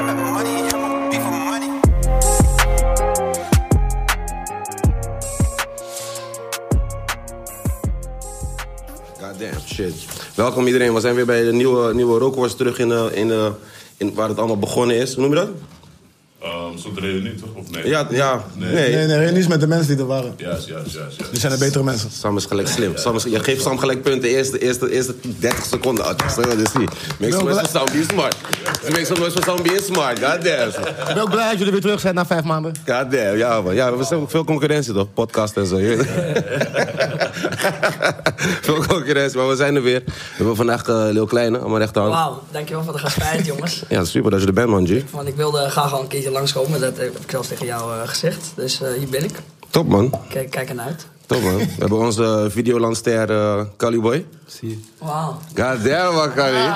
I'm not money, I'm a beef for money. Goddamn, shit. Welkom iedereen. We zijn weer bij de nieuwe, nieuwe Rookworst terug in, de- in, de- in waar het allemaal begonnen is. Hoe noem je dat? Ehm, Zo'n reunie toch? Of nee? Ja, ja nee. Nee. Nee, nee, niets met de mensen die er waren. Juist, juist, juist. juist. Die zijn de betere mensen. Sam is gelijk slim. Sam is, je geeft Sam gelijk punten. Eerste, eerste, eerste 30 seconden. Ah, dat is- dat is niet. Make some noise for Sam, be smart. Make some noise for Sam, be smart. Goddamn. Ik ben ook blij dat jullie weer terug zijn na vijf maanden. Goddamn, ja man. Ja, we hebben ook veel concurrentie toch? Podcast en zo. je weet het. veel concurrentie, maar we zijn er weer. We hebben vandaag eh Leeuw Kleine aan mijn rechterhand. Wauw, dankjewel voor de gastvrijheid, jongens. Ja, super dat je er bent man, G. Want ik wilde graag al een keertje langskomen, dat heb ik zelfs tegen jou eh, gezegd. Dus eh, hier ben ik. Top man. Kijk, kijk ernaar uit. Top man. We hebben onze eh, videolandster eh Caliboy. Wauw. Goddamn man, Cali.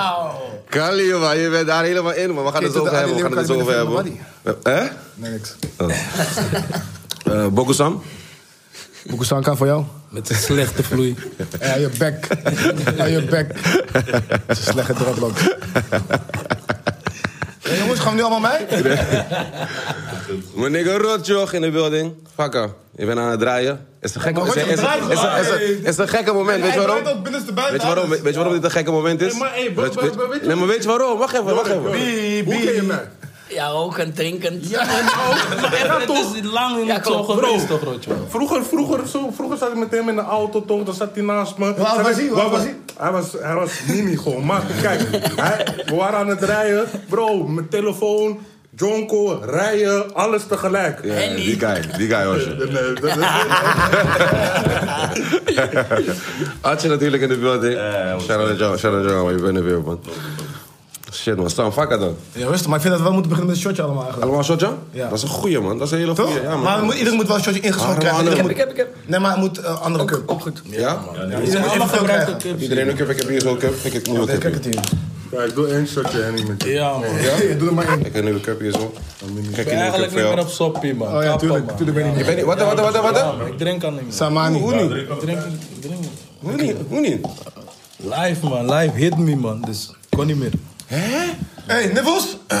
Cali man, je bent daar helemaal in man. We gaan het zo Kijk, over dat hebben. We gaan het Cali zo over Boy hebben. Hè? Nee, niks. Eh Bokusam? Boekusanka voor jou. Met een slechte vloei. Ja, je bek. Ja, je bek. Het is een slechte dreadlock. Hey, jongens, gaan we nu allemaal mee? Mijn nigga Rotjoch in de building. Fakka, je bent aan het draaien. Is een gekke Maar is een- Rotjoch is een- draait is een- is een- gewoon. is een gekke moment, weet je waarom? ook binnenste buiten. Weet je waarom, weet je waarom dit een gekke moment is? Nee, maar, hey, Weet- wa- wa- wa- weet je- nee, maar weet je waarom? Wacht even, wacht even. Hoe ken je mij? Ja, rokend, drinkend. Ja, Het is niet lang in Ja, het zo klopt. geweest, toch, Rotjo? Vroeger, vroeger, zo, vroeger zat ik met hem in de auto, toch? Dan zat hij naast me. oud Zat was ik- hij? Hoe oud waar- was hij? Hij was, hij was mini gewoon. Maar kijk, hij, we waren aan het rijden. Bro, mijn telefoon, Jonko, rijden, alles tegelijk. Ja, die guy, die guy was je. Nee, nee, dat- dat- Adje natuurlijk in de building. Shout-out naar John, shout-out naar John, je bent er weer, man. Shit, man. Staan, fuck het dan. Ja, rustig, maar ik vind dat we wel moeten beginnen met een shotje allemaal eigenlijk. Allemaal een shotje? Ja. Dat is een goeie, man. Dat is een hele Toch? goeie. Ja, man. maar we moeten- iedereen moet wel een shotje ingeschoten Ah, krijgen. man, Iedereen ik moet- heb, ik heb. Nee, maar het moet eh, andere cup. Ook goed. Ja? Iedereen moet evenveel krijgen. Iedereen een cup, ik heb hier zo'n cup. Ik heb nu een Nee, cup. kijk hier. het hier. Kijk, doe één shotje Henny met je. Ja, man. Ja? Doe er maar één. Ik heb nu een cup hier zo. Kijk, Ik ben hier een eigenlijk cup voor niet meer jou. op soppie, man. Oh ja, Kappen, tuurlijk. man. Tuurlijk ben ik Je niet. bent niet... Wat, wat, wat, Ja, wat? man, Ik drink al niet meer. Samani. Hoe niet? Ik drink, ik drink niet. Hoe niet? Hoe niet? Live, man. Live hit me, man. Dus ik kon niet meer. Hey, Nivels! Ja,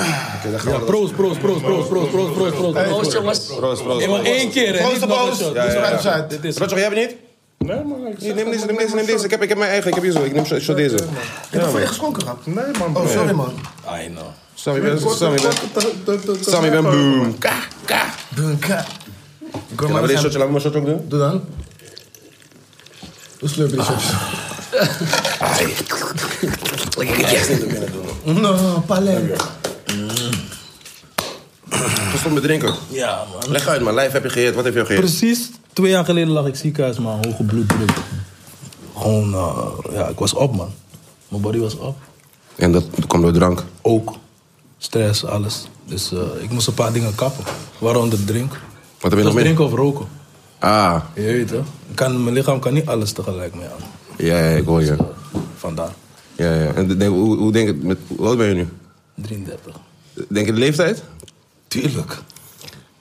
proost, proost, proost, proost, proost, proost, proost, proost. Proost, jongens. Proost, proost. Nee, maar één keer, hè. Proost Niet op nog een alles. shot. Ja, ja, ja. Dit is mijn- Dit is... Rotjoch, jij hebt het niet? Nee, man. Ik Hier, zeg Neem het, deze, man, neem deze, neem man, deze. Ik heb, ik heb mijn eigen, ik heb hier zo. Ik neem zo zo deze. Ik heb voor je geschonken gehad. Nee, man. Oh, bro. sorry man. I know. Sam, je bent... Sam, je bent... Te- te- te- te- Sam, je bent te- boom. Kijk, Bunka. Ik wil Laten maar we deze eens shotje, laten we mijn shotje ook doen. Doe dan. Hoe slurp je die shotjes? No, Palem. Stop met drinken. Ja, man. Leg uit, man. Live heb je geëerd. Wat heb je geëerd? Precies twee jaar geleden lag ik ziekenhuis, man. Hoge bloeddruk. Gewoon, eh, ja, ik was op, man. Mijn body was op. En dat komt door drank. Ook. Stress, alles. Dus eh, ik moest een paar dingen kappen. Waaronder drink. Wat heb je nog Dus meer? drinken of roken. Ah, Je weet hè? Ik Kan, mijn lichaam kan niet alles tegelijk mee aan. ja, ja, ik hoor je. Vandaar. Ja, ja. En denk, hoe, hoe denk je, met, hoe oud ben je nu? 33. Denk je de leeftijd? Tuurlijk.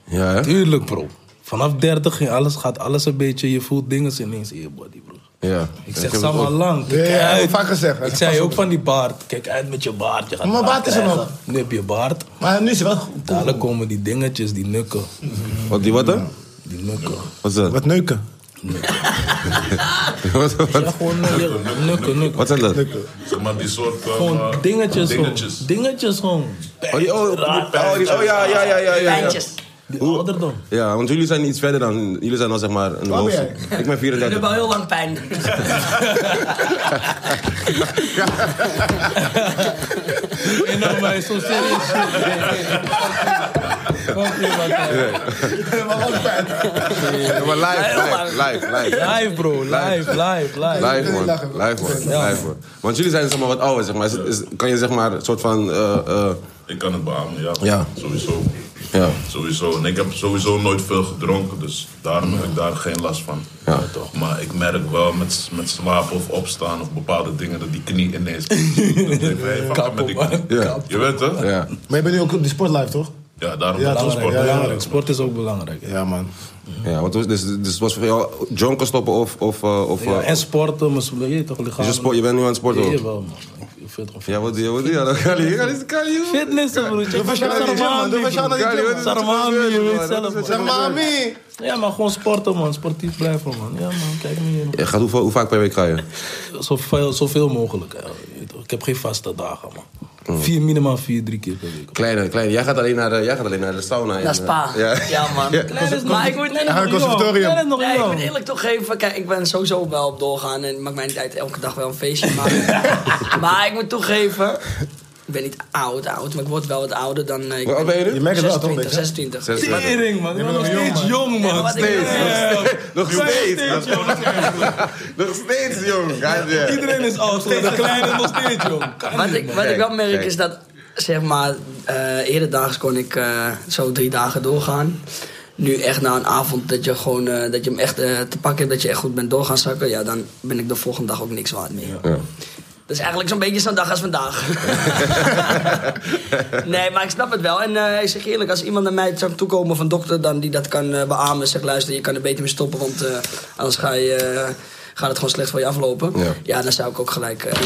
Ja, hè? Tuurlijk, bro. Vanaf 30 ging alles, gaat alles een beetje. Je voelt dingen ineens in je body, bro. Ja. Ik zeg heb Sam het al ook. lang. Kijk Ja, ja, uit. heb ik vaak gezegd. Ik zei ook van die baard. Kijk uit met je baard. Je gaat Maar baard is er nog. krijgen. Nu heb je baard. Maar nu is het wel goed. Dadelijk komen die dingetjes, die nukken. Wat, die wat dan? Die nukken. Wat is dat? Wat neuken. Wat, wat, Ja, gewoon nukken, nukken, nukken. wat zijn dat? Zeg maar die soort. ehm, eh, Gewoon dingetjes, dingetjes. dingetjes. gewoon. Dingetjes, gewoon. Oh, die- oh, die- oh, die- oh, ja, ja, ja, ja. ja, ja. Lijntjes. Die ouderdom. Ja, want jullie zijn iets verder dan... Jullie zijn al zeg maar een Waar ben hoofdstuk. Ik ben Ik heb 34. al heel lang pijn. En nou, maar zo serieus. Maar ook pijn. Ja, maar live, Heel live, lang. live, live. Live, bro. Live, live, live. Live man, Lachen, man. live man, live man. Want jullie zijn zeg maar wat ouder, zeg maar. Is het- is- kan je zeg maar een soort van, eh, eh, Ik kan het beamen, ja. Ja. Sowieso. ja. Sowieso. En ik heb sowieso nooit veel gedronken, dus daarom heb ik daar geen last van. Ja. toch. Maar ik merk wel met, met slapen of opstaan of bepaalde dingen dat die knie ineens. dat ik denk, hey, fuck up met die knie. Ja. Je weet het? hè? Ja. Maar je bent nu ook op die sportlife, toch? Ja, daarom Ja, dat we belangrijk, sporten. ja, ja. Ja, Belangrijk. Sport is ook belangrijk. ja. Ja, man. ja want het was, dus, dus het was voor jou jonken stoppen of... of, eh, of Ja, eh, en sporten, maar zo- je weet toch lichaam. dus je, sport, je bent nu aan het sporten ook? Jawel, man. Ik vind het gewoon Ja, wat doe je? Wat doe je? Dan kan je, kan je, kan je. Fitness, eh, broertje. Dat was jouw Dat was jou naar die gym, man. Sarmami, je weet zelf. Dat is man. Zeg, mami! Ja, maar gewoon sporten, man. Sportief blijven, man. Ja, man. Kijk me hier. Je gaat, hoe, hoe vaak per week ga je? Zoveel, zoveel mogelijk. hè. Je weet toch, Ik heb geen vaste dagen, man. Mm. Vier, minimaal vier, drie keer per week. Kleine, kleine. Jij gaat alleen naar de, jij gaat alleen naar de sauna. en, Naar eh, Spa. Ja, man. Klein is nog- Maar ik word klein is nog Eigenlijk jong. conservatorium. Klein is nog Nee, ik moet jong. eerlijk toegeven, kijk, ik ben sowieso wel op doorgaan en het maakt mij niet uit elke dag wel een feestje. Maar, maar ik moet toegeven, ik ben niet oud, oud, maar ik word wel wat ouder dan. eh, Ik Hoe oud ben je nu? Je merkt het wel, toch? een 26, beetje? 26. Zes- Tering, man. Je bent nog steeds jong, Ja, maar man. wat ik- Steeds. Ja. Nog Nog steeds. steeds jong. Nog steeds, jong. Ja, ja. Iedereen is oud, geworden. de kleine is nog steeds jong. Wat ik, wat ik wel merk Kijk. is dat, zeg maar, eh eerder dagen kon ik eh, zo drie dagen doorgaan. Nu echt na een avond dat je, gewoon, eh, dat je hem echt eh, te pakken hebt, dat je echt goed bent doorgaan zakken. Ja, dan ben ik de volgende dag ook niks waard meer. Dat is eigenlijk zo'n beetje zo'n dag als vandaag. nee, maar ik snap het wel. En eh, ik zeg eerlijk, als iemand naar mij zou toekomen van dokter dan die dat kan eh, beamen, zeg luister, je kan er beter mee stoppen, want eh, anders ga je, eh, gaat het gewoon slecht voor je aflopen. Ja. Ja, dan zou ik ook gelijk. eh,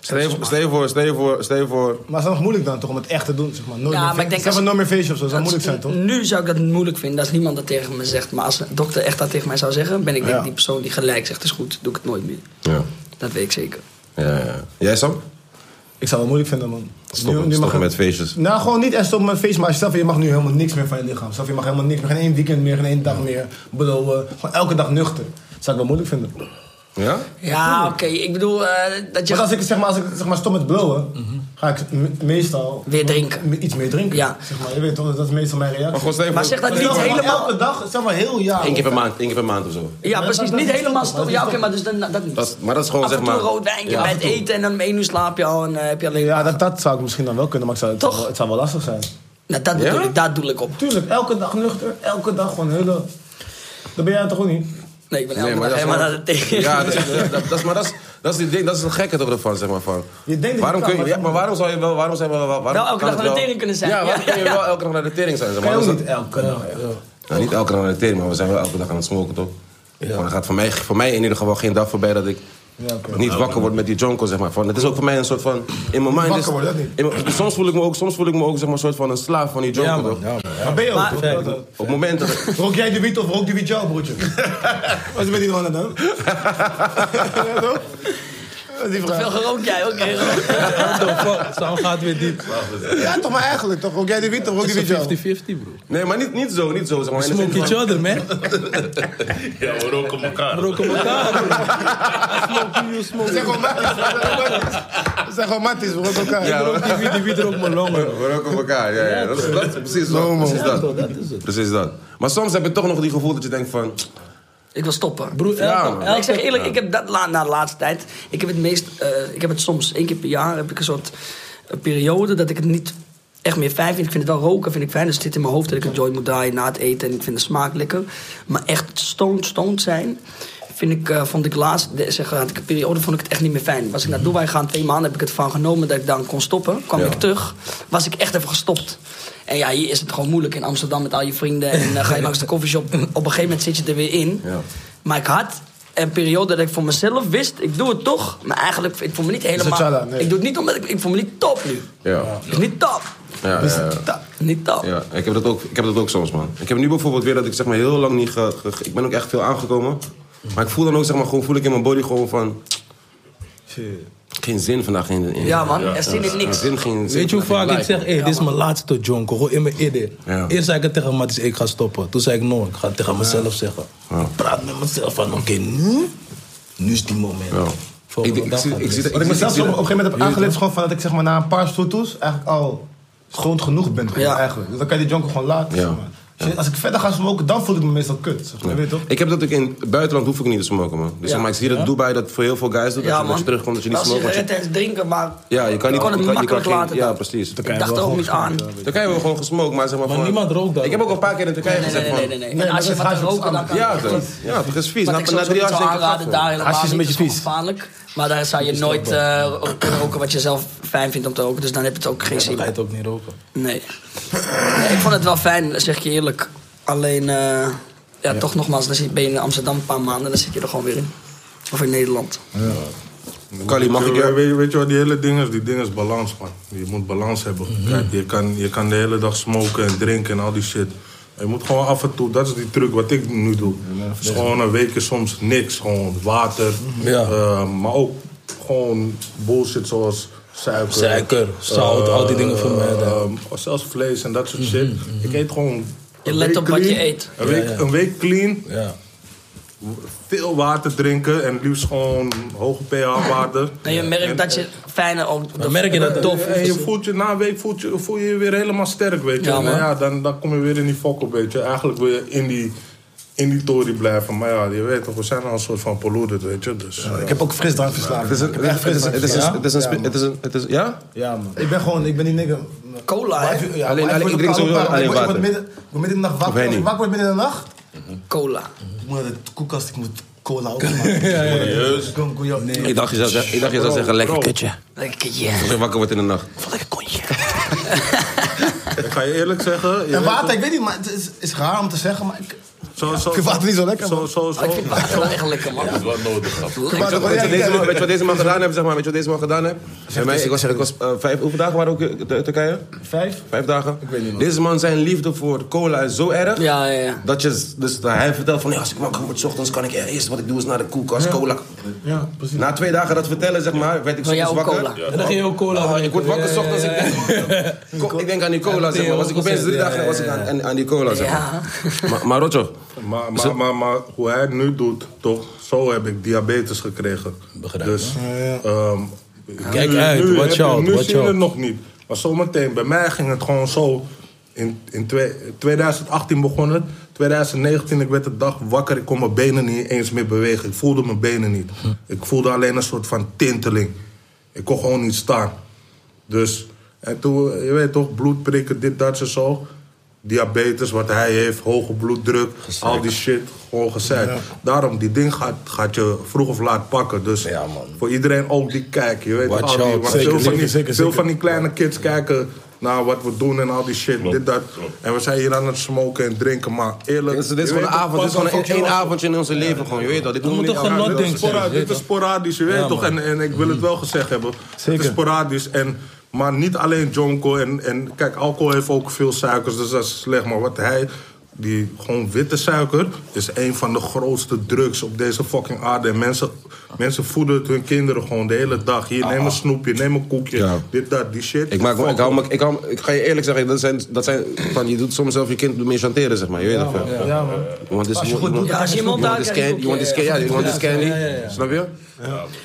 Stel je voor- stel je voor, stel je voor, stel je voor. Maar het is nog moeilijk dan toch om het echt te doen? Zeg maar. Nooit Ja, meer maar fe- ik denk zeg maar als- nooit meer feestje of zo. Dat zou Dat moeilijk is- zijn, toch? Nu zou ik dat moeilijk vinden als niemand dat tegen me zegt. Maar als een dokter echt dat tegen mij zou zeggen, ben ik denk Ja. ik die persoon die gelijk zegt: is goed, doe ik het nooit meer. Ja. Dat weet ik zeker. Ja, ja. Jij, Sam? Ik zou het moeilijk vinden, man. Stoppen, stoppen met feestjes. Nou, gewoon niet echt stoppen met feest, maar stel voor, je mag nu helemaal niks meer van je lichaam. Stel voor, je mag helemaal niks meer, geen één weekend meer, geen één dag meer. Bedoel, eh, gewoon elke dag nuchter. Dat zou ik wel moeilijk vinden. Ja? Ja, oké. Ik bedoel eh, dat je. Want als ik, zeg maar, als ik zeg maar, stop met blowen, ga ik me- meestal... Mhm. Weer drinken. me- Iets meer drinken. Ja. Zeg maar. Je weet toch, dat is meestal mijn reactie. Maar gewoon stel je Maar voor- zeg dat Stel niet voor, helemaal. Elke dag, zeg maar heel jaar. Eén keer per maand, één keer per maand of zo. Ja, Maar dat- precies. dat- Niet dat is helemaal stoppen, dat stoppen. Ja, is oké, maar dus dan, dat niet. Dat is- maar dat is gewoon, Af en zeg toe maar- een rood wijntje Ja, bij af het en toe. eten en dan om één uur slaap je al en eh, heb je alleen. Ja, dat, dat zou ik misschien dan wel kunnen, maar het zou, het Toch? zou wel- het zou wel lastig zijn. Nou, dat Ja? bedoel ik, daar doe ik op. Tuurlijk, elke dag nuchter, elke dag gewoon hele... Dat ben jij toch ook niet? Nee, ik ben elke dag helemaal maar- naar de tegen. Ja, dat, is- dat- dat is- maar dat is, dat is die ding, dat is het gekke toch ervan, zeg maar. Van. Je denkt dat je waarom kan, kun je, maar ja, dat- maar waarom zou je wel, waarom zijn we wel, waarom Wel elke kan dag het naar de wel- tering kunnen zijn. Ja, waarom Ja, kun je wel elke dag naar de tering zijn? Zeg maar. Kan je ook Dat is- niet elke dag. ja. Nou, niet elke dag naar de tering, maar we zijn wel elke dag aan het smoken, toch? Maar er gaat voor mij, voor mij in ieder geval geen dag voorbij dat ik Ja, oké. niet wakker word met die jonko, zeg maar. Van, het is ook voor mij een soort van... In mijn mind Wakker is, worden, dat niet. in mijn- dus soms voel ik me ook, soms voel ik me ook zeg maar, een soort van een slaaf van die jonko, Ja, man. toch? Ja, man. Maar ben je ook? Maar- toch? Perfect. Dat- Op momenten... dat- Rook jij de wiet of rook de wiet jou, broertje? Wat is met die man dan? ja, toch? Dat is die vraag. Veel gerookt jij, oké. gerookt. What the fuck? Sam gaat weer diep. Ja, toch maar eigenlijk, toch? Rook jij de wiet of rook de wiet jou? It's 50-50, bro. Nee, maar niet, niet zo, niet zo, zeg maar. In de zin Smoke van- each other, man. Ja, we roken elkaar. We roken elkaar, bro. I Smoke you, you smoke. Zeg me. gewoon matties, zeg gewoon matties. Zeg gewoon matties, we roken elkaar. Ja, Ik rook die wiet, die wiet rookt mijn longen. We roken elkaar, ja, ja. Dat is, dat is precies zo. Precies Ja, toch, dat. dat is het. Precies dat. Maar soms heb je toch nog die gevoel dat je denkt van... Ik wil stoppen. Broer, Ja, elke, man. Ja, ik zeg elke- eerlijk, ik heb dat la, na de laatste tijd. Ik heb het meest. eh, ik heb het soms één keer per jaar. Heb ik een soort eh, periode dat ik het niet echt meer fijn vind. Ik vind het wel roken, vind ik fijn. Dus het zit in mijn hoofd dat ik een joint moet draaien na het eten. En ik vind de smaak lekker. Maar echt stoned, stoned zijn. Vind ik, eh, vond ik laatst, de- zeg, had ik een periode vond ik het echt niet meer fijn. Was ik naar Dubai gaan, twee maanden heb ik het van genomen dat ik dan kon stoppen. Kwam Mhm. Ja. ik terug, was ik echt even gestopt. En ja, hier is het gewoon moeilijk in Amsterdam met al je vrienden. En eh, ga je langs de koffieshop. Op een gegeven moment zit je er weer in. Ja. Maar ik had een periode dat ik voor mezelf wist, ik doe het toch. Maar eigenlijk, ik voel me niet helemaal... tjalla, nee. Ik doe het niet omdat ik... Ik voel me niet top nu. Ja, Het is niet top. ja, ja. Top. Niet top. ja. Ik, heb dat ook, ik heb dat ook soms, man. Ik heb nu bijvoorbeeld weer dat ik zeg maar heel lang niet... Ge, ge- ge- ik ben ook echt veel aangekomen. Maar ik voel dan ook, zeg maar, gewoon voel ik in mijn body gewoon van... Geen zin vandaag in... in Ja, man. er zin in niks. Zin, geen zin Weet je hoe vandaag vaak in ik zeg, life, hey, dit is mijn laatste jonko, gewoon in mijn idee. Ja. Eerst zei ik het tegen Matties, ik ga stoppen. Toen zei ik, no, ik ga het tegen mezelf zeggen. Ik praat met mezelf van, oké, nu, nu is die moment. man. Ja. Volgende Ik- ik dag zie- gaat ik het. zie- Wat ik zie- mezelf zie- op een gegeven moment heb aangeleerd is gewoon van dat ik zeg maar na een paar stoetoes eigenlijk al groot genoeg bent gewoon, Ja. eigenlijk. Dus dan kan je die jonker gewoon laten. Ja. zeg maar. Als je- Als ik verder ga smoken, dan voel ik me meestal kut. Zeg maar. Weet je toch? Ik heb dat ook in het buitenland hoef ik niet te smoken, man. Dus Ja. zeg maar, ik zie dat Dubai dat voor heel veel guys doet. dat, je, dat je terugkomt dat je niet Wel smokt. want je- sigaretten en drinken, maar Ja, je kan niet... kon het je kan- je kan makkelijk geen- laten. Ja, dan. precies. Ik dacht er ook niet aan. Turkije hebben we gewoon gesmokt, maar zeg maar... Maar gewoon- niemand rookt daar. Ik heb ook een paar keer in Turkije Nee, gezegd nee, van... nee, nee. nee. En als je dat wat is te roken, dan kan Ja, je- dat, ja, dat is vies. Wat Na, ik na sowieso drie niet jaar denk ik, zou aanraden, "Gaffer." daar helemaal Hash is een niet, beetje dat is vies. gevaarlijk. Maar daar zou je nooit eh, kunnen roken wat je zelf fijn vindt om te roken. Dus dan heb je het ook geen Dan zin. ga je het ook niet roken. Nee. Nee, Ik vond het wel fijn, zeg ik je eerlijk. Alleen, eh, ja, toch nogmaals, dan zit- ben je in Amsterdam een paar maanden en dan zit je er gewoon weer in. Of in Nederland. Kali, mag ik Weet je- jou... Weet, je- weet je wat die hele ding is? Die ding is balans, man. Je moet balans hebben. Mhm. Kijk, je kan, je kan de hele dag smoken en drinken en al die shit. Je moet gewoon af en toe, dat is die truc wat ik nu doe. Dus gewoon een weekje soms niks. Gewoon water, Mhm. Ja. eh, maar ook gewoon bullshit zoals suiker. Suiker, zout, eh, al die dingen vermijden. eh, zelfs vlees en dat soort Mhm, shit. Ik eet gewoon... Je een let week op wat je clean. eet. Een week, ja. Een week clean, Ja. veel water drinken en liefst gewoon hoge pH-waarde. En je merkt dat je fijner ook... Dan merk je dat het Tof. En je voelt je na een week voelt je, voel je je weer helemaal sterk, weet je. Ja, En man. ja, dan, dan kom je weer in die fokkel, weet je. Eigenlijk wil je in die, in die tory blijven. Maar ja, je weet toch, we zijn al een soort van polluted, weet je. Dus, ja. Ik heb ook frisdrank verslaafd. Het is een... Ik heb echt Het is een... Het is een... Het is frisdrank een... verslaafd. spe- Het is een... het is- Ja? Ja, man. Ik ben gewoon, ik ben die nigger. Cola, hè? Maar ik- ja, Alleen- maar alleen- word ik drink koud sowieso op water. alleen Ik word- water. Ik word midden- ik word midden in de nacht Of wakker. hij Als ik niet? wakker word midden in de nacht, Cola. ik moet naar de koelkast, ik moet cola openmaken. Serieus? Ik kom, kom, joh. Nee. Ik dacht je zou zeggen- ik dacht je zou zeggen, lekker kutje. Lekker, yeah. Als je wakker wordt in de nacht. Lekker kontje. Ik ga je eerlijk zeggen... je En weet toch- water, ik weet niet, maar het is, is raar om te zeggen, maar ik... zo, zo, ik vind water niet zo lekker, Zo, man. zo, Ik zo. vind water wel echt lekker, man. Wat nodig had. Lekker. Water, Weet je, ja, wat deze ja, man- weet je wat deze man gedaan heeft? Zeg maar, weet je wat deze man gedaan heeft? Bij mij, ik was, ik was eh, vijf, hoeveel dagen waren we ook in Tur- Turkije? Vijf? Vijf dagen? Ik weet niet, man. Deze man, zijn liefde voor cola is zo erg. Ja, ja, ja. Dat je, z- dus hij vertelt van, ja, als ik wakker word, 's ochtends kan ik eerst wat ik doe is naar de koelkast, cola. Ja, precies. Na twee dagen dat vertellen, zeg maar, werd ik Wil jij soms ook wakker. cola? En dan ging je ook cola Ah, drinken. ik word wakker Ja, 's ochtends, ja, ik denk, ko- ik denk aan die cola, zeg maar. Was ik opeens drie dagen was ik aan, aan, aan die cola, zeg maar. Ja. Maar, maar Rotjo, Maar, maar, maar, maar hoe hij het nu doet, toch, zo heb ik diabetes gekregen. Begrijp, Dus, ehm, Kijk nu- uit, nu watch heb je- out, Nu watch zie je het out. nog niet. Maar zometeen, bij mij ging het gewoon zo. In, in twee- 2018 begon het. 2019, ik werd de dag wakker. Ik kon mijn benen niet eens meer bewegen. Ik voelde mijn benen niet. Hm. Ik voelde alleen een soort van tinteling. Ik kon gewoon niet staan. Dus, en toen, je weet toch, bloedprikken, dit, dat en zo. Diabetes, wat hij heeft, hoge bloeddruk, al die shit, gewoon gezeik. Daarom, die ding gaat, gaat je vroeg of laat pakken. Dus Ja, man. voor iedereen ook die kijkt, je weet Watch al die, out. want Zeker, veel, van die, zeker, zeker, veel zeker. van die kleine kids kijken naar wat we doen en al die shit, dit, dat. En we zijn hier aan het smoken en drinken, maar eerlijk... dit is, dit je is gewoon weet een toch, avond, dit is pas gewoon op een- wat je één als- avondje in ons leven, gewoon, je weet dat. Dit doen we moeten niet elke genot dag. dit is, Denk zelf, spora- weet dit is toch? sporadisch, je weet Ja, toch? man. En, en ik wil het wel gezegd hebben. Het is sporadisch. En, maar niet alleen jonko. En, en kijk, alcohol heeft ook veel suikers, dus dat is slecht. Maar wat hij... Die gewoon witte suiker is een van de grootste drugs op deze fucking aarde. En mensen, mensen voeden het hun kinderen gewoon de hele dag. Hier, neem een snoepje, neem een koekje. Ja. Dit, dat, die shit. Ik, maak, me- ik, Fuck hou me, ik, hou, me- ik ga je eerlijk zeggen, dat zijn, dat zijn, van, je doet soms zelf je kind mee chanteren, zeg maar. Je weet het wel. Ja, man. Want is, Als je goed doet, Ja, als je iemand daar iemand is candy, iemand is candy, ja, iemand is candy. Snap je?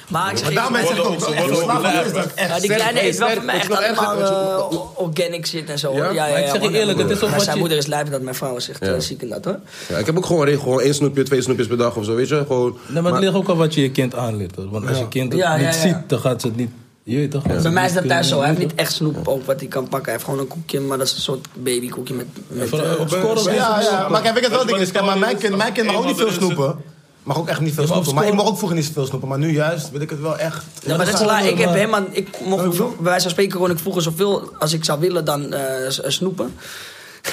Maar ik zeg je- Daarmee zeg ik ook, als je slaaf is, dat is echt... Ja, die kleine Sterk, eet wel sterk. voor mij echt Wordt je nog allemaal erger? eh, o- organic shit en zo. Ja, ja, Maar ik zeg je man. eerlijk, het is toch Maar wat Zijn je- moeder is lijp dat mijn vrouw zegt, eh, ziek en dat hoor. Ja, ik heb ook gewoon, regel, gewoon één snoepje, twee snoepjes per dag of zo, weet je? Gewoon, Nee, maar het ligt ook aan wat je je kind aanleert. hoor. Want als je kind het Ja, ja, niet ja. ziet, dan gaat ze het niet... Je weet toch? gaat ze Bij het mij is niet dat thuis zo. kunnen. Hij heeft niet echt snoep ook wat hij kan pakken. Hij heeft gewoon een koekje, maar dat is een soort babykoekje met... met Van, eh, eh, Op scoren zijn Ja, ze ja, maar kijk, weet je wat wel ding is? Kijk, maar mijn kind, mijn kind mag ook niet veel Eenmaal erin snoepen. Mag ook echt niet veel Ja, maar op snoepen. Maar ik school- mag ook vroeger niet veel snoepen. Maar nu juist wil ik het wel echt. Ja, maar dat is laat. Ik heb helemaal... Ik mocht bij wijze van spreken kon ik vroeger zoveel als ik zou willen dan eh, s- eh, snoepen.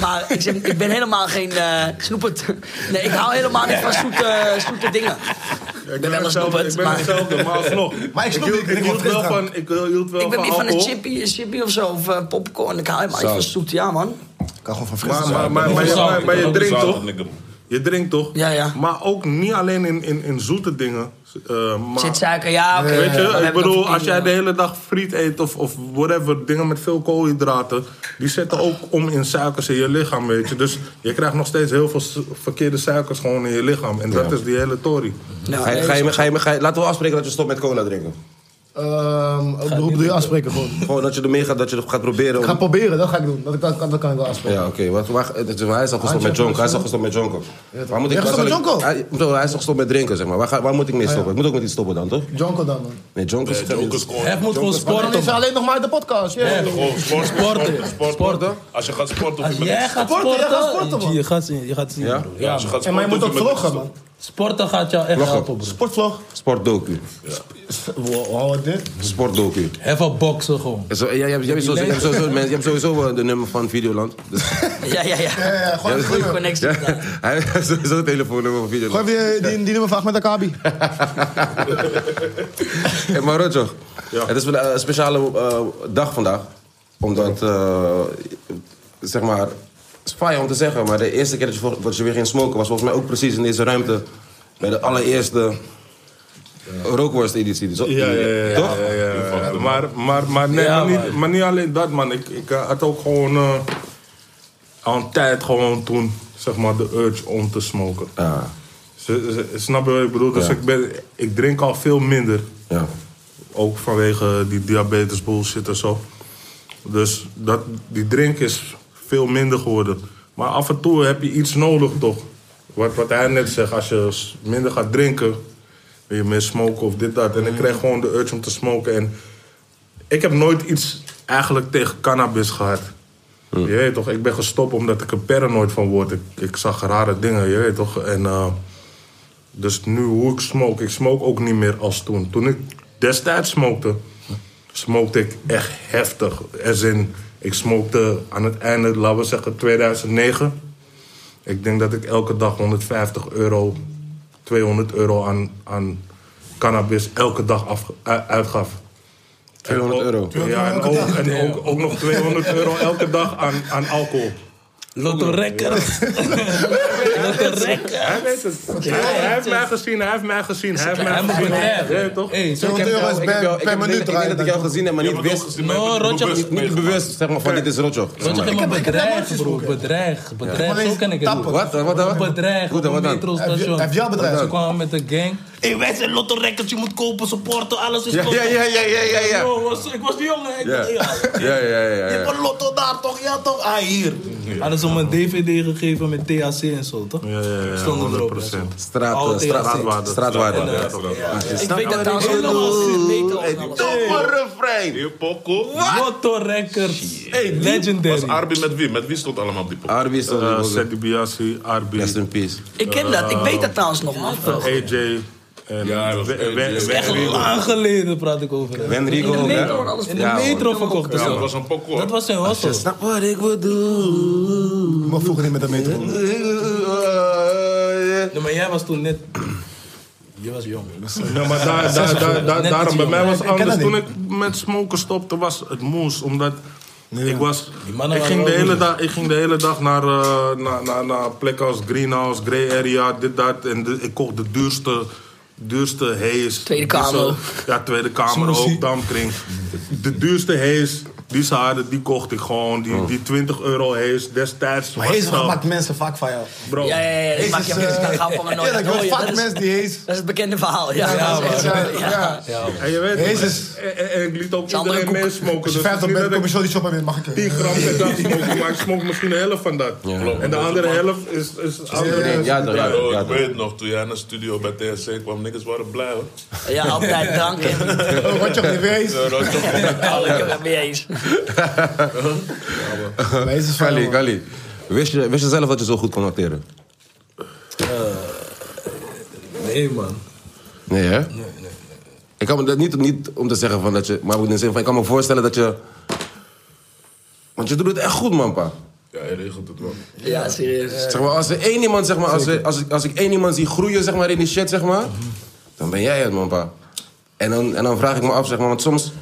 maar ik, zeg, ik ben helemaal geen eh snoepert. Nee, ik hou helemaal niet van zoete, zoete dingen. Ik ben wel een snoepert, hetzelfde, Ik ben maar... hetzelfde, maar alsnog. Maar ik snoep hield- niet, ik ik drink hield wel frisdrank. van... Ik eh, hield wel Ik ben van meer van een alcohol. chippy, chippy of zo, of eh, popcorn. Ik hou helemaal niet van zoet, ja man. Ik kan gewoon van Maar, fris. maar, maar, maar, je- maar- maar je drinkt toch? Zalig, nigga. Je drinkt toch? Ja, ja. Maar ook niet alleen in, in, in zoete dingen. eh, maar, Zit eh, suiker, ja oké. Weet Dan je, heb ik dat bedoel, verkeerd, als jij ja. de hele dag friet eet of, of whatever, dingen met veel koolhydraten, die zetten ook om in suikers in je lichaam, weet je. Dus je krijgt nog steeds heel veel su- verkeerde suikers gewoon in je lichaam. En dat is die hele tory. Ja, Ga je- nee, ga je- ga je- ga je- Laten we afspreken dat je stopt met cola drinken. Ehm, hoe bedoel je afspreken gewoon? Gewoon dat je ermee gaat, dat je gaat proberen. Ik om- ga proberen, dat ga ik doen. Dat, ik- dat, dat kan ik wel afspreken. Ja, oké. wat Maar, het is- maar hij is al gestopt met Jonko. Hij is al gestopt met Jonko. Waar moet ik, Ja, waar gestopt zal met ik- Jonko? Hij, bro, hij is al gestopt met drinken, zeg maar. Waar, ga- waar moet ik mee stoppen? Ik moet ook met iets stoppen dan, toch? Jonko dan, man. Nee, Jonko is... Hef moet gewoon Dan sporten. is hij alleen nog maar uit de podcast. ja. Oh, Gewoon sport, sporten, Sporten. sporten. Sporten. Als je gaat sporten, Als hoef je met- jij gaat Sporten, jij gaat sporten, sporten, man. je gaat zien, je gaat zien. Ja? broer. Ja, Ja, als je man. gaat En maar je moet ook sporten, hoef je vloggen, met- man. Sporten gaat jou echt Lachen. helpen, broer. Sportvlog. Sportdocu. Wow, wat dit? Sportdocu. Even boksen gewoon. Zo, jij, jij, hebt- jij hebt sowieso, jij hebt sowieso, mensen- jij hebt sowieso eh, de nummer van Videoland. Dus, Ja, ja, ja. Ja, gewoon Goede connectie. ja, inderdaad. hij heeft sowieso het telefoonnummer van Gooi Videoland. even die, die, die nummer van Ahmed Akabi. Hey, maar Roger, het is wel een eh, speciale eh, dag vandaag. Omdat, eh, zeg maar, het is saai om te zeggen, maar de eerste keer dat je, vol- dat je weer ging smoken was volgens mij ook precies in deze ruimte. Bij de allereerste rookworst-editie. Zo- Ja, ja, ja, ja. Toch? Ja, ja, ja. Ja, maar, maar, maar, nee, Ja, maar, niet, man. maar niet alleen dat, man. Ik, ik eh, had ook gewoon eh, al een tijd gewoon toen, zeg maar, de urge om te smoken. Ja, Z- z- Snap je wat ik bedoel? Dus Ja. ik, ben, ik drink al veel minder. ja. Ook vanwege die diabetes bullshit en zo. Dus dat, die drink is veel minder geworden. Maar af en toe heb je iets nodig toch? Wat, wat hij net zegt, als je s- minder gaat drinken, wil je meer smoken of dit, dat. En ik kreeg gewoon de urge om te smoken. En ik heb nooit iets eigenlijk tegen cannabis gehad. Je weet toch, ik ben gestopt omdat ik er paranoid van word. Ik, ik zag rare dingen, je weet toch. En eh, dus nu hoe ik smoke, ik smoke ook niet meer als toen. Toen ik destijds smokte, smokte ik echt heftig. Als in, ik smokte aan het einde, laten we zeggen 2009. Ik denk dat ik elke dag 150 euro, 200 euro aan, aan cannabis elke dag af, u- uitgaf. 200 euro. Ja, en ook, en ook, ook nog 200 euro elke dag aan, aan alcohol. Lotto rekker. Lotto rekker. Hij weet het. Hij, hij heeft mij gezien, hij heeft mij gezien, hij heeft mij Hij moet gezien. bedrijven. Ja, toch? Hey, zo 200 euro is Ik heb jou- per, ik heb- per ik denk- minuut ik denk dat ik draaien. jou gezien heb, maar niet maar ook wist. gezien, maar ik ben No, Roger, bewust Niet, niet meegemaakt. bewust, zeg maar, van dit is Roger. Oh Want je kan maar heb- ik heb bedrijf, emoties broer. gesproken. Bedreig. Ja, maar Bedreig. Zo deze kan ik het tappen. doen. Wat? Wat? Wat? Wat? Bedreig. Hoe Op dan? Wat een dan? metrostation. Heb je- heb jouw bedreig? Ze kwamen met de gang. Hé, wij zijn Lotto rekkers. Je moet kopen, supporten. Alles is Ja, kopen. ja, ja, ja, ja, ja, ja. Yo, was- Ik was die jongen. Ik Ja, dacht, ja. ja, ja, ja, Je hebt ja. een lotto daar toch? Ja toch? Ah, hier. Hadden ze me een dvd gegeven met THC en zo, toch? Ja, ja, ja, Stonden erop. 100%. Straat, eh, Altijd straat, straatwaarde. straatwaarde. Ja, Ik weet dat trouwens helemaal niet. refrein. Hier, Poco. Lotto rekkers. Legendary. Was Arby met wie? Met wie stond allemaal die Poco? Arby is toch Eh, ook- Sedi Biassi, Arbi, Rest in peace. Ik ken dat, ik weet dat trouwens nog, man. AJ. En Ja, hij was We- AJ. We- Dat is We- echt We- Lang geleden praat ik over. hem. Wenrigo ook, hè? metro wordt alles In de Ja, man. metro verkocht. Ja, zo. dat was een Poco. Dat was zijn hostel. Snap wat ik wil doen. Ik mag vroeger niet met de metro. Nee, maar jij was toen net... Je was jong. Ja, maar daar, daar, daar, daar- Net daarom, bij iets mij was jonger. Ik ken anders. dat Toen niet. ik met smoken stopte, was het moes. Omdat ik was... Die mannen Ik waren ging, de wel hele moe. dag, ik ging de hele dag naar, eh, naar, naar, naar plekken als Greenhouse, Grey Area, dit, dat. En de- ik kocht de duurste... Duurste haze. Tweede Die ze- Kamer. Ja, Tweede Kamer ook, Damkring. De duurste haze die ze hadden, die kocht ik gewoon. Die, die 20 euro haze destijds. Oh. Maar was Hees dat- maakt mensen vaak van jou. Bro, Ja, ja, ja. Dat maak je Jezus, mensen eh, gaan gaan van Oh, me nooit. Ja, dat hoor wordt je, vaak dat is- mensen die Hees. Dat is het bekende verhaal, ja. Ja, dat is echt ja, zo. ja. En je weet, Jezus. En, en- en ik liet ook andere iedereen koek. meesmoken. Als je dus het is 50 niet bent, dat ik- kom je zo die shop in, mag ik 10 er. gram per dag smoken, maar ik smoke misschien de helft van dat. En de andere helft is... is Ja, andere. ja, toch, ja, Ja, joh, ja, ik toch. weet nog, toen jij naar de studio bij TSC kwam, niggas waren blij hoor. Ja, altijd drank en Wat je niet wees. Ja, dat is toch gewoon- alle ik heb het mee eens. Hees is van Kali, jou, man. Kali. Wist je, wist je zelf dat je zo goed kon acteren? Nee, man. Nee, hè? Nee, nee, Ik kan me dat niet, niet om te zeggen van dat je... Maar in de zin van, ik kan me voorstellen dat je... Want je doet het echt goed, man, pa. Ja, hij regelt het wel. Ja, serieus. Zeg maar, als er één iemand, zeg maar... Als, er- als, ik, als ik één iemand zie groeien, zeg maar, in die shit, zeg maar... Mhm. Dan ben jij het, man, pa. En dan, en dan vraag ik me af, zeg maar, want soms...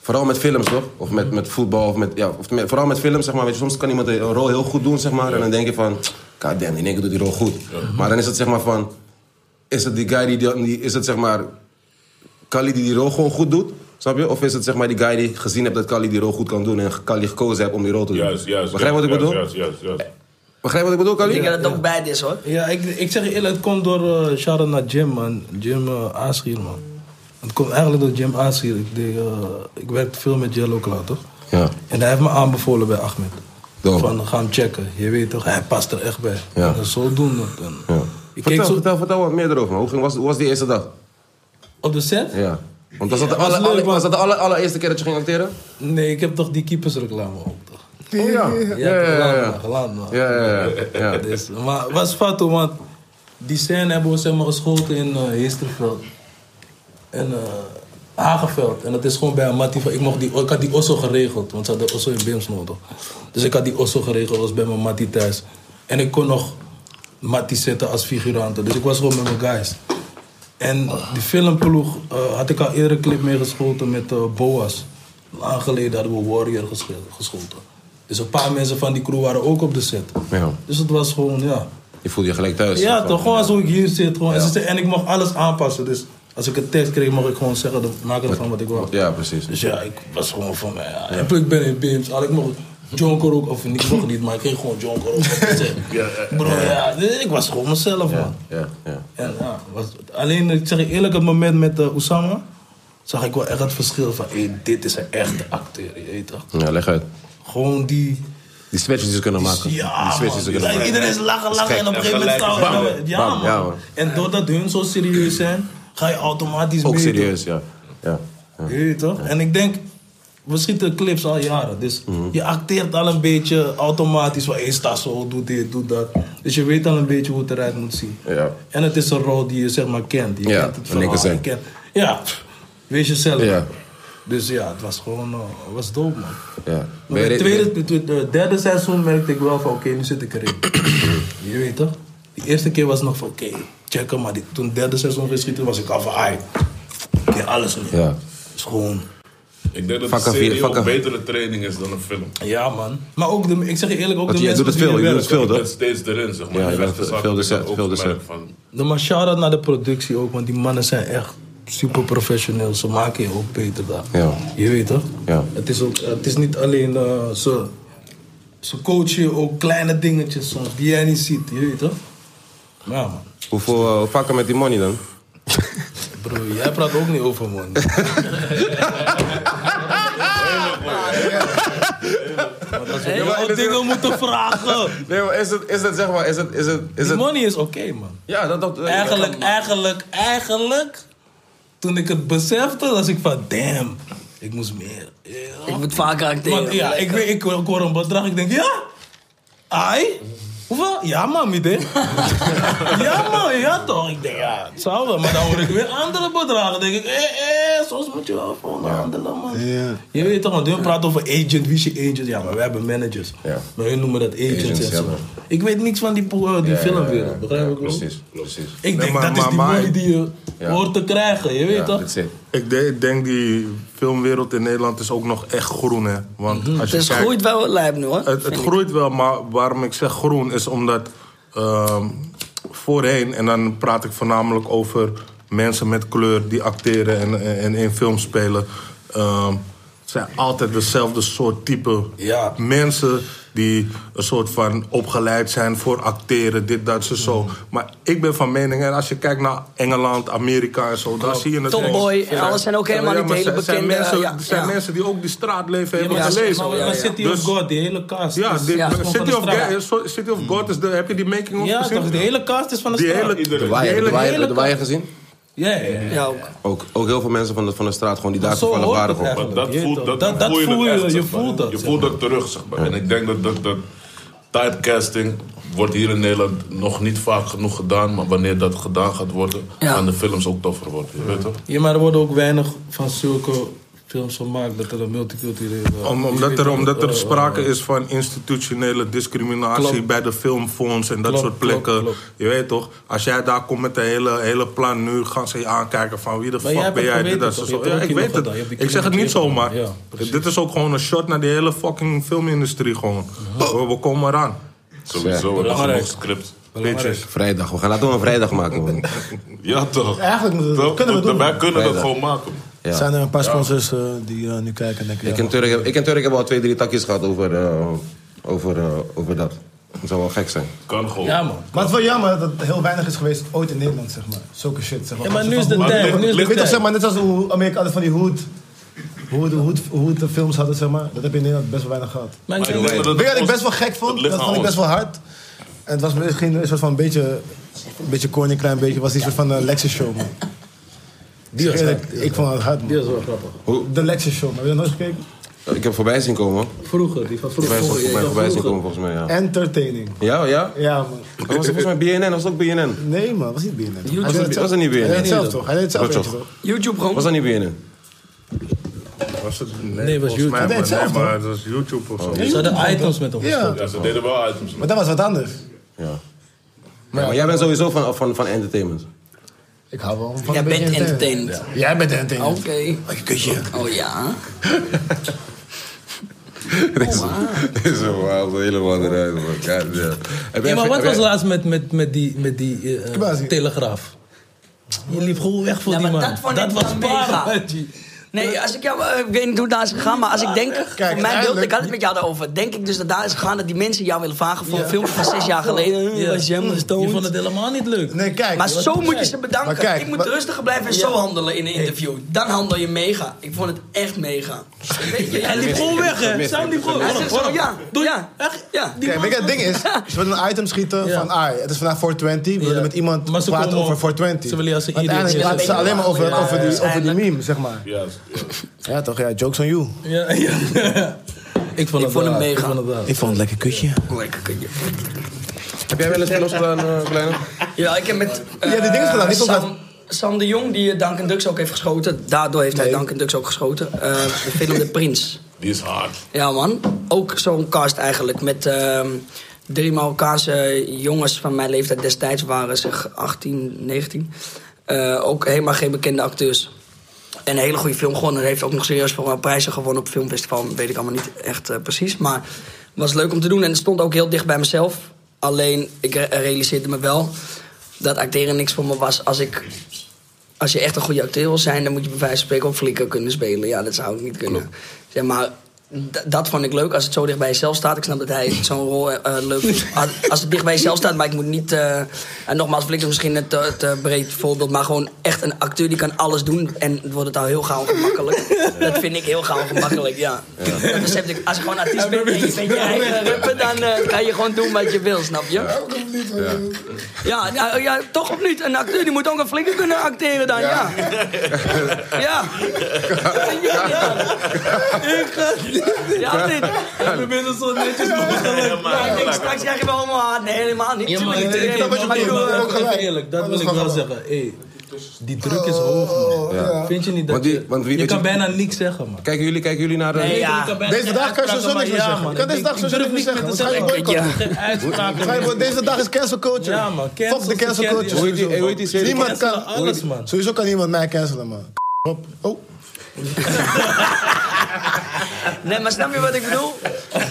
Vooral met films, toch? Of met, met voetbal, of met... Ja, of met- vooral met films, zeg maar. Weet je, soms kan iemand een rol heel goed doen, zeg maar. En dan denk je van... God damn, in één keer doet die rol goed. Mhm. Maar dan is het, zeg maar, van... Is het die guy die... die- die is het, zeg maar... Kali die die rol gewoon goed doet? Snap je? Of is het zeg maar die guy die gezien hebt dat Kali die rol goed kan doen... en Kali gekozen hebt om die rol te doen? Juist, juist. Begrijp je wat ik juist, bedoel? Juist, juist, juist. Begrijp je wat ik bedoel, Kali? Ik denk dat het ook bij is, hoor. Ja, ik, ik zeg je eerlijk, het komt door eh Sharon naar Jim, man. Jim eh Aaschier, man. Het komt eigenlijk door Jim Asier. Ik, deed, eh, ik werkte veel met Jello Cloud, toch? Ja. En hij heeft me aanbevolen bij Ahmed. Dope. Van, ga hem checken. Je weet toch, hij past er echt bij. Ja. En zodoende. En Ja. Ik keek vertel, zo vertel, vertel wat meer erover. man. Hoe, ging, was, hoe was die eerste dag? op de set. Ja. Want was dat, Ja, de was alle, leuk, alle- man. was dat de alle- allereerste keer dat je ging acteren? Oh Nee, ik heb toch die keepersreclame ook, toch? Ja. Ja, ja, Ja, ja. gelaat ja. maar, gelaat maar. Ja, ja, ja, ja. Dus, maar het was fatto, want die scène hebben we zeg maar, geschoten in eh Heesterveld. En eh Hagenveld. En dat is gewoon bij Amati. van- Ik, mocht die, ik had die osso geregeld, want ze hadden osso in Bims nodig. Dus ik had die osso geregeld, was bij mijn Matti thuis. En ik kon nog Matti zetten als figurante. Dus ik was gewoon met mijn guys. En die filmploeg eh, had ik al eerder een clip mee geschoten met eh, Boas. Lang geleden hadden we Warrior gesche- geschoten. Dus een paar mensen van die crew waren ook op de set. Ja. Dus het was gewoon, ja. Je voelde je gelijk thuis. Ja, toch? Gewoon zo ik hier zit. Gewoon. En, Ja. ze zei- en ik mag alles aanpassen. Dus als ik een tekst kreeg, mag ik gewoon zeggen, dan maak ik van wat ik wil. Ja, precies. Dus ja, ik was gewoon van mij. Ja. En Ik ben in Bims, al ik mocht jonker ook, of niet, ik mocht niet, maar ik ging gewoon jonker ook. ja, Bro, ja. dus ik was gewoon mezelf, man. Ja, ja. En, ja, nou, was, alleen, ik zeg je eerlijk, op het moment met eh Oesama zag ik wel echt het verschil van, hé, dit is een echte acteur, je weet toch? Ja, leg uit. Gewoon die... Die switches die ze kunnen maken. die Dus Ja, switches die man. ze kunnen Ja, maken. iedereen is lachen, lachen en op een gegeven moment Bam, trouwen. Ja, bam, man. ja, man. En doordat hun zo serieus zijn, ga je automatisch Ook mee, serieus, ja. ja. Mhm. toch? Je weet toch? En ik denk, we schieten clips al jaren. Dus je acteert al een beetje automatisch. Van, hey, sta zo, doe dit, doe dat. Dus je weet al een beetje hoe het eruit moet zien. Ja. En het is een rol die je zeg maar kent. Je Ja, kent het een niks verhaal. zijn. Je kent, ja, pff, wees jezelf. Ja. Dus ja, het was gewoon, eh, het was dope man. ja. Maar Ben je- het tweede, het tweede- het eh, derde seizoen merkte ik wel van, oké, nu zit ik erin. je weet toch? De eerste keer was nog van, oké, check hem. Maar die- toen het derde seizoen geschieten was ik al van, ai, oké, alles nu. Ja. is gewoon, Ik denk dat Vakken de vier, serie ook vakken. betere training is dan een film. ja man. Maar ook, de, ik zeg je eerlijk, ook Want de jij mensen doet het met wie veel, je je doet werkt. het veel, Ik toch? ben steeds erin, zeg maar. Ja, je In bent veel echte zaken de heb ik set, dat ook veel de set. gemerkt van- De maar shout-out naar de productie ook, want die mannen zijn echt super professioneel. Ze maken je ook beter daar. Ja. Je weet toch? Ja. Het is, ook, het is niet alleen eh, ze. Ze coachen je ook kleine dingetjes soms die jij niet ziet. Je weet toch? Ja, man. Hoeveel eh, vakken met die money dan? Bro, jij praat ook niet over man. Je maar- wel dingen moeten vragen. Nee, maar is het, is het zeg maar, is het, is het, is Die het... money is oké, man. Ja, dat... dat Eigenlijk, dat- eigenlijk, eigenlijk. Toen ik het besefte, was ik van, damn, ik moest meer. Ik moet vaker acteren. Want ja, ik, weet, ik, ik hoor een bedrag, ik denk, ja? Ai? Hoeveel? Ja, man, idee. ja, man, ja toch? Ik denk, ja, het zou wel. Maar dan hoor ik weer andere bedragen. Dan denk ik, hé, hé, soms moet je wel gewoon handelen, man. Je weet toch, want hun praten over agent, wie is je agent? Ja, maar wij hebben managers. Ja. Maar hun noemen dat agents Agents, en ja, zo. man. Ik weet niks van die, po- eh, Ja, ja, die ja, filmwereld, ja, begrijp ja, ik wel? Precies, precies. Ik denk, maar- dat is maar- die maar- money die je Ja. hoort te krijgen, je weet Ja, toch? that's it. Ik, de- ik denk die filmwereld in Nederland is ook nog echt groen, hè. Want als Mhm. het je is kijkt, groeit wel lijp nu hoor. Het, het groeit wel, maar waarom ik zeg groen is omdat ehm, voorheen, en dan praat ik voornamelijk over mensen met kleur die acteren en, en, en in film spelen. ehm, het zijn altijd dezelfde soort type Ja. mensen die een soort van opgeleid zijn voor acteren, dit, dat, zo, zo. Maar ik ben van mening, en als je kijkt naar Engeland, Amerika en zo, daar zie je het. Tomboy echt. en alles zijn ook helemaal niet maar hele zijn- zijn bekende, mensen- ja, Er zijn ja. mensen die ook die straatleven Ja, hebben maar Ja, gelezen. maar- ja, maar ja. City of Dus- God, die hele cast. Ja, is- die, Ja. is gewoon van City, de of straat. God, so- City of God is de. Heb je die making of Ja, gezien? toch, de hele cast is van de die straat. hele, iedereen. die De waaier, de hele- waaier, de waaier gezien? Ja, ja, ja. Ja, ook. Ook, ook heel veel mensen van de, van de straat gewoon die daar Maar zo toevallig hoort waren. het gewoon. Maar eigenlijk. dat Je voelt, toch? dat, Dat- dat voel je, voel je, echt, je zeg maar. voelt dat, Je zeg voelt dat terug, zeg maar. En ik denk dat, dat, dat typecasting wordt hier in Nederland nog niet vaak genoeg gedaan. Maar wanneer dat gedaan gaat worden, Ja. gaan de films ook toffer worden. Je weet toch? Ja, maar er worden ook weinig van zulke films gemaakt dat er een multiculturele... Om, je omdat weet er, toch, omdat er eh, sprake is van institutionele discriminatie Klopt. bij de filmfonds en dat Klopt, soort plekken. klopt, klopt. Je weet toch, als jij daar komt met een hele, hele plan nu, gaan ze je aankijken van wie de Maar jij fuck hebt ben het jij? geweten, Dit, dat, toch? zo, zo. Ja, Je hebt er ook ik weet iemand het. gedaan, je hebt die Ik zeg het niet kinderen zomaar. gedaan. Ja, precies. Dit is ook gewoon een shot naar die hele fucking filmindustrie gewoon. We, we komen eraan. Sowieso, we hebben Belangrijk. genoeg script. Belangrijk. Vrijdag, we gaan laten we een vrijdag maken, man. Ja, toch? Dus Eigenlijk moeten we dat- Toch? kunnen we Want doen. Wij kunnen dat Vrijdag. gewoon maken. Ja. Zijn er een paar sponsors eh, die eh, nu kijken en denken, Ik ja, en Turk, heb- ik en Turk hebben al twee, drie takjes gehad over, eh, over, eh, over dat. Dat zou wel gek zijn. Kan gewoon. Ja, man. Maar het is wel jammer dat het heel weinig is geweest ooit in Nederland, zeg maar. Zulke shit, zeg maar. Ja, maar nu Van is de hoe- tijd, Weet nu is de je toch, tijd. zeg maar, net als hoe Amerika altijd van die hoed... Hoe de, films hadden, zeg maar. Dat heb je in Nederland best wel weinig gehad. Maar Maar ik ik denk dat het- Weet je wat ik best wel gek vond? het Dat ligt vond aan ik best wel hard. En het was misschien een soort van een beetje... Een beetje corny, een klein beetje. Het was die soort van eh, Lexus show, man. Die was hard, Ik vond het hard, man. Die was wel grappig. De Lexus show, man. Heb je dat nooit gekeken? Ik heb voorbij zien komen. Vroeger, die van Volgens mij is het volgens mij vroeger. ja, voorbij zien vroeger. komen, volgens mij, ja. Entertaining. Ja, ja? Ja, man. Dat was volgens mij BNN, was het ook BNN? Nee, man. Was niet binnen. Was dat- was dat niet BNN? Hij deed het zelf, toch? Hij deed het zelf, Dat weet je toch? toch? YouTube gewoon. Was dat niet BNN? Was het, nee, Nee, was volgens YouTube. Mij, Nee, maar, het zelf, nee, maar het was YouTube Oh, of zo. Ze hadden items met ons. Ja, Ja, ze deden wel items. maar dat was wat anders. Ja. Maar jij bent sowieso van, van, van entertainment. Oh, Ik hou wel van Jij een bent beetje entertained. Jij bent entertained. Oké. Wat een kutje. Oh ja. Dit is een verhaal van helemaal eruit, man. God, ja. Heb jij- Ja, maar wat heb was jij- laatst met, met, met die, met die eh, Kwasi. telegraaf? Je liep gewoon weg voor Ja, die maar man. dat vond ik was dan mega. para. Nee, als ik jou, eh, ik weet niet hoe daar is gegaan, maar als ik denk, Kijk, voor mijn beeld, uiteindelijk- ik had het met jou daarover. Denk ik dus dat daar is gegaan dat die mensen jou willen vragen voor een filmpje van zes jaar geleden. Eh, Ja. was je helemaal Mm. Je vond stoned. het helemaal niet leuk. Nee, kijk. Maar wat- zo moet je ze bedanken. Maar kijk, ik moet wat- rustiger blijven en zo handelen in een interview. Dan handel je mega. Ik vond het echt mega. Weet je, Hij liep gewoon weg, hè. Sam liep gewoon Hij weg. zegt zo, ja, Doe je? ja, Echt? ja. Die Kijk, man- weet je, het ding is, ze willen een item schieten Ja. van, ah, het is vandaag 420, we willen Ja. met iemand Maar ze praten komen over ook- 420. ze willen als een Maar idiot uiteindelijk praten ze alleen maar over, Ja, over, die, ja. over die meme, zeg maar. Ja, ja. Ja toch, ja, jokes on you. Ja, ja. Ik vond Ik het vond hem raar, mega. Ik vond het raar. Ik vond het lekker kutje. Lekker kun je. Heb jij wel eens films gedaan, eh, Kleine? Ja, ik heb met eh, Ja, die ding is gedaan, die komt Sam, Sam de Jong, die eh, Duncan Dux ook heeft geschoten. Daardoor heeft hij Nee. Duncan Dux ook geschoten. Eh, de film De Prins. Die is hard. Ja, man. Ook zo'n cast eigenlijk. Met ehm, drie Marokkaanse jongens van mijn leeftijd destijds waren zeg 18, 19. Eh, ook helemaal geen bekende acteurs. En een hele goede film gewonnen. Hij heeft ook nog serieus voor eh, prijzen gewonnen op filmfestival. Weet ik allemaal niet echt eh, precies. Maar was leuk om te doen. En het stond ook heel dicht bij mezelf. Alleen, ik re- realiseerde me wel dat acteren niks voor me was als ik... Als je echt een goede acteur wil zijn, dan moet je bij wijze van spreken ook flikker kunnen spelen. Ja, dat zou ik niet kunnen. Zeg maar, d- dat vond ik leuk als het zo dicht bij jezelf staat. Ik snap dat hij zo'n rol eh, eh, leuk vindt. Als- Als het dicht bij jezelf staat, maar ik moet niet. eh, en nogmaals, flikker is misschien een te, te breed voorbeeld. Maar gewoon echt een acteur die kan alles doen. En wordt het al heel gauw gemakkelijk. Dat vind ik heel gauw gemakkelijk, ja. Dat besef ik. Als je gewoon artiest bent en je bent je eigen rapper, dan eh, kan je gewoon doen wat je wil, snap je? Ja, ja, ja, toch of niet? Een acteur die moet ook een flinke kunnen acteren dan, ja. Ja. Ja. Ik ga Ja, dit. We zijn zo netjes mogelijk. Ja, ik denk, straks krijg je wel allemaal hard. Nee, helemaal niet. Ja, maar Tuurlijk niet. ik Nee, heb maar ik bedoel, eh, ook gelijk. Oh, eerlijk, dat Maar wil dat ik is wel wel zeggen. Hey, die druk is hoog, man. Vind je niet dat Want die- je... want wie- je weet kan je- bijna niks zeggen, man. Kijken jullie, kijken jullie naar de... Nee, ja. Je bijna Deze geen dag kan je uitspraken sowieso niks maken. meer Ja, zeggen. man, Je kan deze ik- dag ik sowieso durf niks meer niet zeggen. meer te Want ga je zeggen. boycotten. Geen uitspraken Ga je meer. voor- Deze dag is cancel culture. Ja, man, cancel Fuck de cancel culture. Hoe culture. heet die, hey, hoe heet die serie? Niemand Cancelen kan... alles, man. Sowieso kan niemand mij cancelen, man. Op. Oh. Nee, maar snap je wat ik bedoel?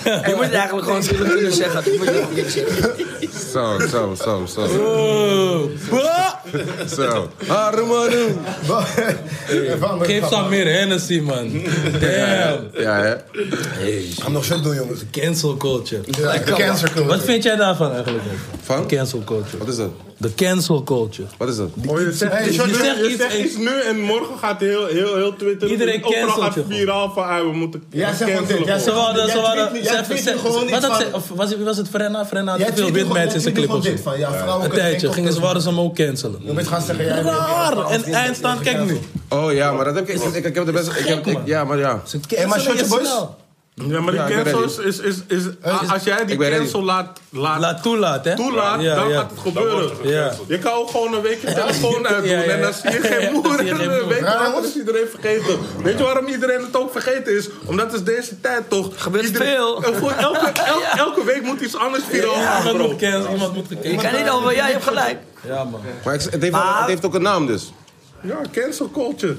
Je moet het eigenlijk gewoon zullen kunnen zeggen. Je moet het gewoon kunnen zeggen. Zo, zo, zo, zo. Zo. Harumanu. Even Geef Sam meer Hennessy, man. Damn. Ja, hè? Ga nog shit doen, jongens. Cancel culture. Ja, Cancer culture. Wat vind jij daarvan eigenlijk? Van? Cancel culture. Wat is dat? De cancel culture. Wat is dat? Oh, je zegt, Hey, iets, Jordan, nu- je zegt je iets- zegt iets nu en morgen gaat heel, heel, heel Twitter... Iedereen overal cancelt gaat je gewoon. viraal van, ah, we moeten Jij zegt gewoon dit, cancelen. jij gewoon. Ze Jij hadden, ze tweet hadden, nu- ze jij hebben, tweet ze, nu gewoon wat iets had ze, van- of was, het- wie was het Frenna? Frenna had Jij te veel tweet nu gewoon- witmeiden in jij zijn tweet nu clip gewoon of zo. dit van, ja, vrouwen Een kunnen tijdje geen gingen ze kop doen. waren ze hem ook cancelen. Je moet gaan zeggen, jij bent- Raar! En eindstand, kijk nu. Oh ja, maar dat heb ik... Ik, ik heb de beste... Ik heb, ik- ja, maar ja. Ze Hey, maar cancelen je Shotje Boys? snel. Ja, maar Ja, die ik ben cancel is... ready. is, is, is- Eh, a- als jij Ik ben die ready. cancel laat, laat, Laat toelaten, hè? toelaat, Ja, dan ja. gaat het gebeuren. Ja. Je kan ook gewoon een weekje telefoon uitdoen Ja, ja, ja. en dan zie je geen Dan moer. zie je En geen een moer. week Ja, later jongens. is iedereen vergeten. Weet je waarom iedereen het ook vergeten is? Omdat het is deze tijd toch... Gebeurt iedereen- veel. Eh, Voor elke, el- elke week moet iets anders viraal gaan, Iemand bro. moet cancelen, iemand moet Je gecanceld. kan niet over, ja, je hebt gelijk. Ja, man. Maar ik- het, heeft, wel- het heeft ook een naam dus. Ja, cancel culture.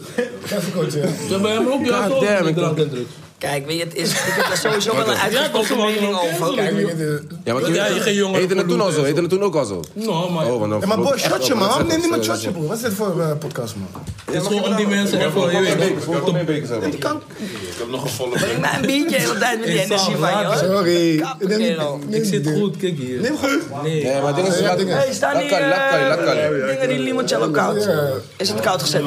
Cancel culture, ja. Ze hebben hem ook God damn, ja, ik drank en druk. Kijk, weet je, het is, ik heb daar sowieso wel een komt uitgesproken gewoon mening iemand over. cancelen, Kijk, joh. Ja, maar toen, Ja, je ging jongeren heette het toen al zo? verloren Heette het toen ook al zo? Nou, maar... Oh, want dan Ja, maar boy, verloopt het echt wel, shotje, man. want dat Waarom neemt zegt niemand ook- shotje, broer? Wat is dit voor eh, podcast, man? Het is gewoon om die mensen even, je weet toch, te- Ik heb nog een volle Breng mij een biertje de hele tijd met die Ik zal energie van je. hoor. laten. Sorry. Kappen, kerel. Ik zit goed, kijk hier. Neem goed. Nee. Nee, maar dingen zijn Hey, staan die Lakkali, lakkali, lakkali. eh, dingen die limoncello koud? Is het koud gezet?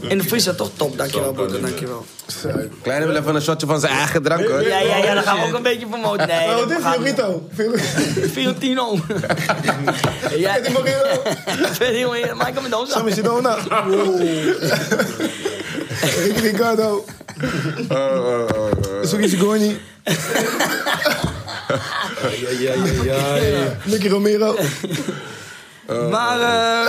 In de vriezer toch top, dankjewel broeder, dankjewel. Kleine wil even een shotje van zijn eigen drank hoor. Ja, ja, ja, dan gaan we ook een beetje promoten. Nee, Oh, dat dit is gaat niet. Fiorito. Fiorito. Fiorentino. Ja, Dit is Fiorito. Fiorentino, Michael Mendoza. Sammy Sedona. Ricky Ricardo. Sugi Sigoni. Ja, ja, ja, ja, ja. Nicky Romero. Maar, eh...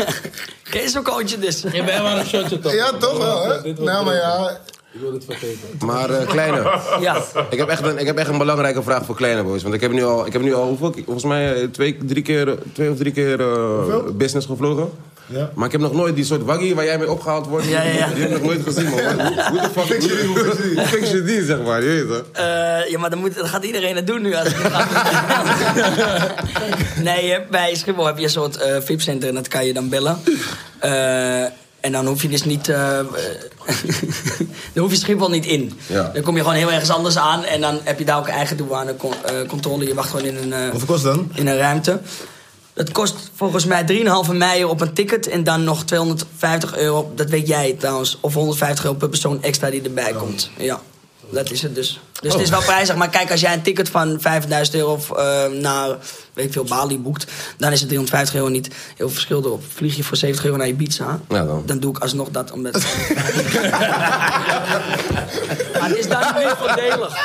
Kees ook coachen dus. Je bent maar een shotje toch? Ja, toch wel, hè? Dit wordt Nou, maar ja. Ik wil het vergeten. Maar eh, Kleine, Ja. ik heb, echt een, ik heb echt een belangrijke vraag voor Kleine Boys. Want ik heb nu al, ik heb nu al hoeveel, volgens mij eh, twee, drie keer, eh, twee of drie keer eh, business gevlogen. Ja. Maar ik heb nog nooit die soort waggy waar jij mee opgehaald wordt. Ja, ja, ja. Die heb ik nog nooit gezien, man. Hoe, hoe de fuck hoe- hoe- hoe fix je die, zeg maar? Je weet het. Eh, ja, maar dan, moet, dan gaat iedereen het doen nu. Als ik het ga doen. nee, je hebt bij Schiphol heb je een soort eh VIP-center en dat kan je dan bellen. Eh, en dan hoef je dus niet... eh, eh, dan hoef je Schiphol niet in. Ja. Dan kom je gewoon heel ergens anders aan en dan heb je daar ook een eigen douanecontrole. controle je wacht gewoon in een... eh, Hoeveel kost het dan? in een ruimte. Dat kost volgens mij 3,5 meijer op een ticket en dan nog 250 euro, dat weet jij trouwens, of 150 euro per persoon extra die erbij Oh. komt. Ja, dat is het dus. Dus het is wel prijzig, maar kijk, als jij een ticket van 5000 euro of, eh, naar, weet ik veel, Bali boekt, dan is het 350 euro niet heel verschil erop. Vlieg je voor 70 euro naar Ibiza, Ja, dan. doe ik alsnog dat omdat. maar het is dan niet voordelig.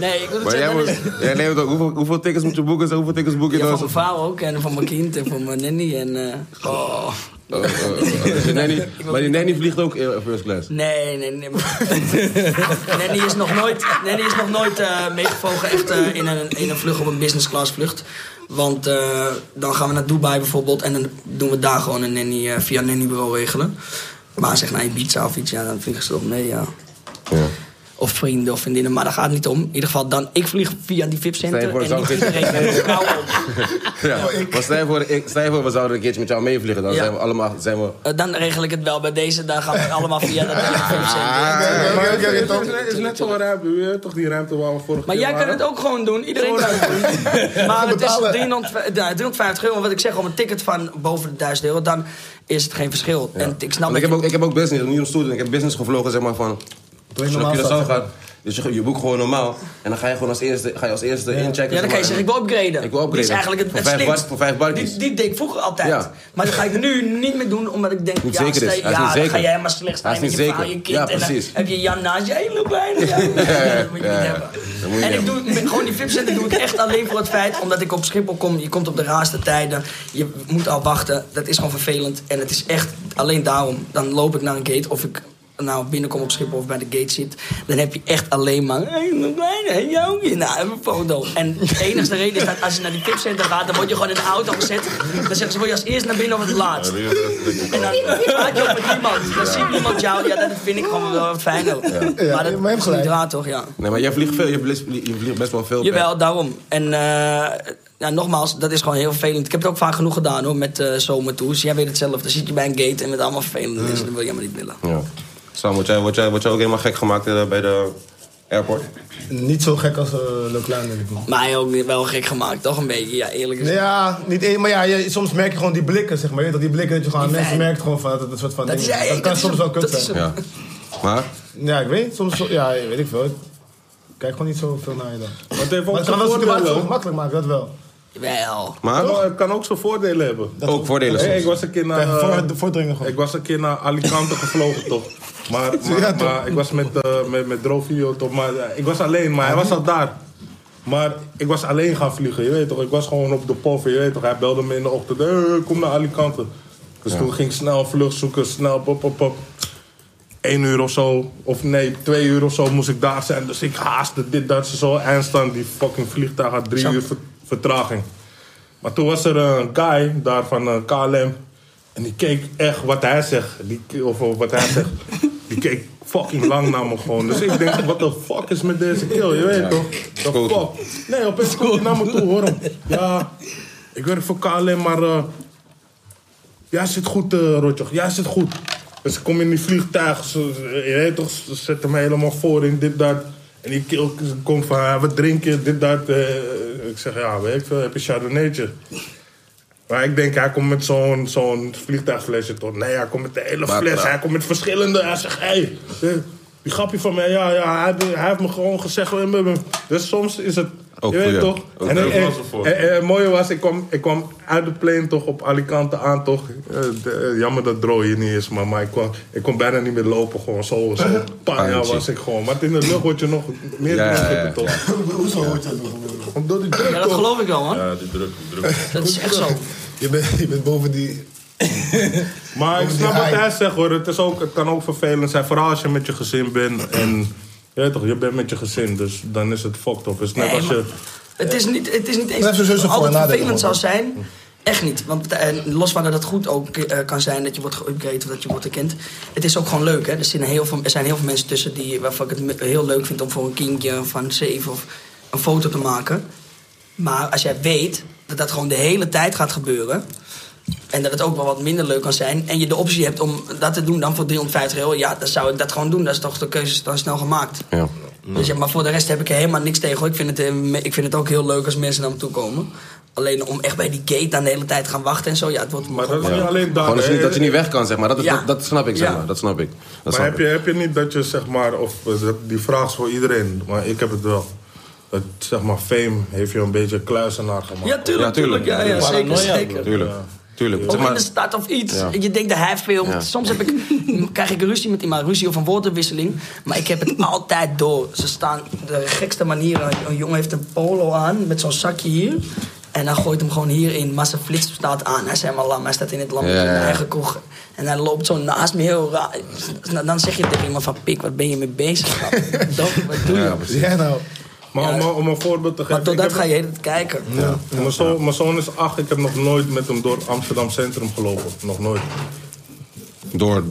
Nee, ik wil het Maar jij, zeggen, dat moet, is- jij neemt ook, hoeveel, hoeveel tickets moet je boeken? Hoeveel tickets boek je Ja, dan? van mijn vrouw ook en van mijn kind en van mijn nanny en... eh, oh. Oh, oh, oh. Die nanny- Maar die nanny vliegt ook eh, first class. Nee, nee, nee. nanny is nog nooit, nanny is nog nooit eh, meegevlogen echt eh, in, een, in een vlucht op een business class vlucht. Want eh, dan gaan we naar Dubai bijvoorbeeld en dan doen we daar gewoon een nanny eh, via een nannybureau regelen. Maar zeg naar Ibiza of iets, ja, dan vliegen ze toch mee, ja. Ja. Of vrienden of vriendinnen, maar daar gaat het niet om. In ieder geval, dan, ik vlieg via die Stel je VIP-center voor, en zo'n niet iedereen. gids- en vrouw ook. Ja. Maar stel je voor, Oh, ik, stel je voor, we zouden een keertje met jou meevliegen. Dan Ja. zijn we allemaal... Zijn we... Eh, dan regel ik het wel bij deze. Dan gaan we allemaal via dat VIP-center. Oké, oké, oké, Het Tom. is, net- is net zo'n ruimte, weet je, toch die ruimte waar we vorige Maar keer jij kan het ook gewoon doen. Iedereen kan het doen. Maar het is 300 eh, 350 euro. Wat ik zeg, om een ticket van boven de 1000 euro... dan is het geen verschil. En Want ik snap ik, dat heb je- ook, ik heb ook business, niet om stoer te doen. Ik heb business gevlogen, zeg maar, van... Als je normaal naar staat, Curaçao zeg gaat, dus je, je boekt gewoon normaal. En dan ga je gewoon als eerste, ga je als eerste inchecken. Ja, zeg dan kan maar. je zeggen, ik wil upgraden. Ik wil upgraden. Dat is eigenlijk het, Voor het vijf slimst. bar- voor vijf barkies. Die, die deed ik vroeger altijd. Ja. Maar dat ga ik nu niet meer doen, omdat ik denk... Niet ja, zeker is. stel- Hij is ja, niet dan zeker. ga jij maar slecht Hij zijn is met niet je vrouw en zeker. je kind. Ja, En precies. dan heb je Jan naast je. Hé, loop bijna. Ja, dat ja, moet je niet ja. hebben. Dat moet je en niet ik doe met- gewoon die VIP-center doe ik echt alleen voor het feit... omdat ik op Schiphol kom, je komt op de raarste tijden. Je moet al wachten. Dat is gewoon vervelend. En het is echt alleen daarom. Dan loop ik naar een gate of ik... Nou, binnenkom op Schiphol of bij de gate zit, dan heb je echt alleen maar. Hey, mijn kleine, jou hier. Nou, even een foto. En de enige reden is dat als je naar die tipcenter gaat, dan word je gewoon in de auto gezet. Dan zeggen ze: wil je als eerst naar binnen of het laatst? En dan eh, praat je ook met niemand. Dan ziet niemand jou. Ja, dat vind ik gewoon wel fijn ook. Ja, maar dat maar je hebt is gelijk. niet raar, toch? Ja. Nee, maar jij vliegt veel. Je vliegt, je vliegt best wel veel. Jawel, daarom. En eh, ja, nogmaals, dat is gewoon heel vervelend. Ik heb het ook vaak genoeg gedaan hoor, met eh zomertours. Jij weet het zelf. Dan zit je bij een gate en met allemaal vervelende mensen. Dan wil je helemaal niet willen. Ja. Sam, word jij, word, jij, word jij ook helemaal gek gemaakt eh, bij de airport? Niet zo gek als uh, Leclerc, denk ik, man. Mij ook wel gek gemaakt, toch? Een beetje, ja, eerlijk gezegd. Ja, niet één, maar ja, je- soms merk je gewoon die blikken, zeg maar. Je weet dat die blikken, dat je gewoon, Die mensen vibe. merken gewoon van dat het een soort van Dat ding is- Dat dat kan is soms een- wel kut dat is zijn. een- Ja. Maar, Ja, ik weet, soms, ja, weet ik veel. Ik Kijk gewoon niet zoveel naar je dan. Maar het heeft ook het kan zijn wel situaties voordelen. makkelijk maken, dat wel. Wel. maar Oh, het kan ook zijn voordelen hebben. ook voordelen Hey, ik soms. was een keer naar... Tegen eh, voor- voordringen gewoon. Ik was een keer naar Alicante gevlogen, toch? Maar, maar, Ja, toch? maar ik was met, eh met, met Drovio, toch? Maar eh, ik was alleen, maar hij was al daar. Maar ik was alleen gaan vliegen, je weet toch? Ik was gewoon op de pof, je weet toch? Hij belde me in de ochtend, "Hey, "Eh, kom naar Alicante. Dus toen ging ik snel een vlucht zoeken, snel pop, pop, pop. Eén uur of zo, of nee, twee uur of zo moest ik daar zijn. Dus ik haastte dit, dat, zo. Eindstand, die fucking vliegtuig had drie uur ver- vertraging. Maar toen was er een guy daar van eh, KLM. En die keek echt wat hij zegt. Die, of, of wat hij zegt. Die keek fucking lang naar me gewoon. Dus ik denk, wat de fuck is met deze kill? Je weet toch? The Cool. fuck. Nee, opeens komt hij naar me toe, hoor hem. Ja, Ik werk voor KLM, maar... eh ja, zit goed, eh Rotjoch. Ja, zit goed. Dus ik kom in die vliegtuig. Ze, ze- je weet toch, ze zetten me helemaal voor in dit, dat. En die keel komt van, ah, wat drink je, dit, dat. eh. ik zeg, ja, weet ik veel, heb je chardonnaytje? Maar ik denk, hij komt met zo'n zo'n vliegtuigflesje toch? Nee, hij komt met de hele Maar- fles. maar- Hij komt met verschillende. Hij zegt, hé, hey, eh, die grapje van mij, ja, ja hij, be- hij heeft me gewoon gezegd. eh, eh, eh. Dus soms is het. Ook je weet goed, ja. toch? Ook en, goed. en, Dat was ervoor. en- en het mooie was, ik kwam, ik kwam uit de plane toch op Alicante aan toch. Eh, de- eh, jammer dat Dro hier niet is, maar, maar ik, kwam, ik kon bijna niet meer lopen. Gewoon zo, zo paar jaar Pijntje. was ik gewoon. Maar in de lucht word je nog meer Ja, ja, ja, ja. toch? Hoezo hoort dat nog? Omdat die druk Ja, dat toch? geloof ik wel, man. Ja, die druk, die druk. Dat is echt zo. Je bent, je bent boven die... Maar ik Over snap die wat haai. hij zegt hoor. Het, is ook, het kan ook vervelend zijn. Vooral als je met je gezin bent. En je, weet toch, je bent met je gezin, dus dan is het fucked up. Het is Dus net Nee, als je... Het is niet, het is niet eens Daar heeft zijn zus ook voor altijd een nadeel vervelend zou van. zijn. Echt niet. Want eh, los van dat het goed ook eh, kan zijn dat je wordt geüpgraded of dat je wordt erkend. Het is ook gewoon leuk. Hè? Er, zijn heel veel, er zijn heel veel mensen tussen die, waarvan ik het me- heel leuk vind om voor een kindje van zeven of een foto te maken. Maar als jij weet dat dat gewoon de hele tijd gaat gebeuren. En dat het ook wel wat minder leuk kan zijn. En je de optie hebt om dat te doen dan voor 350 euro. Ja, dan zou ik dat gewoon doen. Dat is toch de keuze is dan snel gemaakt. Ja. Dus ja, maar voor de rest heb ik er helemaal niks tegen. hoor. Ik vind, het, eh, me- ik vind het ook heel leuk als mensen naar me toe komen. Alleen om echt bij die gate aan de hele tijd te gaan wachten en zo. Ja, het wordt Maar dat is niet alleen daar. Gewoon dat je, hè. niet, dat je niet weg kan, zeg maar. Dat, is- Ja. dat, dat snap ik, zeg Ja. maar. Dat snap ik. Dat Maar snap heb ik. je, heb je niet dat je zeg maar... Of eh, dat- die vraag is voor iedereen, maar ik heb het wel. Dat zeg maar fame heeft je een beetje kluizenaar gemaakt. Ja, tuurlijk, Ja, tuurlijk. tuurlijk. Ja, ja, zeker, Paranoia, zeker. Tuurlijk. Tuurlijk. Ook Zeg in de maar, stad of iets. Je denkt dat hij veel. Ja. Soms heb ik, krijg ik ruzie met iemand, ruzie of een woordenwisseling. Maar ik heb het altijd door. Ze staan de gekste manieren. Een jongen heeft een polo aan met zo'n zakje hier. En dan gooit hem gewoon hierin. Maar zijn flits staat aan. Hij is helemaal lam. Hij staat in het lam Ja, in ja, de ja. eigen kroeg. En hij loopt zo naast me heel raar. Nou, Dan zeg je tegen iemand van... Pik, wat ben je mee bezig? grap? Dom, wat doe je? ja, Zeg nou. Maar om, om een voorbeeld te geven... maar tot ik dat heb- ga je de hele tijd kijken. Mijn, zoon, mijn zoon is acht, ik heb nog nooit met hem door Amsterdam Centrum gelopen. Nog nooit. door...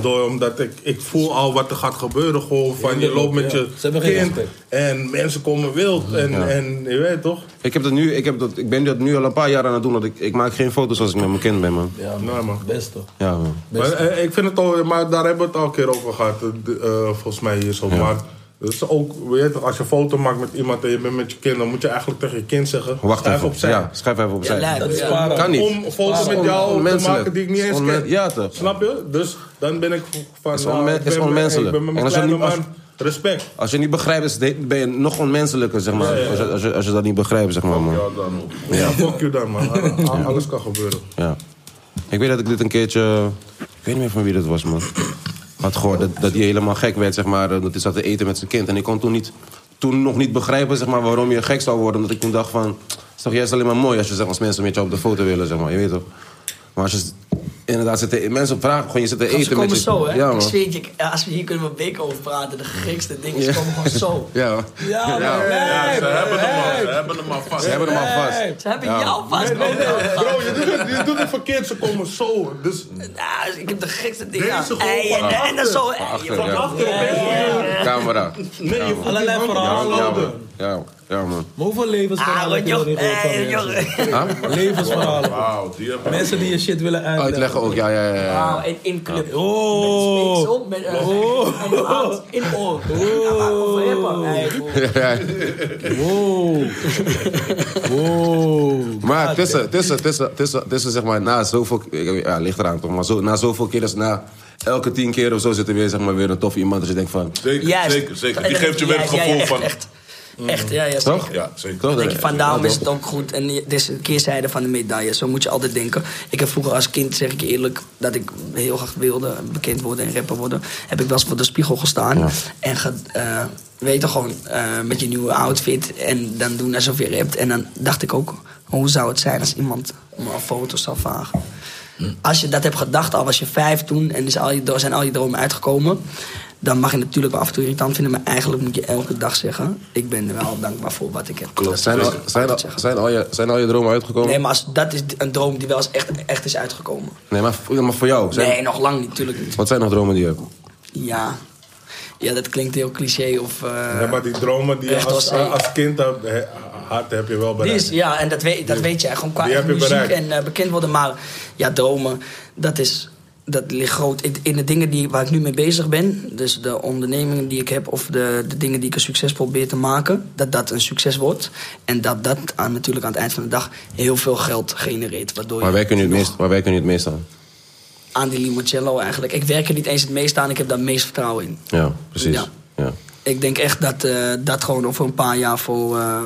Door, omdat ik, ik voel al wat er gaat gebeuren. Gewoon van je loopt met ja. je Ze hebben geen kind. respect. En mensen komen wild. En, en je weet toch? Ik, heb dat nu, ik, heb dat, ik ben dat nu al een paar jaar aan het doen. Dat ik, ik maak geen foto's als ik met mijn kind ben, man. Ja, Nee, Nou, man. best toch. Ja, man. Maar, eh, ik vind het al, maar daar hebben we het al een keer over gehad. eh, de- eh, volgens mij hier zo. Maar het is ook, weet je, toch, als je een foto maakt met iemand en je bent met je kind, dan moet je eigenlijk tegen je kind zeggen: Wacht schuif even. opzij. Ja, schrijf even opzij. lijp, Dat is ja. para- Kan niet. Om een foto met on- jou te onmenselijk. maken die ik niet eens Onmen- ken. Ja, toch. Snap je? Dus dan ben ik van. Is nou, onmen- ik ben is met- onmenselijk. Ik ben met mijn En als je kleine niet- als- man. Respect. Als je niet begrijpt, is het- ben je nog onmenselijker, zeg maar. Als, je, als, je, als je dat niet begrijpt, zeg maar, man. Ja, dan ook. Ja, Ah, fuck you dan, man. Al- Alles kan gebeuren. Ja. Ik weet dat ik dit een keertje... Ik weet niet meer van wie dat was, man. Had gehoord dat, dat hij helemaal gek werd, zeg maar. Dat hij zat te eten met zijn kind. En ik kon toen, niet, toen nog niet begrijpen, zeg maar, waarom je gek zou worden. Omdat ik toen dacht van... Het is toch juist alleen maar mooi als, je, zeg, als mensen met jou op de foto willen, zeg maar. Je weet toch? Maar als je s- inderdaad zit te, mensen vragen, gewoon je zit te Ze eten met komen je... zo, hè? Ja, ik man. zweer het je, als we hier kunnen we weken over praten, de gekste dingen, ze Ja. komen gewoon zo. Ja, man. Ja, Ja, ze hebben hem al, ze hebben hem al vast. Ze hebben hem al vast. Ze hebben jou vast. Nee, Bro, je doet het, je doet het verkeerd. Ze komen zo. Dus Nou, ik heb de gekste dingen Deze aan. gewoon Ei, van en, en dan zo. Van ei, achter, joh. ja. achter opeens. Camera. Nee, je voelt die hand Allerlei op je verhalen. Ja, handen. man. Ja, ja, man. Maar hoeveel Ah, levensverhalen wat heb je joh. nog niet gehoord van ei, joh. mensen? Huh? Levensverhalen. Wauw, die hebben Mensen die je shit willen Uitleggen ook, ja, ja, ja. ja. Wauw, en in club. Oh. Met op, met eh, en de hand in oor. Ja, maar over hippen, ei, joh. Wow. Wow. Maar tussen, tussen, tussen, tussen, tussen, zeg maar, na zoveel... ik- Ja, ligt eraan toch, maar zo, na zoveel keer, dus na elke tien keer of zo... zit er weer, zeg maar, weer een tof iemand dat je denkt van... Zeker, Juist. zeker, zeker. Die geeft je weer het Ja, ja, gevoel echt, van... Echt, echt, ja, ja. zeker. Toch? Ja, zeker. Toch? Dan Dan denk je van daarom Ja, is het ook goed. En je- dit is een keerzijde van de medaille. Zo moet je altijd denken. Ik heb vroeger als kind, zeg ik je eerlijk, dat ik heel graag wilde bekend worden en rapper worden. Heb ik wel eens voor de spiegel gestaan. En ge, eh, weet je gewoon, eh, met je nieuwe outfit. En dan doen alsof je rapt. En dan dacht ik ook, hoe zou het zijn als iemand me een foto zou vragen? Hm. Als je dat hebt gedacht, al was je vijf toen en is al je, dro- zijn al je dromen uitgekomen. Dan mag je natuurlijk wel af en toe irritant vinden, maar eigenlijk moet je elke dag zeggen: Ik ben er wel dankbaar voor wat ik heb. Klopt. Dat Zijn, wil al, ik zijn, al, altijd zeggen. zijn, al je, zijn al je dromen uitgekomen? Nee, Nee, maar als, dat is een droom die wel eens echt, echt is uitgekomen. maar, voor- maar voor jou? Zijn, Nee, nog lang niet, natuurlijk niet. Wat zijn nog dromen die je hebt? Ja. ja, dat klinkt heel cliché of... eh, Ja, maar die dromen die je Echt als, als- als kind had, hè, Hart heb je wel Die bereikt. is, ja, en dat weet, dat weet je. Gewoon qua die heb je muziek bereikt. en eh, bekend worden. Maar ja, dromen, dat is... Dat ligt groot in, in de dingen die, waar ik nu mee bezig ben. Dus de ondernemingen die ik heb of de, de dingen die ik een succes probeer te maken. Dat dat een succes wordt. En dat dat aan, natuurlijk aan het eind van de dag heel veel geld genereert. Waardoor Waar je wij kunnen het meest, waar wij kunnen het meest aan. aan die limoncello eigenlijk. Ik werk er niet eens het meest aan. Ik heb daar het meest vertrouwen in. Ja, precies. Ja. Ja. Ik denk echt dat eh, dat gewoon over een paar jaar voor eh,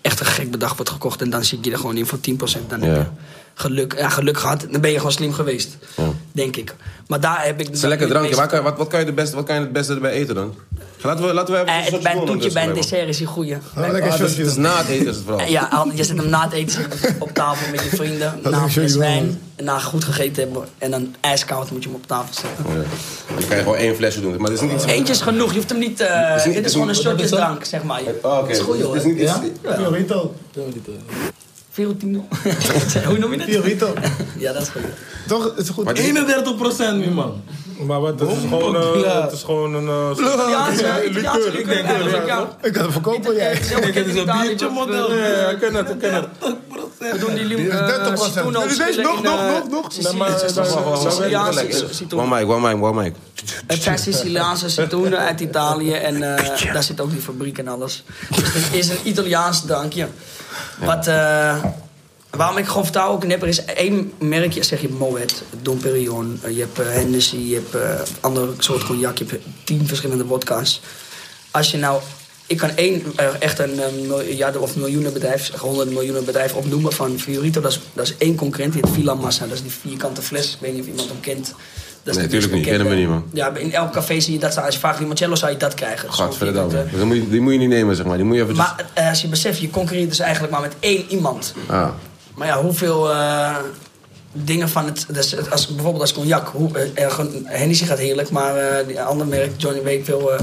echt een gek bedrag wordt gekocht. En dan zit je er gewoon in voor 10%. Dan heb je Ja. geluk, ja, geluk gehad. Dan ben je gewoon slim geweest. Ja. Denk ik. Maar daar heb ik. Het is een lekker drankje. Waar kan- Wat, wat, kan je het beste, wat kan je het beste erbij eten dan? Laten we, laten we even Eh, een het, shotje bij een doen toetje, bij een ondertussen, dessert is die goeie. man. Lekker. Ah, dat is- Het nou- is na het eten is het Eh, vooral. Ja, al- je zit hem na het eten op tafel met je vrienden. Dat Na een is fles sowieso, wijn. En na goed gegeten hebben. En dan ijskoud moet je hem op tafel zetten. Ja. Dan kan je gewoon één flesje doen. Maar het is niet iets... Eentje is genoeg, je hoeft hem niet. eh, Is niet- dit is is gewoon een niet- shotje is dat- drank, zeg maar. Ah, oké. Het is goed, Dus hoor. het is niet iets- Ja? Fiorito. Fiorentino. Hoe noem je het? Fiorito. Ja, dat is goed. Toch? Het is goed. 31 procent nu, man. Maar wat, het is gewoon, eh, het is gewoon een... eh, Italiaanse- ja, Italiaanse likeur. likeur, eigenlijk, ja. Ik kan het verkopen, jij. Ik heb dus een biertje model. Ja, ik ken het, ik ken het. We doen die Die lim- is eh, 30%. citroenen Dit is opschillen nog, in, nog, eh, nog, nog. Sicilië- Nee, maar- Sicilië- wacht, wacht, wacht. Siciliaanse Lekker. citroenen. One mic, one mic, one mic. Het zijn Siciliaanse citroenen uit Italië en eh, daar zit ook die fabriek en alles. Dus het is een Italiaans drankje. Wat, eh, waarom ik gewoon vertrouw ook nep, er is één merkje, zeg je Moet, Dom Perignon, eh, je hebt eh, Hennessy, je hebt eh, andere soort cognac, je hebt tien verschillende vodka's. Als je nou, ik kan één, eh, echt een eh, miljarden of miljoenen bedrijf, honderd miljoenen bedrijf opnoemen van Fiorito. Dat is, dat is één concurrent, die heet Villa Massa, dat is die vierkante fles, ik weet niet of iemand hem kent. Dat is Nee, de tuurlijk niet. bekende- Kennen we niet, man. ja, in elk café zie je dat staan. Als je vraagt limoncello, zou je dat krijgen. Dus Gadverdamme. ook iemand, Dus dan moet je- Die moet je niet nemen, zeg maar. Die moet je eh, even... Maar eh, als je beseft, je concurreert dus eigenlijk maar met één iemand. Ah. Maar ja, hoeveel eh, dingen van het... Dus het- als, bijvoorbeeld als cognac. Hoe, eh, er gewoon- Hennessy gaat heerlijk, maar eh die andere merk, Johnny Wakefield... eh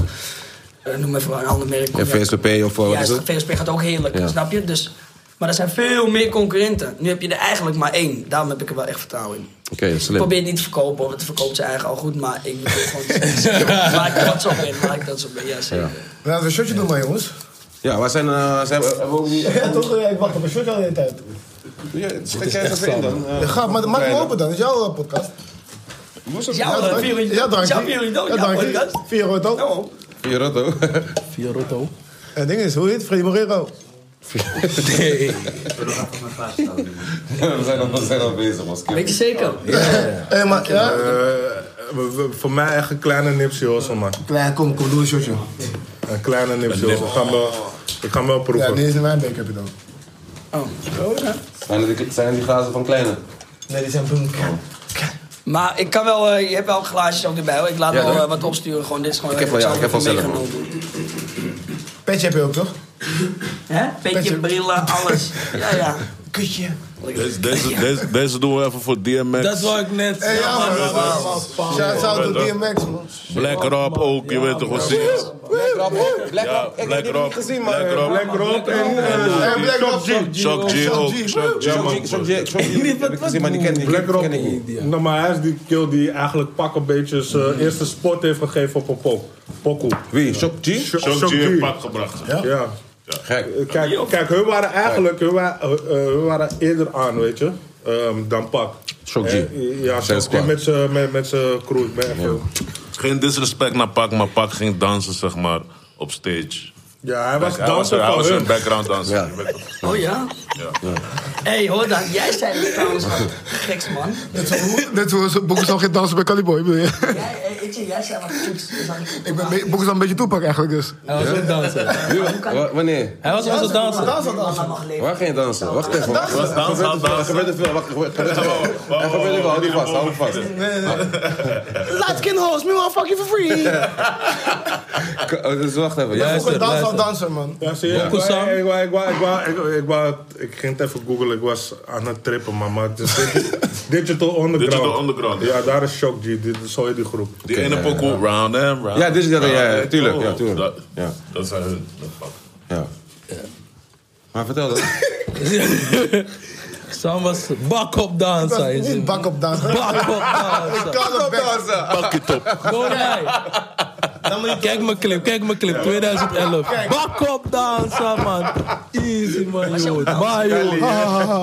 eh, noem even een ander merk. Ja, cognac. VSOP of eh, wat is Juist, het? VSP gaat ook heerlijk, Ja. snap je? Dus, maar er zijn veel meer concurrenten. Nu heb je er eigenlijk maar één. Daarom heb ik er wel echt vertrouwen in. Oké, dat is Ik slim. probeer het niet te verkopen, want het verkoopt zijn eigen al goed. Maar ik bedoel gewoon... waar ik trots op ben, waar ik trots op ben. Ja, zeker. Laten we een shotje doen, maar jongens. Ja, waar zijn... eh, zijn we- hebben we ook niet... Ja, toch? Ja, Ik wacht op een shotje al de hele tijd. Ja, Stek jij dat in dan? eh? Ja, gaaf, maar maak hem Vrijdag. open dan. Dat is jouw eh, podcast. Jouw eh, Fiorentino. Ja, dank Jouw je. Fiorentino, Ja, jouw dank je. Oh. podcast. Fiorito. Nou, Fiorotto. Fiorotto. Het Eh, ding is, hoe heet het? Freddy Morero. We Nee. zijn al- we zijn al bezig, man. weet je zeker? Hé, maar ja? Eh, we- we- voor mij echt een kleine nipsje hoor, man. Klein, kom, kom, doe een shotje. Een kleine nipsje hoor. Ik ga hem wel- Ik ga hem wel Ja, proeven. dit is een wijnbeek heb je dan. Oh. Zijn het die- Zijn het die glazen van Kleine? Nee, die zijn bloem. Maar ik kan wel, eh, je hebt wel glaasjes ook erbij hoor. Ik laat Ja, wel toch? eh, wat opsturen. Gewoon, dit is gewoon Ik heb wel, ja, zal ik heb wel even zelf, meegenomen. Petje heb je ook, toch? Hè? Petje, Petje. brillen, alles. Ja, ja. Kutje. Deze, deze, deze, deze doen we even voor DMX. Dat wou ik net Hé, zeggen. ja, man. Shout out to DMX, man. Black Rob ook, je weet toch wat ze is. Black Rob ook. Black Ja, Rob. Ik Black heb die Rob. niet gezien, eh, man. Black Rob. Black Rob en Hé, eh, Black Rob. Shock G Shock ook. G. Shock G, man. Shock G, Shock G, Shock G. Ik heb ik gezien, maar die ken die Black Rob. ken ik niet. Nou, maar hij is die kill die eigenlijk pak een beetje Mm. zijn eerste spot heeft gegeven op een pop. Pokoe. Wie? Shock G? Shock G Shock G. heeft pak gebracht. Ja. Gek. Kijk, kijk, hun waren eigenlijk hun wa- eh, eh, hun waren eerder aan, weet je, ehm, dan pak. Shock G. Eh, Ja, Zijn Shock G squad. met zijn met, met z'n crew. Ik ben echt- Geen disrespect naar Pak, maar Pak ging dansen, zeg maar, op stage. Ja, hij was Hij was, danser hij van was hun. een background danser. Ja. je weet toch. Oh ja? Hé, hey, hoor dan. Jij zei het trouwens wat geks, man. Net zoals Boekers al geen dansen bij Caliboy, bedoel je? Jij, eh, ik zeg, jij zei wat goed. Dat zag ik. Ik ben mee- Boekers al een beetje toepak eigenlijk dus. Hij was ook danser. Wa- Wanneer? Hij was onze danser. Dans dan, dans dan. Oh, Mag leven. Waar ging je dansen? Wacht even. wacht. Was dansen, had Er dansen. gebeurt er veel, wacht, er gebeurt er veel. Er gebeurt er veel, hou die vast, hou die vast. Laat skin host, meanwhile fuck you for free. K- oh, Dus wacht even. Ja, Luister. Boekers dans dan, dansen, man. Ja, zie je? Ik, Boekoesam. wou- ik, wou- ik, wou- ik, wou- ik, ik, wou- ik ging het even googlen, ik was aan het trippen, man. Maar het is digi- Digital Underground. Digital Underground. Ja, daar is Shock G, dit is zo heet die groep. Die ene pokoe, round and round. Ja, dit is- ja, ja, ja, Round tuurlijk, and ja, round. tuurlijk. Dat, Ja. dat zijn hun. met Pak. ja. Maar vertel dat. Sam was bak op danser. Dat is Niet bak op dansen. Bak op danser. Bak op dansen. Pak het op. Go mij. Kijk mijn clip, kijk mijn clip, 2011. Bak op dansen, man. Easy, man, jood. Maar, jood.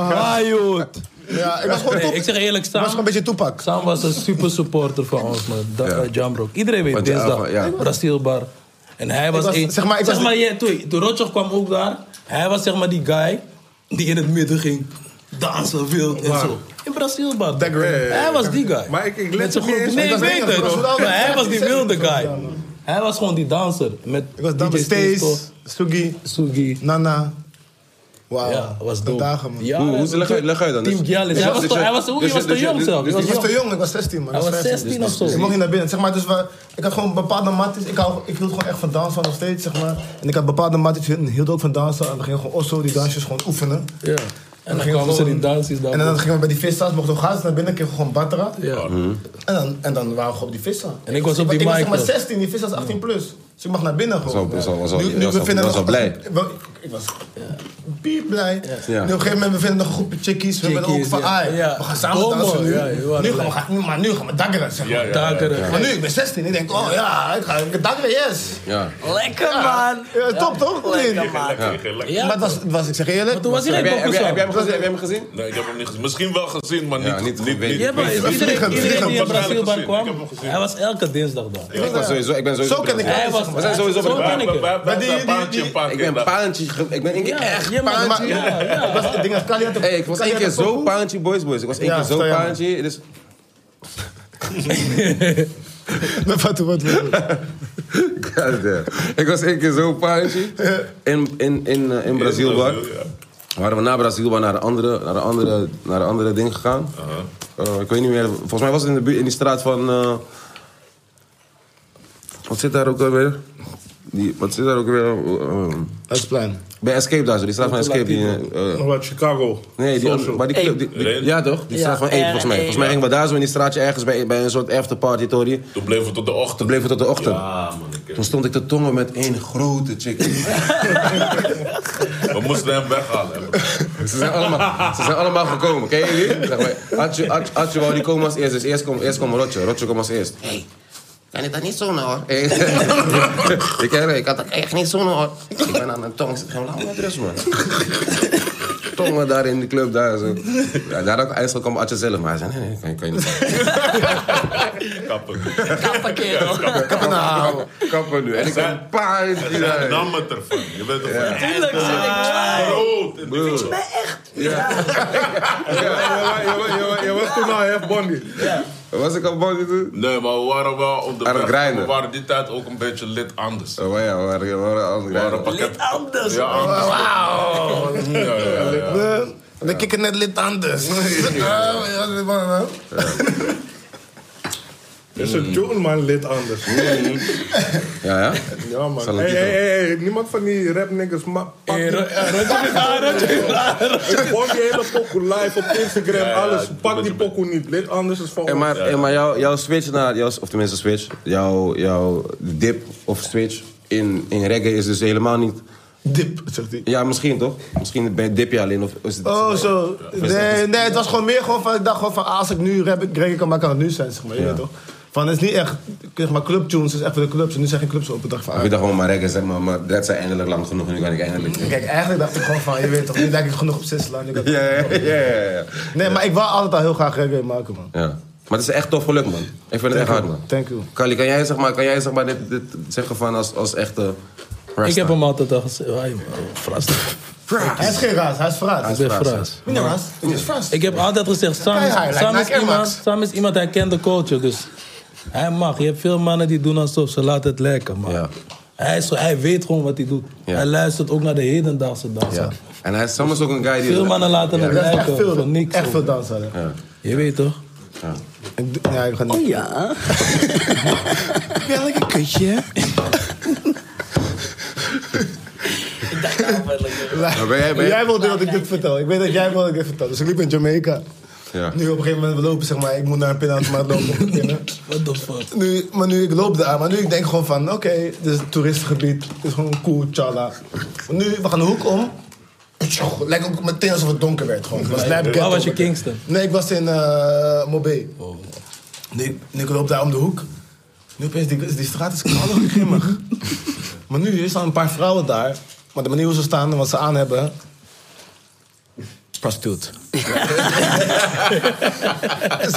Maar, jood. Ja, ik was gewoon Nee, top. Ik zeg eerlijk, Sam... was gewoon een beetje toepak. Sam was een super supporter van ons, man. Dat, eh, Jamrock. Iedereen weet, Want die dinsdag. avond, ja. Brasilbar. En hij was, was- een... zeg maar, ik was- jij, toen, toen Rotjoch kwam ook daar. Hij was zeg maar die guy die in het midden ging dansen wild en Waar? zo. In Brasilbar. ja, Hij ja. was die guy. Maar ik, ik Met let zijn er niet groep. eens Nee, ik op. weet het. Rotterdam, Maar hij was die ja. wilde guy. Hij was gewoon die danser. Met Ik was dan DJ met Stace, Steenstoel. Sugi, Sugi. Nana. Wauw. Ja, wat was dope. Oh, dagen, man. Ja, Hoe- hoe- leg uit- leg uit dan. Team Dus- Gialis. dus- Hij was dus- toch- hij was dus- ook- hij was dus- te jong dus- zelf. Hij dus- was Ik was jong. te jong, ik was 16 man. Hij Ik was 15. 16 of zo. Ik mocht niet naar binnen. Zeg maar, dus we, ik had gewoon bepaalde matties. Ik, hou, ik hield gewoon echt van dansen nog steeds, zeg maar. En ik had bepaalde matties en hield ook van dansen. En we gingen gewoon osso, die dansjes gewoon oefenen. Ja. En gingen dan we kwamen ze gewoon- die dansjes daar. En dan gingen we bij die vistas, mochten we gaan naar binnen, kregen we gewoon batera. Ja. Mhm. En dan, en dan waren we gewoon op die vissa. En ik was op die Ik was zeg maar Minecraft. 16, die vissa is 18 plus. Dus ik mag naar binnen gewoon. Zo- zo- zo- Nu- je nu was we al- vinden was nog- al blij. Wel, Ik ik was piep blij. Nu Ja. op een gegeven moment, we vinden nog een groepje chickies. We willen ook Chickies, van, ja. ai, Ja. we gaan samen Homo, dansen nu. ja, je waren nu gaan we, blij. gaan- nu- maar nu gaan we daggeren, zeg maar. Ja, ja, ja. Dakkeren. Maar nu, ik ben 16, ik denk, oh ja, ik ga ik daggeren, yes. Ja. Lekker, man. Ja, top toch? Of niet? Lekker, man. Lekker, lekker. Ja, Maar het was, het was, ik zeg eerlijk, Toen was iedereen Heb jij, heb, jij, heb, jij pokoe hem gezien, heb jij hem gezien? Nee, ik heb hem niet gezien. Misschien wel gezien, maar niet. Ja, niet niet, goed niet, weten. Ja, maar niet- iedereen, vliegen, iedereen die in vliegen. Brazil Ik heb kwam, hem gezien. hij was elke dinsdag daar. Ik, was sowieso, ik ben sowieso... Zo ken ik Hij Ja, was, zeg maar. We zijn sowieso zo van- ken ik Wij- hem. wij- wij die- zijn die- paantje, die- paantje. Ik ben paantje... ge- Ik ben één keer echt ja, maar- paantje... maar- ja, ja. ik was, ik denk dat Kali had een- Hey, ik was Kali één had keer een zo pokoe. paantje, boys, boys. Ik was één Ja, keer zo vertel jij maar. paantje. Dus Wat, wat, wat. Goddamn. Ik was één keer zo'n paardje in, in, in, eh, in Brazil. Waar. Brazil, ja. Waren we na Brazil waar naar een andere, naar een andere, naar een andere ding gegaan. Eh, ik weet niet meer. Volgens mij was het in, de buurt- in die straat van... eh, wat zit daar ook alweer? Die, wat zit daar ook alweer? Eh, Dat is plan. bij Escape daar zo. Die straat van Escape. Die, eh, eh, Nog uit Chicago. nee, die, andere- Social. maar die club... die- die- Eén. ja toch? Die straat van één volgens mij. Volgens mij gingen we daar zo in die straatje ergens bij, bij een soort afterparty. Tori. Toen bleven we tot de ochtend. Toen bleven we tot de ochtend. Ja, man. ik- Toen stond ik te tongen met één grote chick. We moesten hem weghalen. Ze zijn allemaal, ze zijn allemaal gekomen, ken je jullie? Zeg maar, Atje, Atje, Atje wou die komen als eerst, dus eerst komt eerst kom Rotje. Rotje komt als eerst. Hé, hey, kan ik dat niet zoenen hoor? Hey. ik, ken het, ik had dat echt niet zoenen hoor. Ik ben aan mijn tong, ik zit gewoon lang met rust man. Tongen daar in de club, daar zo. Ja, daar ook IJssel kwam Atje zelf, maar hij zei nee, nee, kan, je- kan je niet. Kappen. Kappa, kerel. Kappen nou, kappen nu. En ik ben paard. Zij nam het ervan. Je bent ervan. Ja. Tuurlijk zit ik. Rood. En die Broer. Je was toen al F. Bondi. Was ik al bang toen? Nee, maar we waren wel op de Aan het grinden. We waren die tijd ook een beetje lid anders. Oh maar ja, we waren- we waren aan het We waren rijden. een pakket. Anders. Ja, anders. Wauw. Ja, ja, ja. We- We kikken net lid dus. Oh, anders. Is een June man lid anders. Ja, ja? Ja man. Zal Hey, het niet hey, hey, hey, niemand van die rap niggas ma- pakt die- Gewoon die hele pokoe live op Instagram, ja, alles. ik Pak ben die het met- pokoe niet. Lid anders is van En ons. maar, en maar jouw, jouw switch naar, jouw, of tenminste switch, jouw, jouw dip of switch in, in reggae is dus helemaal niet... Dip, zegt hij. Ja, misschien toch? Misschien ben je dip je alleen of is het... Oh, zo. Nee, nee, het was gewoon meer gewoon van, ik dacht gewoon van, ah, als ik nu rap, reggae kan maken, kan het nu zijn, zeg maar. Je weet toch? Van, het is niet echt, zeg maar, clubtunes, het is echt voor de clubs. En nu zijn geen clubs open, dacht ik van, Of je ah. dacht gewoon maar reggae, zeg maar, maar dat zijn eindelijk lang genoeg en nu kan ik eindelijk... Kijk, eigenlijk dacht ik gewoon van, je weet toch, nu lijk ik genoeg op Sisla. nu kan ik- Ja, ja, ja, ja, ja. Nee, maar ik wou altijd al heel graag reggae maken, man. Ja. Maar het is echt tof geluk, man. Ik vind het echt hard, man. Thank you. Kali, kan jij zeg maar, kan jij, zeg maar dit, dit zeggen van als, als echte... Rasta? Ik heb hem altijd al gezegd. Hij fras. Hij is geen raas, hij is Ik fraas. ben Fras, fras. Wie nou raas? Hij is fraas. Ik heb altijd gezegd, Sam Kijk, hij lijkt is, Sam naar is Air Max. iemand, Sam is iemand, hij kent de culture, dus hij mag. Je hebt veel mannen die doen alsof ze laten het lekker, maar Ja. hij, is zo, hij weet gewoon wat hij doet. Ja. Hij luistert ook naar de hedendaagse dansen. Ja. En hij is soms ook een guy die... Veel mannen laten het Dat is echt lijken voor veel, eh, niks. echt hoor. veel dansen. hè. Je weet toch? Ik doe- Ja, ik ga niet. Oh ja. Welke kusje? Ik dacht nou wel lekker. Maar ben jij- ben jij- Jij wilde dat ik dit vertel. Ik weet dat jij wilde dat ik dit vertel. Dus ik liep in Jamaica. Ja. Nu op een gegeven moment we lopen, zeg maar. Ik moet naar een pinautomaat lopen om te pinnen. What the fuck? Nu, maar nu ik loop daar, maar nu ik denk gewoon van, oké, dit is een toeristengebied, dit is gewoon cool, tjala. Maar nu, we gaan de hoek om. Tjoh, Het lijkt ook meteen alsof het donker werd gewoon. Het was lijp Waar ghetto. was je, Kingston? Nee, ik was in eh Mobé. Nu, nu ik loop daar om de hoek. Nu opeens, die, die straat is knallig grimmig. maar nu er staan een paar vrouwen daar. Maar de manier hoe ze staan en wat ze aan hebben... Prostituut.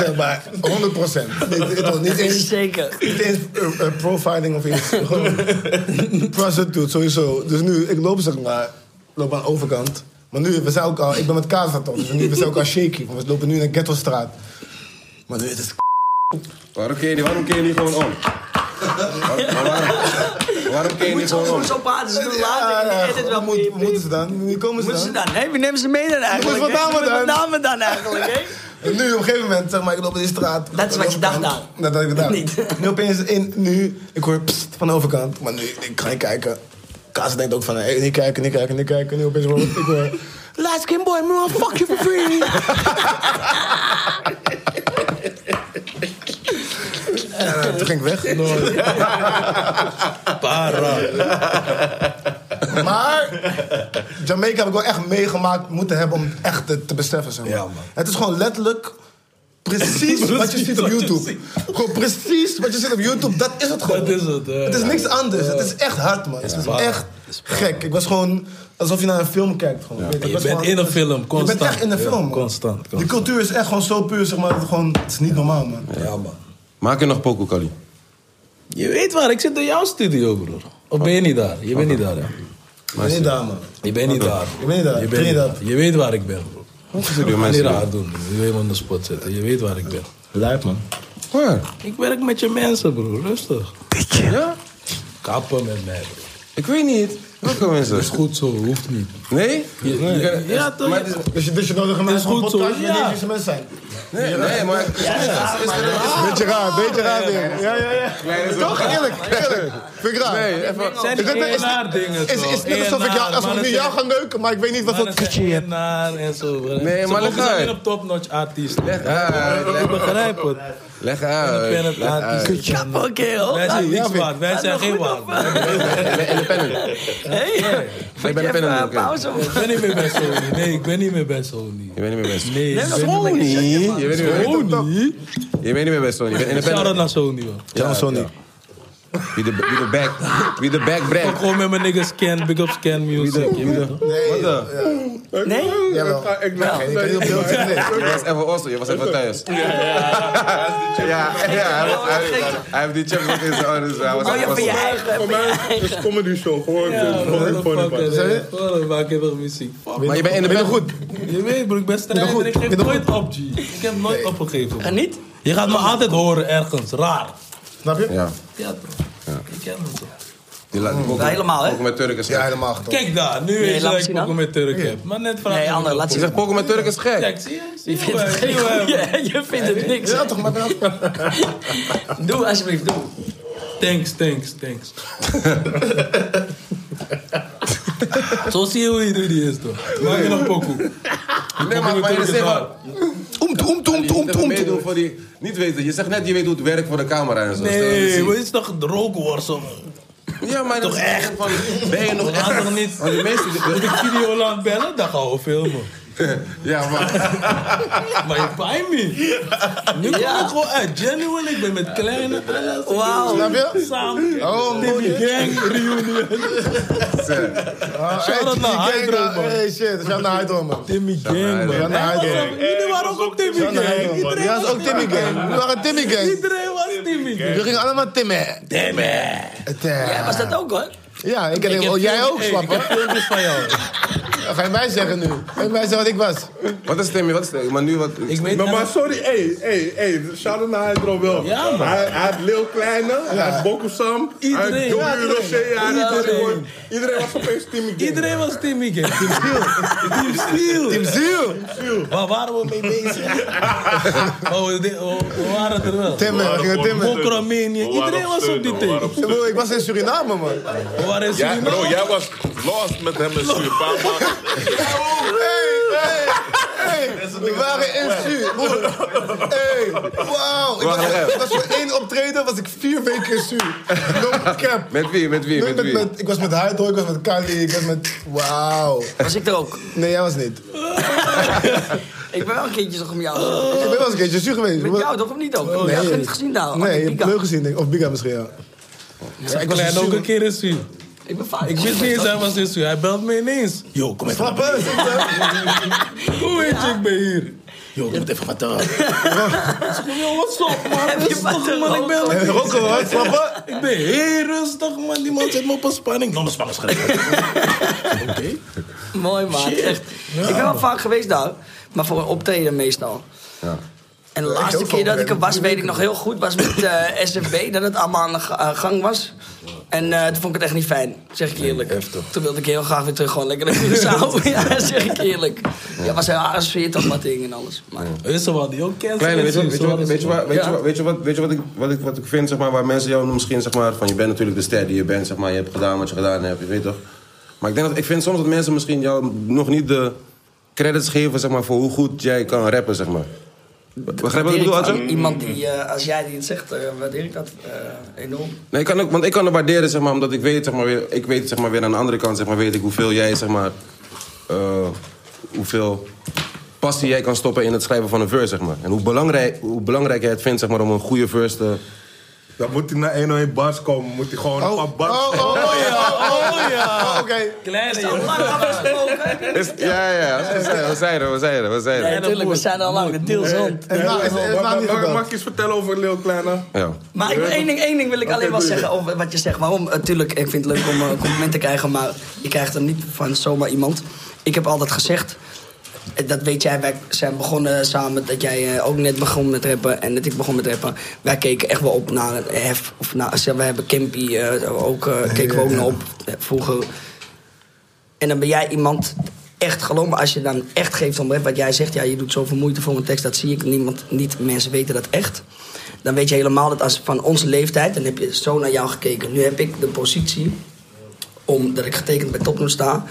zeg maar, 100 procent. Niet eens, Zeker. niet eens eh, eh, profiling of iets. Gewoon prostituut, sowieso. Dus nu, ik loop zeg maar, loop aan de overkant. Maar nu, we zijn ook al, ik ben met Kaza toch, dus nu, we zijn ook al shaky. Want we lopen nu in een ghetto-straat. Maar nu, het is Waarom keer je, die- waarom keer je niet gewoon om? Waar- maar waarom, waarom keer je niet gewoon om? Zo praten ze dan Ja, later. ja, en dit wel Wat moet- moeten ze dan? Wie komen ze Moeten dan? ze dan? Hé, wie nemen ze mee dan eigenlijk? Moeten we hè? wat namen Moeten we dan? namen dan eigenlijk? hè? En nu op een gegeven moment, zeg maar, ik loop in die straat. Dat is wat je dacht Overkant. Dat had ik gedacht. Niet. Nu opeens, in, nu, ik hoor pssst van de overkant. Maar nu, ik ga niet kijken. Kaas denkt ook van, hey, niet kijken, niet kijken, niet kijken. Nu opeens hoor ik, ik hoor... Light skin boy, man, I'll fuck you for free. En, eh, toen ging ik weg. Para. Maar Jamaica heb ik wel echt meegemaakt moeten hebben om het echt te, te beseffen. Zeg maar. Ja, man. Het is gewoon letterlijk precies wat je ziet op YouTube. Gewoon precies wat je ziet op YouTube, dat is het gewoon. Dat is het, eh. Het is niks anders. Het is echt hard, man. Het is waar. echt Dat is waar. gek. Ik was gewoon alsof je naar een film kijkt. Gewoon. Weet Je ik was bent in een film, Je constant. bent echt in een Ja, film. man. constant, constant. Die cultuur is echt gewoon zo puur, zeg maar. dat het Gewoon, het is niet normaal, man. Ja, man. Maak je nog pokoe, Kali? Je weet waar, ik zit in jouw studio, broer. Of ben je niet daar? Je bent niet daar, ja. Ik ben niet daar, man. Je bent niet daar. Ik ben niet daar. Je Ik ben niet bent niet daar. daar. Je weet waar ik ben, broer. Wat is er Ga niet mensen? raar doen, broer. Je weet me aan de spot zetten. Je weet waar ik ben. Lijp, man. Waar? Ik werk met je mensen, broer. Rustig. Ja? Kappen met mij, broer. Ik weet niet. Welke mensen? Is goed zo, hoeft niet. Nee? Je Je- kan- Ja, toch? Maar het is- Dus je, dus je nodig mensen Is voor een goed zo, podcast met ja. deze mensen zijn. Nee, nee, maar... Beetje raar, beetje raar weer. Ja, ja, ja. Toch? Eerlijk, eerlijk. Vind ik raar. Nee, even... Zijn die Is het- is- ENR dingen, E Is, is net alsof ik jou, alsof ik nu jou ga neuken, maar ik weet niet wat voor kutje je hebt. naar en zo. broer. Nee, Ze maar mogen leg zijn uit. niet op topnotch artiesten. Leg uit, Ik Ah, leg, begrijp het. leg Independent uit. Leg uit. artiesten. zijn- Kappa, kerel. Wij zijn Nou, niks vind ik. waard. Wij zijn geen waard. Independent. Hé, Ik ben even independent, een oké. pauze. Ik ben niet meer bij Sony. Nee, ik ben niet meer bij Sony. Je bent niet meer bij Sony. Nee, ik ben- Je bent niet meer bij Sony? Je bent niet meer bij Sony. Je bent Shout out independent. naar Sony, man. Ja, Sony. Wie de, wie de back... Wie de back Ik brengt. gewoon met mijn niggas scan, big up scan music. je weet toch? Nee, ja, Nee? Oh, jawel. Ik Oh, Ja, je kan heel veel zeggen. Je was even awesome. Je was even thuis. Ja, ja, hij was- hij- hij heeft die chip in zijn oren. dus hij was Oh, je even hebt je awesome. eigen. Voor mij is het comedy show. Gewoon What the gewoon fuck, gewoon. hè? Wat een fuck, hè, toch, muziek. Fuck. Maar je bent independent. goed. Je weet bro, ik ben strijder. Ik geef Minder nooit op, G. Ik heb nooit opgegeven. En man. niet? Je gaat me altijd horen ergens, raar. Snap je? Ja. Ja toch. Ik ken het toch. Die laat die pokoe- Helemaal, hè? pokoe met Turk is Ja, gek. helemaal gek. Kijk daar, nu weet je laat dat zien ik dan. ook met Turk heb. Maar net van... Nee, ander, laat Je zien. zegt pokoe met Turk is gek. Kijk, zie je? Zie Je je vindt hoe het hij- geen zie hoe hij- Ja, Je vindt het niks. Ja, toch, maar ik ben Doe alsjeblieft, doe. Thanks, thanks, thanks. Zo zie je hoe die die is toch. Maak je nog pokoe. Nee, maar, maar je Turk is zegt waar. wel... Meedoen voor die... Niet weten. Je zegt net, je weet hoe het werkt voor de camera en zo. Stel je Nee, ziet- wat is toch droog of zo? Ja, maar Toch echt? Van, ben je nog We gaan echt? toch niet... Want die meeste... Moet ik de- Videoland bellen? Dan gaan we filmen. ja, maar... Maar je pijn me. Nu kom ik gewoon uit. Genuine, ik ben met kleine alles. Wauw. Snap je? Samen. Oh, mooi. Timmy Gang reunion. Shout out naar Hydro, man. Hey, shit. Shout out naar Hydro, man. Timmy Gang, Shout out man. naar Hydro. Jullie waren ook op Timmy Shout out naar Gang. Hydro, man. Ja, dat is ook Timmy Gang. We waren Timmy Gang. Iedereen was Timmy Gang. We gingen allemaal Timmy. Timmy. Het, Ja, eh, was dat ook hoor? Ja, ik denk, oh, jij ook, Ik heb swapper. filmpjes van jou. Ga je mij zeggen nu? Ga je mij zeggen wat ik was? Wat is Timmy? Wat is Timmy? Maar nu wat... Ik weet Maar, maar sorry, hé, hé, hé, shout out naar Hydro wel. Ja, man. Hij, hij had Lil Kleine, hij had Bokusam, hij had Iedereen. Joey Rocher, hij had Iedereen. iedereen. Iedereen was opeens Timmy Gang. Iedereen was Timmy Gang. Team Ziel. Team Ziel. Team Ziel. Waar waren we mee bezig? Oh, we de- oh, we waren er wel. Timmy, we gingen Timmy. Bokra Mania. We waren Iedereen op was steun, op die we tape. waren op Ik bedoel, Ik was in Suriname, man. We waren in Ja, bro, Suriname. jij was lost met hem in Suriname. Hey, hey, hey. We waren in Su. broer. Hey, wauw. Ik was- Ik was voor één optreden, was ik vier weken in Su. No cap. Met wie? Met wie? Nee, Met met, wie? met, ik was met Hydro, ik was met Kali, ik was met... Wauw. Was ik er ook? Nee, jij was niet. Ik ben wel een keertje zo om jou. Ik ben wel eens een keertje zuur geweest. Met jou toch of niet ook? Oh, Nee, heb je niet gezien daar. Nee, je hebt Biga. Bleu gezien, denk ik. Of Biga misschien, ja. Ja, ik was Klein een ook zuur- een keer in Su. Ik ben vaak. Ik wist niet eens, hij was in Su. Hij belt me ineens. Yo, kom even. Slappen! Oh, Hoe weet je, ik ben hier? Yo, ik moet even wat doen. Yo, wat stop, man? Rustig, man. Ik ben En Rocco, hoor. Slappen! Ik ben heel rustig, man. Die man zet me op een spanning. Nou, mijn spanning is geregeld. Oké. Mooi man, echt. Ik ben wel vaak geweest daar, maar voor een optreden meestal. En de ook laatste wel, keer maar dat ik er dat was, moet weet ik nog heel goed, was met eh SFB, dat het allemaal aan de ga- eh, gang was. En eh, toen vond ik het echt niet fijn, zeg ik eerlijk. Toen wilde ik heel graag weer terug, gewoon lekker naar Curaçao. ja, zeg ik eerlijk. Ja, was heel aardig sfeer toch wat ding en alles. Maar, Is er wat die ook kent? Kleine, weet je wat- weet je wat- weet je wat- weet je Ja. wat- weet je wat- weet je wat ik- wat ik- wat ik vind, zeg maar, waar mensen jou misschien, zeg maar, van je bent natuurlijk de ster die je bent, zeg maar, je hebt gedaan wat je gedaan hebt, je weet toch. Maar ik, denk dat, ik vind soms dat mensen misschien jou nog niet de credits geven, zeg maar, voor hoe goed jij kan rappen, zeg maar. Begrijp je wat ik bedoel, Adjo? Van Iemand die, eh, als jij die het zegt, eh, waardeer ik dat eh, enorm. Nee, ik kan ook, want ik kan het waarderen, zeg maar, omdat ik weet, zeg maar, weer, ik weet, zeg maar, weer aan de andere kant, zeg maar, weet ik hoeveel jij, zeg maar, eh, hoeveel passie jij kan stoppen in het schrijven van een verse, zeg maar. En hoe belangrijk, hoe belangrijk jij het vindt, zeg maar, om een goede verse te... Dan moet hij naar 101 bars komen. Moet hij gewoon een paar bars... Oh, oh, oh ja, oh ja. Oké. Kleine, Lang afgesproken. Is- ja, ja, ja, we zijn- we zijn er, we zijn er, we zijn Nee, er. natuurlijk, we zijn al lang de deals rond. En nou is Mag- het nou niet mag- gedaan. Mag ik iets vertellen over Lil Kleine? Ja. Maar ik, één, ding, één ding wil ik alleen wel doe je. zeggen over wat je zegt. Waarom? Natuurlijk, ik vind het leuk om eh, complimenten te krijgen, maar je krijgt er niet van zomaar iemand. Ik heb altijd gezegd, eh, dat weet jij, wij zijn begonnen samen, dat jij eh, ook net begon met rappen en dat ik begon met rappen. Wij keken echt wel op naar een Hef, of naar, zeg, we hebben Kimpy eh, ook, eh, keken we ook naar op eh, vroeger. En dan ben jij iemand, echt geloof me, als je dan echt geeft om wat jij zegt, ja, je doet zoveel moeite voor een tekst, dat zie ik niemand, niet mensen weten dat echt. Dan weet je helemaal dat als van onze leeftijd, dan heb je zo naar jou gekeken. Nu heb ik de positie, omdat ik getekend bij Topnoem sta,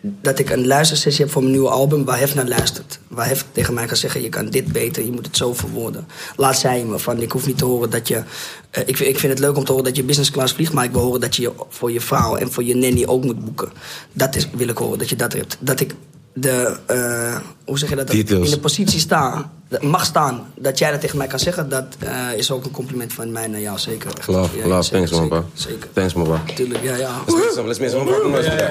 dat ik een luistersessie heb voor mijn nieuwe album waar Hef naar luistert. Waar Hef tegen mij kan zeggen, je kan dit beter, je moet het zo verwoorden. Laat zei me van, ik hoef niet te horen dat je... eh, ik, vind- ik vind het leuk om te horen dat je business class vliegt... maar ik wil horen dat je je voor je vrouw en voor je nanny ook moet boeken. Dat is, wil ik horen, dat je dat hebt. Dat ik de... eh, hoe zeg je dat? Details. In de positie sta, dat mag staan, dat jij dat tegen mij kan zeggen... dat eh, is ook een compliment van mij naar jou, zeker. Echt. Love, Ja, love, zeker, thanks, man, zeker, pa. Zeker, Thanks, man, pa. natuurlijk, ja, ja. Let's make some, let's make some man, pa. Ja,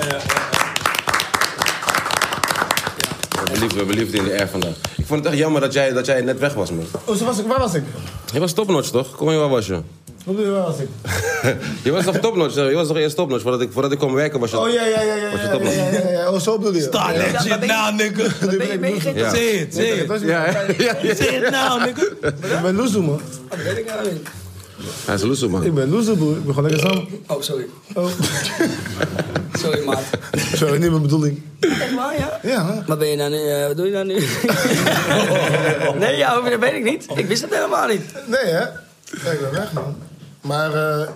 We hebben liefde, we hebben liefde in de air vandaag. Ik vond het echt jammer dat jij, dat jij net weg was, man. Oh, zo was ik. Waar was ik? Je was topnotch, toch? Kom je, waar was je? Wat bedoel je, waar was ik? je was toch topnotch? hè? Je was toch eerst topnotch? Voordat ik, voordat ik kwam werken was je... Oh ja, ja, ja, ja. Was je ja, top, man? ja, ja, ja. Oh, zo bedoel je. Daar let je nou, nigga. Ben je, ben je geen- Ja. Zeg het, zeg Dat het. was je. Ja, hè? ja, ja. Zeg het nou, nigga. Ik ben loezoe, man. Dat weet ik nou niet. Hij is een loeser, man. Ik ben loezoe, broer. Ik ben gewoon lekker samen. Oh, sorry. Oh. Sorry, maat. Sorry, niet mijn bedoeling. Echt waar, ja? Ja. Wat ben je nou nu? eh, wat doe je nou nu? nee, ja, dat weet ik niet. Ik wist het helemaal niet. Nee, hè? Nee, ik ben weg, man. Maar eh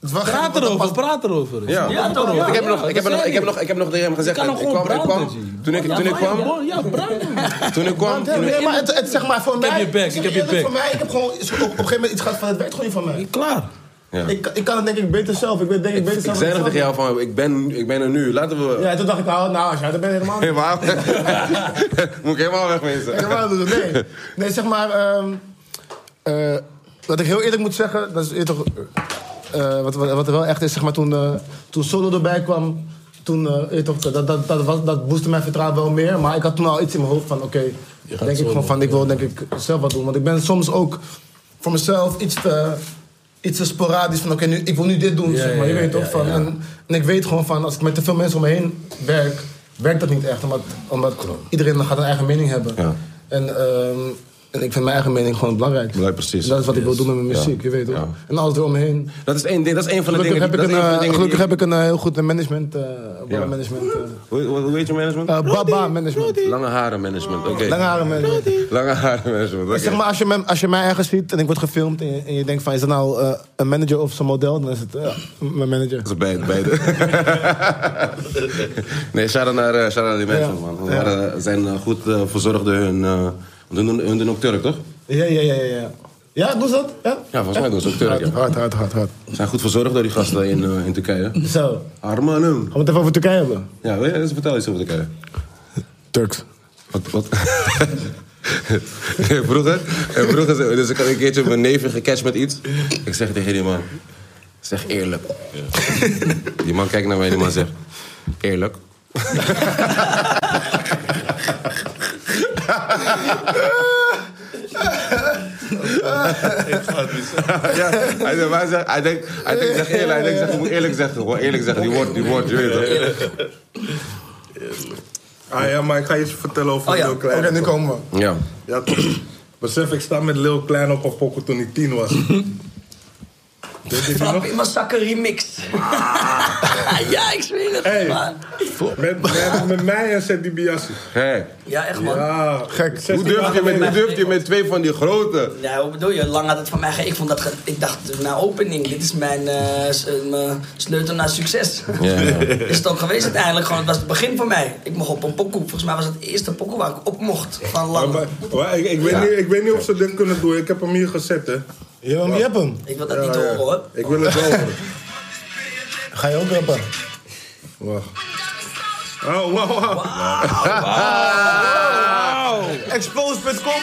het was Praat erover, praat erover. Ja. Ja, toch? Ja, Ik heb ja, nog, ik heb we nog, zijn ik heb hier. nog, ik heb nog tegen hem gezegd. kan en ook ik gewoon kwam, ik kwam, branden, G. toen ik, toen ik Ja, kwam, man, Ja, brand. toen ik kwam, toen ik- Nee, maar het, het zeg maar voor mij. heb je back, ik heb je eerlijk, back. Voor mij, ik heb gewoon op, op een gegeven moment iets gehad van het werkt gewoon niet van mij. Klaar. Ja. Ik, ik kan het denk ik beter zelf. Ik weet denk ik beter ik zelf. zei nog dan tegen zelf. jou van, ik ben, ik ben er nu. Laten we Ja, toen dacht ik, oh, nou, als jij dat bent helemaal niet. helemaal, moet ik helemaal wegwezen. Helemaal niet, dus nee. Nee, zeg maar, ehm eh, wat ik heel eerlijk moet zeggen, dat is eerder, eh, wat, wat, wat er wel echt is, zeg maar, toen, eh, toen Solo erbij kwam, toen, eh, weet je toch, dat, dat, dat, was, dat boostte mijn vertrouwen wel meer. Maar ik had toen al iets in mijn hoofd van, oké, denk ik gewoon van, ik wil denk ik zelf wat doen. Want ik ben soms ook voor mezelf iets te, iets te sporadisch van, oké, nu ik wil nu dit doen, zeg maar. Je ja, weet ja, toch, van, En, en ik weet gewoon van, als ik met te veel mensen om me heen werk, werkt dat niet echt. Omdat, omdat iedereen dan gaat een eigen mening hebben. Ja. En, ehm, en ik vind mijn eigen mening gewoon belangrijk. Belangrijk, precies. Dat is wat ik wil doen met mijn muziek, je weet toch. Ja. En alles eromheen. Dat is één ding, dat is één van de Gelukkig dingen. heb die- ik dat is één van een, de eh, dingen gelukkig die- heb ik een eh, heel goed eh, management, eh Ja. management eh, Hoe hoe- hoe heet je management? eh, Baba management. Lange haren management, oké. Lange haren management. Lange haren management, oké. Zeg maar, als je, me- als je mij ergens ziet en ik word gefilmd en je, en je denkt van, is dat nou eh, een manager of zo'n model? Dan is het eh, mijn manager. Dat is beide. beide. nee, shout-out naar, eh, shout-out naar die mensen, Ja. man. Ze Ja. waren- zijn eh, goed eh, verzorgd door hun... eh, want hun, doen- hun doen ook Turk, toch? Ja, ja, ja, ja. Ja, ja doen ze dat? Ja? Ja, volgens mij doen ze ook Turk, ja. Hard, hard, hard, hard. Ze zijn goed verzorgd door die gasten in, eh, in Turkije. Zo, gaan Armanum. we het even over Turkije hebben? Ja, wil je- vertel iets over Turkije. Turks. Wat, wat? vroeger, en vroeger, ze- dus ik had een keertje mijn neefje gecatcht met iets. Ik zeg tegen die man, zeg eerlijk. Die man kijkt naar mij en die man zegt, eerlijk. Ja, hij zegt, maar hij zegt, hij denkt, hij denkt, zeg eerlijk, hij denkt, zeg, je moet eerlijk zeggen, gewoon eerlijk zeggen, die woord, die woord, je weet het. Ah ja, maar ik ga je iets vertellen Oh, Oh, over Lil Klein. Oké, nu komen we. Ja. Ja, toch. Besef, ik sta met Lil Klein op een pokken toen ik tien was. Weet je die nog? Trap in mijn zakken remix. ja, ik zweer het. Hey. maar- Met, met, met mij en Seth Dibiassi. Gek. Ja, echt man. Ja, Gek. Hoe 16 durf je dagen met, hoe geleden. durf je met twee van die grote? Ja, hoe bedoel je? Lang had het van mij ge- Ik, vond dat ge- ik dacht, dus na opening, dit is mijn, eh, s- eh, mijn sleutel naar succes. Ja, ja. Is het ook geweest uiteindelijk? Gewoon, het was het begin van mij. Ik mocht op een pokoe. Volgens mij was het de eerste pokoe waar ik op mocht. Van lang. Maar ik, ik, weet niet, ik weet niet of ze dit kunnen doen. Ik heb hem hier gezet, hè. Ja, maar je hebt hem. Ik wil dat niet horen hoor. Ik wil het wel horen. Ga je ook rappen? Wacht. Oh, wow, wow. Expose.com.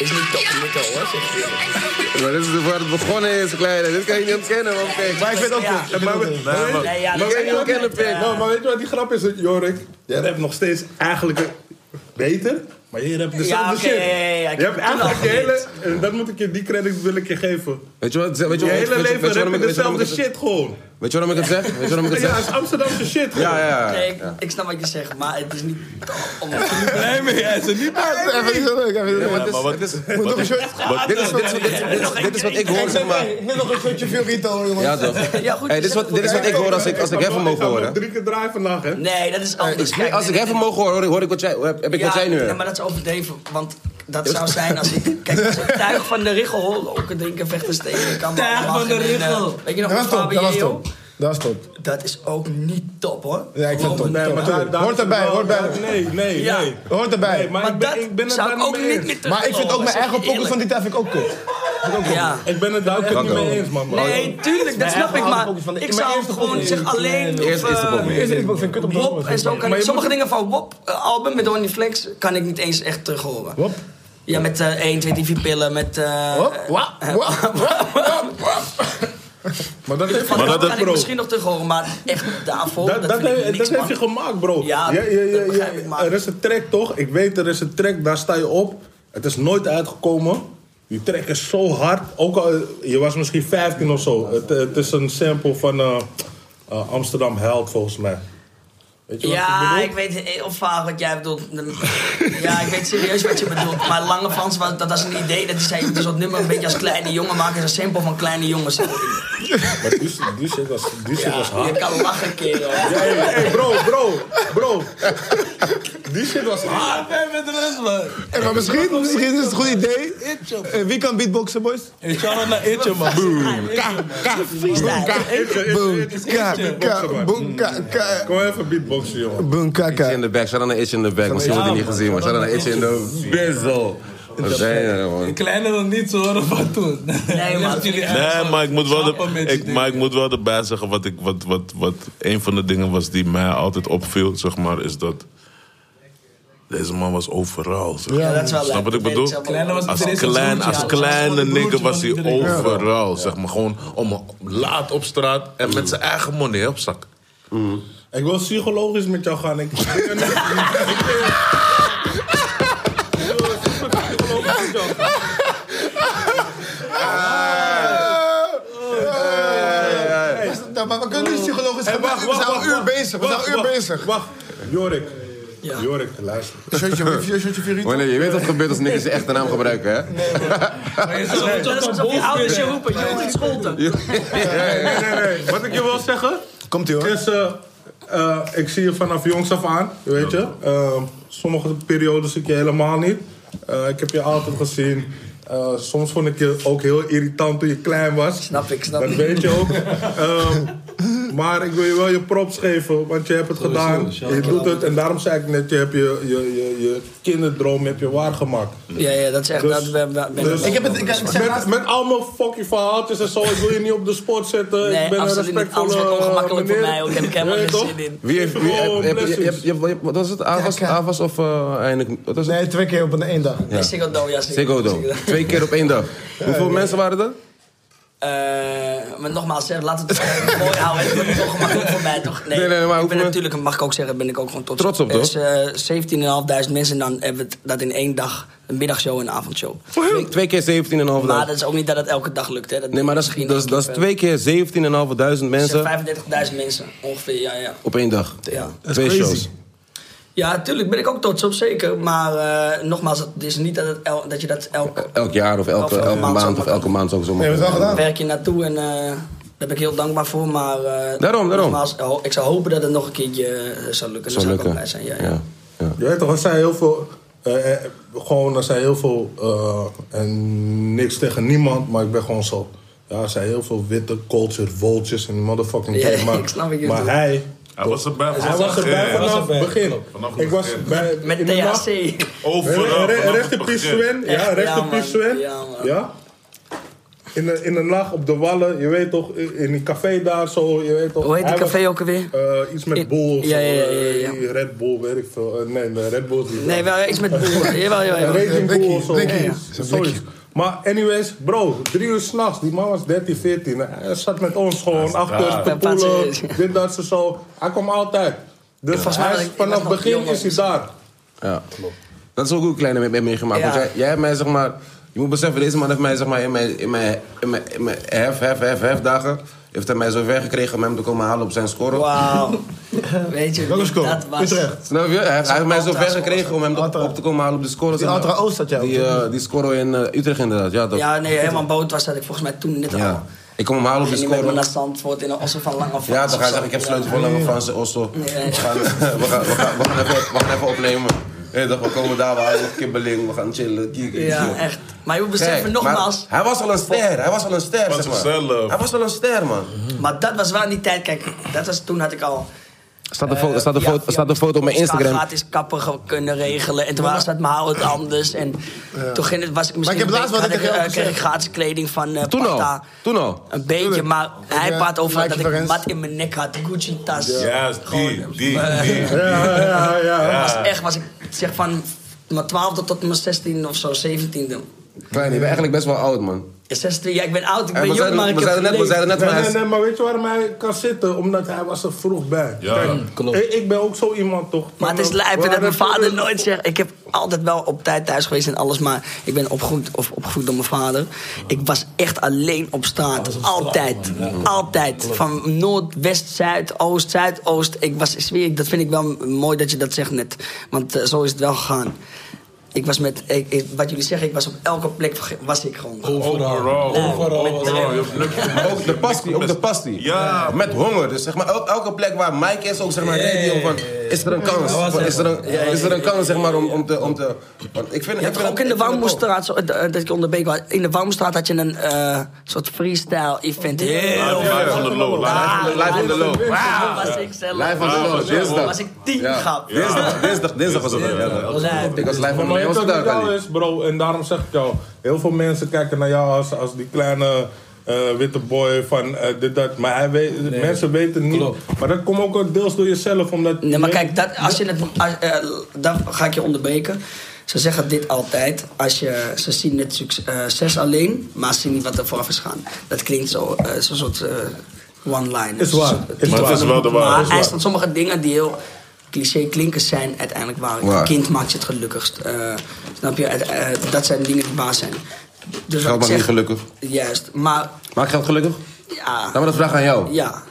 Is niet top Nico hoor. zeg ik. Maar dit is dus waar het begonnen is, kleine. Dit kan je niet ontkennen, man. Kijk. Maar ik weet ook Ja. niet. Maar, we- maar weet- Nee, ja, Maar dat kijk, je kennen pik. Nou, maar weet je wat die grap is, Jorik? Jij hebt nog steeds eigenlijk een- beter, maar je hebt dezelfde Ja, oké, shit. ja, ja, ja, ik je heb hebt het eigenlijk je toen al hele... En dat moet ik je, die credit wil ik je geven. Weet je wat? Weet Je je wat? hele weet je- leven weet je heb waarom je ik- weet je waarom dezelfde ik het- shit gewoon. Weet je waarom ik het zeg? Weet je waarom ik het Ja, zeg? het is Amsterdamse shit gewoon. Ja, ja, Nee, ja. ik, ik snap wat je zegt, maar het is niet top. Om... Blij mee, hij is er niet bij. Even niet zo leuk, even niet zo Ja, leuk. maar dit is- dit is- Moet nog een shirtje. dit is wat- dit is- dit is- Dit is wat ik hoor, zeg maar. Ik wil nog een shirtje veel retail, jongens. Ja, toch? Ja, goed, Hey, dit, is wat, dit is wat ik hoor als ik, als ik ga heffen nog- mogen ga nog horen. drie keer draaien vandaag, hè? Nee, dat is anders. Ik- Kijk, Als ik nee, heffen nee, mogen horen, hoor ik- hoor ik wat jij, heb, heb ik wat jij nu. nee, maar dat is overdreven, want dat zou zijn als ik... Kijk, als ik tuig van de richel hoor, loken, drinken, vechten, steken, kan maar Tuig van lachen de en, eh, richel. Weet je nog, Dat was dat top, dat was top. dat, Dat was top. dat is ook niet top, hoor. Ja, ik vind het top. Nee, maar top. daar- daar Hoort is het erbij, wel- hoort daar- erbij. Nee, nee, Ja. nee. Hoort erbij. Maar Maar ik ben- dat ik ben het zou daar ik niet ook mee niet eens. meer terug Maar ik vind ook mijn eigen pokken van die tijd vind ik ook kut. Ja. Ik ben het daar ook Dank niet mee wel. eens, man. Nee, tuurlijk, dat snap ik, maar van de- ik mijn zou eerste gewoon pokoe. zeg alleen... of, Eerst is de eh, pop. Eerst ik vind kut op de Wop en zo kan ik, je sommige dingen van Wop eh, album met Donny Flex kan ik niet eens echt terug horen. Wop. Ja, met eh 1, 2, 3, 4 pillen, met... eh, Wop, wap, wap, wap, wap. Maar dat heeft Van Maar dat, dat- kan ik bro. misschien nog terug horen, maar echt daarvoor, dat, Dat, dat, vind ik heb, niks, dat man. heb je gemaakt, bro. Ja, dat begrijp ik, maar- Er is een track, toch? Ik weet, er is een track, daar sta je op. Het is nooit uitgekomen. Die track is zo hard. Ook al, je was misschien 15 of zo. Het, het is een sample van eh, eh, Amsterdam Held, volgens mij. Weet je wat ik Ja, bedoel? ik weet heel vaag wat jij bedoelt. Ja, ik weet serieus wat je bedoelt. Maar Lange Frans, was, dat was een idee. Dat hij zei, dus dat nummer een beetje als kleine jongen maken. Is een simpel van kleine jongens. Maar die, die shit was, die shit was hard. Je kan lachen, kerel. Hey, hey, bro, bro, bro. Die shit was hard. Ah, ben met de rest, man. Hey, maar misschien, misschien is het een goed idee. Eh, Wie kan beatboxen, boys? Hey, shout-out naar Itje, man. Boom. Freestyle. Boom, ka, ka, man. boom, ka, ka. Kom even beatboxen, jongen. Boom, ka, Itch ka. in the back. Shout out naar Itch in the back. Misschien wordt die niet gezien, maar shout out naar Itch in the bezel. We zijn er, man. Kleine wil niets horen van toen. Nee, man. Laat jullie Nee, echt Eh, maar ik moet wel, sappen de, met je ik, maar ik moet wel erbij zeggen wat, ik, wat, wat, wat een van de dingen was die mij altijd opviel, zeg maar, is dat deze man was overal. Zeg. Ja, dat is wel Snap wat ik bedoel? Kleine was Als, iedereen zijn klein, broertje, als ja. Gewoon kleine een broertje nigger was hij van iedereen. overal, zeg maar. Gewoon om, laat op straat en met zijn eigen money op zak. Ik wil psychologisch met jou gaan. Ik ik ben niet. Ik wil super psychologisch met jou gaan. Nou, maar we kunnen niet psychologisch gaan. wacht, We zijn al wacht, een uur wacht. bezig. We zijn al Wacht, een uur wacht. bezig. Wacht, Jorik. Ja. Jorik, luister. Shirtje, shirtje, shirtje. Wanneer, je weet wat er gebeurt als niks zijn echte naam gebruiken, hè? Dat is alsof je ouders je roepen. Je moet scholten. Nee, nee, nee. Wat ik je wil zeggen Komt ie hoor. is... eh, eh, ik zie je vanaf jongs af aan, weet je. Eh, sommige periodes zie ik je helemaal niet. Eh, ik heb je altijd gezien. Eh, soms vond ik je ook heel irritant toen je klein was. Snap ik, snap Dat ik. weet je ook. Ehm, Maar ik wil je wel je props geven, want je hebt het Sowieso, gedaan. shout Je out. doet het en daarom zei ik net, je hebt je, je, je, je kinderdroom heb je waargemaakt. Ja, ja, dat is echt... Dus- dat, we- we- we- dus- ik heb het... Ik, ik zeg met, met al mijn fucking verhaaltjes en zo, ik wil je niet op de sport zetten. Nee, ik ben een absoluut niet. respectvolle eh, Anders wordt het ongemakkelijk voor meneer. mij ook. Heb ik helemaal Ja, geen toch? zin in. Wie heeft, wie, Gewoon heb- heb- je- Oh, blessings. je hebt- je hebt- je- wat was het? Avas, Avas of eh, eindelijk? Wat was het? Nee, twee keer op een één dag. Ja. Ziggo Dome, ja. Ziggo Ziggo Dome. Dome. Twee keer op één dag. Hoeveel mensen waren er? Eh, maar nogmaals, hè, laat het eh, mooi houden. Het wordt niet ongemakkelijk voor mij, toch? Nee, Nee, nee, maar ik hoeveel ben men- natuurlijk, mag ik ook zeggen, ben ik ook gewoon trots, Trots op, Dus eh 17.500 mensen en dan hebben we het- dat in één dag. Een middagshow en een avondshow. Twee, twee keer 17.500. Maar dat is ook niet dat het elke dag lukt, hè. Dat Nee, maar dat is, dat is, dat is twee keer 17.500 Er zijn mensen 35.000 mensen, ongeveer, ja, ja. op één dag. ja. Twee shows. Ja, natuurlijk ben ik ook trots op, zeker. Maar eh, nogmaals, het is niet dat, het el- dat je dat elke... Elk jaar of elke, Elke elke maand maand zomaar of elke maand ook zo. Nee, we hebben het wel gedaan. werk je naartoe en eh, daar ben ik heel dankbaar voor. Maar eh, Daarom, daarom. nogmaals, ho- ik zou hopen dat het nog een keertje eh, zou lukken. Zou Daar zou ik ook lukken. blij zijn, ja. ja. Ja. Je weet toch, er zijn heel veel. eh, eh, gewoon, er zijn heel veel. eh, en niks tegen niemand, maar ik ben gewoon zo. Ja, er zijn heel veel witte culture vultures en die motherfucking Ja, game, maar, ik snap wat je maar bedoelt. hij. Hij was erbij Hij was erbij vanaf het begin. Vanaf het Ik was begin. bij. Met in de THC. nacht- Re- re- Recht in Pies Sven. Echt, Ja, recht ja, in man. Pies Sven. Ja, man. Ja. In de, in de nacht op de wallen, je weet toch, in die café daar zo, je weet toch. Hoe heet die hij was- café ook alweer? eh, iets met In- Bull of Ja, zo, ja, ja, eh, ja, ja. Red Bull, weet ik veel. Eh, nee, nee, Red Bull is niet. Nee, wel iets met boeren. jawel, jawel, jawel. Rating blikkie, Bull of zo. blikkie. Ja, ja. Zo'n Zoiets. blikkie. Maar anyways, bro, drie uur s'nachts. Die man was 13, 14. Hij zat met ons gewoon achter ons te Ja, pas is. poelen. Dit, dat, ze zo. Hij kwam altijd. Dus Volgens mij hij was is- ik- ik vanaf was het nog begin jong, is hij daar. Ja, klopt. Dat is ook een kleine mee meegemaakt. Ja. Want jij, jij hebt mij, zeg maar... Je moet beseffen, deze man heeft mij, zeg maar, in mijn, in mijn, in mijn, in mijn hef, hef, hef, hef dagen... heeft hij mij zo ver gekregen om hem te komen halen op zijn score. Wauw. Weet je, Welke score? dat was... Utrecht. Snap je? Hij, hij heeft mij zo Altra ver score, gekregen om hem te- Altra. op te komen halen op de score. Die zeg maar. Altra Oost had jij ook, Die, eh, die score in eh, Utrecht inderdaad, ja toch? Ja, nee, helemaal boot was dat ik volgens mij toen net al. Ja. Ik kom hem halen op de Ging niet met me score. naar Zandvoort in een osse van Lange Ja, Frans dan of ga ik zo. zeggen, ik heb Ja. sleutel voor Lange Franse Osso. We gaan, we, gaan, we, gaan, we gaan even, we gaan even opnemen. Hé, toch, we komen daar, we halen kibbeling, we gaan chillen. kieken, Ja, chill. echt. Maar je moet Kijk, beseffen, nogmaals, maar Hij was al een ster, hij was al een ster, Was zeg maar. zichzelf. Hij was al een ster, man. maar dat was wel in die tijd. Kijk, dat was, toen had ik al Staat een foto, staat een Ja, foto, ja, staat een foto op mijn ik zou Instagram. gratis kappen ge- kunnen regelen. En toen was dat maar het anders. En toen ging het, was ik misschien heb een laatst week- wat had tegen jou eh, kreeg ik gezegd. gratis kleding van eh Toen al, Pata. toen al. Een beetje, Tuurlijk. maar hij eh, praat over Nike dat ik Verens. wat in mijn nek had. Gucci tas. Ja, die, die, die. Ja, ja, ja. Was echt, was ik zeg van mijn 12e tot mijn 16e of zo, 17e. Klein, je bent eigenlijk best wel oud, man. Ja, 16e, ja, ik ben oud, En ik ben Eh, we jong, zeiden, maar ik we heb zeiden net, we geleefd. zeiden net, maar Nee, hij nee, is- nee, maar weet je waarom hij kan zitten? Omdat hij was er vroeg bij. Ja. Kijk, Klopt. Ik, ik ben ook zo iemand, toch? Maar het is Van, lijp we dat mijn hadden- vader nooit zegt. Ik heb altijd wel op tijd thuis geweest en alles, maar ik ben opgegroeid, of opgegroeid door mijn vader. Ik was echt alleen op straat. altijd. Altijd. Van noord, west, zuid, oost, zuidoost. Ik was, ik zweer, dat vind ik wel mooi dat je dat zegt net. Want eh, zo is het wel gegaan. Ik was met, ik, ik- wat jullie zeggen, ik was op elke plek, was ik gewoon. Overal. Overal. Overal. Je hebt niks gemist. Ook de pastie, ook de pastie. Ja. Met honger. Dus zeg maar, el- elke plek waar Mike is, ook zeg maar, nee, die jongen van, is er een kans? Van, Is er een, is er een kans, zeg maar, om, om te... Om te want ik vind, ik Je had vind toch ook in de ik vind het ook. Warmoestraat, zo- eh, dat ik onderbeek was. In de Warmoestraat had je een eh, soort freestyle event. Heel Live van de low. Ah, Live on the low. Wauw, was ik zelf. Live on the Ah, low, was jij dinsdag. was ik tien Ja. grap. Dinsdag, dinsdag, dinsdag was het. ja, ja. Lijp. Ik was live Maar van weet Leon je wat met jou Stakali. is, bro? En daarom zeg ik jou. Heel veel mensen kijken naar jou als, als die kleine eh, witte boy van eh, dit, dat. Maar hij weet, mensen weten niet. Klopt. Maar dat komt ook deels door jezelf. Omdat Nee, maar kijk, dat, als je het, als, eh, dan ga ik je onderbreken. Ze zeggen dit altijd. Als je, ze zien het succes eh, succes alleen, maar ze zien niet wat er vooraf is gaan. Dat klinkt zo, eh, zo'n soort eh, one-liner. Is waar, Zo'n- is die- waar. Het is wel de waar, Maar is hij waar. stond sommige dingen die heel cliché klinkers zijn, uiteindelijk waar. Een Waar. kind maakt je het gelukkigst. eh, snap je? Eh, eh, dat zijn dingen die waar zijn. Dus Geld wat ik maakt zeg, niet gelukkig. Juist, maar Maak geld gelukkig? ja, Laat me dat vragen aan jou. ja,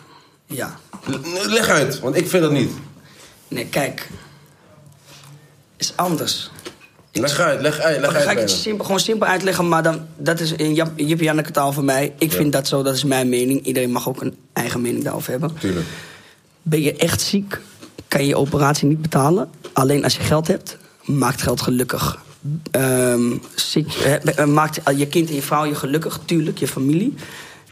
ja. L- Leg uit, want ik vind dat niet. Nee, kijk. Is anders. Leg uit, leg uit, leg Dan ga uit. ik het bijna. simpel, gewoon simpel uitleggen, maar dan, dat is in Jap- Jip Janneke taal voor mij. Ik vind dat zo, dat is mijn mening. Iedereen mag ook een eigen mening daarover hebben. Tuurlijk. Ben je echt ziek, kan je je operatie niet betalen. Alleen als je geld hebt, maakt geld gelukkig. Ehm, ziek, eh, eh, maakt je kind en je vrouw je gelukkig, tuurlijk, je familie.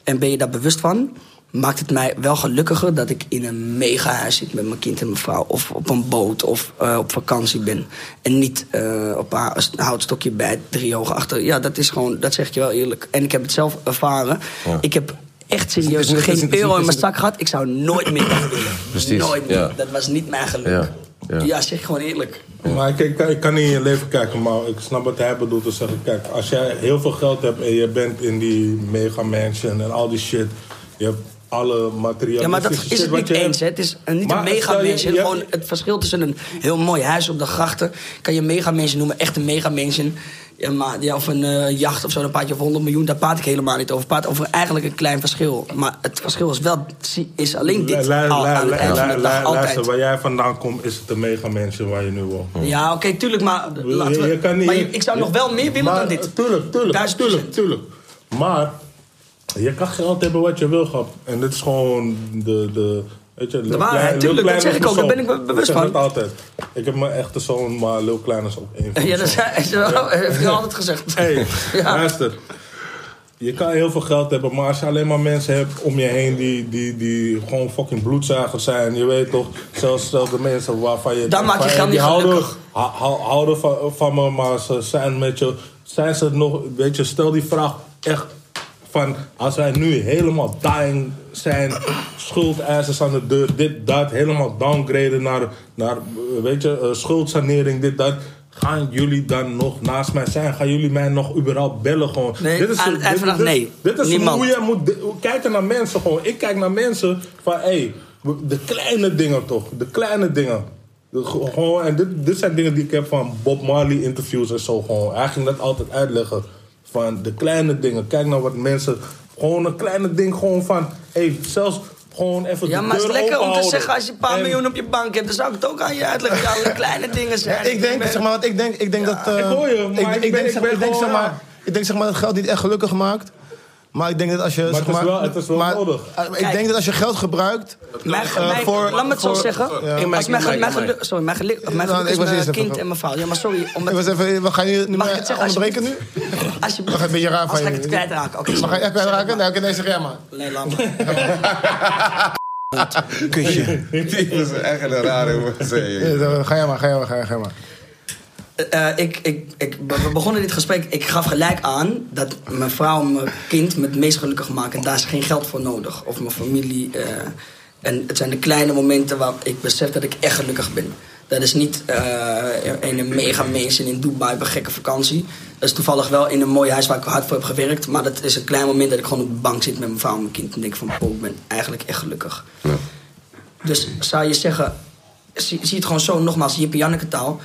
En ben je daar bewust van? maakt het mij wel gelukkiger dat ik in een mega huis zit met mijn kind en mijn vrouw. Of op een boot of eh, op vakantie ben. En niet eh, op een hou- een houtstokje bij drie ogen achter. Ja, dat is gewoon, dat zeg ik je wel eerlijk. En ik heb het zelf ervaren. Ja. Ik heb echt het serieus is niet- het is geen niet- euro het in is mijn niet- zak gehad. Ik zou nooit meer dat willen. Precies, Nooit meer. ja. Dat was niet mijn geluk. Ja, ja. ja zeg gewoon eerlijk. Maar ik, ik, ik kan niet in je leven kijken, maar ik snap wat hij bedoelt. Dus zeg ik, kijk, als jij heel veel geld hebt en je bent in die mega mansion en al die shit. Je hebt alle materialen. Ja, maar dat is het niet eens. Hè. Het is een- niet Maar een mega stel je- mansion. je- Gewoon het verschil tussen een heel mooi huis op de grachten. Kan je mega mansion noemen, echt een mega mansion. Ja, maar, ja, of een eh, jacht of zo, dan praat je over 100 miljoen. Daar praat ik helemaal niet over. Ik Praat over eigenlijk een klein verschil. Maar het verschil is wel, is alleen dit. al aan het eind van de dag, Luister, altijd. waar jij vandaan komt, is het een mega mansion waar je nu woont. Ja, oké, tuurlijk, maar laten Je- we... je kan niet- maar ik zou nog wel meer willen Maar, eh, dan dit. Tuurlijk, tuurlijk, Duizend tuurlijk, tuurlijk. Maar je kan geld hebben wat je wil, gehad. En dit is gewoon de... de Weet je, Lil waarheid, Klein- Lil tuurlijk, dat Klein zeg is ik ook, mijn daar ben zoon. ik me bewust zeg van. dat altijd. Ik heb mijn echte zoon, maar Lil Klein is ook één van Ja, mijn dat zoons. is- heb je altijd gezegd. Hey, Ja. luister. Je kan heel veel geld hebben, maar als je alleen maar mensen hebt om je heen die, die, die gewoon fucking bloedzagers zijn. Je weet toch, zelfs, zelfs de mensen waarvan je... Dan maak je van, geld die niet houden, gelukkig. hou- hou- houden van, van me, maar ze zijn met je... Zijn ze nog, weet je, stel die vraag echt van... Als wij nu helemaal dying zijn, schuldeisers aan de deur, dit, dat. Helemaal downgraden naar, naar weet je, eh, schuldsanering, dit, dat. Gaan jullie dan nog naast mij zijn? Gaan jullie mij nog überhaupt bellen gewoon? Nee, aan het eind van de dag, dit- nee. Dit is Niemand. hoe je moet de- kijken naar mensen gewoon. Ik kijk naar mensen van, hé, hey, de kleine dingen toch. De kleine dingen. De- gewoon, en dit, dit zijn dingen die ik heb van Bob Marley interviews en zo gewoon. Hij ging dat altijd uitleggen. Van de kleine dingen. Kijk naar wat mensen... Gewoon een kleine ding gewoon van, hé, hey, zelfs gewoon even Ja, de maar het is deur lekker om te openhouden. zeggen als je een paar En- miljoen op je bank hebt. Dan zou ik het ook aan je uitleggen. Ja, alle kleine dingen zijn. Ik denk, zeg maar, want ik denk, ik denk dat... eh, ik hoor je, maar ik ben- denk, ik zeg, ben ik denk, gewoon zeg maar, raar. ik denk, zeg maar, dat geld niet echt gelukkig maakt. Maar ik denk dat als je... zeg het is wel- het is wel nodig. eh, Ik Kijk. denk dat als je geld gebruikt... Mijn, eh, mijn- voor- laat me het zo voor- zeggen. Ja. Als mijn, Mike, mijn, Mike. geluk- sorry, mijn geluk, mijn Nou, geluk ik is was mijn eerst even- kind en mijn vrouw. Ja, maar sorry. Ik was Omdat, even, we gaan je nu mag ik maar het zeggen? als je- onderbreken nu? Als je, een beetje raar van als ga je. ik het kwijtraken. Oké, Mag sorry. ik echt raken? Nee, oké, nee, zeg jij maar. Nee, laat maar. Kusje. Die is echt een rare man, zeg Ja, je. dan- Ga jij maar, ga jij maar, ga jij- ga jij maar. Eh, ik, ik, ik, we we begonnen dit gesprek. Ik gaf gelijk aan dat mijn vrouw mijn kind me het meest gelukkig maken. Daar is geen geld voor nodig. Of mijn familie. eh, en het zijn de kleine momenten waar ik besef dat ik echt gelukkig ben. Dat is niet eh, in een mega mansion in Dubai op een gekke vakantie. Dat is toevallig wel in een mooi huis waar ik hard voor heb gewerkt. Maar dat is een klein moment dat ik gewoon op de bank zit met mijn vrouw en mijn kind. En denk van, oh, ik ben eigenlijk echt gelukkig. Dus zou je zeggen, zie, zie het gewoon zo, nogmaals, Jippe Janneke taal.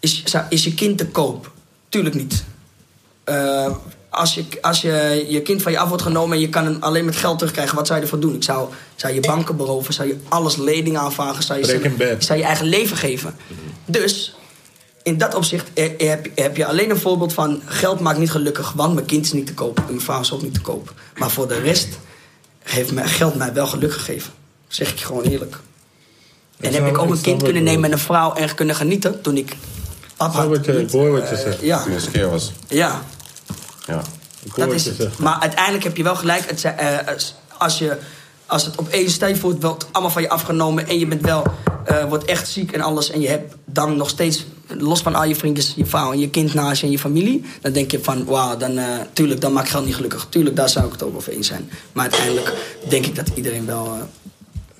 Is, zou- is je kind te koop? Tuurlijk niet. Eh, als je, als je, je kind van je af wordt genomen en je kan hem alleen met geld terugkrijgen, wat zou je ervoor doen? Ik zou, zou je banken beroven, zou je alles lening aanvragen, zou je, Break in bed. zou je eigen leven geven. Dus in dat opzicht eh, eh, heb, heb je alleen een voorbeeld van geld maakt niet gelukkig, want mijn kind is niet te koop en mijn vrouw is ook niet te koop. Maar voor de rest heeft mijn geld mij wel geluk gegeven. Zeg ik je gewoon eerlijk. En snap- heb ik ook ik een snap kind wat je kunnen nemen en bedoelt. een vrouw en kunnen genieten toen ik papa snap wat je- had. Ik hoor wat je Eh, zegt. ja, Toen je skeer was. ja, Ja. Ik hoor dat wat is je het. zegt. Maar uiteindelijk heb je wel gelijk. Het, zijn, eh, als- als, je, als het opeens stel je voor, het wordt allemaal van je afgenomen en je bent wel, eh, wordt echt ziek en alles. En je hebt dan nog steeds, los van al je vriendjes, je vrouw en je kind naast je en je familie. Dan denk je van, wauw, dan, eh, tuurlijk, dan maakt geld niet gelukkig. Tuurlijk, daar zou ik het ook over eens zijn. Maar uiteindelijk denk ik dat iedereen wel... eh,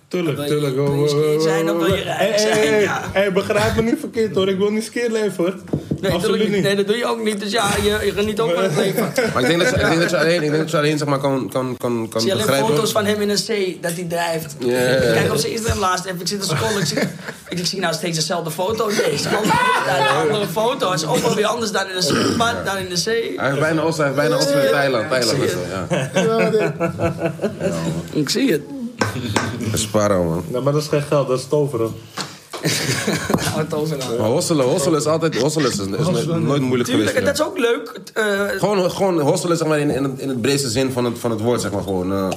Tuurlijk, Wil je- tuurlijk. wil je hoor, skeer hoor, zijn of wil je hoor. rijk Hey, hey, zijn? hey, Ja. hey, begrijp me niet verkeerd hoor. Ik wil niet skeer leven hoor. Nee, Absoluut tuurlijk niet. niet. Nee, dat doe je ook niet. Dus ja, je, je geniet ook van het leven. Maar ik denk dat je, ik denk dat je alleen, ik denk dat je alleen zeg maar, kan, kan, kan, kan Ik zie alleen begrijpen. foto's van hem in een zee, dat hij drijft. Ja, ja, ja. Ik kijk op zijn Instagram laatst even, ik zit te scrollen. Ik zie, ik, ik zie nou steeds dezelfde foto. Nee, het is een andere, een andere foto. Het is ook wel weer anders dan in de zee, maar dan in de zee. Hij heeft bijna Os, hij heeft bijna Os met Thailand. Thailand is dat, ja. Ik zie het. Sparrow, man. Nee, Nou, maar dat is geen geld, dat is toveren. Hou het over nou. Maar hosselen, hosselen is altijd, hosselen is, is nooit moeilijk Tuurlijk, geweest. en ja. dat is ook leuk. Het, eh, Gewoon, gewoon hosselen zeg maar, in, in, het, in het breedste zin van het, van het woord, zeg maar gewoon. eh,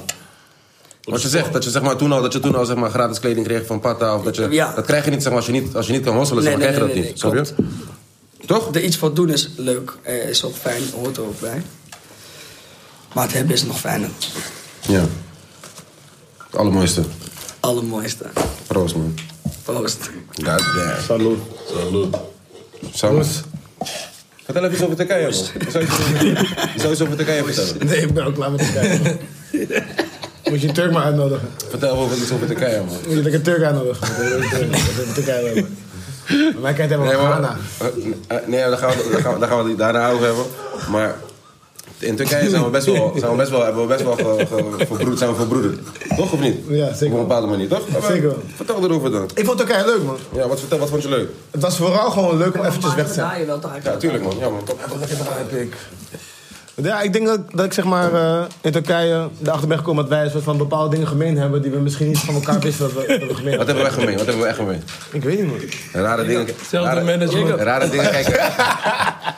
wat je zegt, dat je, zeg maar, toen al, dat je toen al zeg maar, gratis kleding kreeg van Pata. Of dat, je, Ja. dat krijg je niet, zeg maar, als, je niet als je niet kan hosselen, zeg maar, Nee, nee, krijg je nee, dat nee, niet. Snap je? Toch? er iets voor doen is leuk, eh, is ook fijn, hoort er ook bij. Maar het hebben is nog fijner. Ja. Het allermooiste. Allermooiste. Proost, man. Proost. God damn. Salut. Salut. Samus. Vertel even iets over Turkije, man. Je zou iets- je zou iets over Turkije vertellen. Nee, ik ben ook klaar met de kijken. Moet je een Turk maar uitnodigen. Vertel over iets over Turkije, man. Moet je lekker Turk uitnodigen. Dat Turkije hebben. Maar wij kijken helemaal Nee, naar maar, Ghana. Eh, nee daar gaan we, daar gaan we, daar gaan we het daarna over hebben. Maar in Turkije zijn we best wel, zijn we best wel, hebben we best wel ge, ge- verbroed, zijn we verbroederd. Toch of niet? Ja, zeker. Op een bepaalde manier, toch? Maar Zeker wel. Vertel erover dan. Ik vond Turkije leuk, man. Ja, wat, vertel, wat vond je leuk? Het was vooral gewoon leuk om eventjes weg te zijn. je wel toch eigenlijk. Ja, tuurlijk man. Ja, man. Top. Ja, ik denk dat, dat ik zeg maar eh, in Turkije erachter ben gekomen dat wij een soort van bepaalde dingen gemeen hebben die we misschien niet van elkaar wisten dat we, dat we gemeen Wat hadden. hebben we echt gemeen? Wat hebben we echt gemeen? Ik weet niet, man. Rare dingen. Rare, management. rare dingen kijken.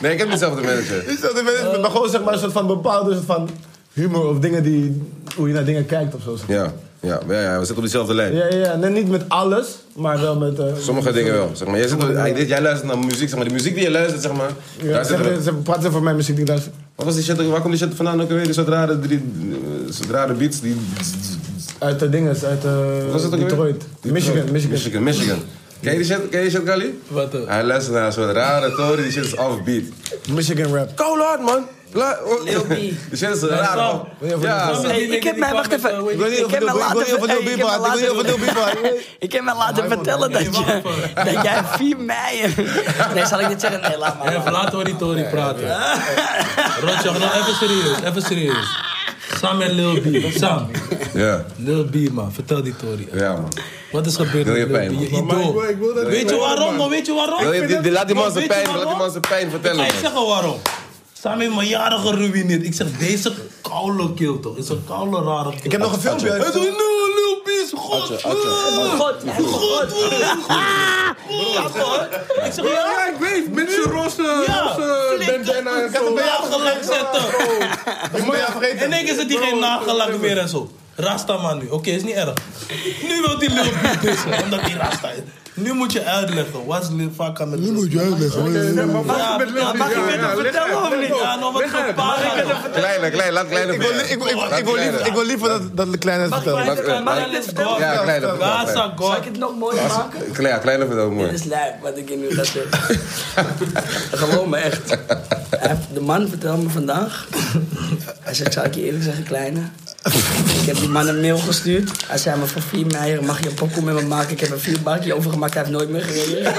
Nee, ik heb niet zelf de manager. Is dat een beetje- Eh, maar gewoon zeg maar een soort van bepaalde soort van humor of dingen die, hoe je naar dingen kijkt of zo. Ja, ja, ja, ja, we zitten op diezelfde lijn. Ja, ja, ja. Nee, niet met alles, maar wel met... eh, Sommige dingen wel. Zeg maar. jij, zit, jij- dit- jij luistert naar muziek, zeg maar. De muziek die je luistert, zeg maar. Ja, daar ze, zitten we- hebben- ze praten over mijn muziek die ik luister. Wat was die shit, waar komt die shit vandaan ook weer? Die soort rare, drie, eh, soort rare beats die... Uit de dinges, uit eh, Was dat ook weer? Detroit. Michigan, Michigan. Michigan, Michigan. Ken je die shit, ken je die shit Kali? Wat dan? Hij luistert naar een soort rare toren, die shit is offbeat. Michigan rap. Go hard man! La- oh, Lil B. Die shit is raar man. Ja, man. Hey, ik heb mij, wacht even. Ik heb mij laten ver- hey, ik heb mij laten ver- Ik heb mij laten vertellen dat je- dat jij 4 mei. Nee, zal ik niet zeggen? Nee, laat maar. Even laten we die Tory praten. Rotjoch, nou even serieus, even serieus. Sam en Lil B. Sam, Ja, Lil B man, vertel die Tory. ja man. Wat is gebeurd Wil je met Lil pijn, B? man? Je idool. Weet je waarom man? Weet je waarom? Wil je- die- die- Laat die man zijn Weet je pijn, laat die man waarom? zijn pijn vertellen. Ik man. zeg al waarom. Sam heeft mijn jaren geruineerd. Ik zeg, deze koude kill toch? Is een koude rare kill. Ik heb nog een filmpje. Hij uit. zegt, no, Lil B is god. Atje, atje. God, mijn God. Ik zeg, ja, Ja, ik weet. Met zijn roze, Ja, roze flikker. bandana en zo. nagelak zetten. Ik moet je vergeten. In één keer zit hij geen nagelak meer en zo. Rasta man nu. Oké, is niet erg. Nu wil hij Lil B dissen, omdat hij Rasta is. Nu moet je uitleggen. Wat is Lil Vaca met Nu moet je Maar wacht, Ja, ik ben ja, Lil mag ik Dicky. met hem Ja, leg vertellen uit, of leg niet? uit. Ja, nog wat Leg uit. gebaar. Kleine, klein, laat kleine. Ik wil, ik, wil- ik, wil- ik wil liever, ik wil liever dat, dat Kleine het vertelt. Laat- Mag ik laat- dit vertellen? Ja, kleine. vertel, Gaza Zal God. ik het nog mooier maken? kleine. Ja, kleine vindt het ook Dit mooi. is lijp wat ik in nu ga zeggen. Gewoon me echt. Hij heeft- De man vertelde me vandaag. Hij zegt, zou ik je eerlijk zeggen, kleine? Ik heb die man een mail gestuurd. Hij zei me voor 4 mei mag je een pokoe met me maken. Ik heb er vier bakje over gemaakt. Hij heeft nooit meer gereden.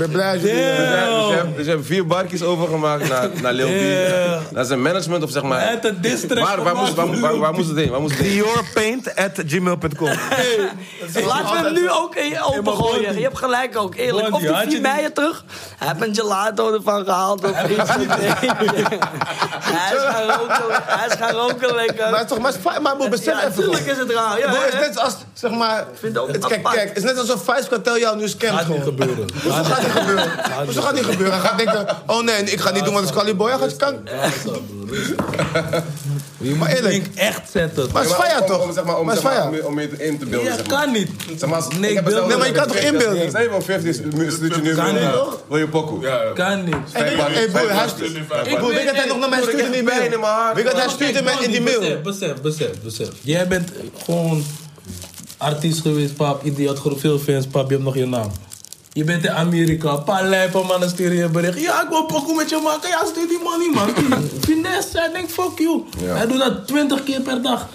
Ik ben blij dat jullie... eh, Dus jij- dus jij hebt- Dus je hebt vier barkjes overgemaakt naar, naar Lil B. Yeah. Naar zijn management of zeg maar. Hij heeft een district Waar, waar, moest, waar, waar, waar moest het heen? Waar moest het heen? Diorpaint.gmail.com Laten we hem nu ook in je open gooien. Je hebt gelijk ook, eerlijk. Bondi, Of die had je 4 die- mei terug. Hij heeft een gelato ervan gehaald of iets. Nee. Hij is gaan roken. Hij is gaan roken Maar lekker. het is toch... Maar, het is fi- maar broer, besef Ja, even natuurlijk gewoon. is het raar. Ja, Broer, het hè? is net als, zeg maar... vind het ook het- kijk, apart. kijk, het is net alsof Vice Cartel jou nu scamt Gaat niet gewoon. gebeuren. Hoezo gaat niet gebeuren? Hoezo gaat niet gebeuren? Hij gaat denken, oh nee, ik ga niet doen wat is Cali Boy. Hij gaat kan. Gaza, broer. Maar eerlijk, Link echt zetten. maar Ja, maar Sfaya om- toch? Om, zeg maar, om, maar zeg maar, om, Sfaya. je- om je in te beelden. Ja, zeg maar. kan niet. Zeg maar, als- Nee, ik heb beeld- hetzelfde Nee, maar je kan met toch Fifty. inbeelden? Zeg je wel, 50 stuurt je nu Kan niet, wil- toch? wil je pokoe. Kan niet. Hey, broer, hey, broer, hij stuurt- broer, weet je dat hij nog naar mij stuurde in die mail? pijn in mijn hart, Weet je dat hij Maar stuurde kijk, mij in die Bondi, mail? Besef, besef, besef. besef. Jij bent gewoon artiest geweest, pap. Je had gewoon veel fans, pap. Je hebt nog je naam. Je bent in Amerika. Een paar lijpen mannen sturen je een bericht. Ja, ik wil pokoe met je maken. Ja, stuur die money, man. Finesse, hij denkt, fuck you. Hij doet dat twintig keer per dag.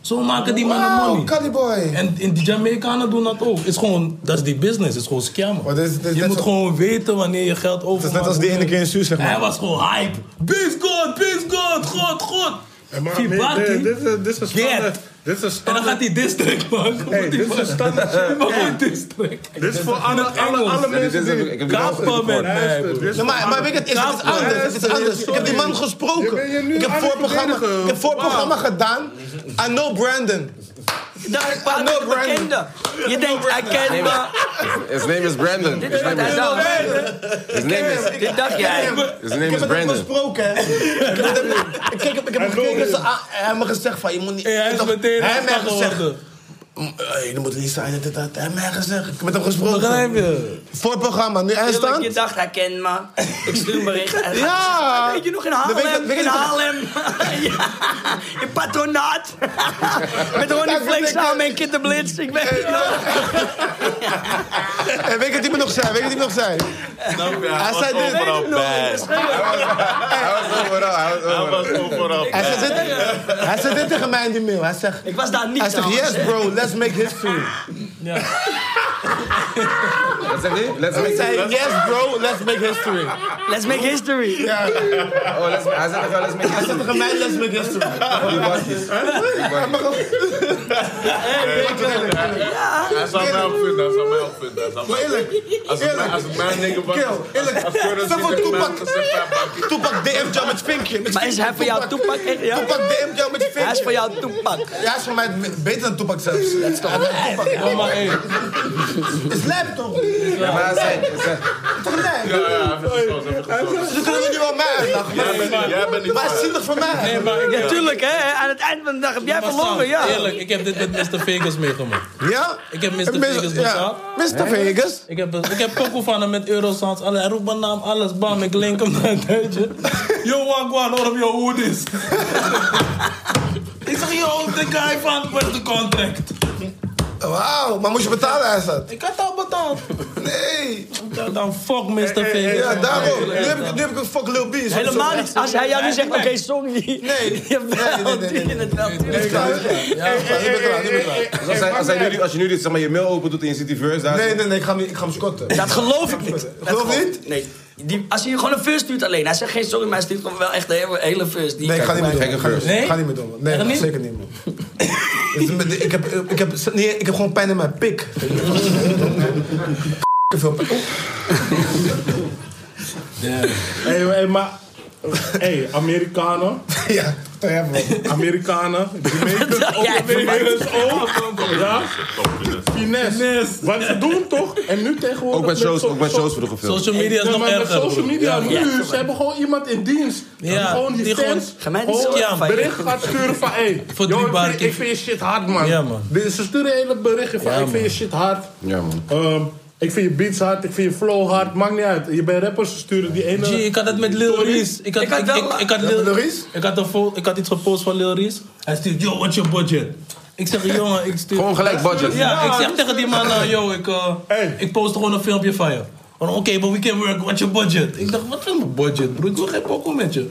Zo maken die mannen money. Wow, Cali Oh, Boy. En, en die Jamaicanen doen dat ook. Is gewoon, dat is die business, is gewoon Maar scammen. dit is- dit is je net moet zo- gewoon weten wanneer je geld overmaakt. Het is net als die ene keer in Suus, zeg Hij maar. was gewoon hype. Peace God, peace God, God, God. Ja, maar Die nee, Barty. dit- dit is- Dit is Get. standaard. Dit is En dan standaard. gaat hij district maken. Hey, dit is een standaard. Hij mag Hey, gewoon district. Dit is voor alle, alle, alle Engels. Ja, Dit mensen is- die... ik heb die Kappen laatste- met mij, Luister, broer. dit is Ja, maar, maar weet je, het is, het is anders. Het is anders. Ik heb die man Je gesproken. bent je nu Ik heb aan het voorprogramma, verdedigen. ik heb voorprogramma gedaan. I know Brandon. Daar ik praat met know een Brandon. bekende. Je denkt, hij kent me. His name is Brandon. Dit His is wat name hij is, dacht. his name is, Dit dacht jij. his name Ik is heb het hem Brandon. gesproken, hè. Ik heb het hem- ik kijk, ik heb hem gekeken. ze- ah, Hij heeft me gezegd van, je moet niet... Hey, hij ik is dacht- meteen Hij heeft rasta mij gezegd... geworden. "Mm, eh, Je moet niet zijn, dit, dat. Hij heeft mij gezegd. Ik heb met hem gesproken. Begrijp je? Voorprogramma, nu Eerlijk, eindstand? Je dacht, hij kent me. Ik stuur een bericht. Hij Ja. zegt, Weet je nog in Dan weet je- Haarlem? weet je in nog- Haarlem. ja. In patronaat. Met Ronnie Flex samen en Kid de Blitz. Ik weet het nog. En weet je wat die me nog zei? Weet je wat die me nog zei? hij Nou was zei dit- overal Hij was overal, hij was overal. overal Hij zegt dit, hij zegt dit tegen mij in die mail. Hij zegt, Ik was daar niet hij zegt trouwens. yes bro, let's make history. Wat zeg je? Let's Hij make zei, history. yes bro, let's make history. Let's make history. Ja, Oh, let's, hij zei toch wel, let's make hij zegt history. tegen mij, let's make history. Die bakjes. Die bakjes. Hij zou mij ook vinden, hij zou mij ook vinden. hij zou mij ook eerlijk, vinden. Als het mij- als het mijn nigger was... Kill, eerlijk. als Currency Stel voor tegen mij Tupac. gezegd had, pak ik- Toepak DM jou met vinkje. Met Maar is hij voor jou Toepak? echt? Ja? Toepak DM jou met Hij is voor vinkje. jou Toepak. Ja, hij is voor mij beter dan Toepak zelfs. Dat is toch Ja, maar hey, is lijp toch? Ja, maar hij zei- hij zei... Toch lijp? Ja, ja, even gesloten, even gesloten. Ze kunnen jullie wel mij uitlachen. maar- Jij bent niet- Jij bent niet... Maar het is zielig voor mij. nee, maar ik heb Natuurlijk, hè? Aan het eind van de dag heb jij maar verloren, Sam, ja. Eerlijk, ik heb dit met Mr. Vegas meegemaakt. Ja? Ik heb Mr. En Vegas ja. betaald. Mr. Vegas? Ik heb, ik heb pokoe van hem met Eurosans. Alle, hij roept mijn naam, alles. Bam, ik link hem naar het uitje. Yo, Wagwan, hoor op jouw hoodies. ik zeg, yo, de guy van, where's the contract? Wauw, maar moest je betalen, hij zat. Ik had al betaald. Nee. Ik dacht, Dan fuck Mr. Vegas. Ja, man. daarom. Nu heb ik, nu heb ik een fuck Lil B. is op Helemaal zo'n- niet. Als hij jou nu zegt, oké, song niet. Nee. Je Nee, nee, nee, nee, nee. het wel. Nu ben ik klaar, nu ben ik klaar, nu ben ik klaar. Dus als, hij, als, hij nu, als je nu dit, zeg maar, je mail open doet en je ziet die verse daar... Nee, nee, nee, ik ga hem, niet- ik ga hem scotten. Dat geloof ik niet. Dat Geloof je niet? Nee. Die, als hij gewoon een first stuurt alleen. Hij zegt geen sorry, maar hij stuurt gewoon wel echt een hele, hele first. Die Nee, ik ga niet meer doen. Gekke Ik ga, verse. niet- ik ga niet meer doen. man. Nee, Echt niet? zeker niet, man. Het is- ik, heb, ik, heb, nee, ik heb gewoon pijn in mijn pik. Veel pijn. Hé, hey, maar... Hé, Amerikanen. Ja, dat hebben we. Amerikanen. Die meten Ja, ook de Nederlanders ook. Ja? Finesse. Want ze doen toch? En nu tegenwoordig... Ook met shows, zo- ook met zo- shows worden gefilmd. Social media is Ja, nog maar met erger. social broer. media Ja. nu, ze hebben gewoon iemand in dienst. Ja, die gewoon die, die gewoon- fans Ga mij niet gewoon zo- een bericht gaat sturen van... Hey, Voor joh, drie ik, bar vind, kick. ik vind je shit hard, man. Ja, man. Dus Ze sturen hele berichten van... Ja, ik vind je man. shit hard. Ja, man. Ehm, ik vind je beats hard, ik vind je flow hard. Maakt niet uit. Je bent rappers, ze sturen die ene... G, ik had het met Lil Sorry. Reese. Ik had, Ik had ik, wel- ik, ik had Lil, Lil Reese? Ik had, een fo- ik had iets gepost van Lil Reese. Hij stuurt, yo, what's your budget? Ik zeg, jongen, ik stuur... Gewoon gelijk budget. Ja, ik zeg tegen die man, nou, yo, ik, eh, Hey. ik post gewoon een filmpje van je. Van, Oké, but we can work, what's your budget? Ik dacht, wat voor mijn budget, bro? Ik wil geen pokoe met je.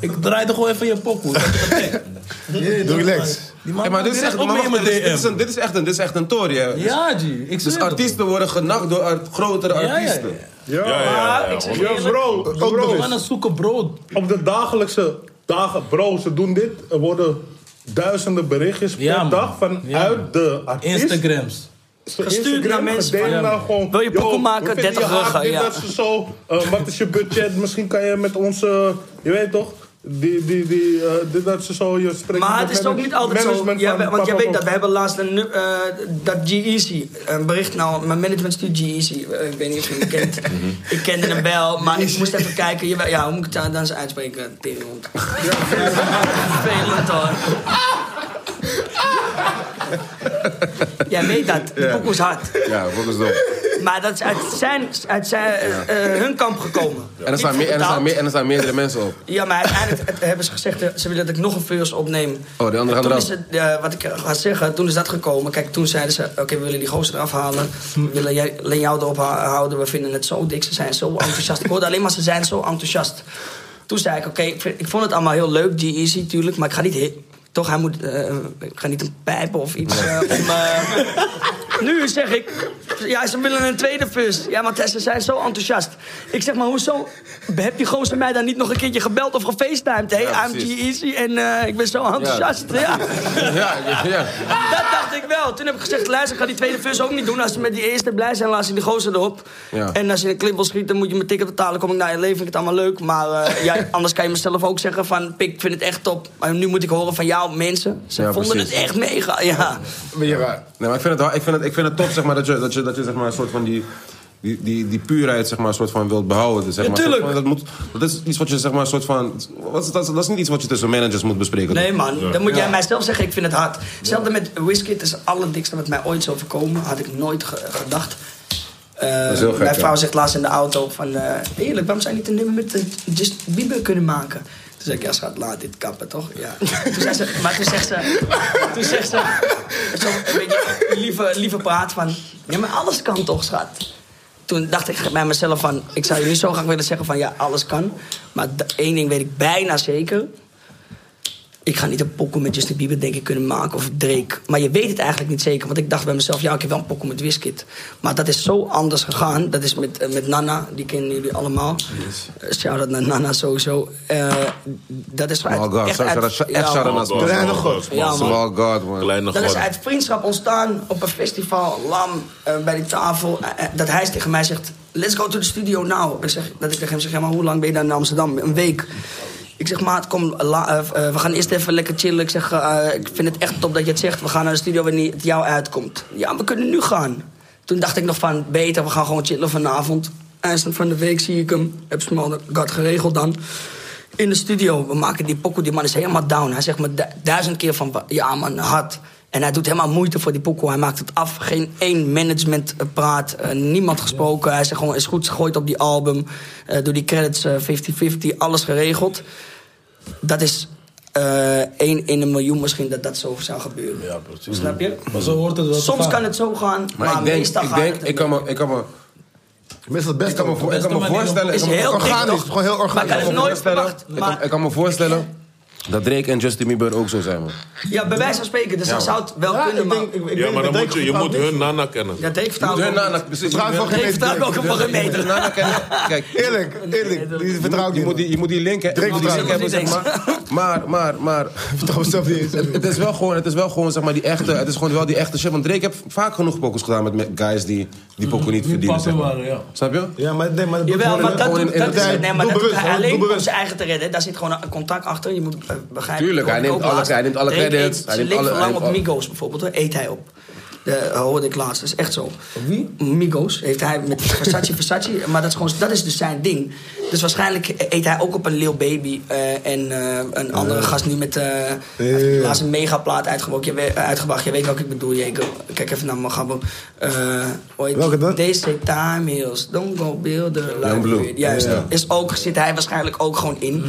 Ik draaide gewoon even je pokoe. Dat is perfect. Doe relax. Die man Hey, maar dit is probeert echt, ook maar mee in wacht, mijn dit is- DM. dit is een- dit is echt een- dit is echt een tory, hè. Ja, G, ik Dus zweer het. artiesten worden genacht door art- grotere Ja, ja, ja. artiesten. Ja, ja, ja, ja. Yo, bro, bro, Die Mannen zoeken brood. op de dagelijkse dagen, bro, ze doen dit. Er worden duizenden berichtjes per Ja, man. dag Ja, vanuit man. de artiest. Instagrams. Gestuurd naar mensen. gedeeld Ja, man. naar gewoon, Wil je yo, pokoe maken? we vinden 30 je hard, ruggen, dit, ja. dat ze zo, eh, wat is je budget? Misschien kan je met onze, je weet toch, die, die, die, eh, dit, dat ze zo, je spreekt Maar met het is ook manag- niet altijd zo. management Ja, van we- want jij papa, weet dat, papa. we hebben laatst een, nu- eh, dat G-Easy, een bericht nou, mijn management stuurt G-Easy, Eh, ik weet niet of je hem kent. Mhm. ik kende hem wel, maar ik moest even kijken, Jawel, ja, hoe moet ik het dan eens uitspreken? Tegenhond. Vervelend hoor. Jij weet dat, de pokoe is hard. Ja, volgens mij. Maar dat is uit, zijn, uit zijn, eh, eh, hun kamp gekomen. En er staan meer- en er staan meer- en er staan meerdere mensen op. Ja, maar uiteindelijk het- hebben ze gezegd, eh, ze willen dat ik nog een verse opneem. Oh, die andere En gaan toen eraf. is het, eh, Wat ik eh, ga zeggen, toen is dat gekomen. Kijk, toen zeiden ze, oké, we willen die gozer eraf halen. Hm. We willen jij- alleen jou erop ha- houden. We vinden het zo dik, ze zijn zo enthousiast. Ik hoorde alleen maar, ze zijn zo enthousiast. Toen zei ik, oké, ik, vind- ik vond het allemaal heel leuk, G-Eazy natuurlijk. Maar ik ga niet... he- Toch, hij moet... eh, ik ga niet een pijpen of iets eh, om... eh, nu zeg ik, ja, ze willen een tweede first. Ja, maar ze zijn zo enthousiast. Ik zeg maar, hoezo heb die gozer mij dan niet nog een keertje gebeld of gefacetimed? Hé, hey, Ja, I'm precies. G-Easy en eh, ik ben zo enthousiast. Ja. Ja, ja, ja. Dat dacht ik wel. Toen heb ik gezegd, luister, ik ga die tweede first ook niet doen. Als ze met die eerste blij zijn, laat ze die gozer erop. Ja. En als je een clip wil schieten, moet je mijn ticket betalen. Kom ik naar je leven, vind ik het allemaal leuk. Maar eh, ja, anders kan je mezelf ook zeggen van, pik, ik vind het echt top. Maar nu moet ik horen van jou, mensen. Ze Ja, vonden precies. het echt mega, ja. Ben je raar? Nee, maar ik vind het, wel- ik vind het, ik vind het top zeg maar, dat je, dat je, dat je zeg maar, een soort van die, die, die, die puurheid zeg maar, een soort van wilt behouden. Dus, zeg Ja, maar, een soort tuurlijk. van- dat, moet, dat is iets wat je zeg maar, een soort van. Wat is, dat, is- dat is niet iets wat je tussen managers moet bespreken. Nee man, dan moet jij mij zelf zeggen, ik vind het hard. Hetzelfde met Whisky, het is het allerdikste wat mij ooit is overkomen. Had ik nooit ge- gedacht. Eh, is heel gek, mijn vrouw ja. zegt laatst in de auto van... eh, eerlijk, waarom zou je niet een nummer met eh, Justin Bieber kunnen maken? Toen zei ik, ja schat, laat dit kappen, toch? Ja. Toen zei ze, maar toen zegt ze... Toen zegt ze... Zo een beetje lieve, lieve praat van... Ja, maar alles kan toch, schat? Toen dacht ik bij mezelf van... Ik zou je niet zo graag willen zeggen van ja, alles kan. Maar d- één ding weet ik bijna zeker. Ik ga niet een pokoe met Justin Bieber denk ik kunnen maken of Drake. Maar je weet het eigenlijk niet zeker. Want ik dacht bij mezelf, ja, ik heb wel een pokoe met Wizkid. Maar dat is zo anders gegaan. Dat is met, eh, met Nana, die kennen jullie allemaal. Eh, Shout-out naar Nana sowieso. Eh, dat is Small Oh God. Zo- zo- dat is ja, Echt shout-out naar Small Kleine God. God. Ja, man. Small God, man. Kleine Dat is uit vriendschap ontstaan op een festival, lam, eh, bij die tafel. eh, eh, dat hij tegen mij zegt, let's go to the studio now. Ik zeg, dat ik tegen hem zeg, ja, maar hoe lang ben je daar in Amsterdam? Een week. Ik zeg, maat, kom, la- eh, eh, we gaan eerst even lekker chillen. Ik zeg, eh, ik vind het echt top dat je het zegt. We gaan naar de studio wanneer het jou uitkomt. Ja, we kunnen nu gaan. Toen dacht ik nog van, beter, we gaan gewoon chillen vanavond. Eindstand van de week zie ik hem. Heb Small God geregeld dan. In de studio, we maken die pokoe. Die man is helemaal down. Hij zegt me du- duizend keer van, ja man, hard. En hij doet helemaal moeite voor die pokoe. Hij maakt het af. Geen één management eh, praat. eh, niemand gesproken. Hij zegt gewoon, is goed gegooid op die album. eh, door die credits eh, 50-50. Alles geregeld. Dat is eh één in een miljoen misschien dat dat zo zou gebeuren. Ja, precies. Snap je? Maar zo hoort het wel te Soms gaan. kan het zo gaan, maar, Maar ik denk, meestal ik gaat denk, het ik kan me, ik kan me... Meestal het beste. Ik kan me, voor- ik kan me beste manier om- voorstellen... is ik kan me- heel ik kan me dik, organisch- toch? gewoon heel Maar ik kan Ik het kan me nooit voorstellen- verwachten. ik kan- Maar Ik kan me voorstellen dat Drake en Justin Bieber ook zo zijn, man. ja, bij wijze van spreken, dus dan zou het wel kunnen, maar... Ja, maar dan moet je, je moet hun nana kennen. Ja, Dave vertrouwt Hun ook niet. nana- precies, Vertrouwt hun- van geen Dave meter. vertrouwt ook een voor een meter. hun nana kennen. Kijk, Eerlijk, eerlijk. Die vertrouw ik je moet niet. die, je moet die link, hè- je moet die link hebben, zeg maar. Maar, maar, maar... Vertrouw mezelf niet eens. Het is wel gewoon, het is wel gewoon zeg maar, die echte, het is gewoon wel die echte shit. Want Drake heeft vaak genoeg pokus gedaan met me- guys die die pokoe niet verdienen, zeg passen maar. waren, ja. Snap je? Ja, maar nee, maar dat doet Jawel, gewoon maar in- dat, gewoon doet- in- dat is, Nee, nee, maar doe dat doet bewust, hij doe alleen om bewust. zijn eigen te redden. Daar zit gewoon een contact achter. Je moet eh, begrijpen. Tuurlijk, hij hoorde ik neemt ook alles, laatst. hij neemt alle Drake credits, eet hij zijn neemt leven alle- lang hij op neemt Migos bijvoorbeeld. hoor. Eet hij op. De, eh, hoorde ik laatst, dat is echt zo. Wie? Migos. Heeft hij met Versace, Versace. Maar dat is, gewoon, dat is dus zijn ding. Dus waarschijnlijk eet hij ook op een Lil Baby. eh, en eh, een andere gast nu met... eh hij heeft laatst een megaplaat uitgebracht. Je, weet- uitgebracht. je weet welke ik bedoel, Jacob. Kijk even naar mijn gabbo. Eh, hoe heet Welke dan? die? They say time heals. Don't go build a life. Youngblood. with- Juist. Is ook, zit hij waarschijnlijk ook gewoon in.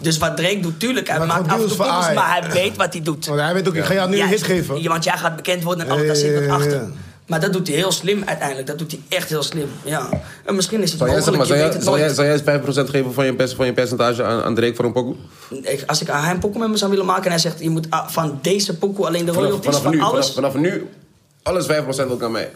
Dus wat Drake doet, tuurlijk, hij Maar maakt gewoon af en toe deals voor poppers, AI. maar hij weet wat hij doet. Want hij weet ook, ik ga jou nu Ja, een hit geven. ja, want jij gaat bekend worden en alles, daar Ja, zit ja, wat ja, achter. ja. Maar dat doet hij heel slim uiteindelijk. Dat doet hij echt heel slim. Ja. En misschien is het Zou jij, mogelijk, zeg maar, je zou weet jij, het zou jij, nooit. zou jij eens 5% geven van je, best, van je percentage aan, aan Drake voor een pokoe? Ik- Als ik aan hem pokoe met me zou willen maken en hij zegt... je moet ah, van deze pokoe alleen de Vanaf, royalties vanaf, van nu, alles... vanaf, vanaf nu, alles 5% ook aan mij.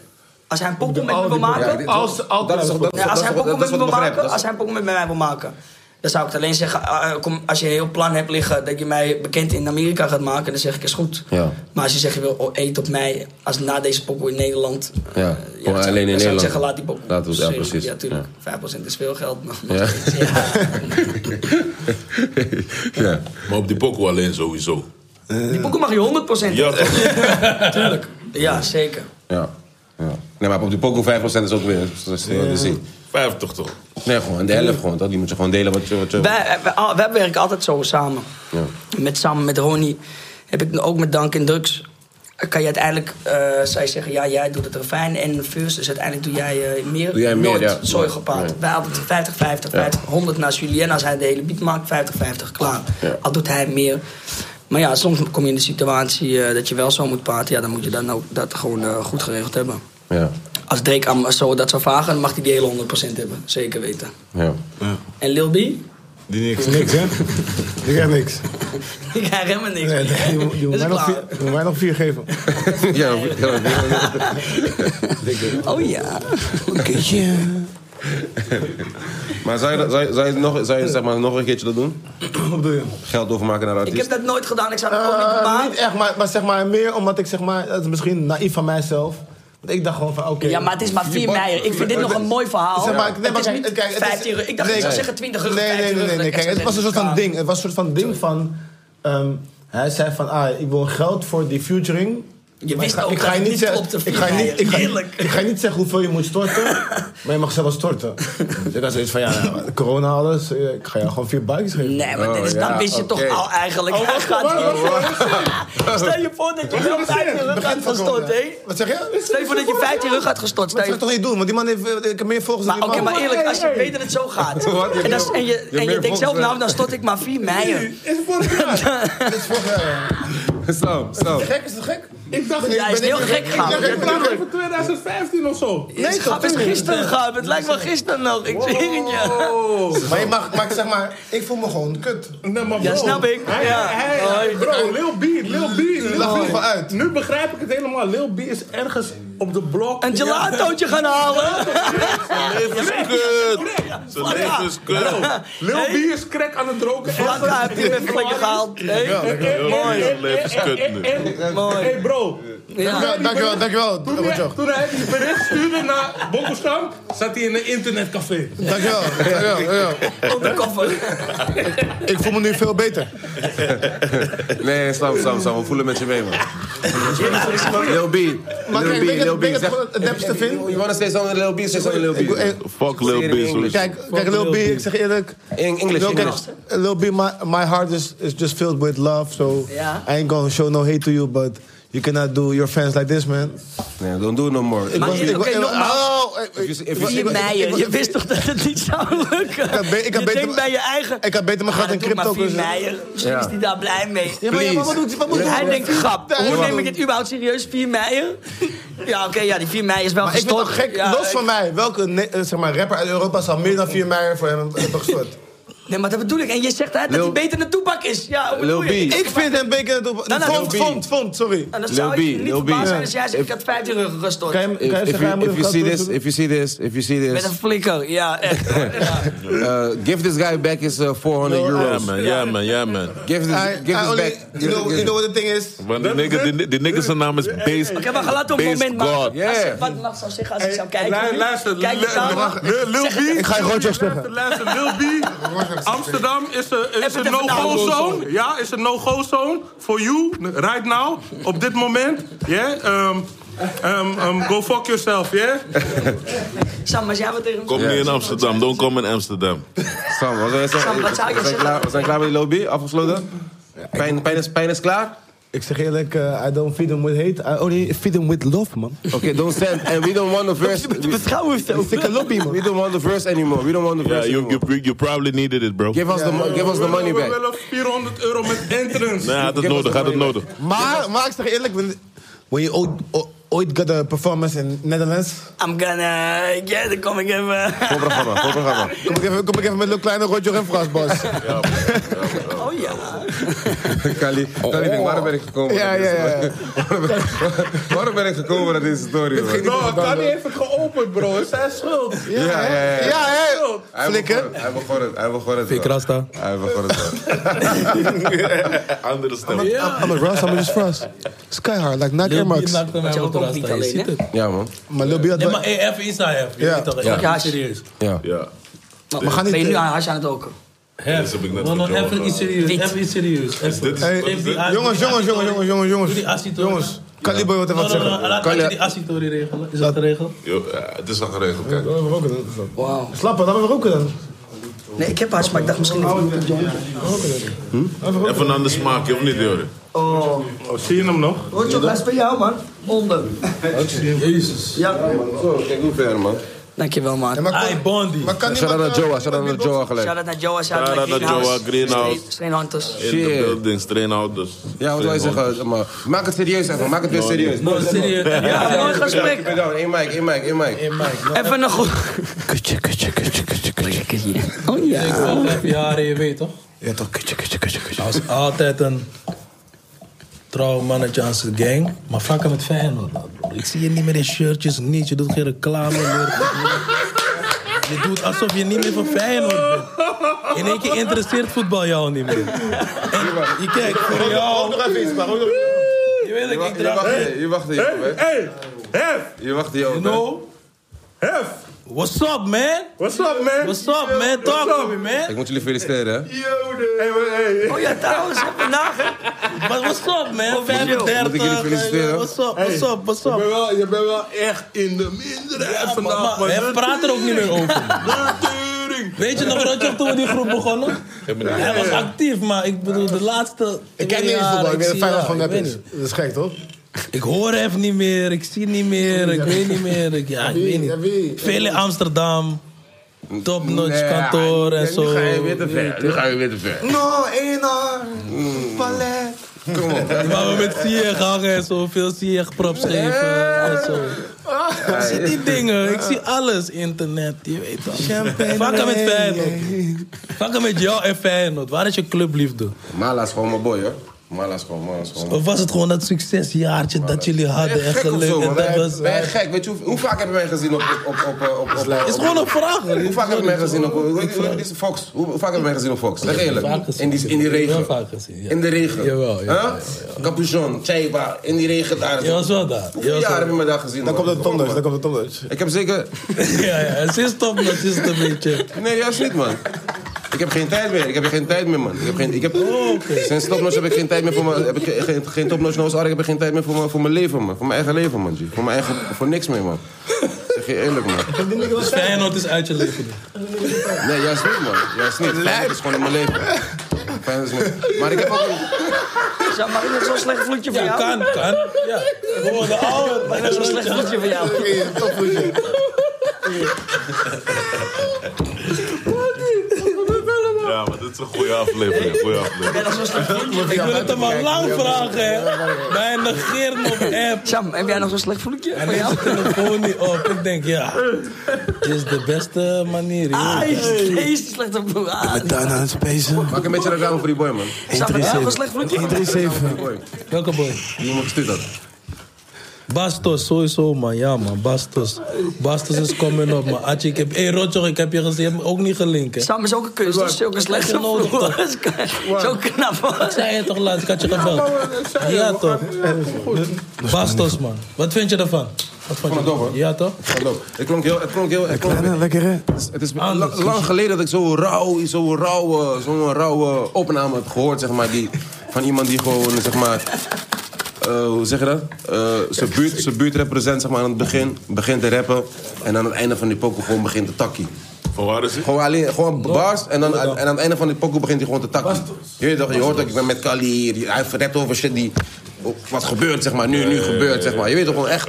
Als hij een pokoe met me wil maken... dit- Als- dat- altijd dat is toch- dat- Ja, als dat- hij dat- dat pokoe met is me wat wil ik begrijp, maken, dat als is- hij pokoe met mij wil maken, dan zou ik het alleen zeggen, ah, eh, kom, als je een heel plan hebt liggen dat je mij bekend in Amerika gaat maken, dan zeg ik is goed. Ja. Maar als je zegt je wil oh, eet op mij, als na deze pokoe in Nederland, eh, Ja, dan gewoon alleen zou- in dan zou ik Nederland. zeggen laat die pokoe. Laten we- ja, Zeker, precies. Ja, tuurlijk. 5% is veel geld, maar nog Ja. steeds, ja. Ja. Maar op die pokoe alleen sowieso. Die pokoe mag je 100% Ja, toch? tuurlijk. Ja, zeker. Ja. ja. Nee, maar op die pokoe 5% is ook weer... Dat is te zien. 50 toch? Nee, gewoon de helft gewoon. toch? Die moet je gewoon delen wat je... Wat je Wij, wij, al- wij werken altijd zo samen. Ja. Met Sam, met Ronnie. Heb ik ook met Dank en Drugs. Kan je uiteindelijk, eh zij zeggen, ja, jij doet het refijn en vuurs. Dus uiteindelijk doe jij eh, meer. Doe jij meer, Nooit ja. zooi gepaard. Nee. Wij hadden het 50, 50, 50, 100 naar Julien. Als hij de hele beat maakt, 50, 50, klaar. Ja. Al doet hij meer. Maar ja, soms kom je in de situatie eh, dat je wel zo moet praten. Ja, dan moet je dan ook dat gewoon eh, goed geregeld hebben. Ja. Als Drake aan me zo dat zou vragen, dan mag hij die hele 100% hebben. Zeker weten. Ja. En Lil B? Die niks. Niks, hè? Ik krijg niks. Ik krijg helemaal niks Nee, meer. die, die, die, moet mij Dat is nog klaar. vier, die moet mij nog vier geven. Ja, ja, ja. Oh ja. Maar zou je, dat- zou je, zou je, nog, zou je zeg maar, nog een keertje dat doen? Wat bedoel je? Geld overmaken naar de Ik artiest? heb dat nooit gedaan. Ik zou het ook niet Eh, maken. niet echt, maar, maar zeg maar meer omdat ik zeg maar, dat is misschien naïef van mijzelf. Want ik dacht gewoon van, oké. Ja, maar het is maar 4 mei. Ik vind dit nog een mooi verhaal. Zeg maar, nee, Oh, het maar kijk, is niet kijk, het is- 15 euro. Ik dacht, ik zou zeggen 20 euro. Nee, nee, 15 nee, nee. euro. nee. Kijk, het was een soort van ding. Het was een soort van ding van... ehm, hij zei van, ah, ik wil geld voor die featuring Je Maar wist ik ga, ook ik dat ga je het niet niet zeggen, klopte voor ik ga je mij. niet, ik ga, Heerlijk. ik ga je niet zeggen hoeveel je moet storten, maar je mag zelf wel storten. Dus ik had zoiets van, ja, nou, corona alles, eh, ik ga jou gewoon vier buikjes geven. Nee, maar dit is, dan wist je toch al eigenlijk. Oh, hij wacht, gaat wacht, hier- wacht, Stel je voor dat je 15 rug had gestort, hé. Wat zeg je? Stel je voor dat je 15 rug had gestort. Maar Stel dat ga ik je... toch niet doen, want die man heeft, eh, ik heb meer volgers Maar dan oké, die man. maar eerlijk, als je weet dat het zo gaat. Wat? Je En, dat is- en je, en je meer denkt zelf, volgers. nou, dan stort ik maar 4 mei. Dit is vorig jaar, ja. Zo, zo. Is het gek? Is het gek? Ik dacht, Ja, hij is ben- heel ik- gek ik- gegaan. ik- Ja, ik dacht natuurlijk. even 2015 of zo. Nee, Nee, het toch? is tuurlijk. gisteren gegaan. Het lijkt wel gisteren nog. Ik zweer het je. Maar je mag, maar ik zeg maar, ik voel me gewoon kut. Nee, maar Ja, bro, snap ik. Hij, Ja. hij, Hoi. bro, Lil B, Lil B, Lil Lach B. me gewoon uit. Nu begrijp ik het helemaal. Lil B is ergens op de blok. Een gelatootje gaan halen. Leven is kut. Zijn leven is kut. Lil B is crack aan het roken. Vlakka heeft hij weer een plekje gehaald. Hey, Mooi. Zijn leven is kut nu. Mooi. Hey bro, Ja. Ja, Ah, dankjewel, dankjewel. toen hij, Rotjoch. toen hij die bericht stuurde naar Bokkelstam, zat hij in een internetcafé. Dankjewel, dankjewel, dankjewel. Onderkoffer. Ik voel me nu veel beter. Nee, Sam, Sam, Sam, we voelen met je mee, man. Lil B, Maar Lil kijk, B, weet je Lil wat- B. weet je wat Zeg, gewoon het nepste vind? you wanna say something, Lil B, say something, Lil B. Eh, Fuck Lil B. sowieso. Kijk, kijk Lil B, ik zeg eerlijk. In English, Lil, kijk, English. Lil B, my, my heart is, is just filled with love. So Ja. I ain't gonna show no hate to you, but you cannot do your fans like this, man. Nee, don't do it no more. Maar- was- oké, was- nogmaals. Oh, ik- If you- if you- 4 mei. ik- ik- Je wist toch dat het niet zou lukken? had be- ik had je beter- denkt bij je eigen... ik had beter mijn Ah, gat dat in doet crypto maar 4 kunnen mei. Misschien Ja. is hij daar blij mee. Ja, maar, ja, maar wat Please. doet wat moet Hij denkt, grap, Ja, hoe wat neem ik doet- het überhaupt serieus? 4 mei? Ja, oké, ja, die 4 mei is wel Maar ik vind gestort. het gek, Ja, los ik- van mij, welke ne- eh, zeg maar, rapper uit Europa zou meer dan 4 mei voor hem hebben gestort? Nee, maar dat bedoel ik. En je zegt hè, dat Lil- hij beter een toepak is. Ja, hoe bedoel Lil je? B. ik vind hem beter dan Nou, nou, Vond, Lil B. vond, vond, sorry. En dan Lil zou je B, niet Lil B. verbaasd zijn Ja. als jij zegt, ik had 15 ruggen gestort. Kan je hem- kan je If, if zeggen, you, hij moet if you hem geld see terug this, doen? if you see this, if you see Met een this, flikker, ja, echt. hoor. Ja. uh, give this guy back his uh, 400 Ja, euros. man, ja, man, ja, man. Give this, I- give I this only- back. You know, you know what the thing is? Want die nigger, die, ni- die nigger zijn naam is Base. Oké, maar laat op een Base moment maken. God. Ja. Als je wat mag zou zeggen als ik zou kijken. Lu- nu, Luister, kijk Lil- eens aan. Lil- Lil Lil B. Ik ga je Rotjoch Luister, zeggen. luister, Lil B. Amsterdam is een, is Even een de no-go vertaling. zone. Ja, is een no-go zone. For you, right now, op dit moment. Yeah, ehm, ehm, ehm, go fuck yourself, yeah? Sam, als jij wat tegen hem Kom zegt. niet in Amsterdam, don't come in Amsterdam. Sam, wat zou je zeggen? Sam, wat zou je We zijn zeggen? klaar- We zijn klaar met die lobby, afgesloten. Pijn, pijn, is, pijn is klaar? Ik zeg eerlijk, eh, I don't feed them with hate, I only feed them with love, man. Oké, don't send. And we don't want the verse. We, Vertrouwen Dat is dikke lobby, man. we don't want the verse anymore. We don't want the Ja, verse you, anymore. you, you probably needed it, bro. Give us, the, mo- give us the money We back. willen 400 euro met entrance. Nee, hij had het Give us nodig, the hij had het money nodig. Maar, maar ik zeg eerlijk, when, when you ooit, o- ooit got a performance in Netherlands, I'm gonna... Yeah, dan kom ik even... Voor programma, voor programma. kom ik even, kom ik even met een kleine Roger en Frans, Bas. Oh ja. Kali, Oh. Kali denkt, waarom ben ik gekomen? Ja, naar deze- ja, ja. waarom, ben, waarom ben ik gekomen naar deze story, man? No, Kali heeft het geopend, bro. Het is zijn schuld. Ja, ja, ja. Ja, hè? Hij begon Flikker. het, hij begon het, hij begon het. Fik man. Rasta. Hij begon het. man. Andere stem. I'm a Ross, I'm just Ross. Sky hard, like Nike Air Max. Maar jij ook niet alleen, hè? Ja, man. Maar Lil B had Nee, wel- maar eh, even iets aan Hef. Je Ja. weet toch, Ja. even Ja. serieus. Ja. Ja. We gaan gaan niet- niet... eh, Ben je nu aan hash aan het Oh, roken? Dit Hef, é heb ik net nog- nog gehoord, even hoor. tá? iets serieus. Dit. Even iets serieus. Even. Hey, Even die- jongens, die jongens, jongens, actie- jongens, jongens, jongens. Doe die actie toch, Jongens, Caliber wil even wat Nou, nou, nou, zeggen. Laat Kan laat je je- die actie-tory regelen. Is dat de regel? Yo, ja, het is al geregeld, kijk. Laten we roken dan. Wauw. Slappen, laten we roken dan. Nee, ik heb hash, maar ik dacht misschien... Oh, even een jointje. Even een ander smaakje, of niet, Joren? Oh. Oh, zie je hem nog? Roger, dat is bij jou, man. Onder. Jezus. Ja. Zo, kijk hoe ver, man. Dankjewel, man. Maar Ai, Bondi. maar kan Shout-out naar niemand, eh, Joa, shout-out naar Joa gelijk. Shout-out naar Joa, shout-out naar Shout-out naar Greenhouse. Joa, Greenhouse. Steen- Steenhunters. In de Shit. buildings, trainhouders. Ja, wat wil je zeggen? Maar maak het serieus even, maak het weer serieus. Nou, serieus. Ja, mooi Ik gesprek. ben down, één mic, één mic, één mic. Even een goed... Kutje, kutje, kutje, kutje, kutje, kutje. Oh ja. Ik wil vijf jaar, je weet toch? Ja toch, kutje, kutje, kutje, kutje. Hij was altijd een trouw mannetje aan zijn gang. Maar vaker met Feyenoord. man, broer. Ik zie je niet meer in shirtjes, niet. Je doet geen reclame meer. Je doet alsof je niet meer van Feyenoord bent. In één keer interesseert voetbal jou niet meer. En je kijkt voor jou... Nog even iets, maar ook nog- Je weet Je dat ik wacht- Je draag... wacht hier, je wacht hier, Hey, man. hey, hef, Je wacht hier, You man. know? hef. What's up, man? What's up, man? What's up, man? Talk to me, man. Ik moet jullie feliciteren, hè? Oh ja, trouwens, heb vandaag. Wat what's up, man? Moet ik jullie 35. feliciteren? eh, What's up, what's up, what's up? wel, je bent wel echt in de minderheid Ja, maar- vandaag. maar hij de praat er ook niet meer over. tering, De tering. Weet je nog, Roger, toen we die groep begonnen? Hij was actief, maar ik bedoel, de laatste... Ik ken niet eens jaren, voetbal, ik weet dat zie- Feyenoord ja, gewoon ik nep weet is. niet. Dat is gek, toch? Ik hoor even niet meer, ik zie niet meer, ik weet niet meer. Ik, ja, ik Wie? weet Ja, niet. wie? Veel in Amsterdam, topnotch kantoor en zo. Nu ga je weer te ver. Nu ga je weer te ver. No, Ena, Palet. Waar we met Sieg hangen en zo, veel Sieg props geven Eh. en zo. Ah. Ik zie die dingen, ik zie alles, internet, je weet toch. Vakken met Feyenoord. Vakken met jou en Feyenoord, waar is je clubliefde? Mala is gewoon mijn boy, hoor. Mala is gewoon, Mala is gewoon. Of was het gewoon dat succesjaartje dat jullie hadden en Echt gek of geluk zo, en man. dat Ben was... je- ben je gek? Weet je, hoe, hoe vaak hebben wij gezien op... op, op, op, op, op, op- eh, is gewoon een vraag. Hoe vaak hebben wij gezien op... hoe- hoe- hoe- Dit is Fox. Hoe hoe vaak hebben wij gezien op Fox? Zeg Vaak eerlijk. gezien. In die, in die Heel regen. vaak gezien, ja. In de regen. Jawel, ja, Huh? ja, Capuchon, Chaiba, in die regen daar. Je was wel daar. Je Hoeveel was jaar wel hebben we daar gezien, Dan man? komt het Kom op, Tonders, man. dan komt het Tonders. Ik heb zeker... Ja, ja, het is top, maar het is het een beetje. Nee, juist niet, man. Ik heb geen tijd meer. Ik heb geen tijd meer, man. Ik heb geen, ik heb, Oh, Sinds Topnotch heb ik geen tijd meer voor mijn... Heb ik geen, geen, geen Topnotch Noos Ark heb ik geen tijd meer voor mijn, voor mijn leven, man. Voor mijn eigen leven, man. G. Voor mijn eigen... Voor niks meer, man. Zeg je eerlijk, man. Dus Feyenoord is uit je leven. Nee, juist niet, man. Juist niet. Feyenoord is gewoon in mijn leven. Feyenoord is mijn... Maar ik heb ook... een- Zou maar ik zo'n slecht vloedje van Ja, jou? kan, kan. Ja. We worden ouder. Mag ik nog zo'n slecht vloedje van jou? Ja, maar dit is een goede aflevering. Goede aflevering. Ben nog zo'n slecht vloedje? Ik wil het hem al lang vragen, hè. Maar hij negeert me op app. Sam, heb jij nog zo'n slecht vloedje Hij van neemt jou? zijn telefoon niet op. Ik denk, ja, dit is de beste manier. Ah, joh. jezus, jezus, slecht op me. Ah, Daarna aan het spacen. Maak een beetje reclame voor die boy, man. Sam, heb jij nog een slecht vloedje? 137. Die boy. Welke boy? Die moet gestuurd had. Bastos, sowieso, man. Ja, man, Bastos. Bastos is coming op, man. Atje, ik heb... Hé, hey, Rotjoch, ik heb je gezien. Je hebt me ook niet gelinkt, hè. Sam is ook een kunst, dus ook een slecht Wat? vloedje. Zo knap, hoor. Ik zei je toch laatst, ik had je gebeld. Ja, toch. Bastos, man. Wat vind je ervan? Wat vond je het dom, ervan? hoor. Ja, toch? Hallo. Het klonk heel... Het klonk heel... Het klonk Kleine, lekker hè? Het is Anders. la- lang geleden dat ik zo'n rauw, zo'n rauwe, zo'n rauwe opname heb gehoord, zeg maar, die, van iemand die gewoon, zeg maar, eh, hoe zeg je dat? Eh, zijn buurt, zijn buurt represent, zeg maar, aan het begin, begint te rappen en aan het einde van die pokoe gewoon begint te takkie. Van waar is hij? Gewoon alleen, gewoon bars en, dan, en aan het einde van die pokoe begint hij gewoon te takkie. Je, weet toch, je hoort ook, ik ben met Kali hier, die- hij rept over shit die, wat gebeurt, zeg maar, nu, nu gebeurt, zeg maar. Je weet toch, gewoon echt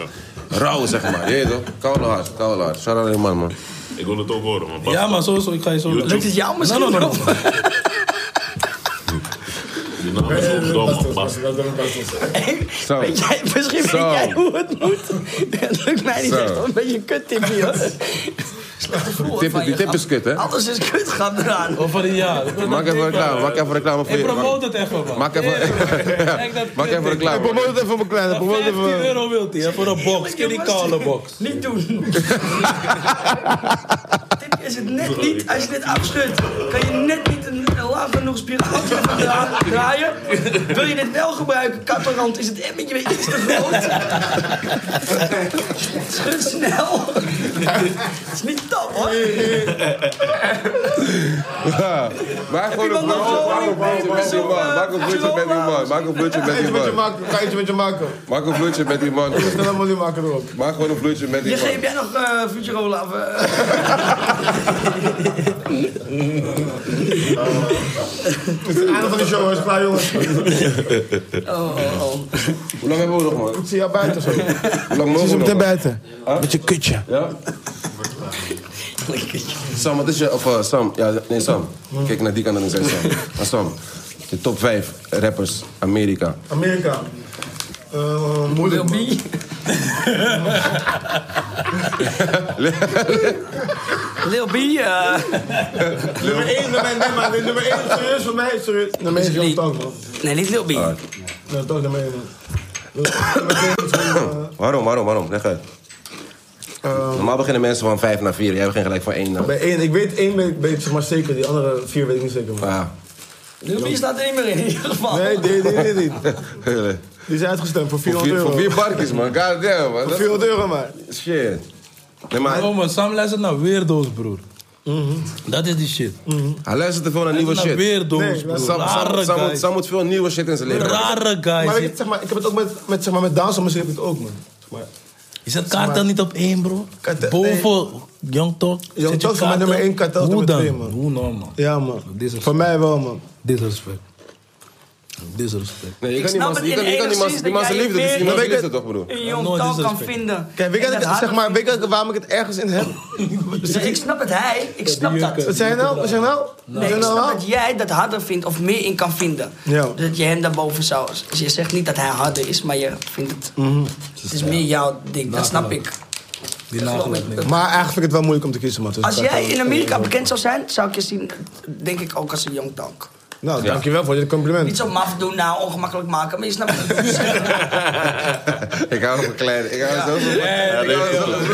rauw, zeg maar. Je weet toch, koude hart, koude hart. Shout out die man, man. Ik wil het ook horen, man. Bas. Ja, maar sowieso, ik ga je zo... Nou, Lukt het jou misschien? Nee, nee, nee, nee. Die naam is ook dom, man. Bas. Zo. Weet jij, misschien weet Zo. jij hoe het moet. Dat lukt mij niet Zo. echt. hoor. Een beetje een kuttip hier. Slechte vloer tip- van die je, tip gast. is kut, hè? Alles is kut, gaat eraan. Over een jaar. Maak even reclame, maak even reclame voor Ik je. promote het even, man. Maak even, Kijk dat maak even kut, reclame. Promote het even, mijn kleine. ik. 15 euro wilt hij, hè, voor een box. Kitty Kale box. Niet doen. Dit is het net niet. Als je dit afschudt, kan je net niet een een laag genoeg spiraaltje van dra- draaien. Wil je dit wel gebruiken, kattenrand, is het emmetje weer iets te groot. Schud snel. Het is niet top, hoor. Maak gewoon een iemand nog broodje, maak een honing? broodje met die man. Zo'n, eh, Maak een broodje met die man. Maak een broodje met die Eentje met je man. maken, ga eentje met je maken. Maak een broodje met die man. Stel hem jullie maken erop. Maak gewoon een broodje met die Je man. geeft jij nog eh Futurola of... eh, Het is het einde van de show, is klaar jongens. Hoe lang hebben we nog, man? Zie jou buiten zo. Hoe lang mogen we nog? man? buiten. Met je kutje. Ja? Sam, wat is je... Of eh, Sam. Ja, nee, Sam. Kijk naar die kant en dan zei Sam. Maar Sam, je top 5 rappers Amerika. Amerika. Eh moeilijk. man. Lil B, eh, Nummer 1, nummer 1, nee, maar nee, nummer 1 serieus voor mij, serieus. Nummer 1 is Young Thug, man. nee, niet Lil B. Nee, toch nummer 1, man. Nummer 2 is gewoon, Waarom, waarom, waarom? Leg uit. eh, Normaal beginnen mensen van 5 naar 4. Jij begint gelijk van 1 naar... Bij één, ik weet één weet, weet ik zeg maar zeker, die andere vier weet ik niet zeker. man. Ja. Lil B staat er niet meer in, in ieder geval. Nee, die, die, die, die. Die is uitgestemd voor Voor vier, 400 voor euro. vier barkjes, man. God damn, man. Voor Dat- 400 euro, maar. Shit. Nee, maar... Bro, maar Oh, Sam luistert naar weirdo's, broer. Mhm. Dat is die shit. Hij luistert te veel naar nieuwe shit. Weirdo's, Nee, broer. Sam, Sam, nou Rare Sam, moet, guys. Sam moet veel nieuwe shit in zijn leven. Rare guys. Maar ik, zeg maar, ik heb het ook met, met, zeg maar, met Down syndrome heb ik het ook, man. Zeg maar, Je zet Kartel niet op één, bro. Kartel- Boven Young Talk. zet je Talk is mijn nummer één, Kartel is Hoe nummer dan? twee, man. Hoe nou, man? ja, man. Disrespect. Voor mij wel, man. Disrespect. Disrespect. Nee, je Ik kan niet snap man- je het in kan- je kan niet man- enigszins die man dat zijn jij liefde, dus die weer- man Maar zijn weet liefde je- toch, broer? Een No jong taal kan disrespect. vinden. Kijk, weet je, En dat- dat zeg haar- maar, weet je waarom ik het ergens in heb? Dus ik snap het, hij. Ik snap dat. Wat zei je nou? Wat zei je nou? Wat Nee, zei ik je nou? snap dat jij dat harder vindt of meer in kan vinden. Ja. Dat je hem daarboven zou... Dus je zegt niet dat hij harder is, maar je vindt het... Het is meer jouw ding, dat snap ik. Die nagelijk niet. Maar eigenlijk vind ik het wel moeilijk om te kiezen, man. Dus Als ik ga jij gewoon- in Amerika bekend zou zijn, zou ik je zien, denk ik ook als een young talk. Nou, dankjewel voor dit compliment. Niet zo maf doen, nou, ongemakkelijk maken, maar je snapt wat ik bedoel. Ik hou van kleine. Ik hou zo van Ik hou zo van- zo van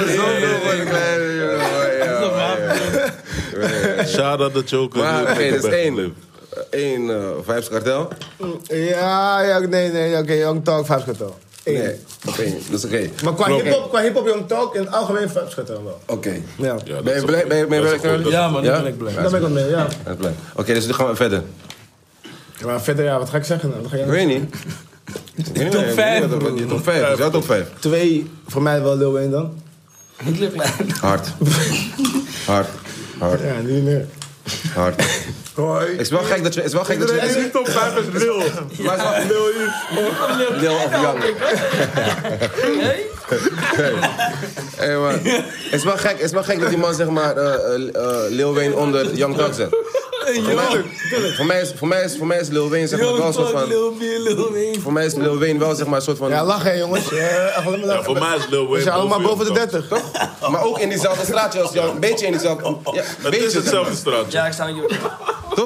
kleine. jongen, jongen, jongen. Shout out de Joker. Maar Doe oké, het dat is lekker bij één. Flip. Eén eh, Vibes Kartel. Ja, ja, nee, nee, oké, Young Talk, Vibes Kartel. Eén. Nee, oké, dat is oké. Maar qua Klopt. hip-hop, qua hip-hop, Young Talk, in het algemeen Vibes Kartel wel. Oké. Ja, Ja, dat Ben is je een blij? goeie. Ben je ben je Dat is blij? een goeie. Karel? Ja, man, nu Ja? ben ik blij. daar ben ik wel mee, ja. Ja, ik ben blij. Oké, dus nu gaan we verder. Ja, Maar verder, ja, wat ga ik zeggen? nou? Wat ga jij Ik weet niet. Ik weet niet Top wat- ik vijf, weet niet wat- broer. die Top 5, is jouw top 5. Twee, voor mij wel Lil Wayne dan. Niet lukken. Hard. Hard. Hard. Ja, niet meer. Hard. Het is wel gek dat je... Het is wel gek dat je... Die top 5 is Lil. Maar het is wel- Lil of Young. Nee? Hey, man. Het is wel gek- het is wel gek dat die man zeg maar eh, eh, eh, Lil Wayne onder Young Thug zet. Voor mij, voor, mij is, voor, mij is, voor mij is Lil Wayne zeg maar wel een soort van... Voor mij is Lil Wayne wel zeg maar een soort van... Ja, lachen hè, jongens. Ja, echt alleen maar lachen. Ja, voor mij is Lil We Wayne zijn allemaal boven boven de Young 30. toch? Maar ook in diezelfde straatje als Young. Een beetje in diezelfde... Oh, Ja, een Het is beetje. zeg maar. hetzelfde straatje. Ja, ik sta aan je.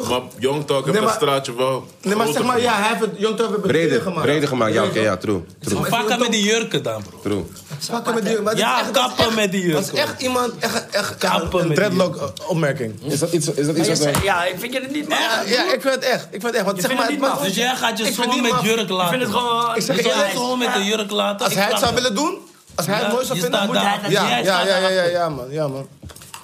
Maar Young Talk heeft Nee, dat maar- straatje wel. Nee, maar zeg groter maar, ja, hij heeft het Young Talk weer Breder, breder gemaakt. breder gemaakt. Ja, oké, ja, true. True, Vakken met die jurken dan, bro. true. Pakken met die, maar dit is Ja, echt- dat is kappen echt- met die Dat is jurken. echt iemand, echt, echt, echt Kappen een met die dreadlock-opmerking. Is dat iets, is dat iets wat... wij- Ja, ik vind je het niet Ja, maar ja, ik vind het echt. Ik vind het echt. Want, zeg vindt maar, het niet maar- maf. Dus jij gaat je Ik zoon verdien met maar- jurk Ik laten. vind het gewoon... Ik zeg Je je Ja, gaat je eerlijk, hij- zoon met een jurk laten. als Ik hij het snap zou willen doen, als hij het mooi zou je vinden, staat moet hij daar. dat- ja, Jij ja, staat ja, ja, ja, daarachter. ja, man, ja, man.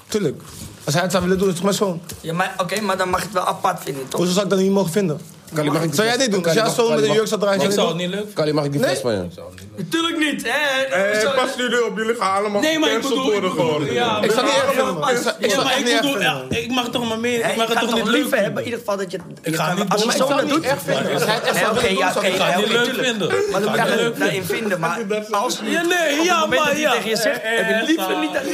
Tuurlijk. Als hij het zou willen doen, is het maar zo. Ja, maar oké, maar dan mag je het wel apart vinden, toch? Hoezo zou ik dat niet mogen vinden? zou jij dit doen? Als Kali, jouw mag- zoon met Kali, een jurk zou draaien, Ik zou zou je het dit niet leuk. Kali, mag ik die fles van je? Natuurlijk niet, hè? Hey, Zo- pas jullie op, jullie gaan allemaal Nee, maar ik gecanceld bedoel... ik worden bedoel- gewoon. Ja, doen? Ik zou het niet erg Ja, vinden, man. maar- Ik zou- ik Ja, zou maar het echt ik niet erg bedoel... vinden. ja, Ik mag toch maar meer... Ik Ik mag het ga toch niet leuk liever vinden? hebben, in ieder geval dat je... Ik ga het niet Als doen. je Maar ik zo zou het doet... niet erg vinden. Als hij het echt Nee, zou Oké, willen doen, ja, zou oké, ik het Ik ga ja, het niet oké, leuk tuurlijk. vinden. Maar dan moet je er daarin vinden, maar als je Ja, nee, op het ja, moment maar dat hij ja. tegen je zegt, Eh, eh, heb je liever eh, niet dat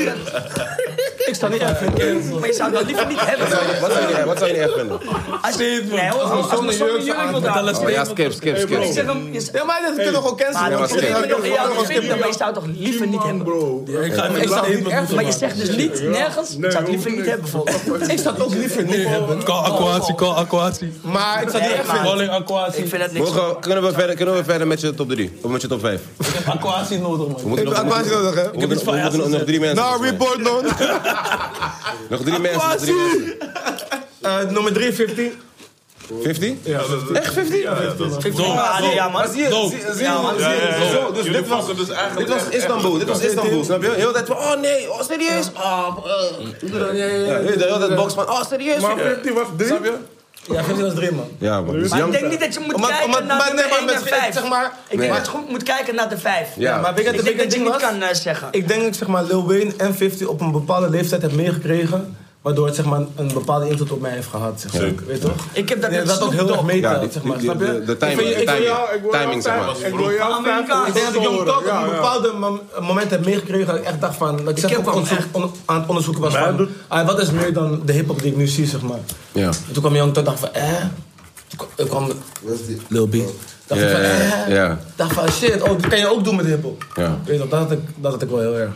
Ik zou het niet erg vinden. Maar je zou dat liever niet hebben. Wat zou je niet erg- wat zou je niet echt vinden? Als je... Nee, hoor, als zo'n mijn zoon jurk een jurk aan- wil dragen. Alles Oh ja, mee. skip, skip, skip. Ik zeg hem... je zegt- Ja, maar dat kunnen we gewoon Maar cancelen. dan maar Dat vind ik skip. kunnen het we gewoon nog heel erg cancelen. vinden, maar je zou het toch liever niet hebben. Bro, Ik ga het zou het niet niet erg erg Maar je zegt dus niet nergens, ik zou het liever niet hebben volgens mij. Ik zou het ook liever niet hebben. Call Aquatie, call Aquatie. Maar ik zou het niet Nee, erg maar- vinden. Calling Aquatie. Ik vind dat niks. Mogen we- Kunnen we verder- kunnen we verder met je top 3? Of met je top 5? Ik heb Aquatie nodig, man. We moeten nog- Ik wou het niet nodig, hè? we moeten iets nog- van we moeten nog- Jassen nog drie mensen. Nou, volgens mij. report man. Nog drie mensen. nog drie mensen. Eh, Nummer 350. 50? Echt 50? Ja, ja, man. Maar zie je, Dope. zie zie- zie je, zo, dus dit was, dus eigenlijk dit was Istanbul, dit was Istanbul, snap je? Heel de tijd van, oh nee, oh serieus? Oh, eh. Ja, heel de hele tijd box van, oh serieus? Maar 50 was 3? Snap je? Ja, 50 was 3, man. Ja man, dus Maar ik jammer. denk niet dat je moet Maar- kijken maar- nou naar maar- de nee, maar 1 met- en 5. zeg maar- ik Nee. denk dat je goed moet kijken naar de 5. Ja, Maar weet je wat Ik de denk big dat je ding niet was? kan eh, zeggen. Ik denk dat ik zeg maar, Lil Wayne en 50 op een bepaalde leeftijd heb meegekregen. Waardoor het zeg maar, een bepaalde invloed op mij heeft gehad. Zeg maar. Weet je toch? Ik heb dat Ja, met dat ook Snoop heel erg Dogg. Ja, meetelt. die- zeg maar, die- snap je? de- de Ik vind- timing, de ik- timing. Ja, ik wil Timing, zeg jou maar. vijf- Ik wil jou Amerikaans. vijf- Ik denk dat ik Young Talk op een bepaalde mom- moment heb meegekregen. Dat ik echt dacht van. Dat ik heb zelf ook hem onderzoek- echt- on- aan het onderzoeken was van. ah, wat is meer dan de hip-hop die ik nu zie, zeg maar. Ja. En toen kwam Young Talk, dacht van. eh. Toen kwam- kwam Lil B. Dacht Ja, ik van. ja, eh. ja. Dacht van shit, oh, dat kan je ook doen met hip-hop. Ja. Weet je toch, dat had ik, dat had ik wel heel erg.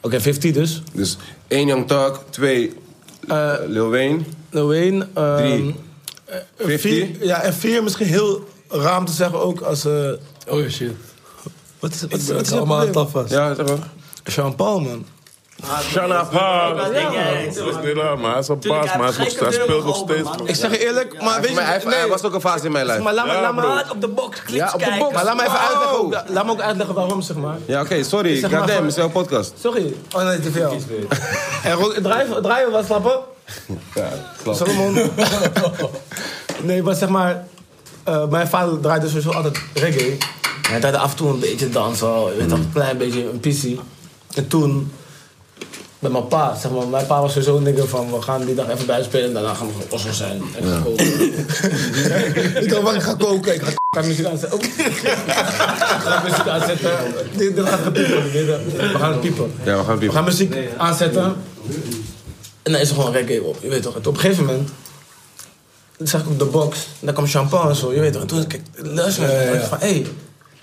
Oké, 50 dus. Dus één Young Talk, twee Eh, Lil Wayne, Lil Wayne. ehm, Drie. eh, 50. vier- ja, en vier misschien heel raar om te zeggen ook als... eh, Oh wat shit. is, wat is, Ik ben wat is het het allemaal aan probleem? het afwas. ja zeg maar. Jean Paul, man. Shana Paas. Dat is niet raar, maar hij is een paas, maar hij is nog- hij speelt nog steeds. Ik zeg je eerlijk, maar weet je... Hij, hij was ook een fase in mijn lijf. Maar laat me, laat me op de box kliks ja, op kijken. box. Maar laat me even Wow. uitleggen, ook, laat me ook uitleggen waarom, zeg maar. Ja, oké, sorry. Zeg maar Goddamn, gewoon- is jouw podcast. Sorry. Oh nee, te veel. En ro- draaien, draaien we wat slappen? Salomon. nee, maar zeg maar... eh, mijn vader draaide sowieso altijd reggae. En hij draaide af en toe een beetje dansen. Je weet toch, een klein beetje, een pissie. En toen... Met mijn pa, zeg maar. Mijn pa was sowieso een ding van... We gaan die dag even buitenspelen en daarna gaan we gewoon osso zijn. En gaan koken. ik dacht, wacht, ik ga koken. Ik ga ga muziek aanzetten. Ook. Ik ga muziek aanzetten. Dit dit gaat gepiepen. dit- dit- We gaan piepen. Ja, we gaan We piepen. gaan muziek aanzetten. En dan is er gewoon reggae op, je weet toch. En op een gegeven moment zag ik op de box, en daar kwam champagne en zo, je weet toch. En toen kijk, luister, Ja, ja, ik ja. van, hé, hey,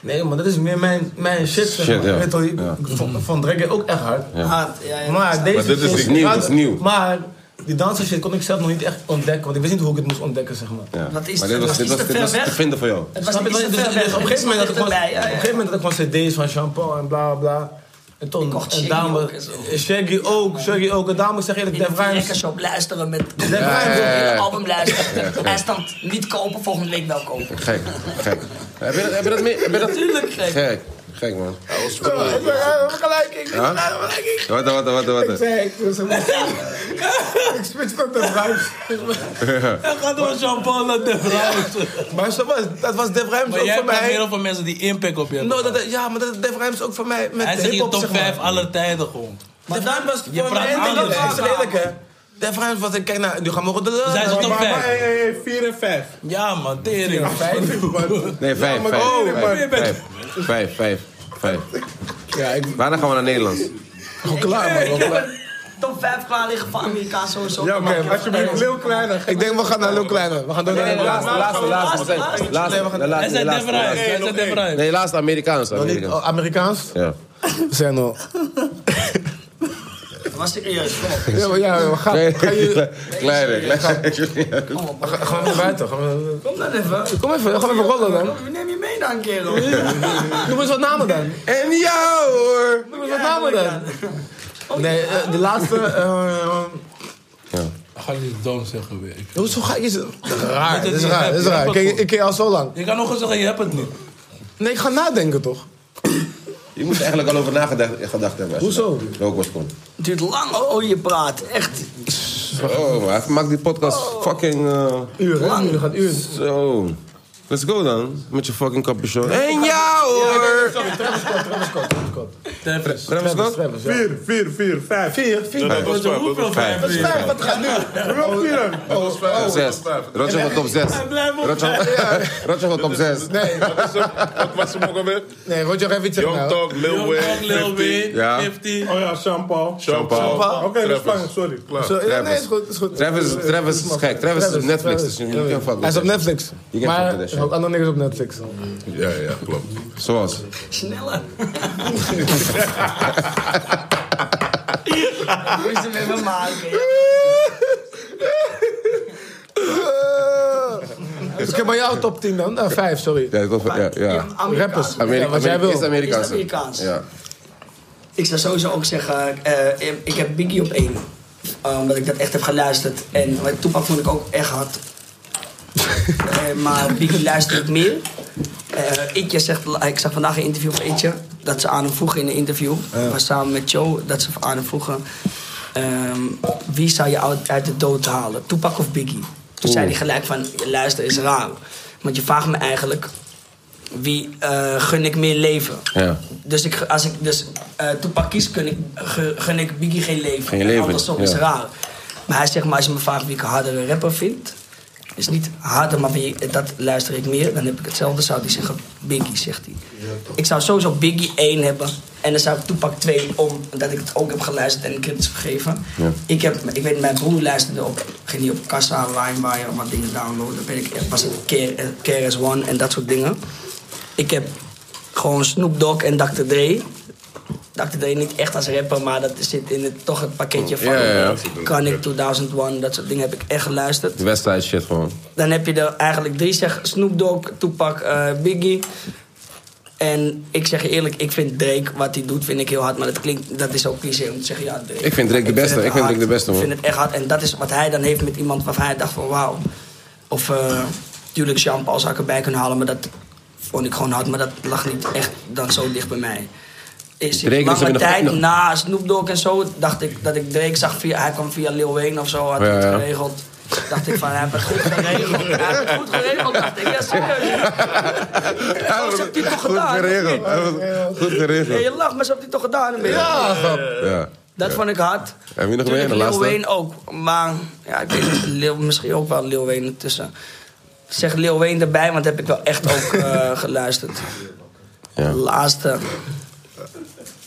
nee man, dat is meer mijn, mijn shit, zeg Shit, maar. ja. Je weet toch, ik Ja. ik vond, vond reggae ook echt hard. Ja. Hard, Ah, ja, ja. Maar deze Maar dit is shit- niet nieuw, dit is nieuw. Maar die dansen shit kon ik zelf nog niet echt ontdekken, want ik wist niet hoe ik het moest ontdekken, zeg maar. Ja. Dat is maar te- dit was, dat dit is was, te dit ver was te weg. vinden voor jou. Het was Snap je? niet Dus, zo dus, ver weg. dus op een gegeven moment had ik gewoon, Dichterbij, ja, op ja, een gegeven moment had ik gewoon cd's van Champagne en bla bla bla. En toen, kocht en Shaggy daarom, ook en zo. Shaggy ook, Shaggy ook. En daarom moet ik zeggen In eerlijk, de Def Rhymes, rekkershop luisteren met Def Rhymes Wil je ja, een ja. album luisteren. Ja, gek. Hij staat niet kopen, volgende week wel kopen. Gek, gek. Heb je dat, heb je dat mee? Heb je dat... Tuurlijk gek. Gek, gek man. gelijk, ik Huh? Wat, wat, wat, wat, wat. Ik switch naar Def Rhymes. Hij gaat door Jean-Paul naar de vrouw. Maar zo was, dat was Def Rhyms Maar ook jij voor hebt meer mij. over mensen die impact op je hebben. No, dat, ja, maar dat Def Rhyms ook voor mij met Hij de zit in je hip-hop, top zeg maar. 5 aller tijden gewoon. Def Rhymes was Je voor praat mij, en dat anders. is lelijk hè. Def Rhyms was, kijk nou, nu gaan we de Dus hij is in top Maar, maar, 5. hey, hey, 4 en 5. Ja man, tering. Nee, vijf, vijf, oh, maar- vijf, vijf, vijf, vijf, vijf. Waarna gaan we naar Nederland? Top 5 klaar liggen van Amerikaans sowieso. Ja, oké, maar alsjeblieft. Lil Kleiner. Ik denk we gaan naar Lil Kleiner. We gaan door naar Lil Kleiner. Laatste, laatste, laatste. Laatste, laatste, laatste, Hij laatste, zei Def laatste, Rhymes. laatste. Hij zei Def Rhymes. Nee, laatste Amerikaans. Nog niet Amerikaans. oh, Amerikaans? Ja. We zijn al. Dat was serieus, kom op. Ja, maar ja, we gaan. Nee, kleiner, kleiner. Kom op. Ga- Gaan we naar buiten? Gaan we- Kom dan even. Kom even, gaan we even rollen dan. Neem je mee dan, kerel. Noem eens wat namen dan. En jou hoor! Noem eens wat namen dan. Nee, eh, de laatste. eh, Ik ga niet dom zeggen weer. Ik- Hoezo ga je zo? Raar, dit is raar, dit is raar. Ik ken je- Ik ken je al zo lang. Je kan nog eens zeggen, je hebt het niet. Nee, ik ga nadenken toch? Je moest er eigenlijk al over nagedacht gedacht hebben. als je Hoezo? dat- Ook was kon. Het duurt lang, oh je praat. Echt Oh, maar hij maakt die podcast fucking... eh, Uur, hè? Jullie gaan uur. Zo. Let's go dan. Met je fucking capuchon. En jou hoor! Tevens. Travis Scott? 4, 4, 4, 5. 4, 4. Dat was vijf, hoeveel dat was vijf? vijf. weer? Wat gaat nu? Oh, Top 6. Roger gaat top 6. Roger gaat top 6. Nee, Wat is hem- Wat was hem ook alweer? nee, Roger even iets zeggen Young nou. Talk, Lil Young Lil Wayne, Wayne, Ja. 50. Oh ja, Jean-Paul. Jean-Paul. Ah, Oké, dat is Travis. Spanje, sorry. Zo, ja, nee, Travis. is goed, is goed. Travis, Eh, Travis is gek. Travis is op Netflix. Dus je je kan fuck Hij is op met- Netflix. Je kan Maar fuck er with zijn that ook shit. andere niks op Netflix. Ja, ja, klopt. Zoals. sneller. Moet je met me maken. Dus ik heb bij jou top 10 dan. Ah, 5, sorry. Ja, ik wil- ja. ja. Rappers. Amerika, Ja, wat jij wil. Eerst Amerikaanse. Eerst Amerikaanse. Ja. Ik zou sowieso ook zeggen, eh, ik heb Biggie op één. Eh, omdat ik dat echt heb geluisterd. En maar Tupac vond ik ook echt hard. Eh, maar Biggie luister ik meer. Eh Itje zegt, ik zag vandaag een interview van Itje. Dat ze aan hem vroegen in een interview. Maar samen met Joe, dat ze aan hem vroegen. ehm, wie zou je uit, uit de dood halen? Tupac of Biggie? Toen zei hij gelijk van, luister is raar. Want je vraagt me eigenlijk, wie eh, gun ik meer leven? Ja. Dus, ik, als ik dus eh Tupac kies, kun ik, ge- gun ik Biggie geen leven. Geen leven, En Andersom is ja. raar. Maar hij zegt maar, als je me vraagt wie ik een hardere rapper vind... is niet harder, maar wie, dat luister ik meer. Dan heb ik hetzelfde, zou hij zeggen Biggie, zegt hij. ik zou sowieso Biggie 1 hebben. En dan zou ik Tupac 2 om, omdat ik het ook heb geluisterd en kritisch gegeven. Ik, heb, ik weet, mijn broer luisterde op, ging die op Kassa, LimeWire, allemaal dingen downloaden. Dan ben ik, was het Care- Care One en dat soort dingen. Ik heb gewoon Snoop Dogg en Dr. Dre. Dr. Dre niet echt als rapper, maar dat zit in het, toch het pakketje van... Oh. Ja, ja, ja. Chronic 2001, dat soort dingen heb ik echt geluisterd. De Westside shit gewoon. Dan heb je er eigenlijk drie, zeg Snoop Dogg, Tupac, eh, Biggie. En ik zeg je eerlijk, ik vind Drake, wat hij doet, vind ik heel hard. Maar dat klinkt, dat is ook cliché om te zeggen, ja, Drake. Ik vind Drake de het beste, ik vind hard. Drake de beste, man. Ik vind het echt hard. En dat is wat hij dan heeft met iemand waarvan hij dacht van, wauw. Of, eh tuurlijk, Jean-Paul zou ik erbij kunnen halen, maar dat vond ik gewoon hard. Maar dat lag niet echt dan zo dicht bij mij. Is Drake is in er lange nog- tijd nog- na Nou, Snoop Dogg en zo, dacht ik dat ik Drake zag via, hij kwam via Lil Wayne of zo, had hij Ja, het ja. geregeld. Dacht ik van, hij heeft het goed geregeld. Hij heeft het goed geregeld, dacht ik. Ja, serieus. Zo heeft hij toch Goed gedaan. geregeld. Hij was Goed Ja, geregeld. je lacht, maar ze heeft hij toch gedaan. een beetje. Ja. Dat vond ik hard. Heb je nog meer? Tuurlijk, De Lil laatste? Wayne ook. Maar ja, ik weet niet, Lil, misschien ook wel Lil Wayne tussen. Zeg Lil Wayne erbij, want heb ik wel echt ook eh, geluisterd. Ja. Laatste.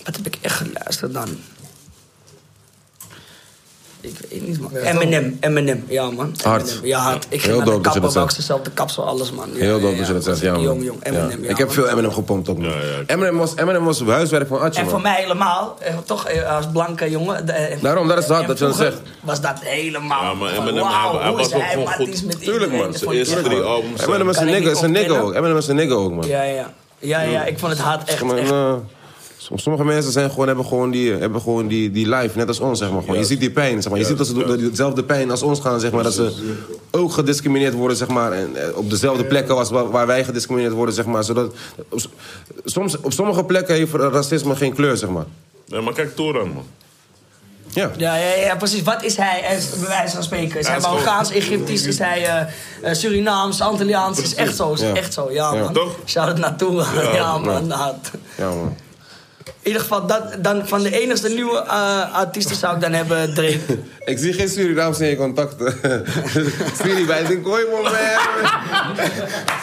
Wat heb ik echt geluisterd dan? Ik weet niet, man. Eminem, Eminem, ja, man. Hard. Eminem. Ja, hard. Ik Heel ging naar de dope dat je dat kapper, zegt. ook dezelfde kapsel, alles, man. Ja, Heel ja, dope dat ja. je dat zegt, ja man. Jong, jong, Eminem, ja, Ik heb man. veel Eminem gepompt op nu. Eminem, was, Eminem was huiswerk van Atje, En voor man. mij helemaal, eh, toch eh, als blanke jongen. de- eh, Daarom, dat is hard en dat je dat vroeger zegt. Was dat helemaal. Ja, maar van, Eminem, hij- wauw, hij hoe was is ook hij gewoon goed. matties met Tuurlijk, iedereen? man, Dat zijn vond ik eerste echt drie hard. albums. eh, Eminem is Kan een ik nigga, niet is een nigga ontkennen. ook. Eminem is een nigga ook, man. Ja, ja. Ja, ja, ik vond het hard echt. Zeg maar, echt. eh, som- sommige mensen zijn gewoon, hebben gewoon, die, hebben gewoon die, die life, net als ons, zeg maar. Gewoon. Je ziet die pijn, zeg maar. Je ziet dat ze doen- dat die dezelfde pijn als ons gaan, zeg maar. Dat ze ook gediscrimineerd worden, zeg maar. En, eh, op dezelfde plekken als waar, waar wij gediscrimineerd worden, zeg maar. Zodat, op, s- soms, op sommige plekken heeft racisme geen kleur, zeg maar. Nee, maar kijk Toran, man. Ja, ja, ja, precies. Wat is hij, eh, bij wijze van spreken? Is Ja, hij het is gewoon- Marokkaans, Egyptisch? Is hij eh, eh, Surinaams, Antilliaans? Is echt zo, is Ja. echt zo. Ja, Ja. man. Toch? Shout het naartoe. Ja, Ja, man. ja. hard. Ja, man. In ieder geval, dat, dan van de enigste nieuwe eh, artiesten zou ik dan hebben Drake. Ik zie geen Surinaams in je contacten. Siri, wij zijn kooi, man. man.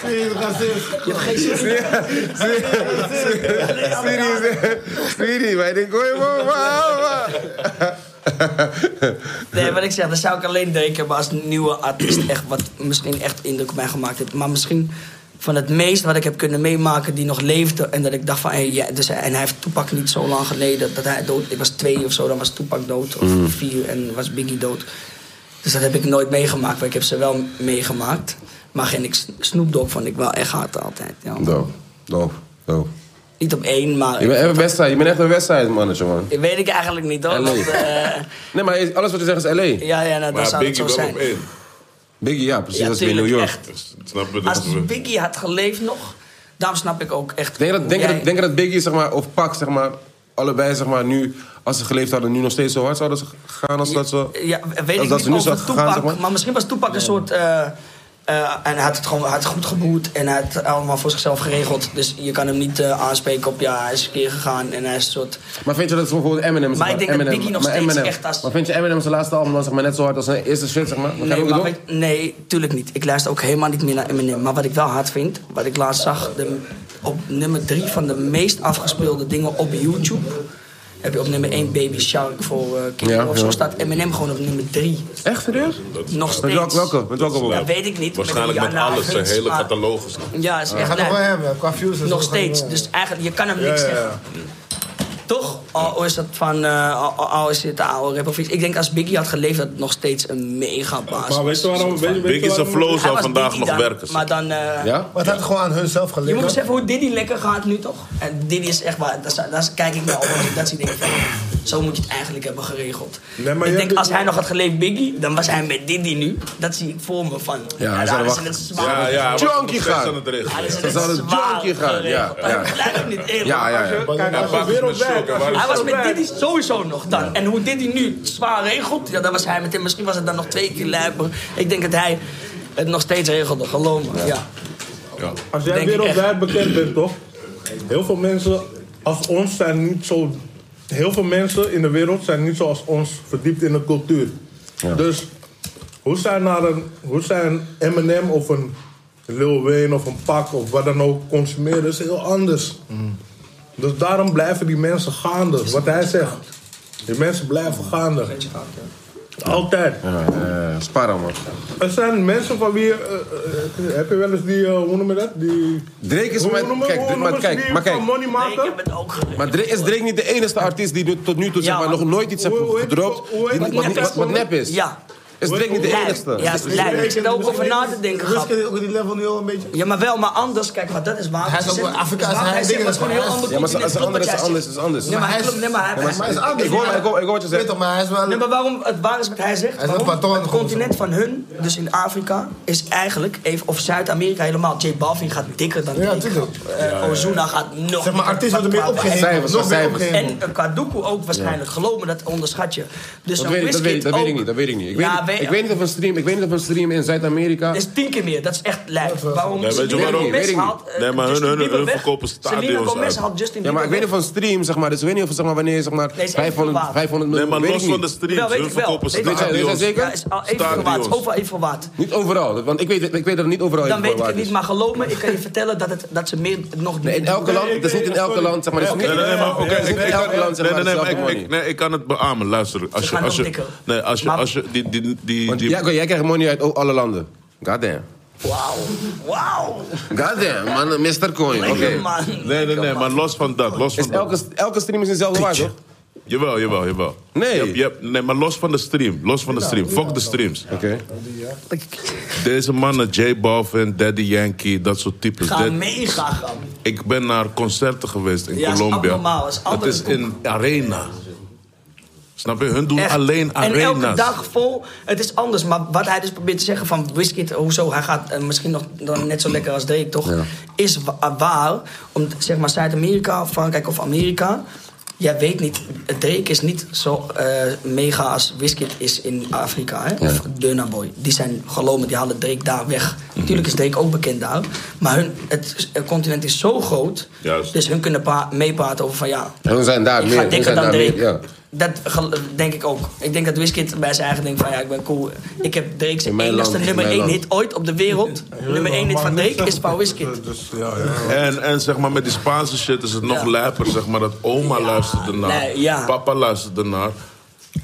Siri, racist. Je hebt geen Siri, Siri, wij zijn kooi, man. Nee, wat ik zeg, dan zou ik alleen Drake hebben als nieuwe artiest. Echt wat misschien echt indruk op mij gemaakt heeft. Maar misschien van het meest wat ik heb kunnen meemaken die nog leefde. En dat ik dacht van, hey, ja, dus, hij- en hij heeft Toepak niet zo lang geleden. Dat hij dood, ik was twee of zo, dan was Toepak dood. Of Mm. vier en was Biggie dood. Dus dat heb ik nooit meegemaakt. Maar ik heb ze wel meegemaakt. Maar geen ik, Snoop Dogg vond ik wel echt hard altijd. Ja. Doop, doop, doop. Niet op één, maar... Je bent echt een wedstrijd, je bent echt een wedstrijd, mannetje, man. Ik weet ik eigenlijk niet hoor. LA. Want, eh, Nee, maar is- alles wat je zegt is L.A. ja, ja, nou, dan zou het zo zijn. Biggie, ja, precies. Ja, dat is weer in New tuurlijk, York. Snap je? Als Biggie had geleefd nog, dan snap ik ook echt. Denk je dat, hoe denk je jij- dat, denk je dat Biggie zeg maar, of Pac, zeg maar, allebei zeg maar, nu, als ze geleefd hadden, nu nog steeds zo hard zouden ze gaan als dat ze. Ja, weet als ik dat niet ze nu over zou Toepak, gaan, zeg maar. misschien was Toepak een soort... eh, eh, en hij had het gewoon hij had goed geboet en hij had het allemaal voor zichzelf geregeld. Dus je kan hem niet eh, aanspreken op ja, hij is een keer gegaan en hij is een soort... Maar vind je dat bijvoorbeeld Eminem... zeg Maar ik denk dat Eminem, Biggie nog maar steeds Eminem- echt als- Maar vind je Eminem zijn laatste album was zeg maar, net zo hard als zijn eerste shit, zeg maar? Nee, maar maar... weet- nee, tuurlijk niet. Ik luister ook helemaal niet meer naar Eminem. Maar wat ik wel hard vind, wat ik laatst zag, de, op nummer 3 van de meest afgespeelde dingen op YouTube. Heb je op nummer 1 Baby Shark voor eh kinderen Ja, of zo ja. staat Eminem gewoon op nummer 3. Echt serieus? Nog Met steeds. welke? welke? Met welke? Dat album? weet ik niet. Waarschijnlijk met Jana alles, zijn Huns, hele maar- catalogus. Ja, is Ja, echt gaat nog lijp. wel hebben. Qua views is het Nog nog wel steeds. hebben. Dus eigenlijk, je kan hem Ja, niks ja, ja. zeggen. Toch? Al al is het van, eh, al- al al is het de oude rap of iets. Ik denk als Biggie had geleefd, dat het nog steeds een mega baas Maar weet je waarom- weet je- weet je Biggie's waarom- flow zou Hij was vandaag Biggie nog dan, werken, zeg. Maar dan... eh, Maar het had gewoon aan hun zelf Je moet gelegen. beseffen hoe Diddy lekker gaat nu, toch? En Diddy is echt waar... Daar, zou- daar kijk ik naar op. want Dat soort dingen van... Zo moet je het eigenlijk hebben geregeld. ik denk, als hij nog had geleefd Biggie, dan was hij met Diddy nu. Dat zie ik voor me van... Ja, hij daar zou is wachten. het zwaar. Ja, ja, hij was nog Junkie steeds gaan. aan het regelen. Ah, Hij is Ze het zouden zwaar junkie gaan, ja. geregeld. ja. Maar Blijf niet eerlijk. Ja, ja, ja. Kijk, Hij pakt als je het weer met shock, hij Hij was met pakt- Diddy sowieso nog dan. En hoe Diddy nu zwaar regelt, ja, dan was hij met hem. Misschien was het dan nog twee keer lijper. Ik denk dat hij het nog steeds regelde, geloof me. Ja. Als jij Denk ik wereldwijd bekend bent, toch? Heel veel mensen als ons zijn niet zo. Heel veel mensen in de wereld zijn niet zoals ons verdiept in de cultuur. Dus hoe zijn, naar een, hoe zijn Eminem of een Lil Wayne of een Pak of wat dan ook consumeren, is heel anders. Dus daarom blijven die mensen gaande, wat hij zegt. Die mensen blijven gaande. Altijd. Ja, eh, Sparra, man. Er zijn mensen van wie. eh, eh, eh, heb je wel eens die. eh, hoe noem je dat? Die, Drake is Hoe met- noemen- kijk, hoe maar noemen ze kijk, die maar kijk. van Money maken? Maar Drake, is Drake niet de enige artiest die nu, tot nu toe zeg maar, nog nooit iets heeft gedropt? die- Wat, wat, wat nep is? Ja. Is Drake niet de Dus- Lijp. enigste? Ja, Is- is- lijp. Ik zit daar ook over na te denken. Rusk grap. ook die level nu al een beetje. Ja, maar wel, maar anders. Kijk, maar dat is waar. Hij is Ze ook zitten- wel Afrikaans, ze waren- hij hij zit- dingen maar het is gewoon een heel hij is- ander Ja, maar continent. ze- ze- Klopt wat anders, jij is zegt. anders, is anders. Nee, Maar maar hij hij klopt. is- Nee, maar hij- Ja, maar hij- ze- ik hoor- ik hoor- ik hoor wat je zegt. Nee, maar hij is wel... Nee, maar waarom... Het waar is wat hij zegt. waarom? het continent van hun, dus in Afrika, is eigenlijk... Even, of Zuid-Amerika helemaal. J Balvin gaat dikker dan Ja, Drake. tuurlijk. Eh, Ozuna gaat nog... Zeg maar, artiesten worden meer opgehemeld. Cijfers, Nog meer cijfers. opgehemeld. En eh, Kwadoekoe ook waarschijnlijk. Geloof me, dat onderschat je. Dus Dat een weet, ik, dat, weet, ik- dat Wizkid weet ik ook. niet, dat weet ik niet. Ik, Ja, weet, weet- niet- ik weet niet of een stream, ik weet niet of een stream in Zuid-Amerika... Dat is tien keer meer. Dat is echt lijp. Waarom? Nee, weet je Selena waarom? Gomez Weet ik niet. haalt, eh, Nee, maar hun- Justin hun- Bieber hun weg. verkopen Selena stadions Gomez uit. haalt Justin Ja, maar ik weet niet Bieber van stream, zeg maar. Dus ik weet niet of zeg maar, wanneer zeg maar, is echt 500, verwaard. 500 Nee, miljoen. maar weet los ik van de niet. streams. Wel, weet Hun ik wel. verkopen Weet ik wel. Weet jij- weet jij stadions. zeker? weg. Ja, is al even verwaard. Is Stadions. Overal even verwaard. Niet overal, want ik weet, ik weet dat het niet overal Dan weet ik waar het niet, maar geloof me, ik kan je vertellen dat, het, dat ze meer nog Nee, in elke land, het is niet in elke land, zeg maar. het is Nee, niet- nee, nee, maar oké. het is ik- niet in ik elk kan- land, zeg Nee, maar. nee, nee, maar hetzelfde ik- money. ik- nee, ik kan het beamen. Luister, als je... gaan Als nog je tikken. nee, als je... Maar- Als je die, die, die, Want die, jij, jij krijgt money uit alle landen. Goddamn. Wauw, wauw. Goddamn, man, Mr. Coin. Oké. Lekker man. nee, nee, nee, maar los van dat. Los Is van dat. elke, elke stream is dezelfde waar, toch? Jawel, jawel, jawel. Nee. Je hebt- je hebt- nee, maar los van de stream. Los van de Nou, stream. Fuck de streams. Oké. Deze mannen, J Balvin, Daddy Yankee, dat soort types. Ga Dat- mega gaan. Ik ben naar concerten geweest in Ja, is Colombia. abnormaal, is het is andere in arena. Snap je? Hun doen Echt. alleen En elke arenas. dag vol. Het is anders. Maar wat hij dus probeert te zeggen van Wizkid, hoezo, hij gaat eh, misschien nog dan net zo lekker als Drake, toch? Is wa- eh, waar. Om zeg maar Zuid-Amerika, Frankrijk of Amerika. Jij weet niet, Drake is niet zo eh, mega als Wizkid is in Afrika. Hè? Of Burna Boy. Die zijn gelomen, die halen Drake daar weg. Natuurlijk is Drake ook bekend daar. Maar hun, het eh, continent is zo groot. Juist. Dus hun kunnen pa- meepraten over van ja, Hun zijn daar ik ga meer. Hun dikker zijn dan daar Drake. meer. Ja. Dat gel- denk ik ook. Ik denk dat Wizkid bij zijn eigen denkt van ja, ik ben cool. Ik heb Drake In zijn mijn enigste land, in nummer mijn 1 land. hit ooit op de wereld. nummer 1 hit van Drake is van Wizkid. Dus ja, ja. En, en zeg maar, met die Spaanse shit is het nog Ja. lijper. Zeg maar, dat oma luisterde naar, nee, ja. papa luisterde naar.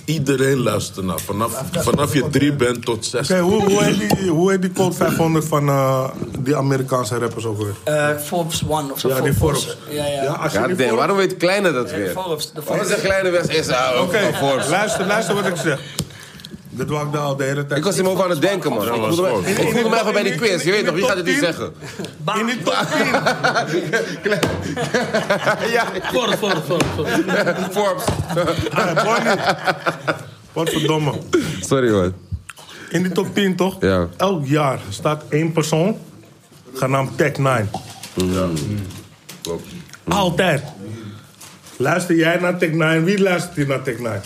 Iedereen luisterde naar. Vanaf, vanaf je drie bent tot zes. Oké, hoe, hoe, heet die, hoe heet die Code 500 van eh, die Amerikaanse rappers ook weer? Eh, Forbes One of zo. Ja, die Forbes. Ja, ja. als je die Goddamn, Forbes- waarom weet Kleine dat De weer? Forbes. De Waarom Forbes. zegt Kleine weer is ah, Oké, Oké. luister, luister wat ik zeg. Dit wou ik daar al de hele tijd. Ik was hem over aan het denken, man. Ik voelde mij- Forbes. Ik voelde mij gewoon bij die quiz. Je weet In toch, de wie gaat het niet top zeggen? in die top 10. Voor, voor, voor, voor. Forbes. Ah, Bonnie. Wat verdomme. Sorry, hoor. In die top 10 toch? Ja. Elk jaar staat één persoon genaamd Tech 9. Altijd. Luister jij naar Tech 9? Wie luistert hier naar Tech 9?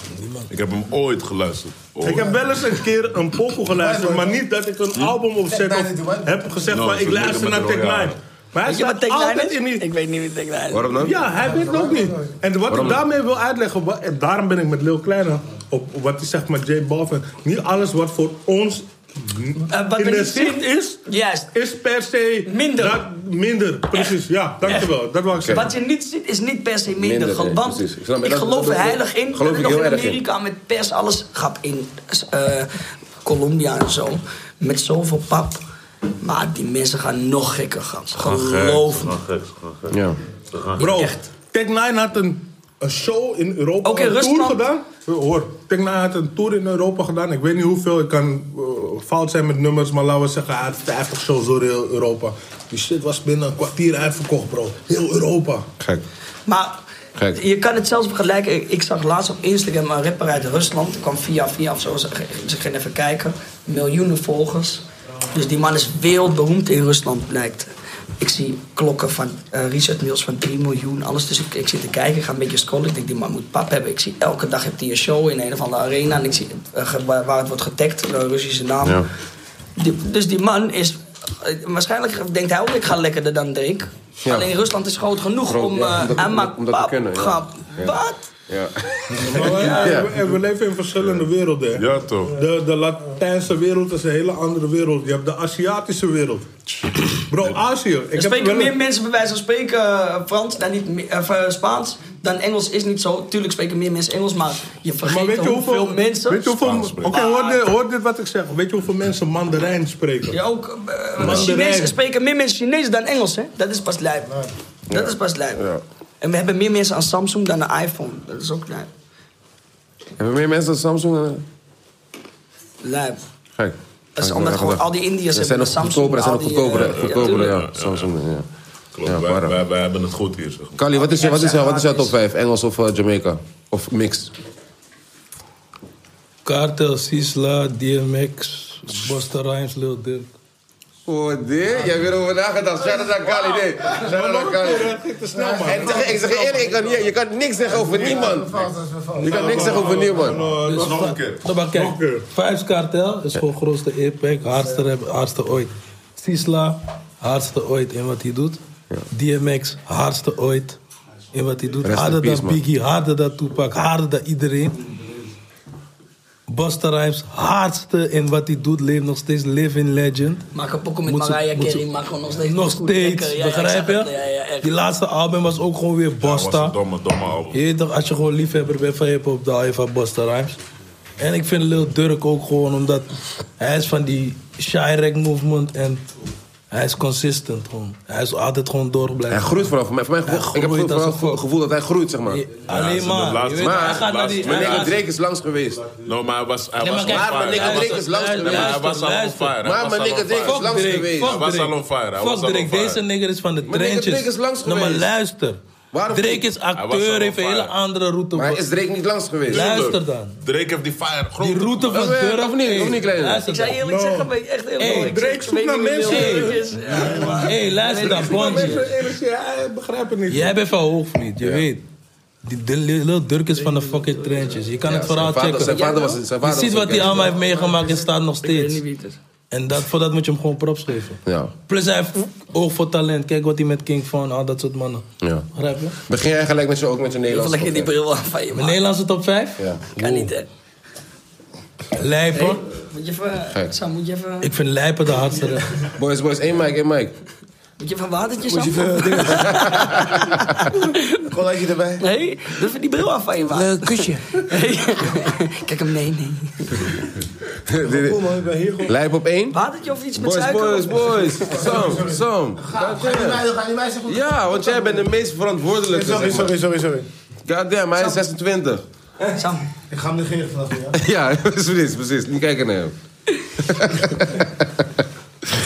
Ik heb hem ooit geluisterd. Ooit. Ik heb wel eens een keer een pokoe geluisterd, maar niet dat ik een album opzet of heb gezegd No, van zo ik met luister naar de Tech 9. Royale. Maar hij Weet je wat staat Tech Nine altijd is? in die... Ik weet niet wie Tech Nine is. Waarom dan? Ja, hij weet het ook niet. En wat Waarom? ik daarmee wil uitleggen, wa- en daarom ben ik met Lil Kleine op op wat hij zegt met J Balvin. Niet alles wat voor ons Eh, wat in we de niet zin zien- is, Juist. is per se Minder. dat- minder, precies, ja, dankjewel. Dat wou ik zeggen. Wat je niet ziet is niet per se minder. Minder, nee, want precies. Ik ik, snap- dat- geloof dat- er dat- heilig in. geloof dat ik nog heel in erg in. Amerika met pers alles grap in eh, Colombia en zo. Met zoveel pap. Maar die mensen gaan nog gekker gaan. Geloof me. Ja. Bro, Echt. Tech Nine had een, een show in Europa, Ook in een tour Rusland? gedaan. Hoor, Tech Nine had een tour in Europa gedaan. Ik weet niet hoeveel, ik kan eh, fout zijn met nummers, maar laten we zeggen, hij had 50 shows door heel Europa. Die shit was binnen een kwartier uitverkocht, bro. Heel Europa. Gek. Maar Gek. je kan het zelfs vergelijken. Ik- Ik zag laatst op Instagram een rapper uit Rusland. Die kwam via via of zo. Ze ze gingen even kijken. Miljoenen volgers. Dus die man is wereldberoemd in Rusland, blijkt. Ik zie klokken van eh Richard Mills van 3 miljoen, alles. Dus ik, ik zit te kijken, ik ga een beetje scrollen. Ik denk, die man moet pap hebben. Ik zie elke dag heeft hij een show in een of andere arena. En ik zie eh, ge- waar waar het wordt getagd, de Russische naam. Ja. Die- dus die man is... eh, Waarschijnlijk denkt hij ook, ik ga lekkerder dan Drake. Ja. Alleen Rusland is groot genoeg Groot, om... ja, eh, om dat- hij om- maakt om dat te pap, kunnen, ja. grap. Ja. Wat? Ja. Maar Ja. we- we- we leven in verschillende werelden. hè. Ja, toch? De, de Latijnse wereld is een hele andere wereld. Je hebt de Aziatische wereld. Bro, Azië. Er Ik heb spreken wel meer een- mensen bij wijze van spreken eh, Frans dan niet, me- of, eh, Spaans dan Engels is niet zo. Tuurlijk spreken meer mensen Engels, maar je vergeet Maar weet je hoeveel, hoeveel mensen... Weet je hoeveel, Spaans Oké, spreken. hoor, dit- hoor dit wat ik zeg. Weet je hoeveel mensen Mandarijn spreken? Ja, ook eh, Mandarijn. Chinees, er spreken meer mensen Chinees dan Engels, hè? Dat is pas lijp. Dat is pas lijp. En we hebben meer mensen aan Samsung dan aan iPhone. Dat is ook lijp. Hebben meer mensen dan Samsung? eh? Lijp. Gek. Dat is omdat gewoon al die Indiërs Er hebben zijn nog de Samsung, goedkopere, er zijn al nog die, goedkopere, eh, goedkopere, ja, ja. tuurlijk. Samsung, ja. Klopt, Ja, wij, waarom? wij, wij hebben het goed hier, zeg maar. Kali, wat is, je- wat is, jou- wat is jouw top 5? Engels of eh, Jamaica? Of mixed? Cartel, Sisla, DMX, Busta Rhymes, Lil Durk. Oh, dit? Jij hebt erover nagedacht. Shout-out aan Kali, nee. Shout-out aan Kali. En zeg- Ik zeg je eerlijk, ik kan niet- je kan niks zeggen over niemand. Je kan niks zeggen over niemand. Dus va- Nou, maar kijk, Vibes Cartel is gewoon grootste impact, hardste, rap- hardste ooit. Sisla, hardste ooit in wat hij doet. DMX, hardste ooit in wat hij doet. Rest in harder peace, dan man. Biggie, harder dan Tupac, harder dan iedereen. Busta Rhymes, hardste in wat hij doet, leeft nog steeds, living legend. Maak een pokoe met Moet ze- Mariah moet ze- Carey, maak gewoon nog steeds Nog goed steeds, lekker. Ja, ja, ik begrijp zeg je? het, ja, ja, echt. Die laatste album was ook gewoon weer Busta. was een domme, domme album. Je weet toch, als je gewoon liefhebber bent van hip-hop, dan hou je van Busta Rhymes. En ik vind Lil Durk ook gewoon omdat hij is van die Shirek movement en hij is consistent gewoon. Hij is altijd gewoon door blijven. Hij groeit vooral. Voor mij, voor mij Hij ik heb groeit vooral als het gevoel, gevoel dat hij groeit, zeg maar. alleen maar, je weet toch, hij gaat naar die- hij Meneer gaat- Drake is langs geweest. No, Nou, maar hij was, hij Nee, was maar kijk, on Maar fire. meneer Drake is langs Luister, geweest. Maar hij was al on luister. fire. Hij Maar was al meneer on Drake is fire. langs geweest. Hij was al on fire. Hij was Fuck al on Drake, deze fire. nigger is van de Maar nigger, trenches. Drake is langs Nou, maar geweest. luister. Waarom- Drake is was al acteur, on heeft een hele fire. andere route. Maar is Drake niet langs geweest? Luister dan. Drake heeft die fire. grote- Die route van Of, eh, Durk... of niet? Of Hey, niet, kleine? Luister Ik zou dan. eerlijk Nou. zeggen, ben ik echt heel Hey, eerlijk. Drake Ik zoekt weet naar niet wie mensen. Lil Hey. Durk is. Ja, maar- hey, luister dan, Bonji. Ik begrijp het niet. Jij bent van Hoogvliet, je weet. Die de, Lil Durk is van de fucking trenches. Je kan het verhaal zijn vader- checken. zijn vader was- zijn vader je was ziet een wat hij gangster. allemaal heeft meegemaakt en staat nog Ik weet steeds. niet wie het is. En dat, voor dat moet je hem gewoon props geven. Ja. Plus hij heeft oog voor talent. Kijk wat hij met King Von, al dat soort mannen. ja. Begrijp je? Begin jij gelijk met je, ook met je Of Nederlandse leg je die top, bril af van je Mijn man. Nederlandse top 5? ja. Kan niet, hè. Lijpen. Moet je even... Gek. Sam, moet je even... Ik vind Lijpen de hardste. rap. Boys, boys, één mic, één mic. Moet je even watertjes Moet je af? even dingen. Collaatje erbij. Nee, doe even die bril af van je man. Een kusje. Hey. Kijk hem, nee, nee. Cool man, ik ben hier gewoon. Lijp op één. Watertje of iets met Boys, suiker? boys, boys. Sam, Sam. ga je mij zo goed. Ja, want jij bent de meest verantwoordelijke. Sorry, zeg maar. sorry, sorry, sorry. Goddamn, hij is 26. Eh, Sam, Ik ga hem negeren vanaf nu, ja. Ja, precies, precies. Niet kijken naar hem.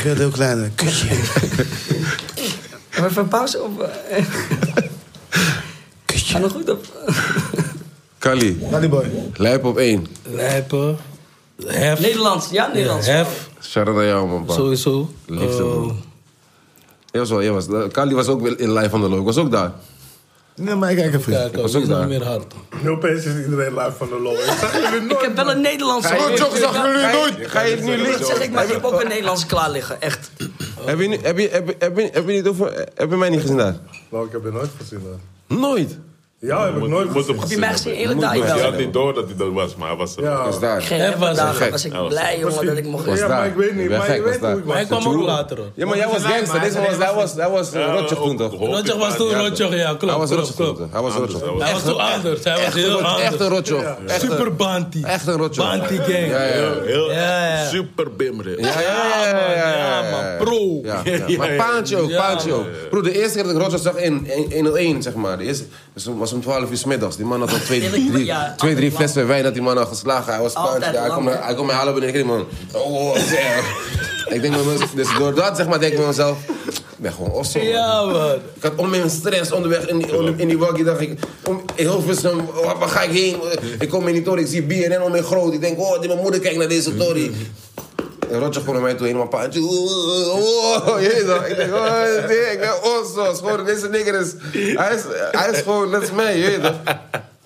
Geel heel kleine kusje. hebben we even een pauze op? eh? Ga nog goed op. Kali, Daddy boy. lijp op één. Lijpen. Hef. Nederlands, ja, Nederlands. Hef, Shout-out aan jou, man. pa. sowieso. Liefde, Eh, man. Jij was wel, jij was, Kali was ook wel in live on the low. Ik was ook daar. Nee, maar ik kijk even. Kijk, was als ook is nog daar. meer hard. Nu opeens is iedereen live van de lol. Ik zag jullie Ik nooit. heb wel een Nederlandse... zag jullie nooit. Ga je het nu Ik zeg, ik maar ik heb ook een Nederlandse klaar liggen, echt. Heb je, nu- heb, je, heb, je- heb, je, heb je niet over, heb je mij niet gezien daar? Nou, ik heb je nooit gezien. hoor. Nooit. Jou heb ik Moet- nooit moet gezien. hem Heb je gezien mij hebben. gezien? Eerlijk daar, ik Je wel. had niet door dat hij dat was, maar hij was er. Ja. Ik was daar. Geen Hef hef was vandaag, gek. was ik Hij was blij, jongen, dat ik mocht... Ik was Ja, daar. maar ik weet niet, Ik ben maar gek, je was weet daar. hoe ik was. Maar ik kwam ook later hoor. Ja, maar jij was gangster. Deze was, hij was, hij was eh, Rotjoch toen toch? Rotjoch was toen Rotjoch, ja, Hij klopt. was klopt, Rotjoch toen klopt. toch? Hij was Rotjoch. Hij was toen anders, hij was Echt een heel Rotjoch. Echt een anders. Rotjoch. Echt een- Super Banty. Echt een Rotjoch. Banty gang. Ja, ja, ja. Heel Ja, ja. super bimmerig. Ja, ja, ja, ja, ja, ja, Ja, man, ja. pro. Ja, ja. Maar paantje ook, paantje ook. Bro, de eerste keer dat ik Rotjoch zag in 101, zeg maar. De eerste, dus het was om 12 uur 's middags. Die man had al twee, Eerlijk, drie, ja, altijd twee, drie lang. flessen wijn dat die man had geslagen. Hij was Altijd paantje. Hij lang, kwam hè? naar- hij kwam mij halen beneden. Ik denk, man, oh, zeg. Ik denk, bij mezelf- dus door dat zeg maar, denk ik bij mezelf, ik ben gewoon osso. man. Ja, man. Ik had om mijn stress onderweg in die, onder- in die waggie. Dacht ik, om, in Hilversum, waar, waar ga ik heen? Ik kom in die toren, ik zie BNN om me groot. Ik denk, oh, die- mijn moeder kijkt naar deze tory. En Roger kwam naar mij toe, helemaal paantje. Oh, jezus. Ik denk, oh, nee, ik ben onsos. Gewoon, deze nigger is... Hij is, hij is gewoon, dat is mij, je weet toch.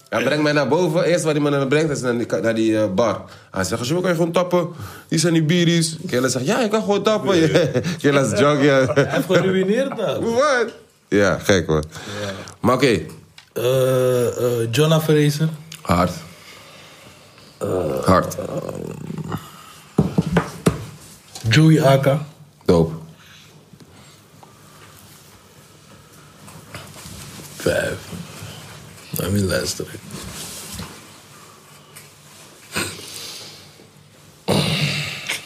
Hij brengt mij naar boven. Eerst wat hij me naar brengt, is naar die, ka- naar die eh, bar. Hij zegt, Joe, kan je gewoon tappen? Die zijn die bieries. Kela zegt, ja, ik kan gewoon tappen. Kela is junk, ja. Hij heeft geruineerd dat. Wat? Ja, gek hoor. Maar oké, Eh, eh, Jonah Fraser. hard. hard. Joey Aka. Dope. Vijf. Laat me luisteren.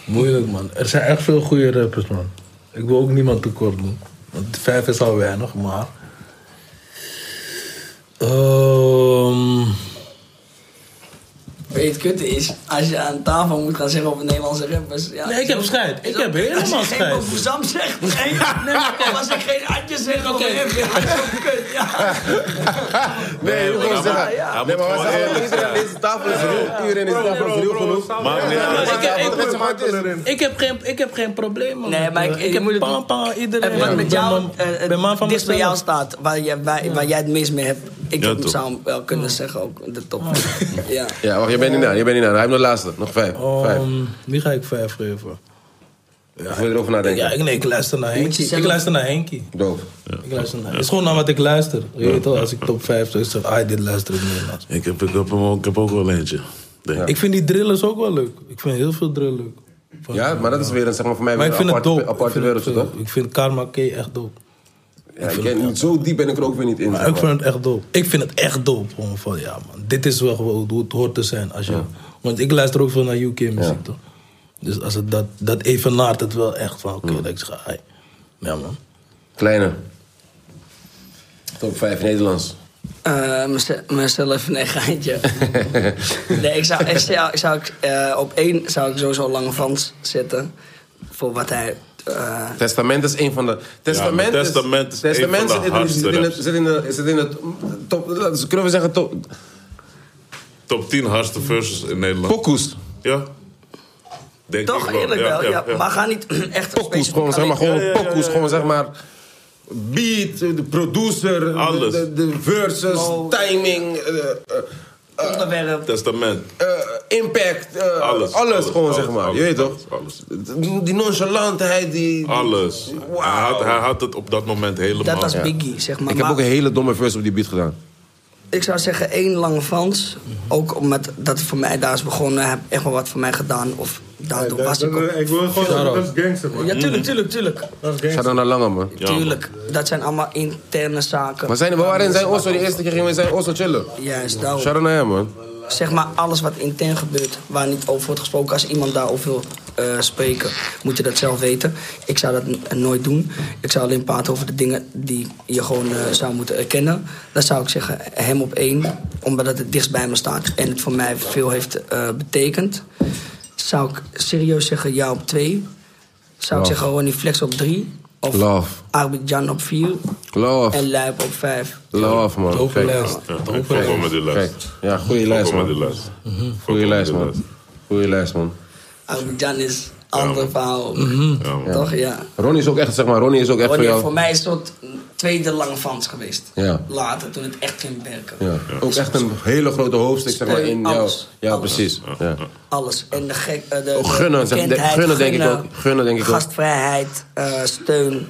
Moeilijk man. Er zijn echt veel goede rappers man. Ik wil ook niemand tekort doen. Want vijf is al weinig, maar. Ehm, Ben weet je, het kutte is, als je aan tafel moet gaan zeggen over Nederlandse rappers. Ja, Nee, ik heb scheid. Ik heb helemaal als je geen scheid. Sam zegt, nee, nee, maar kijk, als ik geen Adje zeg over hem, ja, dat is ook kut, ja. Eh, Nee, je moet gewoon zeggen. Hij Nee, moet maar wij gewoon zijn eerlijk gewoon- iedereen aan zijn. deze tafel is ruw. Iedereen aan deze tafel is ruw genoeg. Maar nee, Ja, maar- maar- Ik heb geen, ik heb geen probleem, man. Nee, maar ik, ik heb moet het pan, pan, iedereen. En wat met jou, Ik ben- eh, eh, ben man van dicht bij mezelf. jou staat, waar, je, waar, waar jij het mis mee hebt. Ik Ja, zou toch. hem wel kunnen zeggen ook, de top. Ja. Ja, wacht, je bent niet na. Je bent niet na. Hij heeft nog de laatste. Nog vijf. Vijf. Ehm, wie ga ik vijf geven? Of wil je erover nadenken? Ja, ik, nee, ik luister naar Henkie. Ik luister naar Henkie. Doof. Ik luister naar. Het is gewoon naar wat ik luister. Je weet wel, als ik top 5 zou zeg, ah, dit luister ik Nederlands. Ik heb, ik, heb, hem ook- ik heb ook wel eentje. denk ik. Ik vind die drillers ook wel leuk. Ik vind heel veel drill leuk. Ja, maar dat is weer een, zeg maar, voor mij Maar weer ik een vind het aparte, dope. Ik aparte vind het, wereldje, toch? eh, Ik vind Karma K echt dope. Ja, ik ken niet. Zo diep ben ik er ook weer niet in. Maar zeg ik maar. vind het echt dope. Ik vind het echt dope. Gewoon van, ja man, dit is wel gewoon hoe het hoort te zijn. Als je, Want ik luister ook veel naar UK-muziek, toch? Dus als het dat, dat evenaart het wel echt van, oké, dat ik zeg, ai. Ja man. Kleine. Top 5 Nederlands. Eh, mez- mezelf, nee, geintje. nee, ik zou, ik zou, ik zou eh, op één zou ik sowieso Lange Frans zetten. Voor wat hij... eh, Testament is een van de. Testament, maar is- Testament is een van de zit in- hardste zit in het- raps. zit in de- Zit in het. Top, laten we- kunnen we zeggen top. Top 10 hardste verses in Nederland. Pokoes. Ja. Denk toch ik wel. eerlijk Ja, wel, ja, ja, ja. Maar ga niet eh, echt... Pokoes, gewoon zeg maar. Gewoon pokoes, gewoon zeg maar. Beat, eh, de producer, Alles. De, de, de verses, timing, eh, eh, Onderwerp. Testament. eh, impact, eh, Alles, alles, alles, gewoon alles, zeg maar. alles, je weet alles, toch? Die nonchalantheid, die. Alles. Hij, had, hij had het op dat moment helemaal. Dat was Biggie, zeg maar. Ik heb Maar- ook een hele domme verse op die beat gedaan. Ik zou zeggen één lange Frans. Ook omdat dat voor mij daar is begonnen. Heb echt wel wat voor mij gedaan. Of daardoor Dat- was ik dat- ook... Ik wil gewoon, dat is gangster, man. Ja, tuurlijk, tuurlijk, tuurlijk. Dat is Ga gangster. dan naar Lange, man. tuurlijk. Dat zijn allemaal interne zaken. Maar zijn, we waren in zijn Oslo, de eerste keer gingen we in zijn Oslo chillen. Juist, daarom. Shout out naar hem, man. Zeg maar alles wat intern gebeurt, waar niet over wordt gesproken. Als iemand daarover wil eh, spreken, moet je dat zelf weten. Ik zou dat n- nooit doen. Ik zou alleen praten over de dingen die je gewoon eh, zou moeten erkennen. Dan zou ik zeggen hem op één, omdat het het dichtst bij me staat en het voor mij veel heeft eh, betekend. Zou ik serieus zeggen ja op twee. Zou ik Love. zeggen Ronnie Flex op drie. Of Love. Arbid Jan op vier. Love. En Luip op vijf. Love, man. Dope Kijk, lijst. Ja, Dope ik lijst. vond met die kijk. lijst. Ja, goede Ik lijst, vond met die man. lijst. Goede lijst, man. Goede lijst, man. Arbid Jan is een ander verhaal. Mhm. Ja, man. Toch, ja. Ronnie is ook echt, zeg maar, Ronnie is ook echt Ronnie voor jou. heeft voor mij een soort tweede lange Frans geweest. Ja. Later, toen het echt ging werken. Ja. Ook echt een hele grote hoofdstuk, zeg maar, in jou. Alles. Ja, Alles. precies. Ja. Alles. En de gek... eh, de, de Ook Oh, gunnen, zeg- de- bekendheid, gunnen denk ik gunnen, ook. Gunnen denk ik ook. Gastvrijheid, eh, steun,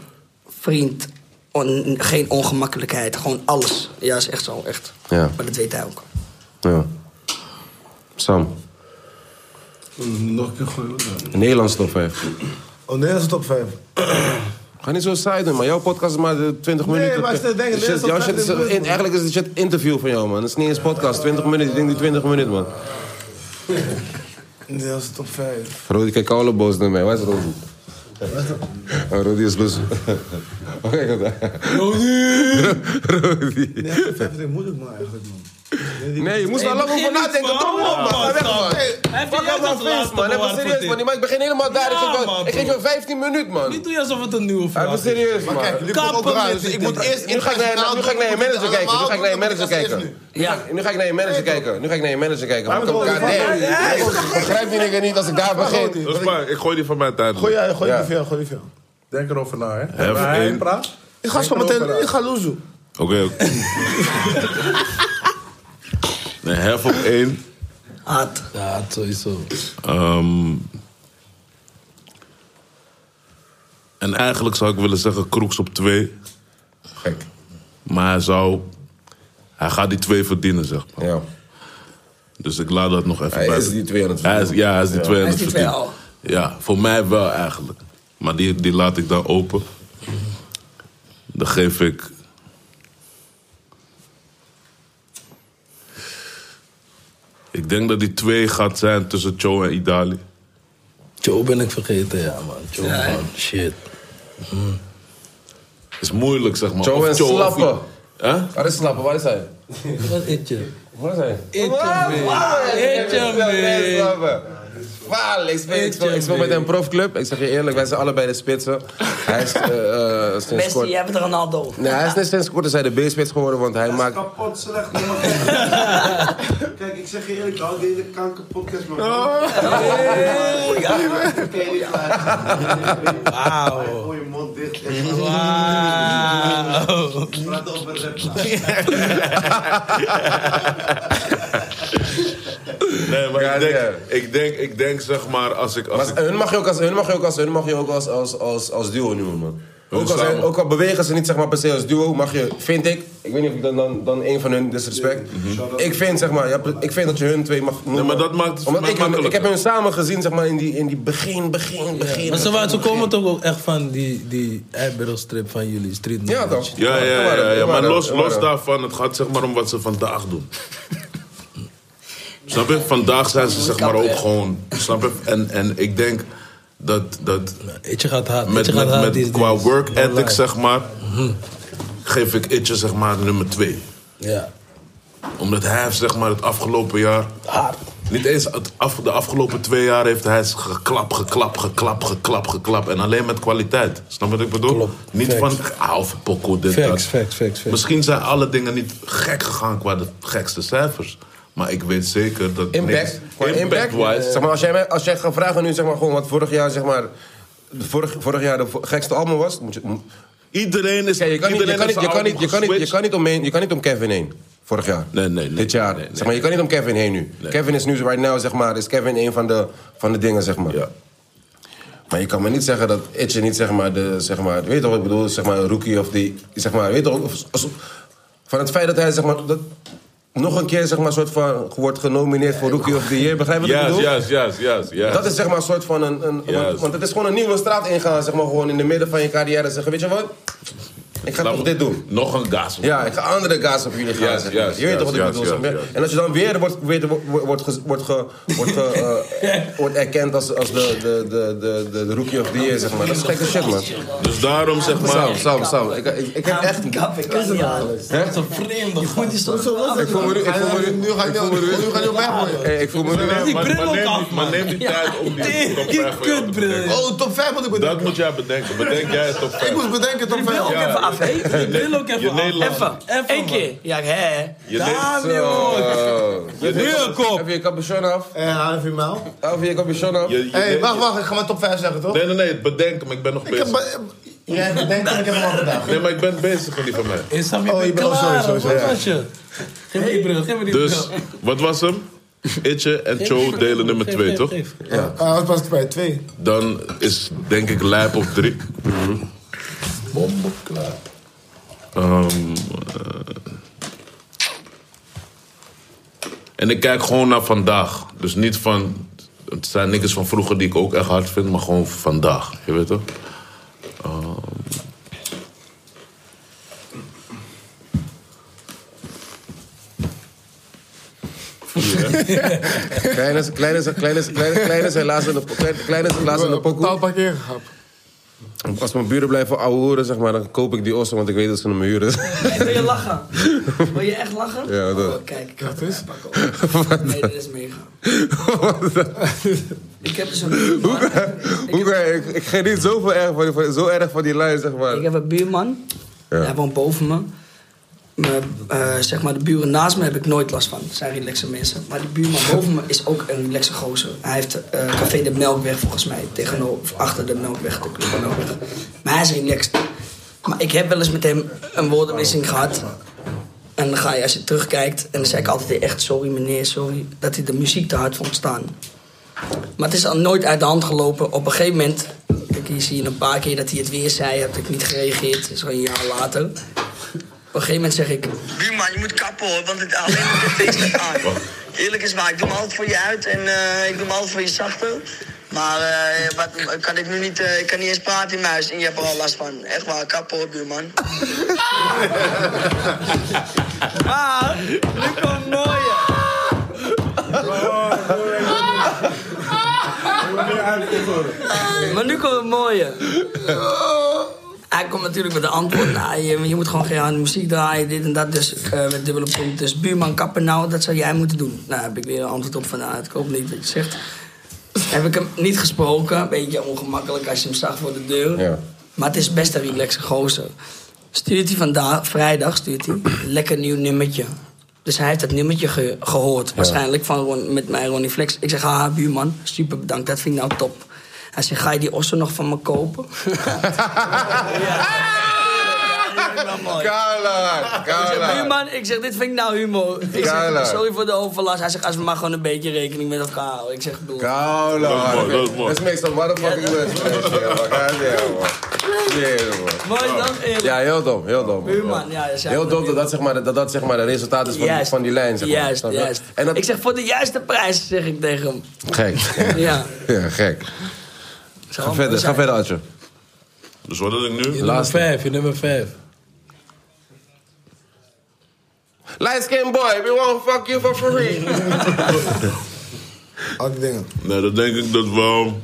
vriend, on- geen ongemakkelijkheid. Gewoon alles. Ja, is echt zo, echt. Ja. Maar dat weet hij ook. ja. Sam, Nog een keer gooien. Nederlands top 5. Oh, Nederlandse top 5. Ga niet zo saai doen, maar jouw podcast is maar de 20 Nee, minuten. maar ik zit te denken, Shit, Nederlands jouw top shit is, 5 is in- eigenlijk is het shit interview van jou, man. Het is niet eens podcast. 20 minuten, ik denk die 20 minuten, man. Nederlandse top 5. Rodi, kijk alle boos naar mij. Waar is Rodi? Oh, Rodi is boos. Oh, kijk het. Rodi! Nederlandse top 5 vind ik moeilijk, man, eigenlijk, man. Nee, je moest wel lang over nadenken. Kom op, man. Ga weg, man. Hey, Hij heeft Pak je juist hem als maar feest, laatste man. Even bewaard voor serieus, dit. man. Die- Maar ik begin helemaal daar. Ik Ja, geef jou- man, Ik geef bro. je 15 minuten, Niet man. doe je alsof het een nieuwe vraag Even is. serieus, man. jullie Kappen komen ook eruit met- zitten. ik moet Eerst, nu ga ik naar, nu ga ik naar je manager kijken. Nu ga ik naar je manager kijken. Ja. Nu ga ik naar je manager kijken. Nu ga ik naar je manager kijken. Want ik Waarom heb doe je elkaar- dat? Nee, Begrijp je nigger niet als ik daar begin? Dat is waar, ik gooi die van mij tijd. Gooi jij, gooi Ja. die veel, gooi die veel. Denk erover na, hè. Hef Maar hij één. praat. Ik ga zo meteen, ik ga loezoe. Oké. oké. nee, hef op één. Hard. Ja, sowieso. Ehm, en eigenlijk zou ik willen zeggen Kroeks op twee. Gek. Maar hij zou... Hij gaat die twee verdienen, zeg maar. Ja. Dus ik laat dat nog even Hij bij. is die twee aan het Hij is- Ja, hij is die twee aan Hij is het die twee verdienen. al. Ja, voor mij wel eigenlijk. Maar die, die laat ik dan open. Dan geef ik. Ik denk dat die twee gaat zijn tussen Joe en Idali. Joe ben ik vergeten, ja man. Joe, Ja, hè? man. Shit. Is moeilijk, zeg maar. Joe Of en of- Slappe. Huh? Waar is Slapper? Waar is hij? Wat eet je? Waar is hij? Eet je mee. Eet je mee. Waal, ik speel, ik speel, ik speel met een profclub. Ik zeg je eerlijk, wij zijn allebei de spitsen. Hij is eh, eh, sinds Bestie, kort... jij bent Ronaldo. Nee, hij is net sinds kort is hij de B-spits geworden, want hij maakt... Kapot slecht, man. Kijk, ik zeg je eerlijk, al die hele kanker podcast, man. Oh. Wauw. Gooi je mond dicht. Wauw. Praat over rap. Nee, maar ik, denk, ik, denk, ik denk, zeg maar, als ik... Als Maar ik hun mag je ook als, hun mag je ook als, hun mag je ook als, als, als, als duo noemen, man. Ook, als, samen. ook al bewegen ze niet zeg maar, per se als duo, mag je, vind ik, ik weet niet of ik dan, dan, dan een van hun disrespect. Ik vind zeg maar, ja, pre- ik vind dat je hun twee mag noemen. Mm-hmm. maar dat maakt het Omdat voor ik, mij hun- ik heb makkelijker. hun samen gezien zeg maar, in, die, in die begin, begin, begin. Maar ze, waren- ze komen toch ook echt van die, die strip van jullie, Street Ja, knowledge. toch? Ja, ja, ja, ja, Doe maar maar dan, los, doe maar los dan. daarvan, het gaat zeg maar om wat ze vandaag doen. Snap je? Vandaag zijn ze zeg maar ook gewoon. Snap je? En, en ik denk dat. dat Itje gaat hard. Met, Itje gaat met, hard met- these qua days. work ethic Online. Mhm. zeg maar. Geef ik Itje zeg maar nummer twee. Ja. Omdat hij heeft zeg maar het afgelopen jaar. Niet eens het af, de afgelopen twee jaar heeft hij geklap, geklap, geklap, geklap, geklap. En alleen met kwaliteit. Snap je wat ik bedoel? Niet van, ah, of pokoe, dit, dat. Facts, facts, facts, facts. Misschien zijn alle dingen niet gek gegaan qua de gekste cijfers. Maar ik weet zeker dat... Impact. niks- Qua impact. Impact-wise. Zeg maar, als, jij, mij- als jij gaat vragen nu, zeg maar, gewoon wat vorig jaar, zeg maar, de vorig, vorig jaar de vo- gekste album was. Moet je, iedereen is. je, kan niet, je, iedereen kan is niet, je, kan niet, je, kan niet, je, geswitcht. kan niet omheen, je kan niet om Kevin heen. Vorig jaar. Nee, nee, nee. Dit jaar. zeg maar, je kan niet om Kevin heen nu. Kevin is nu, right now, zeg maar, is Kevin een van de, van de dingen, zeg maar. Maar je kan me niet zeggen dat Itje niet, zeg maar, de, zeg maar, weet je toch wat ik bedoel, zeg maar, een rookie of die, zeg maar, weet je toch, of- alsof- van het feit dat hij, zeg maar, dat, nog een keer, zeg maar, soort van, wordt genomineerd voor rookie of the year, begrijp je wat ik Juist, bedoel? juist, juist, juist, juist. Dat is zeg maar een soort van een. een Eh, Juist. want, want het is gewoon een nieuwe straat ingaan, zeg maar gewoon in de midden van je carrière en zeggen: Weet je wat? Ik ga Laat toch me- dit doen. Nog een gas. op. Ja, ik ga andere kaas op jullie gaan. Juist, zeg maar. juist, je weet toch wat ik juist, bedoel? juist, zeg maar. juist. En als je dan weer wordt, weer, wordt, wordt, ge- wordt, ge- wordt, ge- eh, wordt erkend als, als de, de, de, de, de, de rookie of the year, zeg maar. Dat is gekke shit, man. Dus daarom zeg maar. Sam, Sam, Sam. Ik, ik, ik heb echt. Kap, ik kan niet aan. Dat is een vreemde gast. Ik voel me nu. Ik voel me nu. Nu ga je jou- nu ga je jou weggooien. eh, Ik voel me nu. Nee, maar, bril maar ook neem, af, die- maar neem die tijd om die top Die 5 voor jou te kutbril. bedenken. Oh, top 5 moet ik Dat bedenken. moet jij bedenken. Bedenk jij het top 5. Ik moest bedenken top 5. Wil ook Ja, even af, hè? Die bril ook Je even af. Nederland. Even, Even, één man. keer. Ja, hè? Je Nederland. Zo. Heel kop. Heb je je capuchon af? Eh, half uur maal. Heb je je capuchon af? Je- je- Hé, wacht, wacht. Ik ga mijn top 5 zeggen, toch? Nee, nee, nee. Bedenk hem. Ik ben nog Ik heb... bezig. Jij bedenkt dat ik heb hem al bedacht. Nee, maar ik ben bezig met die van mij. Is Sam, je Oh, bent je bent al klaar. sowieso, Wat ja. was je? Geef me die bril, geef me die bril. Dus, wat was hem? Itje en Cho delen nummer 2, toch? Ah, dat was bij 2. Dan is denk ik lijp op 3. Ehm, eh. en ik kijk gewoon naar vandaag. Dus niet van. Het zijn niks van vroeger die ik ook echt hard vind, maar gewoon vandaag. Je weet toch? Ehm. Vier, hè? Kleine is, kleine is, kleine is, kleine is, kleine is helaas in de, kleine, kleine is helaas in de pokoe. paar keer gehaald. Als mijn buren blijven ouwehoeren, zeg maar, dan koop ik die ossen, want ik weet dat ze hem huren. Wil je lachen? Wil je echt lachen? Ja, dat- Oh, kijk, dat is. Nee, dit is mega. Ik heb dus een buurman. Hoe kan je- ik, ik geniet zoveel erg van, die- van- zo erg van die lijn, zeg maar. Ik heb een buurman. Hij woont boven me. Mijn, eh, zeg maar, de buren naast me heb ik nooit last van. Het zijn relaxe mensen. Maar die buurman boven me is ook een relaxe gozer. Hij heeft eh, café de Melkweg volgens mij. Tegenover, achter de Melkweg, de club de Melkweg. Maar hij is relaxed. Maar ik heb wel eens met hem een woordenwisseling gehad. En dan ga je, als je terugkijkt... En dan zei ik altijd echt sorry meneer, sorry. Dat hij de muziek te hard vond staan. Maar het is al nooit uit de hand gelopen. Op een gegeven moment, kijk, hier zie je een paar keer dat hij het weer zei, heb ik niet gereageerd. Dat is gewoon een jaar later. Op een gegeven moment zeg ik, Buurman, je moet kappen hoor, want het alleen op dit feest niet aan. Eerlijk is waar, ik doe me altijd voor je uit en eh, ik doe me altijd voor je zachter. Maar eh, wat, kan ik nu niet, eh, ik kan niet eens praten in mijn huis en je hebt er al last van. Echt waar, kappen hoor, buurman. ah, nu komt mooie. Maar nu komt het mooie. Hij hij komt natuurlijk met de antwoord. Nou, je, je moet gewoon geen muziek draaien, dit en dat. Dus eh, met dubbele punt. Dus buurman kappen nou, dat zou jij moeten doen. Nou, heb ik weer een antwoord op van, nou, het klopt niet wat je zegt. Heb ik hem niet gesproken. Een beetje ongemakkelijk als je hem zag voor de deur. Maar het is best een relaxe gozer. Stuurt hij vandaag, vrijdag, stuurt hij lekker nieuw nummertje. Dus hij heeft dat nummertje ge- gehoord, waarschijnlijk van Ron- met mij Ronnie Flex. Ik zeg, haha, buurman, super bedankt, dat vind ik nou top. Hij zegt, ga je die osso nog van me kopen? Kala, Ik zeg, kala. buurman, ik zeg, dit vind ik nou humor. Ik zeg, Kala. sorry voor de overlast. Hij zegt, als we maar gewoon een beetje rekening met elkaar houden. Ik zeg, bedoel... Kala. Dat is meestal motherfucking words. man. Shit, man. Goddamn, man. Shit, man. Mooi dan, eerlijk. Ja, heel dom, heel dom. man. Buurman, ja, dat is Heel dom dat dat, zeg maar, dat dat zeg maar de resultaat is van, die- Juist. van die lijn. Zeg maar. Juist, Snap je? juist. Ik zeg, voor de juiste prijs, zeg ik tegen hem. Gek. Ja. Ja, gek. Zo, Ga verder, we ga zijn- verder, Adje. Dus wat had ik nu? Je nummer vijf, je nummer vijf. Light skin boy, we won't fuck you for free. Al die dingen. Nee, dan denk ik dat wel.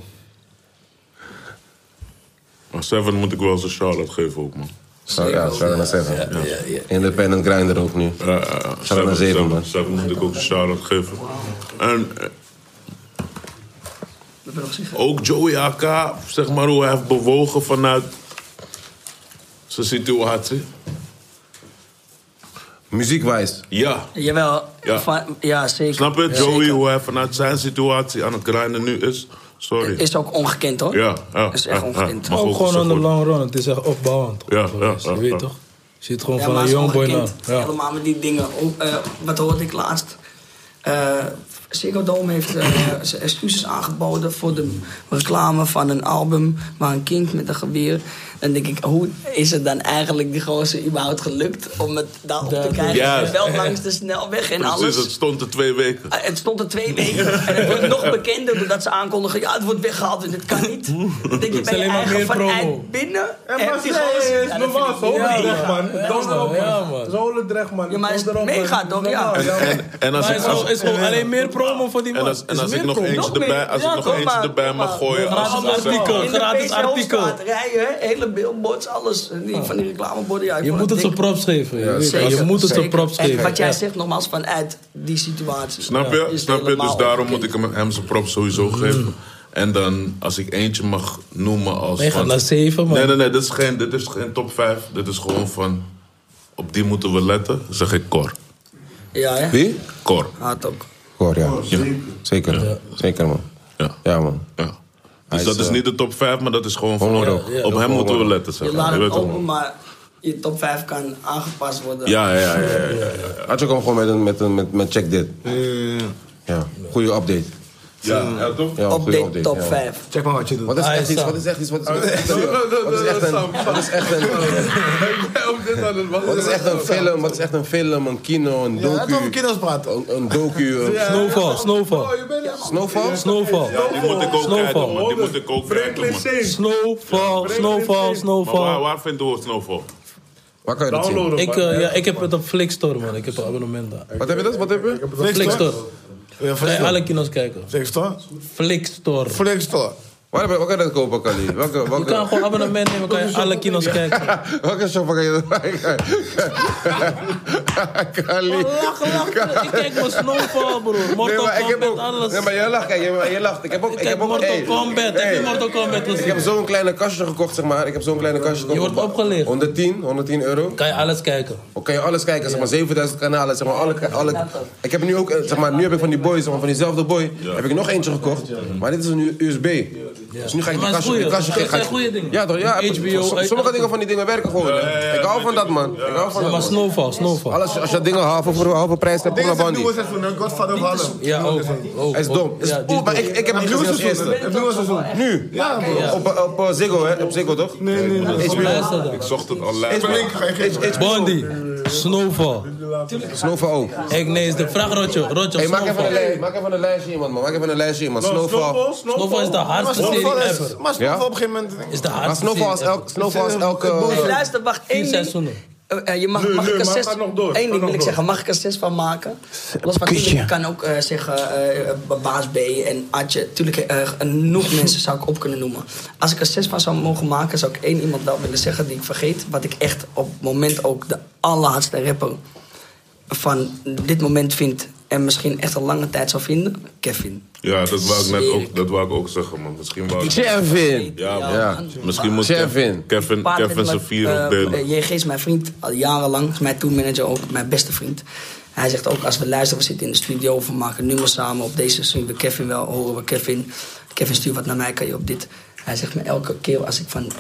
Maar Seven moet ik wel eens een shout-out geven ook, man. Zo, ja, shout-out naar Seven. Ja, ja, ja. Independent grinder ook nu. Ja, ja, ja. Shout-out naar Zeven, man. Seven moet ik ook een shout-out geven. En eh, ook Joey AK, zeg maar hoe hij heeft bewogen vanuit zijn situatie. Muziekwijs? Ja. Jawel, Ja. van- ja zeker. Snap je? Ja, Joey, zeker. hoe hij vanuit zijn situatie aan het grinden nu is. Sorry. Is ook ongekend, hoor. Ja, ja. Is echt ja, ongekend. ja. Mag Ook gewoon gezegd on the worden. long run, het is echt opbouwend. Ja, ja, ja. Je weet ja. toch? Je zit gewoon Ja, van maar een is jongboy naar. ongekend. Ja. Helemaal met die dingen. O, eh, wat hoorde ik laatst? Eh Ziggo Dome heeft eh, zijn excuses aangeboden voor de reclame van een album... waar een kind met een geweer... Dan denk ik, hoe is het dan eigenlijk die gozer überhaupt gelukt... om het daarop te krijgen? Juist. Wel langs de snelweg en Precies, alles. het stond er twee weken. Ah, Het stond er twee weken. En het wordt nog bekender doordat ze aankondigen... ja, het wordt weggehaald en het kan niet. Dan denk je, Het is ben je alleen maar eigen meer promo. vanuit binnen... En heb maar die zij gozer- is Ja, dat normaal, vind ik zo niet. Holendrecht, Ja, man. ja, Kom ja, erop, ja, man. Zo Holendrecht, man. Ja, maar het is mega, toch? Ja. En, en als Maar ik, als, het is gewoon- het is gewoon alleen meer promo voor die en man. als, en Het als ik is meer nog promo. eentje erbij, als ik nog eentje erbij mag gooien. als- Gratis als- artikel, In de gratis PC artikel. Ah. Hoofdstraat rijden, hè? hele billboards, alles. Die, Van die reclameborden. Ja, ik Je vond moet het dik. zijn props geven. Ja, Je, weet zeker. het. je moet het zijn Zeker. props En geven. wat jij Ja. zegt, nogmaals, vanuit die situatie. Snap je? Is Snap je? Dus helemaal daarom moet ik hem, hem zijn prop sowieso geven. En dan, als ik eentje mag noemen als... Maar je gaat van- naar zeven, man. Nee, nee, nee. Dit is geen, dit is geen top 5. Dit is gewoon van... Op die moeten we letten. Zeg ik Cor. Ja, hè? Wie? Cor. Haat ook. Cor, ja. Oh, Zeker. Zeker, man. Ja. man. Hij Dus dat is, is eh, niet de top 5, maar dat is gewoon van... Honderd ook. Op Ja, hem moeten we honderd. letten, zeg Je maar. laat Je weet het toch? open, maar je top 5 kan aangepast worden. Ja, ja, ja, ja, ja. Adje kwam gewoon met, een, met, een, met, met check dit. Ja, goede update. Ja, ja, toch? Ja, goede Update top ja. 5. Check maar wat je doet. Wat is Ah, echt ja, iets? Sam. Wat is echt iets? Wat is wat is echt een- wat is Oh, echt een- wat is echt een- Wat is echt een film? Wat is echt een film? Een kino, een Ja, laten we over docu. kinders praten. Een, een docu. een- Snowfall, Snowfall. Snowfall? Snowfall. Ja, die moet ik ook kijken, man. Die moet ik ook kijken, man. Snowfall, Snowfall, Maar waar, Snowfall. waar vinden we Snowfall? Waar kan je dat zien? Downloaden, Ik, man. eh, ja, ik heb het op Flickstore, man. Ik heb een abonnement daar. Wat heb je dat? Wat heb je? Flickstore. Ja, Kan je Flickstore. alle kino's kijken. Flickstore? Flickstore. Flickstore. Waar, heb je- waar kan je dat kopen, Kali? Welke, Je kan welke, gewoon abonnement nemen, kan je alle kino's kijken. welke shop kan je dat Kali. Lachen, lachen. Ik kijk mijn Snowfall, broer. Nee, Oh, Mortal maar ik heb Kombat, ook. alles. Nee, maar jij lacht, kijk, je, je lacht. Ik heb ook. Ik, kijk heb ook. Mortal hey, Kombat. Heb je hey. Mortal Kombat gezien? Ik heb zo'n kleine kastje gekocht, zeg maar. Ik heb zo'n kleine kastje gekocht. Je wordt opgelicht. 110, 110 euro. Kan je alles kijken. Dan Oh, kan je alles kijken, zeg maar 7000 kanalen, zeg maar alle, alle... Ik heb nu ook, eh, zeg maar, nu heb ik van die boy, zeg maar, van diezelfde boy, heb ik nog eentje gekocht. Maar dit is een USB. Dus nu ga ik Maar die het is kastje, goeie. die kastje Het ga zijn ik- goeie dingen. Ja toch, ja. HBO, so- sommige dingen van die dingen werken gewoon. hè. Ik hou van dat man. Ik hou van Ja, dat maar man. Snowfall, Snowfall. Alles, als je dingen halve voor halve prijs hebt, kom naar Bandy. nieuwe seizoen, een Godfather of Harlem. Ja, ook. ook, Hij is ook. dom. Is- Ja, die is maar dom. ik, ik heb hem Het niet nieuwe gezien als seizoen. eerste. Het nieuwe seizoen. Nu? Ja, bro. Op, op eh, Ziggo hè, op Ziggo toch? Nee, nee, nee. HBO. Luister dan. Ik zocht het online. HBO. Bondi, Snowfall. Snowfall ook. Ik nee, is de vraag, Rotjo. Rotjo, Hey, maak even een Snowfall. lijn- maak even een lijstje iemand man, maak even een lijstje iemand. Snowfall. Snowball, Snowfall is de Maar hardste serie Snowfall is... ever. Maar Snowfall op een gegeven moment... Is de Maar hardste Snowfall is serie ever. Eh, elk, Snowfall is elke... Hey, luister, wacht Vier één ding. seizoenen. Eh, eh, je mag, Nee, mag nee, ik er maar zes... ga nog door, Eén ga ding nog wil ik door. zeggen. Mag ik er zes van maken? Los van kutje. tuurlijk, ik kan ook eh, zeggen eh, eh, baas B en Adje. Tuurlijk, eh, genoeg mensen zou ik op kunnen noemen. Als ik er zes van zou mogen maken, zou ik één iemand wel willen zeggen die ik vergeet. Wat ik echt op het moment ook de allerlaatste rapper van dit moment vind. En misschien echt al lange tijd zou vinden. Kevin. Ja, dat wou ik net Zeer. ook, dat wou ik ook zeggen, man. Misschien wou ik... Kevin! Ja, man. Ja. Misschien moet Kevin, Kevin, Paard Kevin met zijn me- vier eh, opdelen. eh, JG is mijn vriend al jarenlang. Is mijn tourmanager ook, mijn beste vriend. Hij zegt ook, als we luisteren, we zitten in de studio... we maken nummers samen. Op deze zien we Kevin wel, horen we Kevin. Kevin stuurt wat naar mij, kan je op dit... Hij zegt me elke keer als ik, van,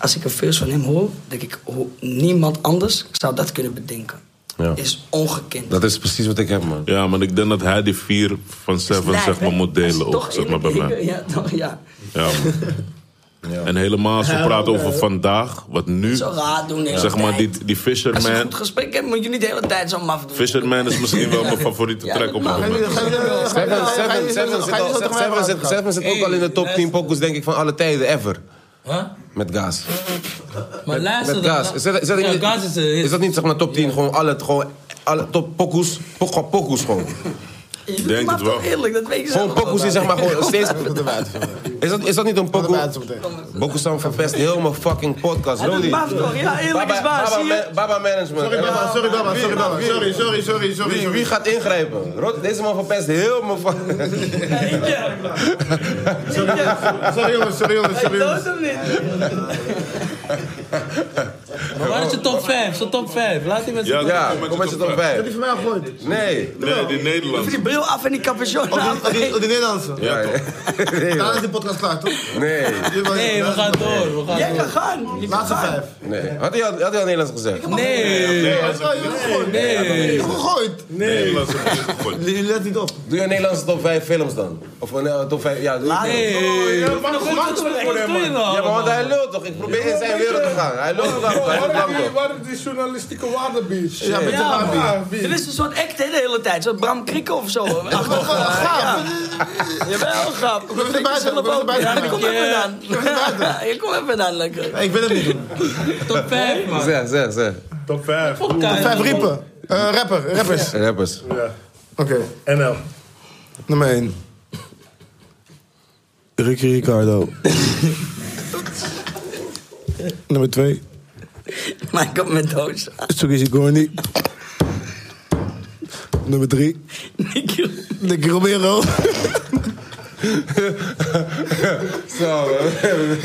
als ik een verse van hem hoor... denk ik, ho- niemand anders zou dat kunnen bedenken. Ja. Is ongekend. Dat is precies wat ik heb, man. Ja, maar ik denk dat hij die vier van Seven Lijf, zeg maar, hè? moet Dat delen is ook, toch zeg maar, bij eerlijk. mij. Ja, toch, ja. Ja, man. En helemaal als we Ja, praten over eh, vandaag, wat nu... Zo raar doen de hele Zeg maar, tijd. die, die Als je een Fisherman... goed gesprek hebt, moet je niet de hele tijd zo maf doen. Fisherman is misschien wel mijn favoriete track op het moment. Seven, Seven, Seven zit al- Seven zit- Seven zit ook al in de top 10 pokus, denk ik, van alle tijden, ever. Huh? Met Gaas. Maar Met luister dan. Gaas. Is dat, is dat Ja, niet, Gaas is, eh, is dat niet zeg maar top 10? Gewoon alle, gewoon alle top pokus, poko pokus gewoon. Ik denk het wel. Eerlijk, dat weet je Gewoon pokus die zeg maar gewoon steeds... Is dat, is dat niet een pokoe? Boku Sam verpest heel mijn fucking podcast, Hij doet Lodi. maf toch? Ja, eerlijk is waar, Baba, zie je? Baba- Baba Management. Sorry, Baba, sorry, Baba, Wie? sorry, Baba. Wie? Sorry, sorry, sorry, sorry, Wie, sorry. wie gaat ingrijpen? Rod- Deze man verpest heel mijn fucking... Sorry jongens, sorry jongens, sorry jongens. Maar waar is je top 5? Zo top 5. Laat die mensen... Ja, Ja, kom met kom je met je top top vijf. vijf. Heb je van mij gegooid? Nee. Nee, die Nederlandse. Die bril af en die capuchon aan. oh, De Nederlandse. Ja, toch? Daar is die podcast klaar, toch? Nee. Nee, we gaan door. We gaan Jij door. kan gaan. Je Laatste vijf. Nee. Had hij al, had hij al Nederlands gezegd? Nee. Nee. Gegooid. Nee. Je let niet op. Doe je een Nederlandse top 5 films dan? Of een eh, top 5... Ja, doe Nee. Oh, ja, maar nog goed Wat gesprek, wat doe je nou Ja, maar want allemaal? hij lult toch? Ik probeer in zijn wereld te gaan. Hij lult toch? Hij lult lang toch? Waar is die journalistieke waardebeest? Ja, met de Barbie. Er is een soort act hè, de hele tijd. Zo'n Bram Krikke of zo. Gaaf. Jawel, gaaf. We moeten buiten, we moeten buiten. Ja, kom even Ja. dan. We moeten buiten. Ja, Kom even dan, lekker. Ik wil het niet doen. Top 5, man. Zeg, zeg, zeg. Top 5. Top Vijf riepen. Eh, rapper, rappers. Rappers. Oké. NL. Nummer 1. Ricky Ricardo. Nummer 2. Michael Mendoza. Tsukishi Gorni. Nummer 3. Nicky Romero. Zo, we hebben-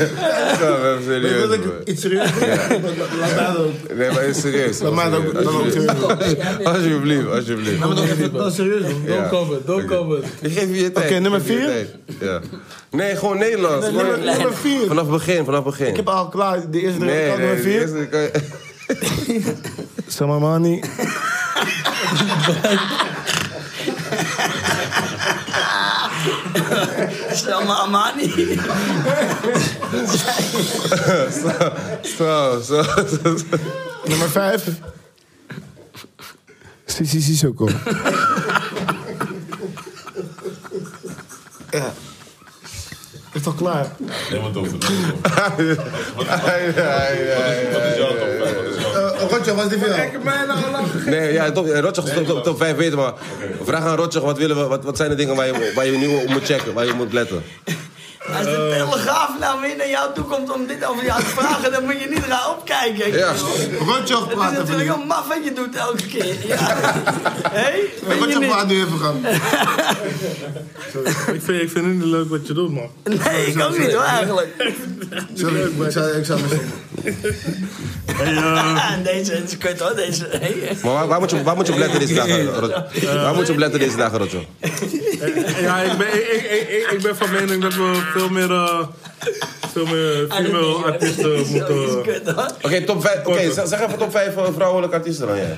zo, we hebben serieus. Wil ik man. iets serieus doen? Laat mij dat ook. Nee, maar is serieus. Laat mij dat ook- dat ook Nou, Alsjeblieft. Alsjeblieft, alsjeblieft. Laat me dat ook serieus doen. Ja. Don't cover, don't cover. Ik geef je je tijd. Oké, nummer Ik geef je vier? tijd. Ja. Nee, gewoon Nederlands. Nee, nummer- Gewoon- nummer vier. Vanaf begin, vanaf begin. Ik heb al klaar de eerste nee, drie. nee, Nummer de 4. eerste kan je- Samamani. Selma Amani. Zo, zo, zo. zo. Nummer 5. Sissi Sissoko. ja. Is toch klaar? Nee, maar over. Rotje, wat is die Kijk mij nou lachen. Nee, ja, top, eh, Rotjoch is top, top, top 5 weten, maar vraag aan Rotjoch, wat, willen we, wat, wat zijn de dingen waar je, waar je nu op moet checken, waar je op moet letten? Als de Eh. telegraaf nou weer naar jou toe komt om dit over jou te vragen, dan moet je niet gaan opkijken. Ja. Rotjoch Het is praten, natuurlijk vriend. heel maf wat je doet elke keer. Ja. Hé? Weet je Rotjoch niet? praat nu even gaan. Ik vind, ik vind het niet leuk wat je doet, man. Nee, ik ook niet hoor eigenlijk. Sorry, ik zou ik zou me stoppen. Deze is kut hoor, deze. Hey. Maar waar, waar moet, je, waar moet je op letten deze dagen, Rotjoch? Waar moet je op letten deze dagen, Rotjoch? Ja, ik ben, ik, ik, ik- ik, ik ben van mening dat we veel meer, eh, veel meer female artiesten eh, moeten... Oké, top 5, Oké, zeg zeg even top 5 vrouwelijke artiesten dan, jij.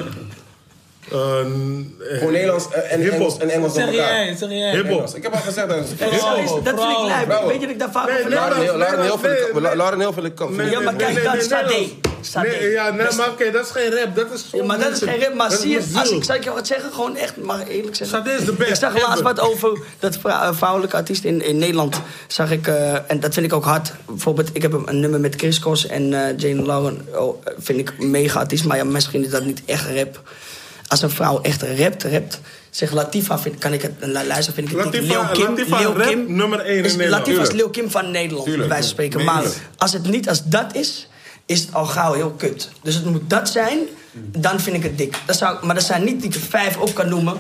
Gewoon Nederlands eh, en eh, Hiphop. Engels, en Engels door Zeg elkaar. jij, zeg jij. Hiphop. Engels. Ik heb al gezegd dat Dat is- dat vind ik lijp. Weet je dat ik daar vaak over Lauren nadenk? heel- Lauren heel veel- Lauren heel veel... Ja, maar kijk, dat is wat Nederlands. ik- Sade. Nee, ja, nee, Best- maar oké, dat is geen rap. Dat is Ja, maar dat is geen rap, maar zie je, als ik, zeg zou ik je wat zeggen, gewoon echt, mag ik eerlijk zeggen. Sade is de best Ik zag laatst ever. wat over dat vrou- eh, vrouwelijke artiest in, in Nederland. Zag ik, eh, en dat vind ik ook hard. Bijvoorbeeld, ik heb een, een nummer met Chris Kos en eh, Jane Lauren. Oh, eh, vind ik mega artiest, maar ja, misschien is dat niet echt rap. Als een vrouw echt rapt, rapt. Zeg Latifa, vind, kan ik het lu- luisteren? Vind ik het niet. Latifa- Latifa rap nummer één in is, Nederland. Latifa is Tuurlijk. Lil Kim van Nederland, bij Tuurlijk, wijze van spreken. tuurlijk. Maar als het niet als dat is, is het al gauw heel kut. Dus het moet dat zijn, dan vind ik het dik. Dat zou, ik- maar dat zijn niet die ik er vijf op kan noemen.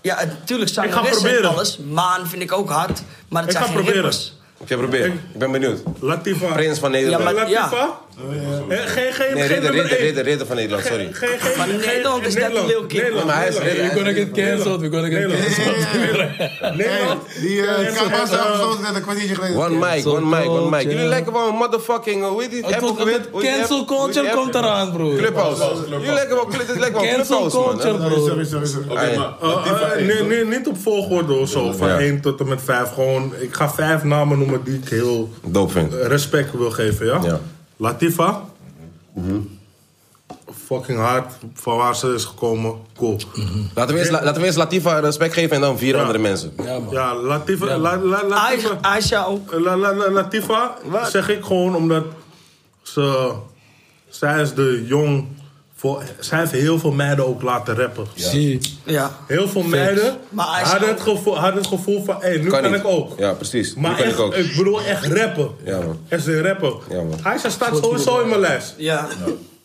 Ja, natuurlijk zijn Ik ga er proberen. alles. Maan vind ik ook hard, maar dat Ik zijn ga geen proberen. rippers. Ik ga proberen. Ik ben benieuwd. Latifa. Prins van Nederland. Ja, maar- ja. Latifa? Eh, Geen, geen, Nee, geen ridder, nummer ridder, één. ridder, ridder van Nederland, sorry. Geen, geen, Van geen- Nederland is dat Nederland, Lil Kim. Nederland, Maar hij is Nederland. ridder. gonna get cancelled, we gonna get cancelled. Nederland. Die Ja, uh, was eh, afgesloten net een kwartiertje geleden. One mic, one mic, one mic. Jullie ja. lijken wel een motherfucking, eh, hoe heet die? Het app wordt- ook weer? het Hoe heet die cancel app? Hoe heet die culture app? komt eraan, broer. Clubhouse. Jullie lijken wel, dit lijkt wel Cancel Clubhouse, man. culture, hè? bro. Ai. eh, eh, nee, nee, niet op volgorde of zo. Van Ja. 1 tot en met 5. Gewoon, ik ga vijf namen noemen die ik heel Dope vind. eh, respect wil geven, ja? Ja. Mhm. Latifa. Fucking hard. Van waar ze is gekomen. Cool. Laten we eerst- la- Laten we eerst Latifa respect geven en dan vier andere mensen. Ja, Latifa. La, la, Latifa. Aisha ook. La, la, la, Latifa zeg ik gewoon omdat ze. Zij is de jong. Voor, zij heeft heel veel meiden ook laten rappen. Zie. Ja. Heel veel meiden Maar Aisha hadden ook. het gevoel, hadden het gevoel van: hé, nu kan, niet. ik ook. Ja, precies. Nu Maar kan echt, ik ook. ik bedoel echt rappen. Ja, man. Echt zijn rappen. Ja, man. Aisha staat sowieso in mijn lijst. Ja.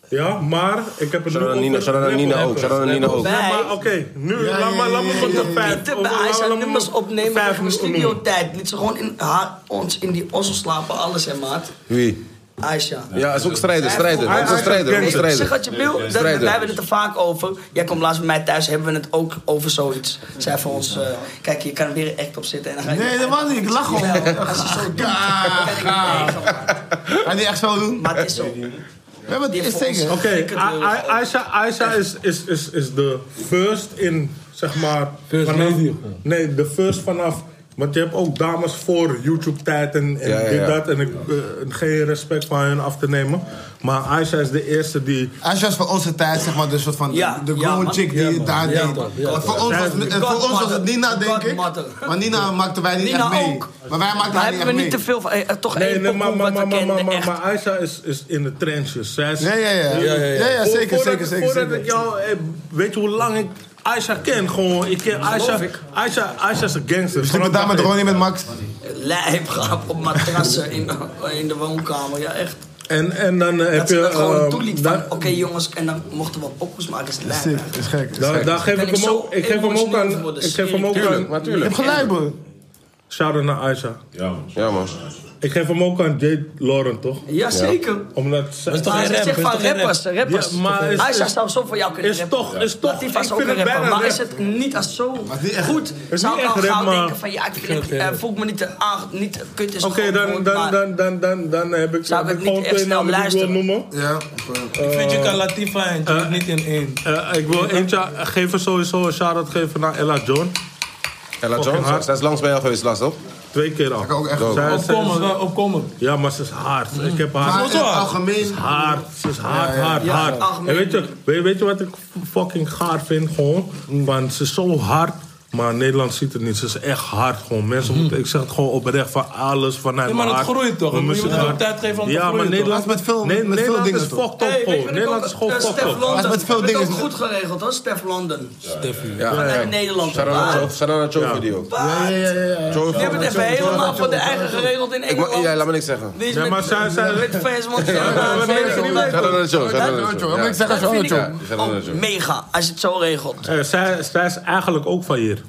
Ja, maar ik heb het Shout-out nu aan Nina, over shout-out aan rappen. Nina ook, shout-out aan Nina ook. Ja, maar Oké, nu, Ja, laat ja, maar, laat ja, maar ja, tot ja, de ja. vijf. Niet te bij Aisha nummers opnemen vijf tegen mijn noemen. studiotijd. Liet ze gewoon in haar, ons in die ossel slapen, alles en maat. Wie? Aisha. Ja, is ook strijden, strijden. Hij- Het is een hij- strijder, het is een Nee, zeg strijder. wat je wil, dat, wij Strijder. hebben het er vaak over. Jij komt laatst bij mij thuis, hebben we het ook over zoiets. Zij voor ons, eh, kijk, je kan er weer echt op zitten. En dan ga je Nee, dat was niet. Ik lach gewoon. Jawel, als je zo doet, dan kan ik het tegen, maar- Ga je die echt zo doen? Maar het is zo. We hebben het Die eerst voor ons- zeker. Oké, A- A- Aisha, Aisha is, is, is, is de first in, zeg maar... First vanaf, lady. nee, de first vanaf... Want je hebt ook dames voor YouTube-tijd en, en Ja, ja, dit, ja. dat. En ik, eh, geen respect van hun af te nemen. Maar Aisha is de eerste die... Aisha was voor onze tijd, zeg maar, de soort van Ja, de, de ja, grown man. chick die het daar Ja, deed. man. Ja, Want voor, ons was, het- voor ons was het Nina, denk ik. Godmother. Maar Nina maakten wij niet Nina echt mee. ook. Maar wij maakten Daar haar niet echt hebben we niet mee. te veel van. eh, eh, toch Nee, één nee, nee, maar, maar, wat we maar, maar, maar, kenden, maar, echt. maar Aisha is, is in de trenches. Zij is, Ja, ja, ja. Ja, ja, ja. Ja, zeker, voordat, zeker, zeker, Voordat zeker. ik jou... eh, Weet je hoe lang ik Aisha ken? Gewoon, ik ken Aisha... Aisha, Aisha is een gangster. Sliep het daar met Ronnie, met Max. Lijp gehad op matrassen in, in de woonkamer, ja echt. En, en dan eh, heb Dat ze je... dat eh, gewoon toeliet van, dan- oké jongens, en dan mochten we pokus maken, is lijp. Sick, eigenlijk. is gek. Is Daar, gek. daar geef Ben ik ik hem zo ook. Ik geef hem ook emotioneel aan. geworden, Ik geef hem ook Tuurlijk, aan. Je natuurlijk. hebt gelijk, bro. Shout out naar Aisha. Ja, man. Ik geef hem ook aan Jade Lauren, toch? Jazeker. Omdat zij. is toch Maar geen ze rap, zegt is van toch geen rappers, rap? rappers. Ja, maar is- Aisha is- zou zo voor jou kunnen is rappen. toch- is toch- Latifa is ik ook vind een het rapper, bijna maar is rap. het niet als zo niet echt- goed, zou niet ik al echt rap, gauw maar- denken van ja, ik vind het, geen eh, rap. voel ik me niet, te aange- niet kut is een Oké, groot dan, woord, dan, maar dan, dan, dan, dan heb ik, Zou ik heb het gewoon niet echt twee snel namen die ik wil luisteren? noemen. Ja, Ik vind je kan Latifa en je niet in één. Eh, ik wil eentje geven, sowieso een shout-out geven naar Ella John. Ella Fucking hard. Jones, zij is langs bij jou geweest laatst, toch? Twee keer al. kan ook echt Oh, Zij- eh, zeggen. zij- Opkomen, wel, opkomen. Ja, maar ze is hard. Ik heb Maar haar. in het algemeen... Nou, Hard, ze is hard, hard, Ja, hard. algemeen. En weet je, weet, weet je wat ik fucking gaar vind gewoon? Want ze is zo hard, maar Nederland ziet het niet. Ze is echt hard gewoon. Mensen moeten, ik zeg het gewoon oprecht van alles vanuit Ja, maar mijn dat hart. groeit toch? Mijn Je moet muziek hem hard. tijd geven om te ja, groeien, maar toch? Nederland, Dat is met veel- Nee, met veel Nederland dingen, is toch? fucked up Hey, weet je gewoon. wat Nederland ik is ook- gewoon eh, fucked Stef up. London, Maar met veel heb ik dingen ook is- goed geregeld hoor, Stef London. Ja, ja. Vanuit Nederland. Shout-out aan Maar- Joe- shout-out aan Joe voor die ook. Wat? Joe Je voor- hebt het even helemaal voor de eigen geregeld in Ik mag- Engeland. Ja, laat me niks zeggen. Die is Ja, met- maar zij- zij- met Facebook, maar nee, Facebook. nee, nee, Shout-out aan Joe, shout-out aan Joe, wat moet Joe. ik zeggen? Zo, Dat vind ik Joe. Shout-out aan ook Joe. mega, als je het zo regelt. Eh, zij, zij is eigenlijk ook van hier.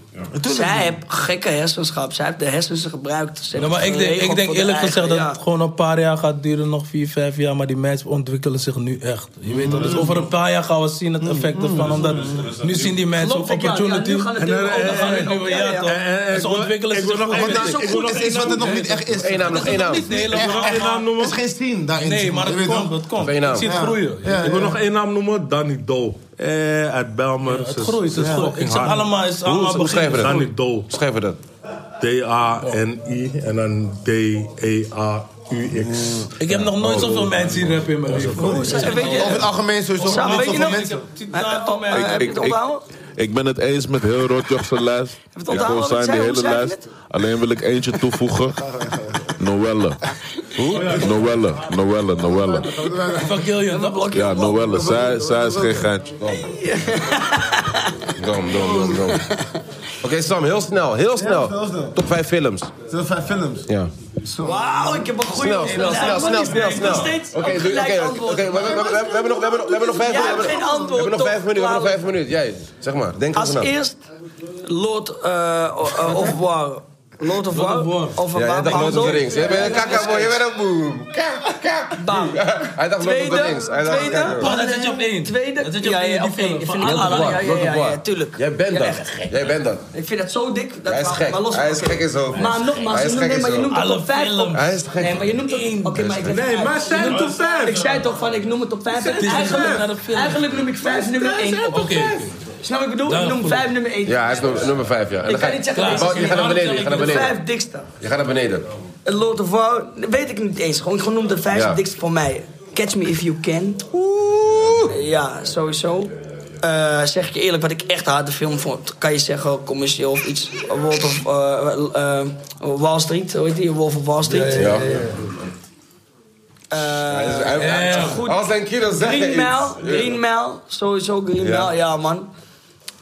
Zij heeft gekke hersenschap. Zij heeft de hersens gebruikt. Ze Ja, heeft Nou, maar het ik denk, geregeld ik denk voor de eerlijk eigen- gezegd dat ja. het gewoon een paar jaar gaat duren, nog vier, vijf jaar. Maar die mensen ontwikkelen zich nu echt. Je weet toch? Dus over een paar jaar gaan we zien het effect ervan. Omdat nu zien die mensen ook Klopt, ik, ja, ja, opportunity. nu gaan het En dingen dan- en- ondergaan. en- en- ja, toch? En Ze ontwikkelen zich nog Want dat echt. is ook goed, is iets wat het nog niet echt is. Eén naam, nog één naam. Niet de hele Echt, wereld. echt, naam noemen? Er is geen scene daarin. Nee, zeg maar je het weet komt, toch? het komt. Twee namen. Ik zie het groeien. Ja, Ik ja. wil nog één naam noemen, Danny Doe. Eh, uit Belmer. Het groeit, het groeit. Ik zeg allemaal, het is Hoe- allemaal Hoe schrijven we beginnen. Danny dat? Doe. Schrijven we dat? E D-A-N-I en dan D-E-A. UX. Ik heb nog nooit zoveel mensen hier rappen in mijn leven. Over het algemeen sowieso nog niet zoveel mensen. Eh, oh, Ik- ik- ik- Ik ben het eens met heel Rotjochse lijst. Ik onthouden wil wat ik zijn de zei? Hoe hele schrijf je lijst. Alleen wil ik eentje toevoegen. Noelle. Noelle, Noelle, Noelle. Fuck Gillian, dat blok Ja, Noelle. Zij, zij is geen geintje. Dom, dom, dom, dom. Oké, Sam, heel snel, heel snel. Top 5 films. Top 5 films? Ja. Wauw, ik heb een goede... Snel, snel, snel, snel, snel, snel. Oké, doe- oké, oké, we- we- we- we- we hebben nog- we hebben nog- we hebben nog vijf Jij minuten. hebt geen antwoord, We hebben nog vijf toch? minuten, we hebben nog vijf minuten. Jij, zeg maar, denk Als even na. eerst Lord eh, o- eh, of War. Lord of War. Of Ja, jij dacht Lord of the Rings. Jij bent een kakaboy, jij bent een boem. Bam. Hij dacht Lord of the Rings. Hij dacht, tweede, kijk, hoor. Dat zit je op één. Tweede. Dat zit je op Ja, één. ja, die of film. één. Ik Van vind het Lord of allemaal- War, ja, ja, Lord ja, of War. ja, tuurlijk. Jij bent Ja, dat. echt gek. Jij bent dat. Ik vind dat zo dik. Dat Hij is maar- gek. Maar los Hij is oké. gek in zijn hoofd. Maar nogmaals, Hij is je gek noemt- nee, in maar je zijn noemt hoofd. het op vijf. op- Hij is gek. Nee, maar je noemt het... Oké, maar ik leg het Nee, uit. maar zijn Je het noemt- op vijf? Ik zei toch van, ik noem het op vijf. Het is op Eigenlijk- vijf. Eigenlijk noem ik vijf nummer één. op. Oké. Snap wat ik bedoel? Ja, Ik noem goed. vijf nummer één. Ja, hij is nummer- nummer 5, ja. En Ik dan ga kan je- niet zeggen... deze Maar is Je gaat naar niet. beneden, je gaat naar De beneden. vijf dikste. Je gaat naar beneden. Een Lord of War, dat weet ik niet eens. Gewoon, gewoon noem de vijf Ja. dikste voor mij. Catch Me If You Can. Oeh. Ja, sowieso. Eh, zeg ik je eerlijk, wat ik echt harde film vond, kan je zeggen commercieel of iets. Wolf of eh, eh, Wall Street, hoe heet die? Wolf of Wall Street. Ja. Eh, Hij- hij- Goed. Als zijn kinderen zeggen Green iets. Mile, Ja. Green Mile, sowieso Green Ja. Mile, ja man.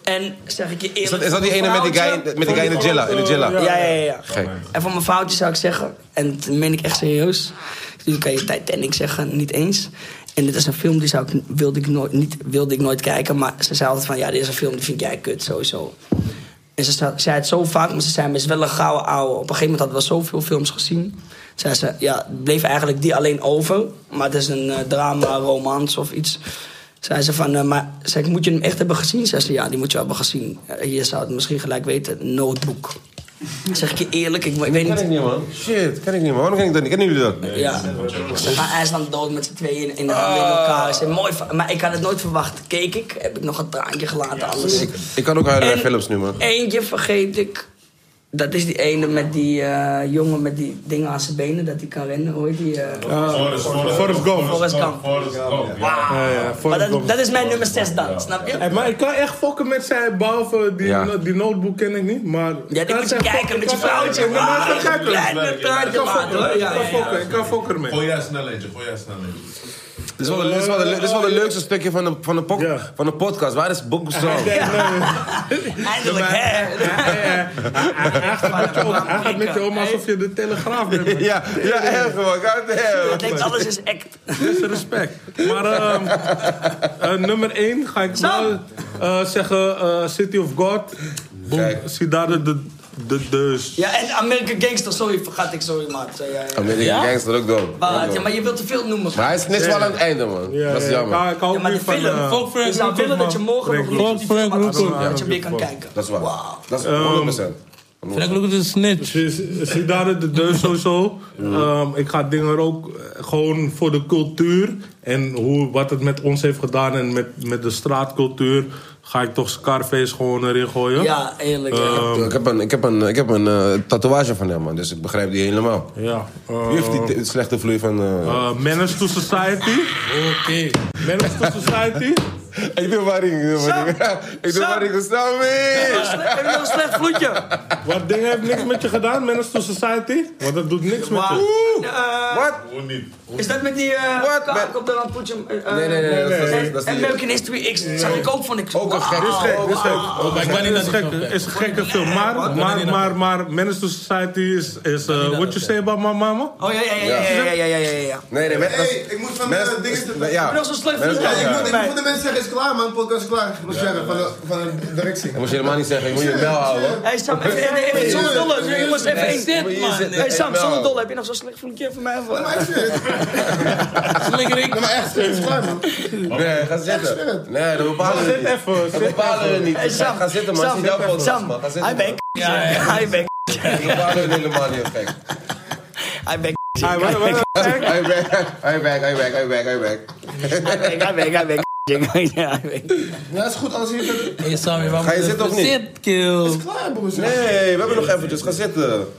En zeg ik je eerlijk. Is dat- is dat die voor ene met die guy- vrouwtje- met die guy in de Jilla, in de Jilla? Ja, ja, ja. ja. Gek. En voor mijn foutje zou ik zeggen, en dat meen ik echt serieus. Nu kan je Titanic zeggen, niet eens. En dit is een film die zou ik, wilde, ik nooit, niet, wilde ik nooit kijken. Maar ze zei altijd van, ja, dit is een film die vind jij kut, sowieso. En ze zei- zei het zo vaak, maar ze zei, maar het is wel een gouden ouwe. Op een gegeven moment hadden we zoveel films gezien. Zei ze, ja, het bleef eigenlijk die alleen over. Maar het is een eh, drama, romans of iets. Zei ze van, eh, maar zei, ik, moet je hem echt hebben gezien? Zei ze, ja, die moet je hebben gezien. Eh, je zou het misschien gelijk weten, Notebook. Zeg ik je eerlijk, ik, ik weet Ken niet... ik niet, man. Shit, ken ik niet, man. Waarom ken ik dat niet? Kennen jullie dat? Ja. Ze gaan IJsland dood met z'n tweeën in, in, in elkaar. Ze zijn mooi, va- maar ik had het nooit verwacht. Keek ik, heb ik nog een traantje gelaten. alles. Ik, ik kan ook huilen bij En- films nu, man. Eentje vergeet ik. Dat is die ene met die eh, jongen met die dingen aan zijn benen. Dat hij kan rennen. Hoe heet die? eh? Forrest- Forrest- Forrest Gump. Forrest Gump. Maar dat, dat is mijn nummer 6 dan, snap je? Hey, maar ik kan echt fokken met zij, behalve die, Ja. die notebook ken ik niet, maar... Ja, die kan moet je zij kijken fokken, met kan je zij- vrouwtje. Ja, maar Wauw, ik kan een kijken. klein Ik kan traantje fokken, maken. ik Ja, kan ja, ja. fokken, ik kan fokken ermee. Gooi jij snel eentje, gooi jij snel eentje. Dit is wel, dit is wel, dit is wel het leukste stukje van de, van de, pok- van de podcast. Waar is Bob Song? Eindelijk, hè? Hij gaat met je om alsof je de telegraaf bent. man. Ja, ja, echt man. God damn. Ik denk, alles is act. Dus respect. Maar ehm, eh, nummer 1 ga ik nou eh, zeggen eh, City of God. Boom. Zie daar de, de, de deus. Ja, en American Gangster, sorry, vergat ik, sorry, maat. Ja, ja, ja. American Ja? Gangster ook dood. Maar, ja, maar je wilt te veel noemen. Maar hij is niks wel aan het einde, man. dat is jammer. Ja, ik hou Ja, maar nu de van... film, eh, Fuck Frank Je zou Lucas, willen dat je man. morgen nog Rook, niet Frank maar Lucas. dat je weer kan kijken. Dat is waar. Dat is 100%. Frank Lucas is een snitch. zie- Zie daar de deus sowieso. Ehm, ik ga dingen ook eh, gewoon voor de cultuur. En hoe, wat het met ons heeft gedaan en met, met de straatcultuur. Ga ik toch Scarface gewoon erin gooien. Ja, eerlijk. ja. Eh. ik heb een, ik heb een, ik heb een eh, tatoeage van hem, man. Dus ik begrijp die helemaal. ja eh, Wie heeft die te- slechte vloei van... eh eh, Menace to Society. Oké. Menace to Society. Ik doe Waring. Ik doe Waring. Ik doe Waring. Snap me! Heb je nog een slecht vloedje? Wat ding heeft niks met je gedaan, Menace to Society? Want dat doet niks met Waar? je. Eh, Wat? Hoe niet? Is dat met die eh Wat? kaak op de lampoetje? eh, Nee, nee, nee, dat is- dat is- en- dat is en die- American History X, dat zag ik ook van ik. Ook een gek. Wauw. Dit is gek, Dit is gek. Maar ik ben Dit is niet naar die gek. film, kijk. is een gekke film. Maar, maar, maar, maar Menace to Society is... is eh, what you say about my mama? Oh ja, ja, ja, ja, ja, ja, ja, ja, ja. Nee, nee, met, Hey, dat- ik moet van met- de dingen te- Ja. eh, Ik ben nog zo'n slecht Met- vloedje. Ja, ik moet, ik Nee. moet voor de mensen zeggen, is klaar man, podcast is klaar. Ik moet zeggen, van de, van de directie. Dat moest je helemaal niet zeggen. Je moet je bel houden. Hey Sam, even- even even zonder dollar. Je was even Nee, één. maar hier zit- Hey Sam, nee, zonder nou. dollar. Heb je nog zo'n slecht vloedje voor mij? of- Maar ik zweer het. Nee, maar echt, het is klaar man. Nee, ga zitten. Nee, dat bepalen we Zit niet. even. Dat zit bepalen we niet. Hey Sam, Ga zitten, man. Het Sam, is jouw podcast, Sam, man. Ga zitten, hij ben man. Hij ben Dat bepalen we helemaal niet, gek. Hij ben Hey, wat- wat- Hij back, hij back, hij back, hij back, hij back. Hij ben Hij ben Ja, hij ben Ja, is goed, alles hier. Hey Sammy, waar Ga je moet zitten of even- niet? Zit, kill. is klaar, broers. Nee, we hebben nog eventjes. Ga zitten.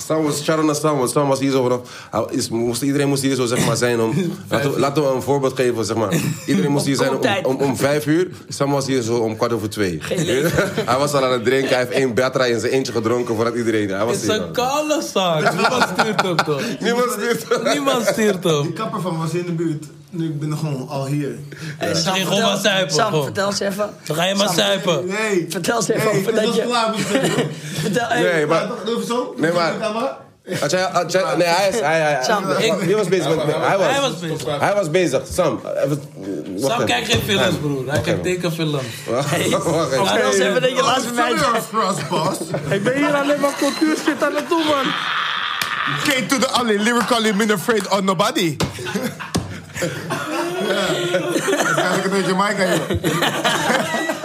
Stan was, Sharon en Stan, want Stan was hier zo vanaf. hij Is, moest, iedereen moest hier zo zeg maar zijn om. laten, we, laten we een voorbeeld geven, zeg maar. Iedereen moest hier zijn om, om, om vijf uur. Stan was hier zo om kwart over twee. hij was al aan het drinken, hij heeft één batterij in zijn eentje gedronken voordat iedereen. Hij was Het is hier. een koude zaak. Niemand stuurt hem toch? Niemand stuurt hem. Niemand stuurt hem. Die kapper van was in de buurt. Nu ik ben gewoon al hier. Hey, Sam, Ging gewoon vertel- maar zuipen, Sam, gewoon. vertel eens even. Dan ga je maar zuipen. Nee. Vertel eens even over dat dat je- je... klaar moet zijn. Vertel Nee, even. maar- Doe even zo. Nee, maar- Had jij, had jij- nee, hij is. Hij, hij, Sam, hij- ik- wie was bezig met. met- Hij was, Hij was bezig. Hij was bezig. Sam, even. wacht Sam even. kijkt geen films, broer. Hij kijkt tekenfilms. Wacht wacht even. Vertel eens even dat je laatst bij mij Sorry, Frostbos. Ik ben hier alleen maar cultuurshit aan het doen, man. Came to the alley, lyrically, been afraid of nobody. Waarschijnlijk een beetje Jamaica hier.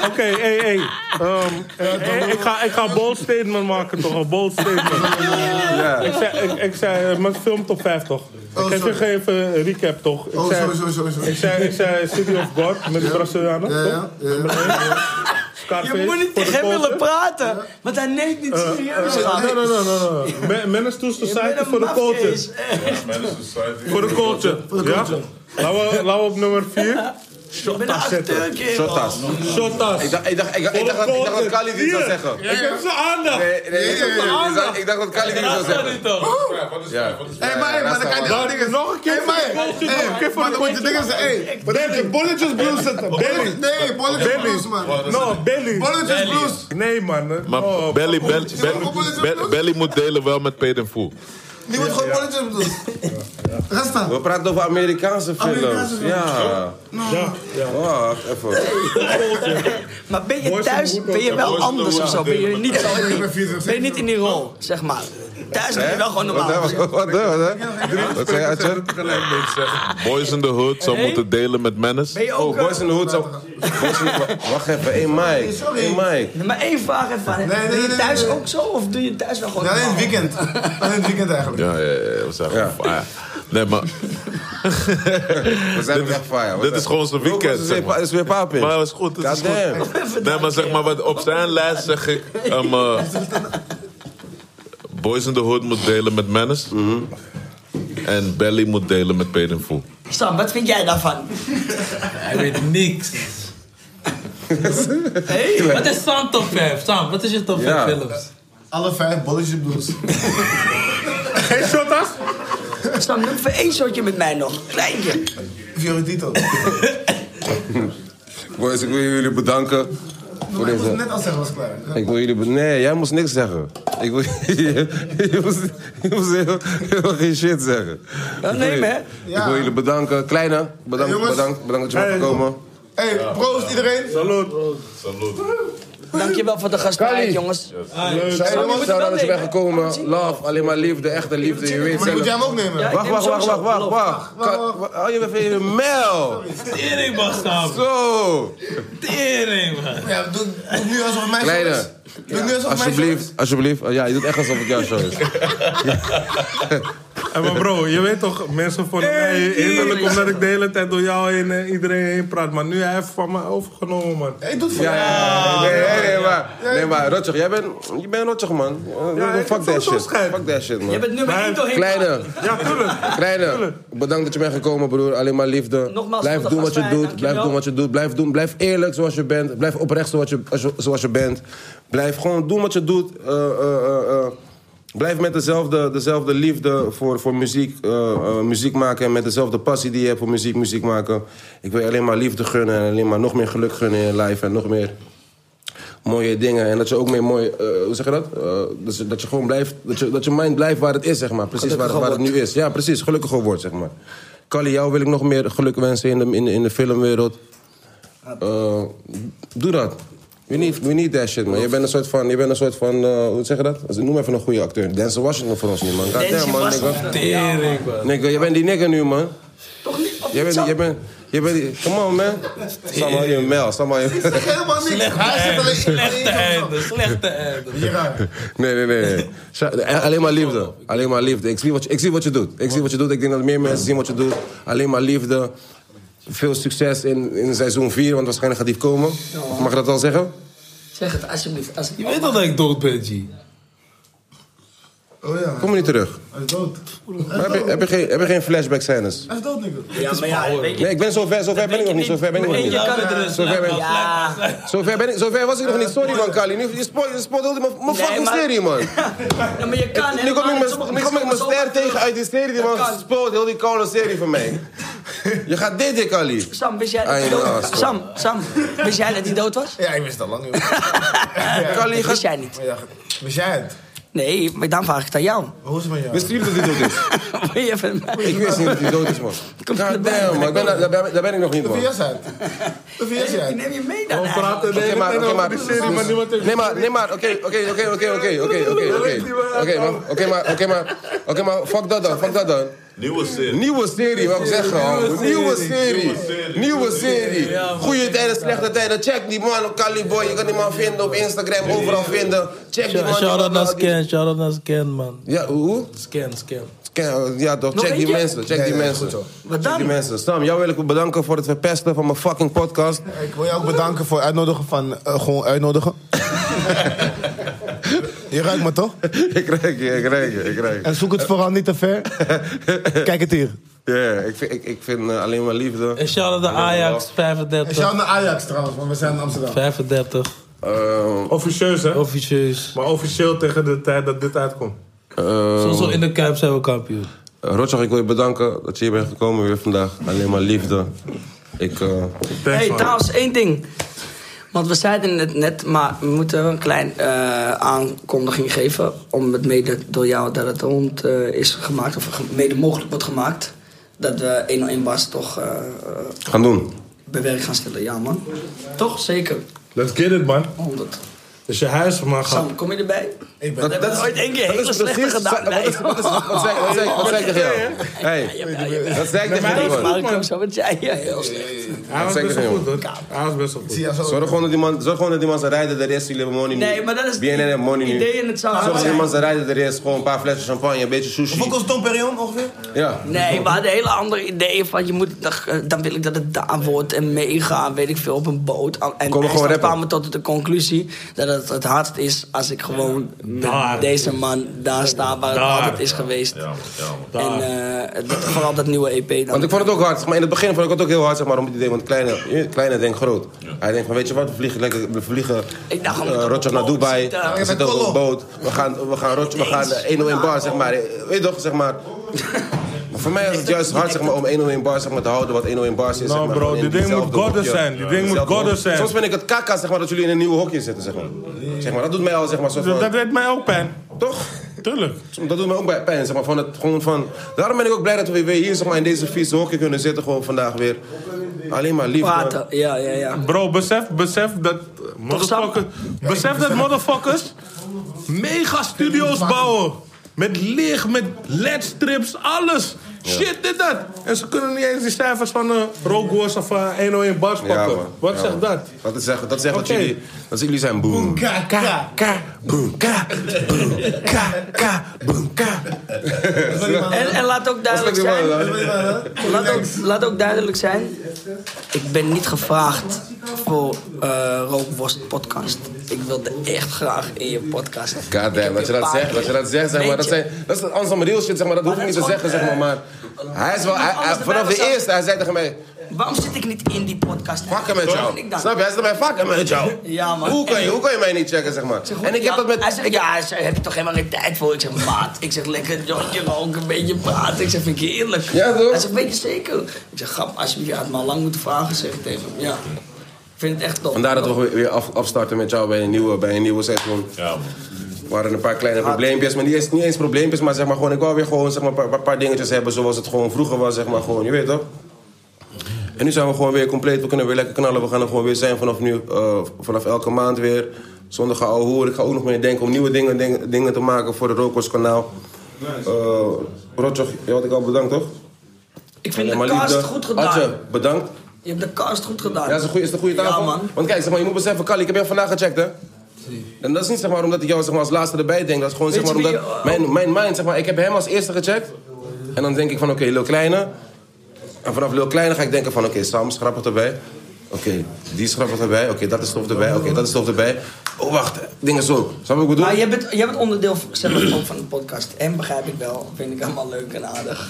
Oké, hey, hey. Ehm, eh, ik, ga, ik ga een bold statement maken, toch? Een bold statement. Ik zei, ik, ik zei eh, mijn film top 5, toch? Ik geef je even een recap, toch? Ik Oh, zei, sorry, sorry, sorry, sorry. Ik zei, ik zei City of God met de Brazilianen, Ja, toch? ja, ja. Scarface. Je moet niet tegen hem willen praten, want hij neemt niet serieus. praten. Eh, Nee, nee, nee, nee, nee. Me- Menace to Society voor de culture. Voor de culture. Ja? Laten we- laten we op nummer 4. Shotas zetten. Shotas. Shotas. Ik dacht, ik dacht, ik dacht, ik dacht, dat- ik dacht dat Kali dit zou zeggen. Ik heb zijn aandacht. Nee, nee, ik dacht, ik dacht- ik dacht dat Kali dit zou zeggen. Ja. Hé, maar, hé, maar dan kan je die dingen... Nou, Nog een keer Hé, maar, hé, Nog een keer hé, voor maar de dan moet je dingen zeggen, hé. Wat heb je? Bolletjes blues zetten. Belly. Nee, bolletjes Belly. blues, man. No, Belly. Bolletjes blues. Nee, man. Maar Oh, Belly, Belly, Belly, Belly- Belly moet delen wel met Paid and Fool. Die wordt gewoon bolletjes blues. Rasta. We praten over Amerikaanse films. Amerikaanse films. Ja. Oh, Ja. Wacht even. Maar ben je Boys in thuis, Hood ben je ook, wel ja. anders of zo? Ben je niet zo? Ik ben 40. Ben je niet in die rol, zeg maar? Thuis ben je wel gewoon Wat, normaal. wat, wat, wat, wat, wat? Wat zei je, Adjan? Boys in the Hood zou moeten delen met Ben Menace. je ook... Oh, eh, Boys in the Hood zou... Boys in the- Wacht even, hé Mike. sorry. Hé Mike. Nee, Maar één vraag even. aan. nee, doe je nee, thuis nee, nee. ook zo of doe je thuis wel gewoon Alleen het normaal? weekend. Alleen het weekend eigenlijk. Ja, ja, ja, we zijn gewoon fire. Nee, maar We zijn op echt fire. dit is gewoon zijn weekend, Het zeg maar. is weer paap in. Maar dat is goed, dat is goed. Goddamn. Nee, maar zeg maar, wat op zijn lijst zeg ik... ehm, eh, Boys in the Hood moet delen met Menace. En Belly moet delen met Paid and Fool. Sam, wat vind jij daarvan? Hij weet niks. Wat is Sam top 5? Sam, wat is je top 5 Ja. films? Alle vijf bolletjes blues. Geen Shotas? Sam, noem even één shotje met mij nog. Kleintje. Fiorentito. Boys, ik wil jullie bedanken. Voor Ik moest deze... net al zeggen, was klaar. Ik wil jullie... be- Nee, jij moest niks zeggen. Ik wil... je moest, je moest heel, heel geen shit zeggen. Ja, nee, Ik wil- hè? Ik wil jullie bedanken. Kleine, bedankt, Jongens. bedankt, bedankt dat je bent gekomen. Hey, proost iedereen. Salut. Dankjewel voor de gastvrijheid, jongens. Zij Sam, je jongens, moet zou het dat wel je bent nemen. gekomen. Love, alleen maar liefde, echte liefde. Je weet Maar ik moet jij zelf. hem ook nemen. Ja, Wacht, ik neem wacht, wacht, sowieso. wacht, wacht, wacht. Kan- wa- Oh, je bent even in je mail. Tering man, Sam. Zo. Tering man. Ja, doe, doe nu alsof het mijn show Kleine. is. Doe nu alsof het mijn show is. Alsjeblieft, alsjeblieft. Oh, Ja, je doet echt alsof het jouw show is. En maar bro, je weet toch, mensen vonden mij hinderlijk omdat ik de hele tijd door jou heen en iedereen heen praat. Maar nu hij heeft van mij overgenomen, man. Hey, doe het voor Ja, mij. ja, ja, nee, nee, nee, maar, nee, maar Rotjoch, jij bent, je bent Rotjoch, man. Ja, ik heb fuck that sowieso shit. schijt. Fuck that shit, Je man. bent nummer Maar- 1 doorheen. Kleine, Ja, tuurlijk. kleine, bedankt dat je bent gekomen, broer. Alleen maar liefde. Nogmaals, blijf tot doen de wat je gastvrijheid, doet, blijf dankjewel. doen wat je doet, blijf doen, blijf eerlijk zoals je bent, blijf oprecht zoals je, als je- zoals je bent. Blijf gewoon doen wat je doet. Eh, eh, eh, eh. Blijf met dezelfde, dezelfde liefde voor, voor muziek, eh, eh, muziek maken. En met dezelfde passie die je hebt voor muziek, muziek maken. Ik wil je alleen maar liefde gunnen. En alleen maar nog meer geluk gunnen in je life. En nog meer mooie dingen. En dat je ook meer mooi, eh, hoe zeg je dat? Eh, dat, je, dat je gewoon blijft, dat je, dat je mind blijft waar het is, zeg maar. Precies waar, waar het nu is. Ja, precies. Gelukkiger wordt, zeg maar. Kali, jou wil ik nog meer geluk wensen in de, in, de- in de filmwereld. Eh, doe dat. We need, we need that shit, man. Je bent een soort van, je bent een soort van eh, hoe zeg je dat? Noem even een goede acteur. Denzel Washington voor ons nu, man. Goddamn, Denzel man, Washington. nigga. Tering man. Nigga, je bent die nigger nu, man. Toch niet? Of Je bent, zo? je bent, je bent die... Come on, man. Sam, hou je mail. Sam, hou je... Helemaal niks. Hij zit alleen Slechte alleen- einde, slechte einde. Ja. Nee, nee, nee. nee. Sha- Alleen maar liefde. Alleen maar liefde. Ik zie, wat je, ik zie wat je doet. Ik zie wat je doet. Ik denk dat meer mensen zien wat je doet. Alleen maar liefde. Veel succes in, in seizoen 4, want waarschijnlijk gaat die komen. Mag ik dat al zeggen? Zeg het alsjeblieft. Als... Je weet al dat ik dood ben, G. Oh ja. Kom maar niet terug. Hij is dood. Maar heb, je, heb, je geen, heb je geen flashback scènes? Hij is dood, nigga. Ja, maar ja, weet je- Nee, ik ben zover, zover ben ik nog niet. Zover ben ik nog Je niet. kan het er dus Zover ben ik- Ja. Zover ben ik- zover was ik nog niet. Sorry man, Kali. Nu- Je spoilt je spoilt heel die- mijn mijn Nee, fucking maar- serie, man. Ja, maar je kan Nu kom helemaal ik niet. mijn- Sommige nu kom mensen ik mijn komen ster tegen uit die serie, die man. Spoilt heel die koude serie van mij. Je gaat dit, dit, Kali. Sam, wist jij dat hij Ah, dood ja, was? stop. Sam, Sam, wist jij dat hij dood was? Ja, ik wist dat lang, joh. Dat wist jij niet. Wist jij het? Nee, maar dan vraag ik het aan jou. Hoe is het met jou? Wisten jullie dat hij dood is? Wil je even mij? Ik wist niet dat hij dood is, man. God damn, man. Ik ben- Daar daar ben ik- daar ben ik nog niet, De man. VS uit. De VS uit. Neem je mee dan? Oké, maar, oké, maar, dus- Nee, maar, nee, maar, oké, oké, oké, oké, oké, oké, oké, oké. Oké, maar, oké, maar, oké, maar, oké, maar, fuck dat dan, fuck dat dan. Nieuwe serie. Nieuwe serie, wou ik zeggen, man. Nieuwe serie. Nieuwe serie. Ja, man. Goede tijden, slechte tijden. Check die man, Cali Boy. Je kan die man vinden op Instagram, overal vinden. Check die man. die Shout out man, naar die- Scan, shout out naar Scan, man. Ja, hoe? Scan, Scan. Ken- Ja, toch, Nog check die eentje? mensen, check Ja, die ja, mensen. goed zo. Check die mensen. Sam, jou wil ik bedanken voor het verpesten van mijn fucking podcast. Ik wil je ook bedanken voor het uitnodigen van... eh, gewoon uitnodigen. je ruikt me toch? Ik krijg je, ik krijg je, ik krijg je. En zoek het vooral niet te ver. Kijk het hier. Ja, ik vind, ik, ik vind eh, alleen maar liefde. En shout out naar Ajax, 35. En shout naar Ajax trouwens, want we zijn in Amsterdam. 35. Eh, dus- Officieus, hè? Officieus. Maar officieel tegen de tijd dat dit uitkomt. Zo zo in de Kuip zijn we kampioen. Eh, Rotjoch, eh, ik wil je bedanken dat je hier bent gekomen weer vandaag. Alleen maar liefde. Ik, eh hey, trouwens, één ding. Want we zeiden het net, maar we moeten wel een klein eh, aankondiging geven. Om het mede door jou dat het rond eh, is gemaakt, of ge- mede mogelijk wordt gemaakt. Dat we 101 Bas toch eh, eh, gaan doen. bewerk gaan stellen. Ja, man. Toch? Zeker. Let's get it, man. 100. Dus je huis maar gaat. Sam, kom je erbij? Ik Dat- ben dat dat, dat is- ooit één keer dat hele is slechte precies- gedaan. wat is- wat is- wat zei- wat zei- wat zei ik tegen jou? Hey, dat zei ik tegen Maar jou, dat is man. Marco, zo wat jij ja, heel slecht. Hij was Zeker best wel geen, goed, hoor. Hij was best wel goed. Zorg gewoon dat die man, zorg gewoon dat die man zijn rijden de rest, jullie hebben money nu. Nee, maar dat is BNN heeft money nu. idee en het zou Zorg dat die zijn. man zijn rijden de rest, gewoon een paar flessen champagne, een beetje Hoeveel sushi. kost Don Perion ongeveer? Ja. Nee, we hadden hele andere ideeën van je moet, dan, eh, dan wil ik dat het daar wordt en meegaan, weet ik veel, op een boot. En gewoon meestal rappen. kwamen we tot de conclusie dat het het hardst is als ik gewoon met deze man daar sta waar het altijd is geweest. En eh, dat- vooral dat nieuwe EP dan. Want ik vond het ook hard, maar in het begin vond ik het ook heel hard, zeg maar, om het idee, want kleine, kleine denkt groot. Hij denkt van, weet je wat, we vliegen lekker, we vliegen Ik dacht, we eh, moeten op Rotjoch een naar boot eh. Dubai, zitten. Ja, we met zitten op een kolom. boot, we gaan, we gaan, Rotjoch, we gaan eh, 101 bar, Nou. zeg maar, Eh, weet je toch, zeg maar. Maar voor mij is het juist hard zeg maar, om 101 bars zeg maar, te houden wat 101 bars is. Nou, zeg maar, bro, gewoon in die ding diezelfde moet goddess hokje. zijn, die ding moet Dezelfde goddess hokje. zijn. Soms ben ik het kakka zeg maar, dat jullie in een nieuw hokje zitten. Zeg maar. Zeg maar dat doet mij al zeg maar, zo van, Dat deed mij ook pijn. Toch? Tuurlijk. Dat doet mij ook bij pijn. Zeg maar, van het, gewoon van, daarom ben ik ook blij dat we weer hier zeg maar, in deze vieze hokje kunnen zitten. Gewoon vandaag weer. Alleen maar liefde. Praten, ja, ja, ja. Bro, besef, besef dat eh, motherfuckers, besef dat motherfuckers mega studio's bouwen. Met licht, met ledstrips, alles. Shit, dit, dat. En ze kunnen niet eens die cijfers van eh Rogue Wars of eh, 101 Bars Ja, pakken. man. Wat Ja, zegt man. dat? Dat zegt dat, zegt Oké. dat, jullie, dat jullie zijn boom. Ka, ka, ka, boom, ka, boom, ka, ka, boom, ka. En, en laat ook duidelijk Dat is zijn. wel die man, Laat ook, laat ook duidelijk zijn. Ik ben niet gevraagd voor eh Rookworst podcast. Ik wilde echt graag in je podcast. God damn, dat je dat zegt, dat je dat zegt, zeg maar. Dat, zijn, dat is het Anselm Riel shit, zeg maar. Dat hoef ik niet te zeggen, zeg maar. maar eh, hij is wel, hij- hij- vanaf de eerste, hij zei tegen mij... Waarom zit ik niet in die podcast? Fucken met Wat ben jou. ik dan? Snap je? Hij zegt mij, fucken met jou. Ja, man. Hoe kan je, En- hoe kan je mij niet checken, zeg maar? En ik heb dat met... Hij zegt, ja, hij zegt, heb je toch helemaal geen tijd voor? Ik zeg, maat. Ik zeg, lekker jointje roken, een beetje praten. Ik zeg, vind ik heerlijk. Ja, toch? Hij zegt, weet je zeker? Ik zeg, grap, alsjeblieft. Je had me al lang moeten vragen, zeg ik tegen hem. Ja. Ik vind het echt tof. Vandaar dat we weer- weer af, afstarten met jou bij een nieuwe, bij een nieuwe seizoen. Ja, waren een paar kleine probleempjes, maar niet eens, niet eens probleempjes, maar zeg maar gewoon, ik wou weer gewoon zeg maar, een paar, paar- paar dingetjes hebben zoals het gewoon vroeger was, zeg maar gewoon, je weet toch? En nu zijn we gewoon weer compleet, we kunnen weer lekker knallen, we gaan er gewoon weer zijn vanaf nu, eh, vanaf elke maand weer. Zonder ga hoer, ik ga ook nog meer denken om nieuwe dingen, dingen, dingen te maken voor het Rokos kanaal. Eh Rotjoch, je had ik al bedankt toch? eh. Ik vind de cast goed gedaan. Adje, bedankt. Je hebt de cast goed gedaan. Ja, is, een goeie, is het een goede tafel? Ja, man. Want kijk, zeg maar, je moet beseffen, Kali, ik heb jou vandaag gecheckt, hè? En dat is niet zeg maar, omdat ik jou zeg maar, als laatste erbij denk. Dat is gewoon Weet zeg maar, je omdat wie, eh, mijn, mijn mind, zeg maar, ik heb hem als eerste gecheckt. En dan denk ik van, oké, Lil Kleine. En vanaf Lil Kleine ga ik denken van, oké, Sam, is grappig erbij. Oké, die schrappen erbij. Oké, dat is stof erbij. Oké, dat is stof erbij. Oh, wacht. Dingen zo. Snap je wat ik bedoel? Maar jij bent, jij bent onderdeel van- zeg maar, ook van de podcast. En begrijp ik wel. Vind ik allemaal leuk en aardig.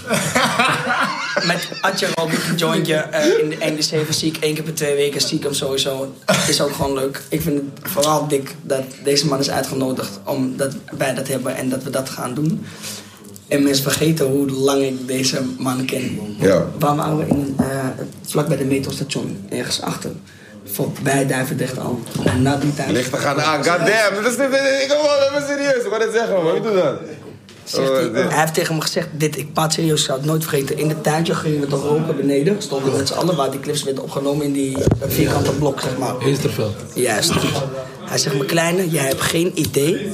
Met Atje Robert een jointje eh, in de NDC van ziek. één keer per twee weken stiekem sowieso. Is ook gewoon leuk. Ik vind het vooral dik dat deze man is uitgenodigd. Omdat wij dat hebben en dat we dat gaan doen. En mensen vergeten hoe lang ik deze man ken. Ja. Waar waren we in, eh, vlak bij de metrostation, ergens achter. Voorbij Duivendrecht al. En na die tijd... Lichten gaan aan. Goddamn. Dat is dit. dit- Ik wil even serieus. Ik wou net zeggen, man. Ik doe dat. Zegt Oh, hij, eh, hij heeft tegen me gezegd, dit, ik paat serieus, ik zou het nooit vergeten. In het tuintje gingen we toch roken beneden. Stonden we met z'n allen waar die clips werden opgenomen in die eh, vierkante blok, zeg maar. Heesterveld. Juist. Hij zegt, mijn kleine, jij hebt geen idee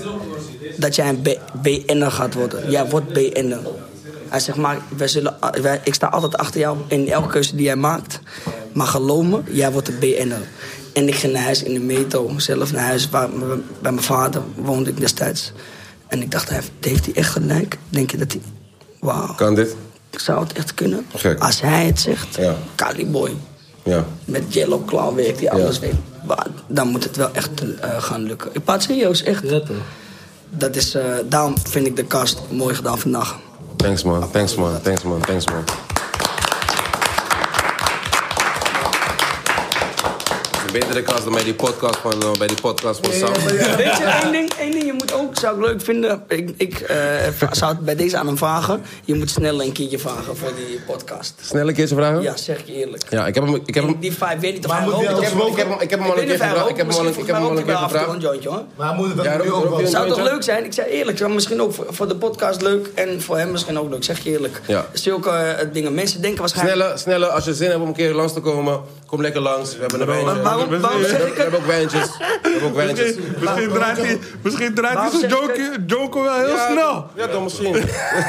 dat jij een B- BN'er gaat worden. Jij wordt BN'er. Hij zegt, maar wij zullen, wij- ik sta altijd achter jou in elke keuze die jij maakt. Maar geloof me, jij wordt een BN'er. En ik ging naar huis in de metro, zelf naar huis. Waar, m- bij mijn vader woonde ik destijds. En ik dacht, hij heeft- heeft hij echt gelijk? Denk je dat hij... Wauw. Kan dit? Zou het echt kunnen? Gek. Als hij het zegt, Ja. Caliboy Ja. met Jello Claw werkt, die Ja. alles weet. Maar dan moet het wel echt eh, gaan lukken. Ik praat serieus, echt. Dat is, eh, daarom vind ik de kast mooi gedaan vandaag. Thanks, man. Thanks, man. Thanks, man. Thanks, man. Een betere kans dan bij die podcast van, eh, bij die podcast van Sam. Weet je, één ding, één ding, je moet ook, zou ik leuk vinden, ik, ik eh, va- zou het bij deze aan hem vragen. Je moet sneller een keertje vragen voor die podcast. Snelle keertje vragen? Ja, zeg ik je eerlijk. Ja, ik heb hem... Ik heb hem Die vijf, weet niet of Maar hij moet die rookt al of- smoken? Ik heb hem- ik heb hem al een weet niet keer of hij gevraagd. Ik heb rookt. hem al een- Misschien ik heb hem al een rookt hij keer wel af en toe gevraagd. een jointje, hoor. Maar moet het dan Ja, nu rookt- ook wel? rookt- Zou toch jointje? leuk zijn? Ik zei eerlijk, zou misschien ook voor, voor de podcast leuk en voor hem misschien ook leuk. Zeg je eerlijk. Ja. Zulke eh, dingen. Mensen denken waarschijnlijk... Sneller, sneller, als je zin hebt om een keer langs te komen, kom lekker langs. We hebben een wijntje. Maar waarom- waarom zeg ik het? We hebben ook wijntjes. We hebben ook wijntjes. Misschien draait hij, misschien draait hij Waarom zijn zeg ik joker, joker wel heel snel. Ja, dan misschien.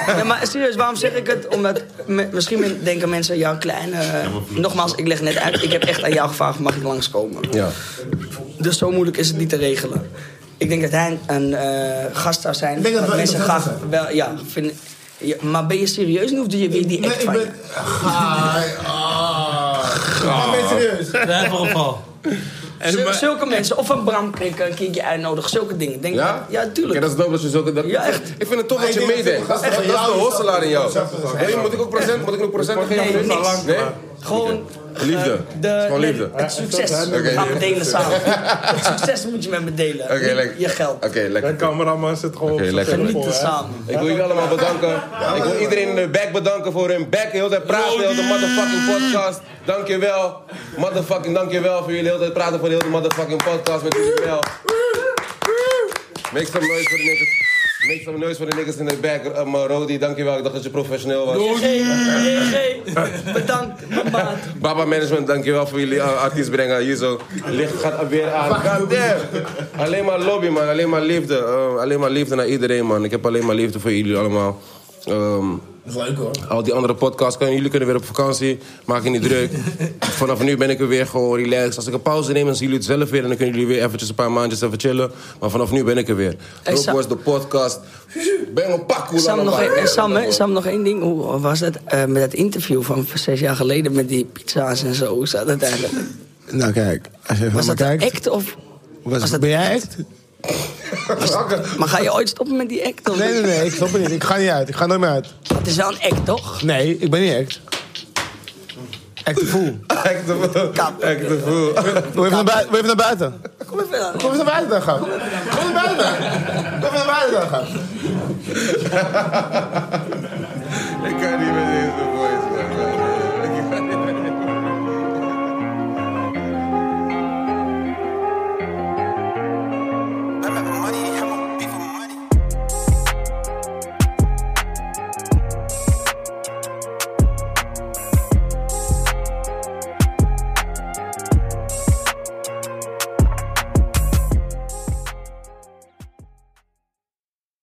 Ja, maar serieus, waarom zeg ik het? Omdat me- misschien men- denken mensen, ja, klein. eh, nogmaals, ik leg net uit. Ik heb echt aan jou gevraagd, mag ik langskomen? Ja. Dus zo moeilijk is het niet te regelen. Ik denk dat hij een eh, gast zou zijn. Ik denk dat wat we mensen graag interessant wel, ja, vinden. Ja, maar ben je serieus nu of doe je weer die act ik van je? ben- Ah, ah. Ik ben serieus. Twijfelgeval. Zul- Zulke mensen, of een Bram Krikken, een keertje uitnodigen, zulke dingen. Denk Ja? ja, tuurlijk. Oké, dat is dope dat je zulke... Dat, Ja, echt. Ik vind het tof dat je Maar ik denk meedenkt. dat Dat veel is dat gasten is de van jou hosselaar in jou. Hey, moet ik ook procent, moet ik ook procent Nee, geven? niks. Nee? Gewoon eh, Liefde. Het is de, Gewoon nee, liefde. het succes Oké. gaan we delen samen. Het succes moet je met me delen. Oké, Niet lekker. Je geld. Oké, lekker. De cameraman zit gewoon Oké, op zijn lekker. telefoon, hè. Genieten samen. Ik wil jullie allemaal bedanken. Ik wil iedereen in de back bedanken voor hun back. Heel de tijd praten, heel de motherfucking podcast. Dankjewel. Motherfucking dankjewel voor jullie heel de tijd praten voor heel de motherfucking podcast met jullie wel. Make some noise voor de niggas. Make some noise voor de niggas in de back. Uh, maar Rodi, dankjewel. Ik dacht dat je professioneel was. Hey, JG, bedankt. mijn maat. Baba Management, dankjewel voor jullie eh, artiest brengen. Hier zo. Licht gaat weer aan. Goddamn. Alleen maar lobby, man. Alleen maar liefde. Eh, alleen maar liefde naar iedereen, man. Ik heb alleen maar liefde voor jullie allemaal. Ehm, Dat is leuk hoor. al die andere podcasts. Kunnen, jullie kunnen weer op vakantie. Maak je niet druk. Vanaf nu ben ik er weer gewoon relaxed. Als ik een pauze neem, dan zien jullie het zelf weer. En dan kunnen jullie weer eventjes een paar maandjes even chillen. Maar vanaf nu ben ik er weer. Hey, Rob Sam. was de podcast. Ben een pak. hoe Sam lang nog, dan maar. één- eh, Sam, hè, Sam, nog één ding. Hoe was dat eh, met dat interview van zes jaar geleden met die pizza's en zo? Hoe zat dat eigenlijk? Nou kijk, als je even Was naar dat kijkt. een act of... was, ben jij echt? Maar ga je ooit stoppen met die act? Of Nee, nee, nee, ik stop er niet. Ik ga niet uit. Ik ga nooit meer uit. Het is wel een act, toch? Nee, ik ben niet echt. Act the fool. Act the fool. Act the fool. Wil je even naar bui- wil je even naar buiten? Kom even aan. Kom eens naar buiten dan, gaan. Kom eens naar buiten. Kom eens naar buiten dan, gaan.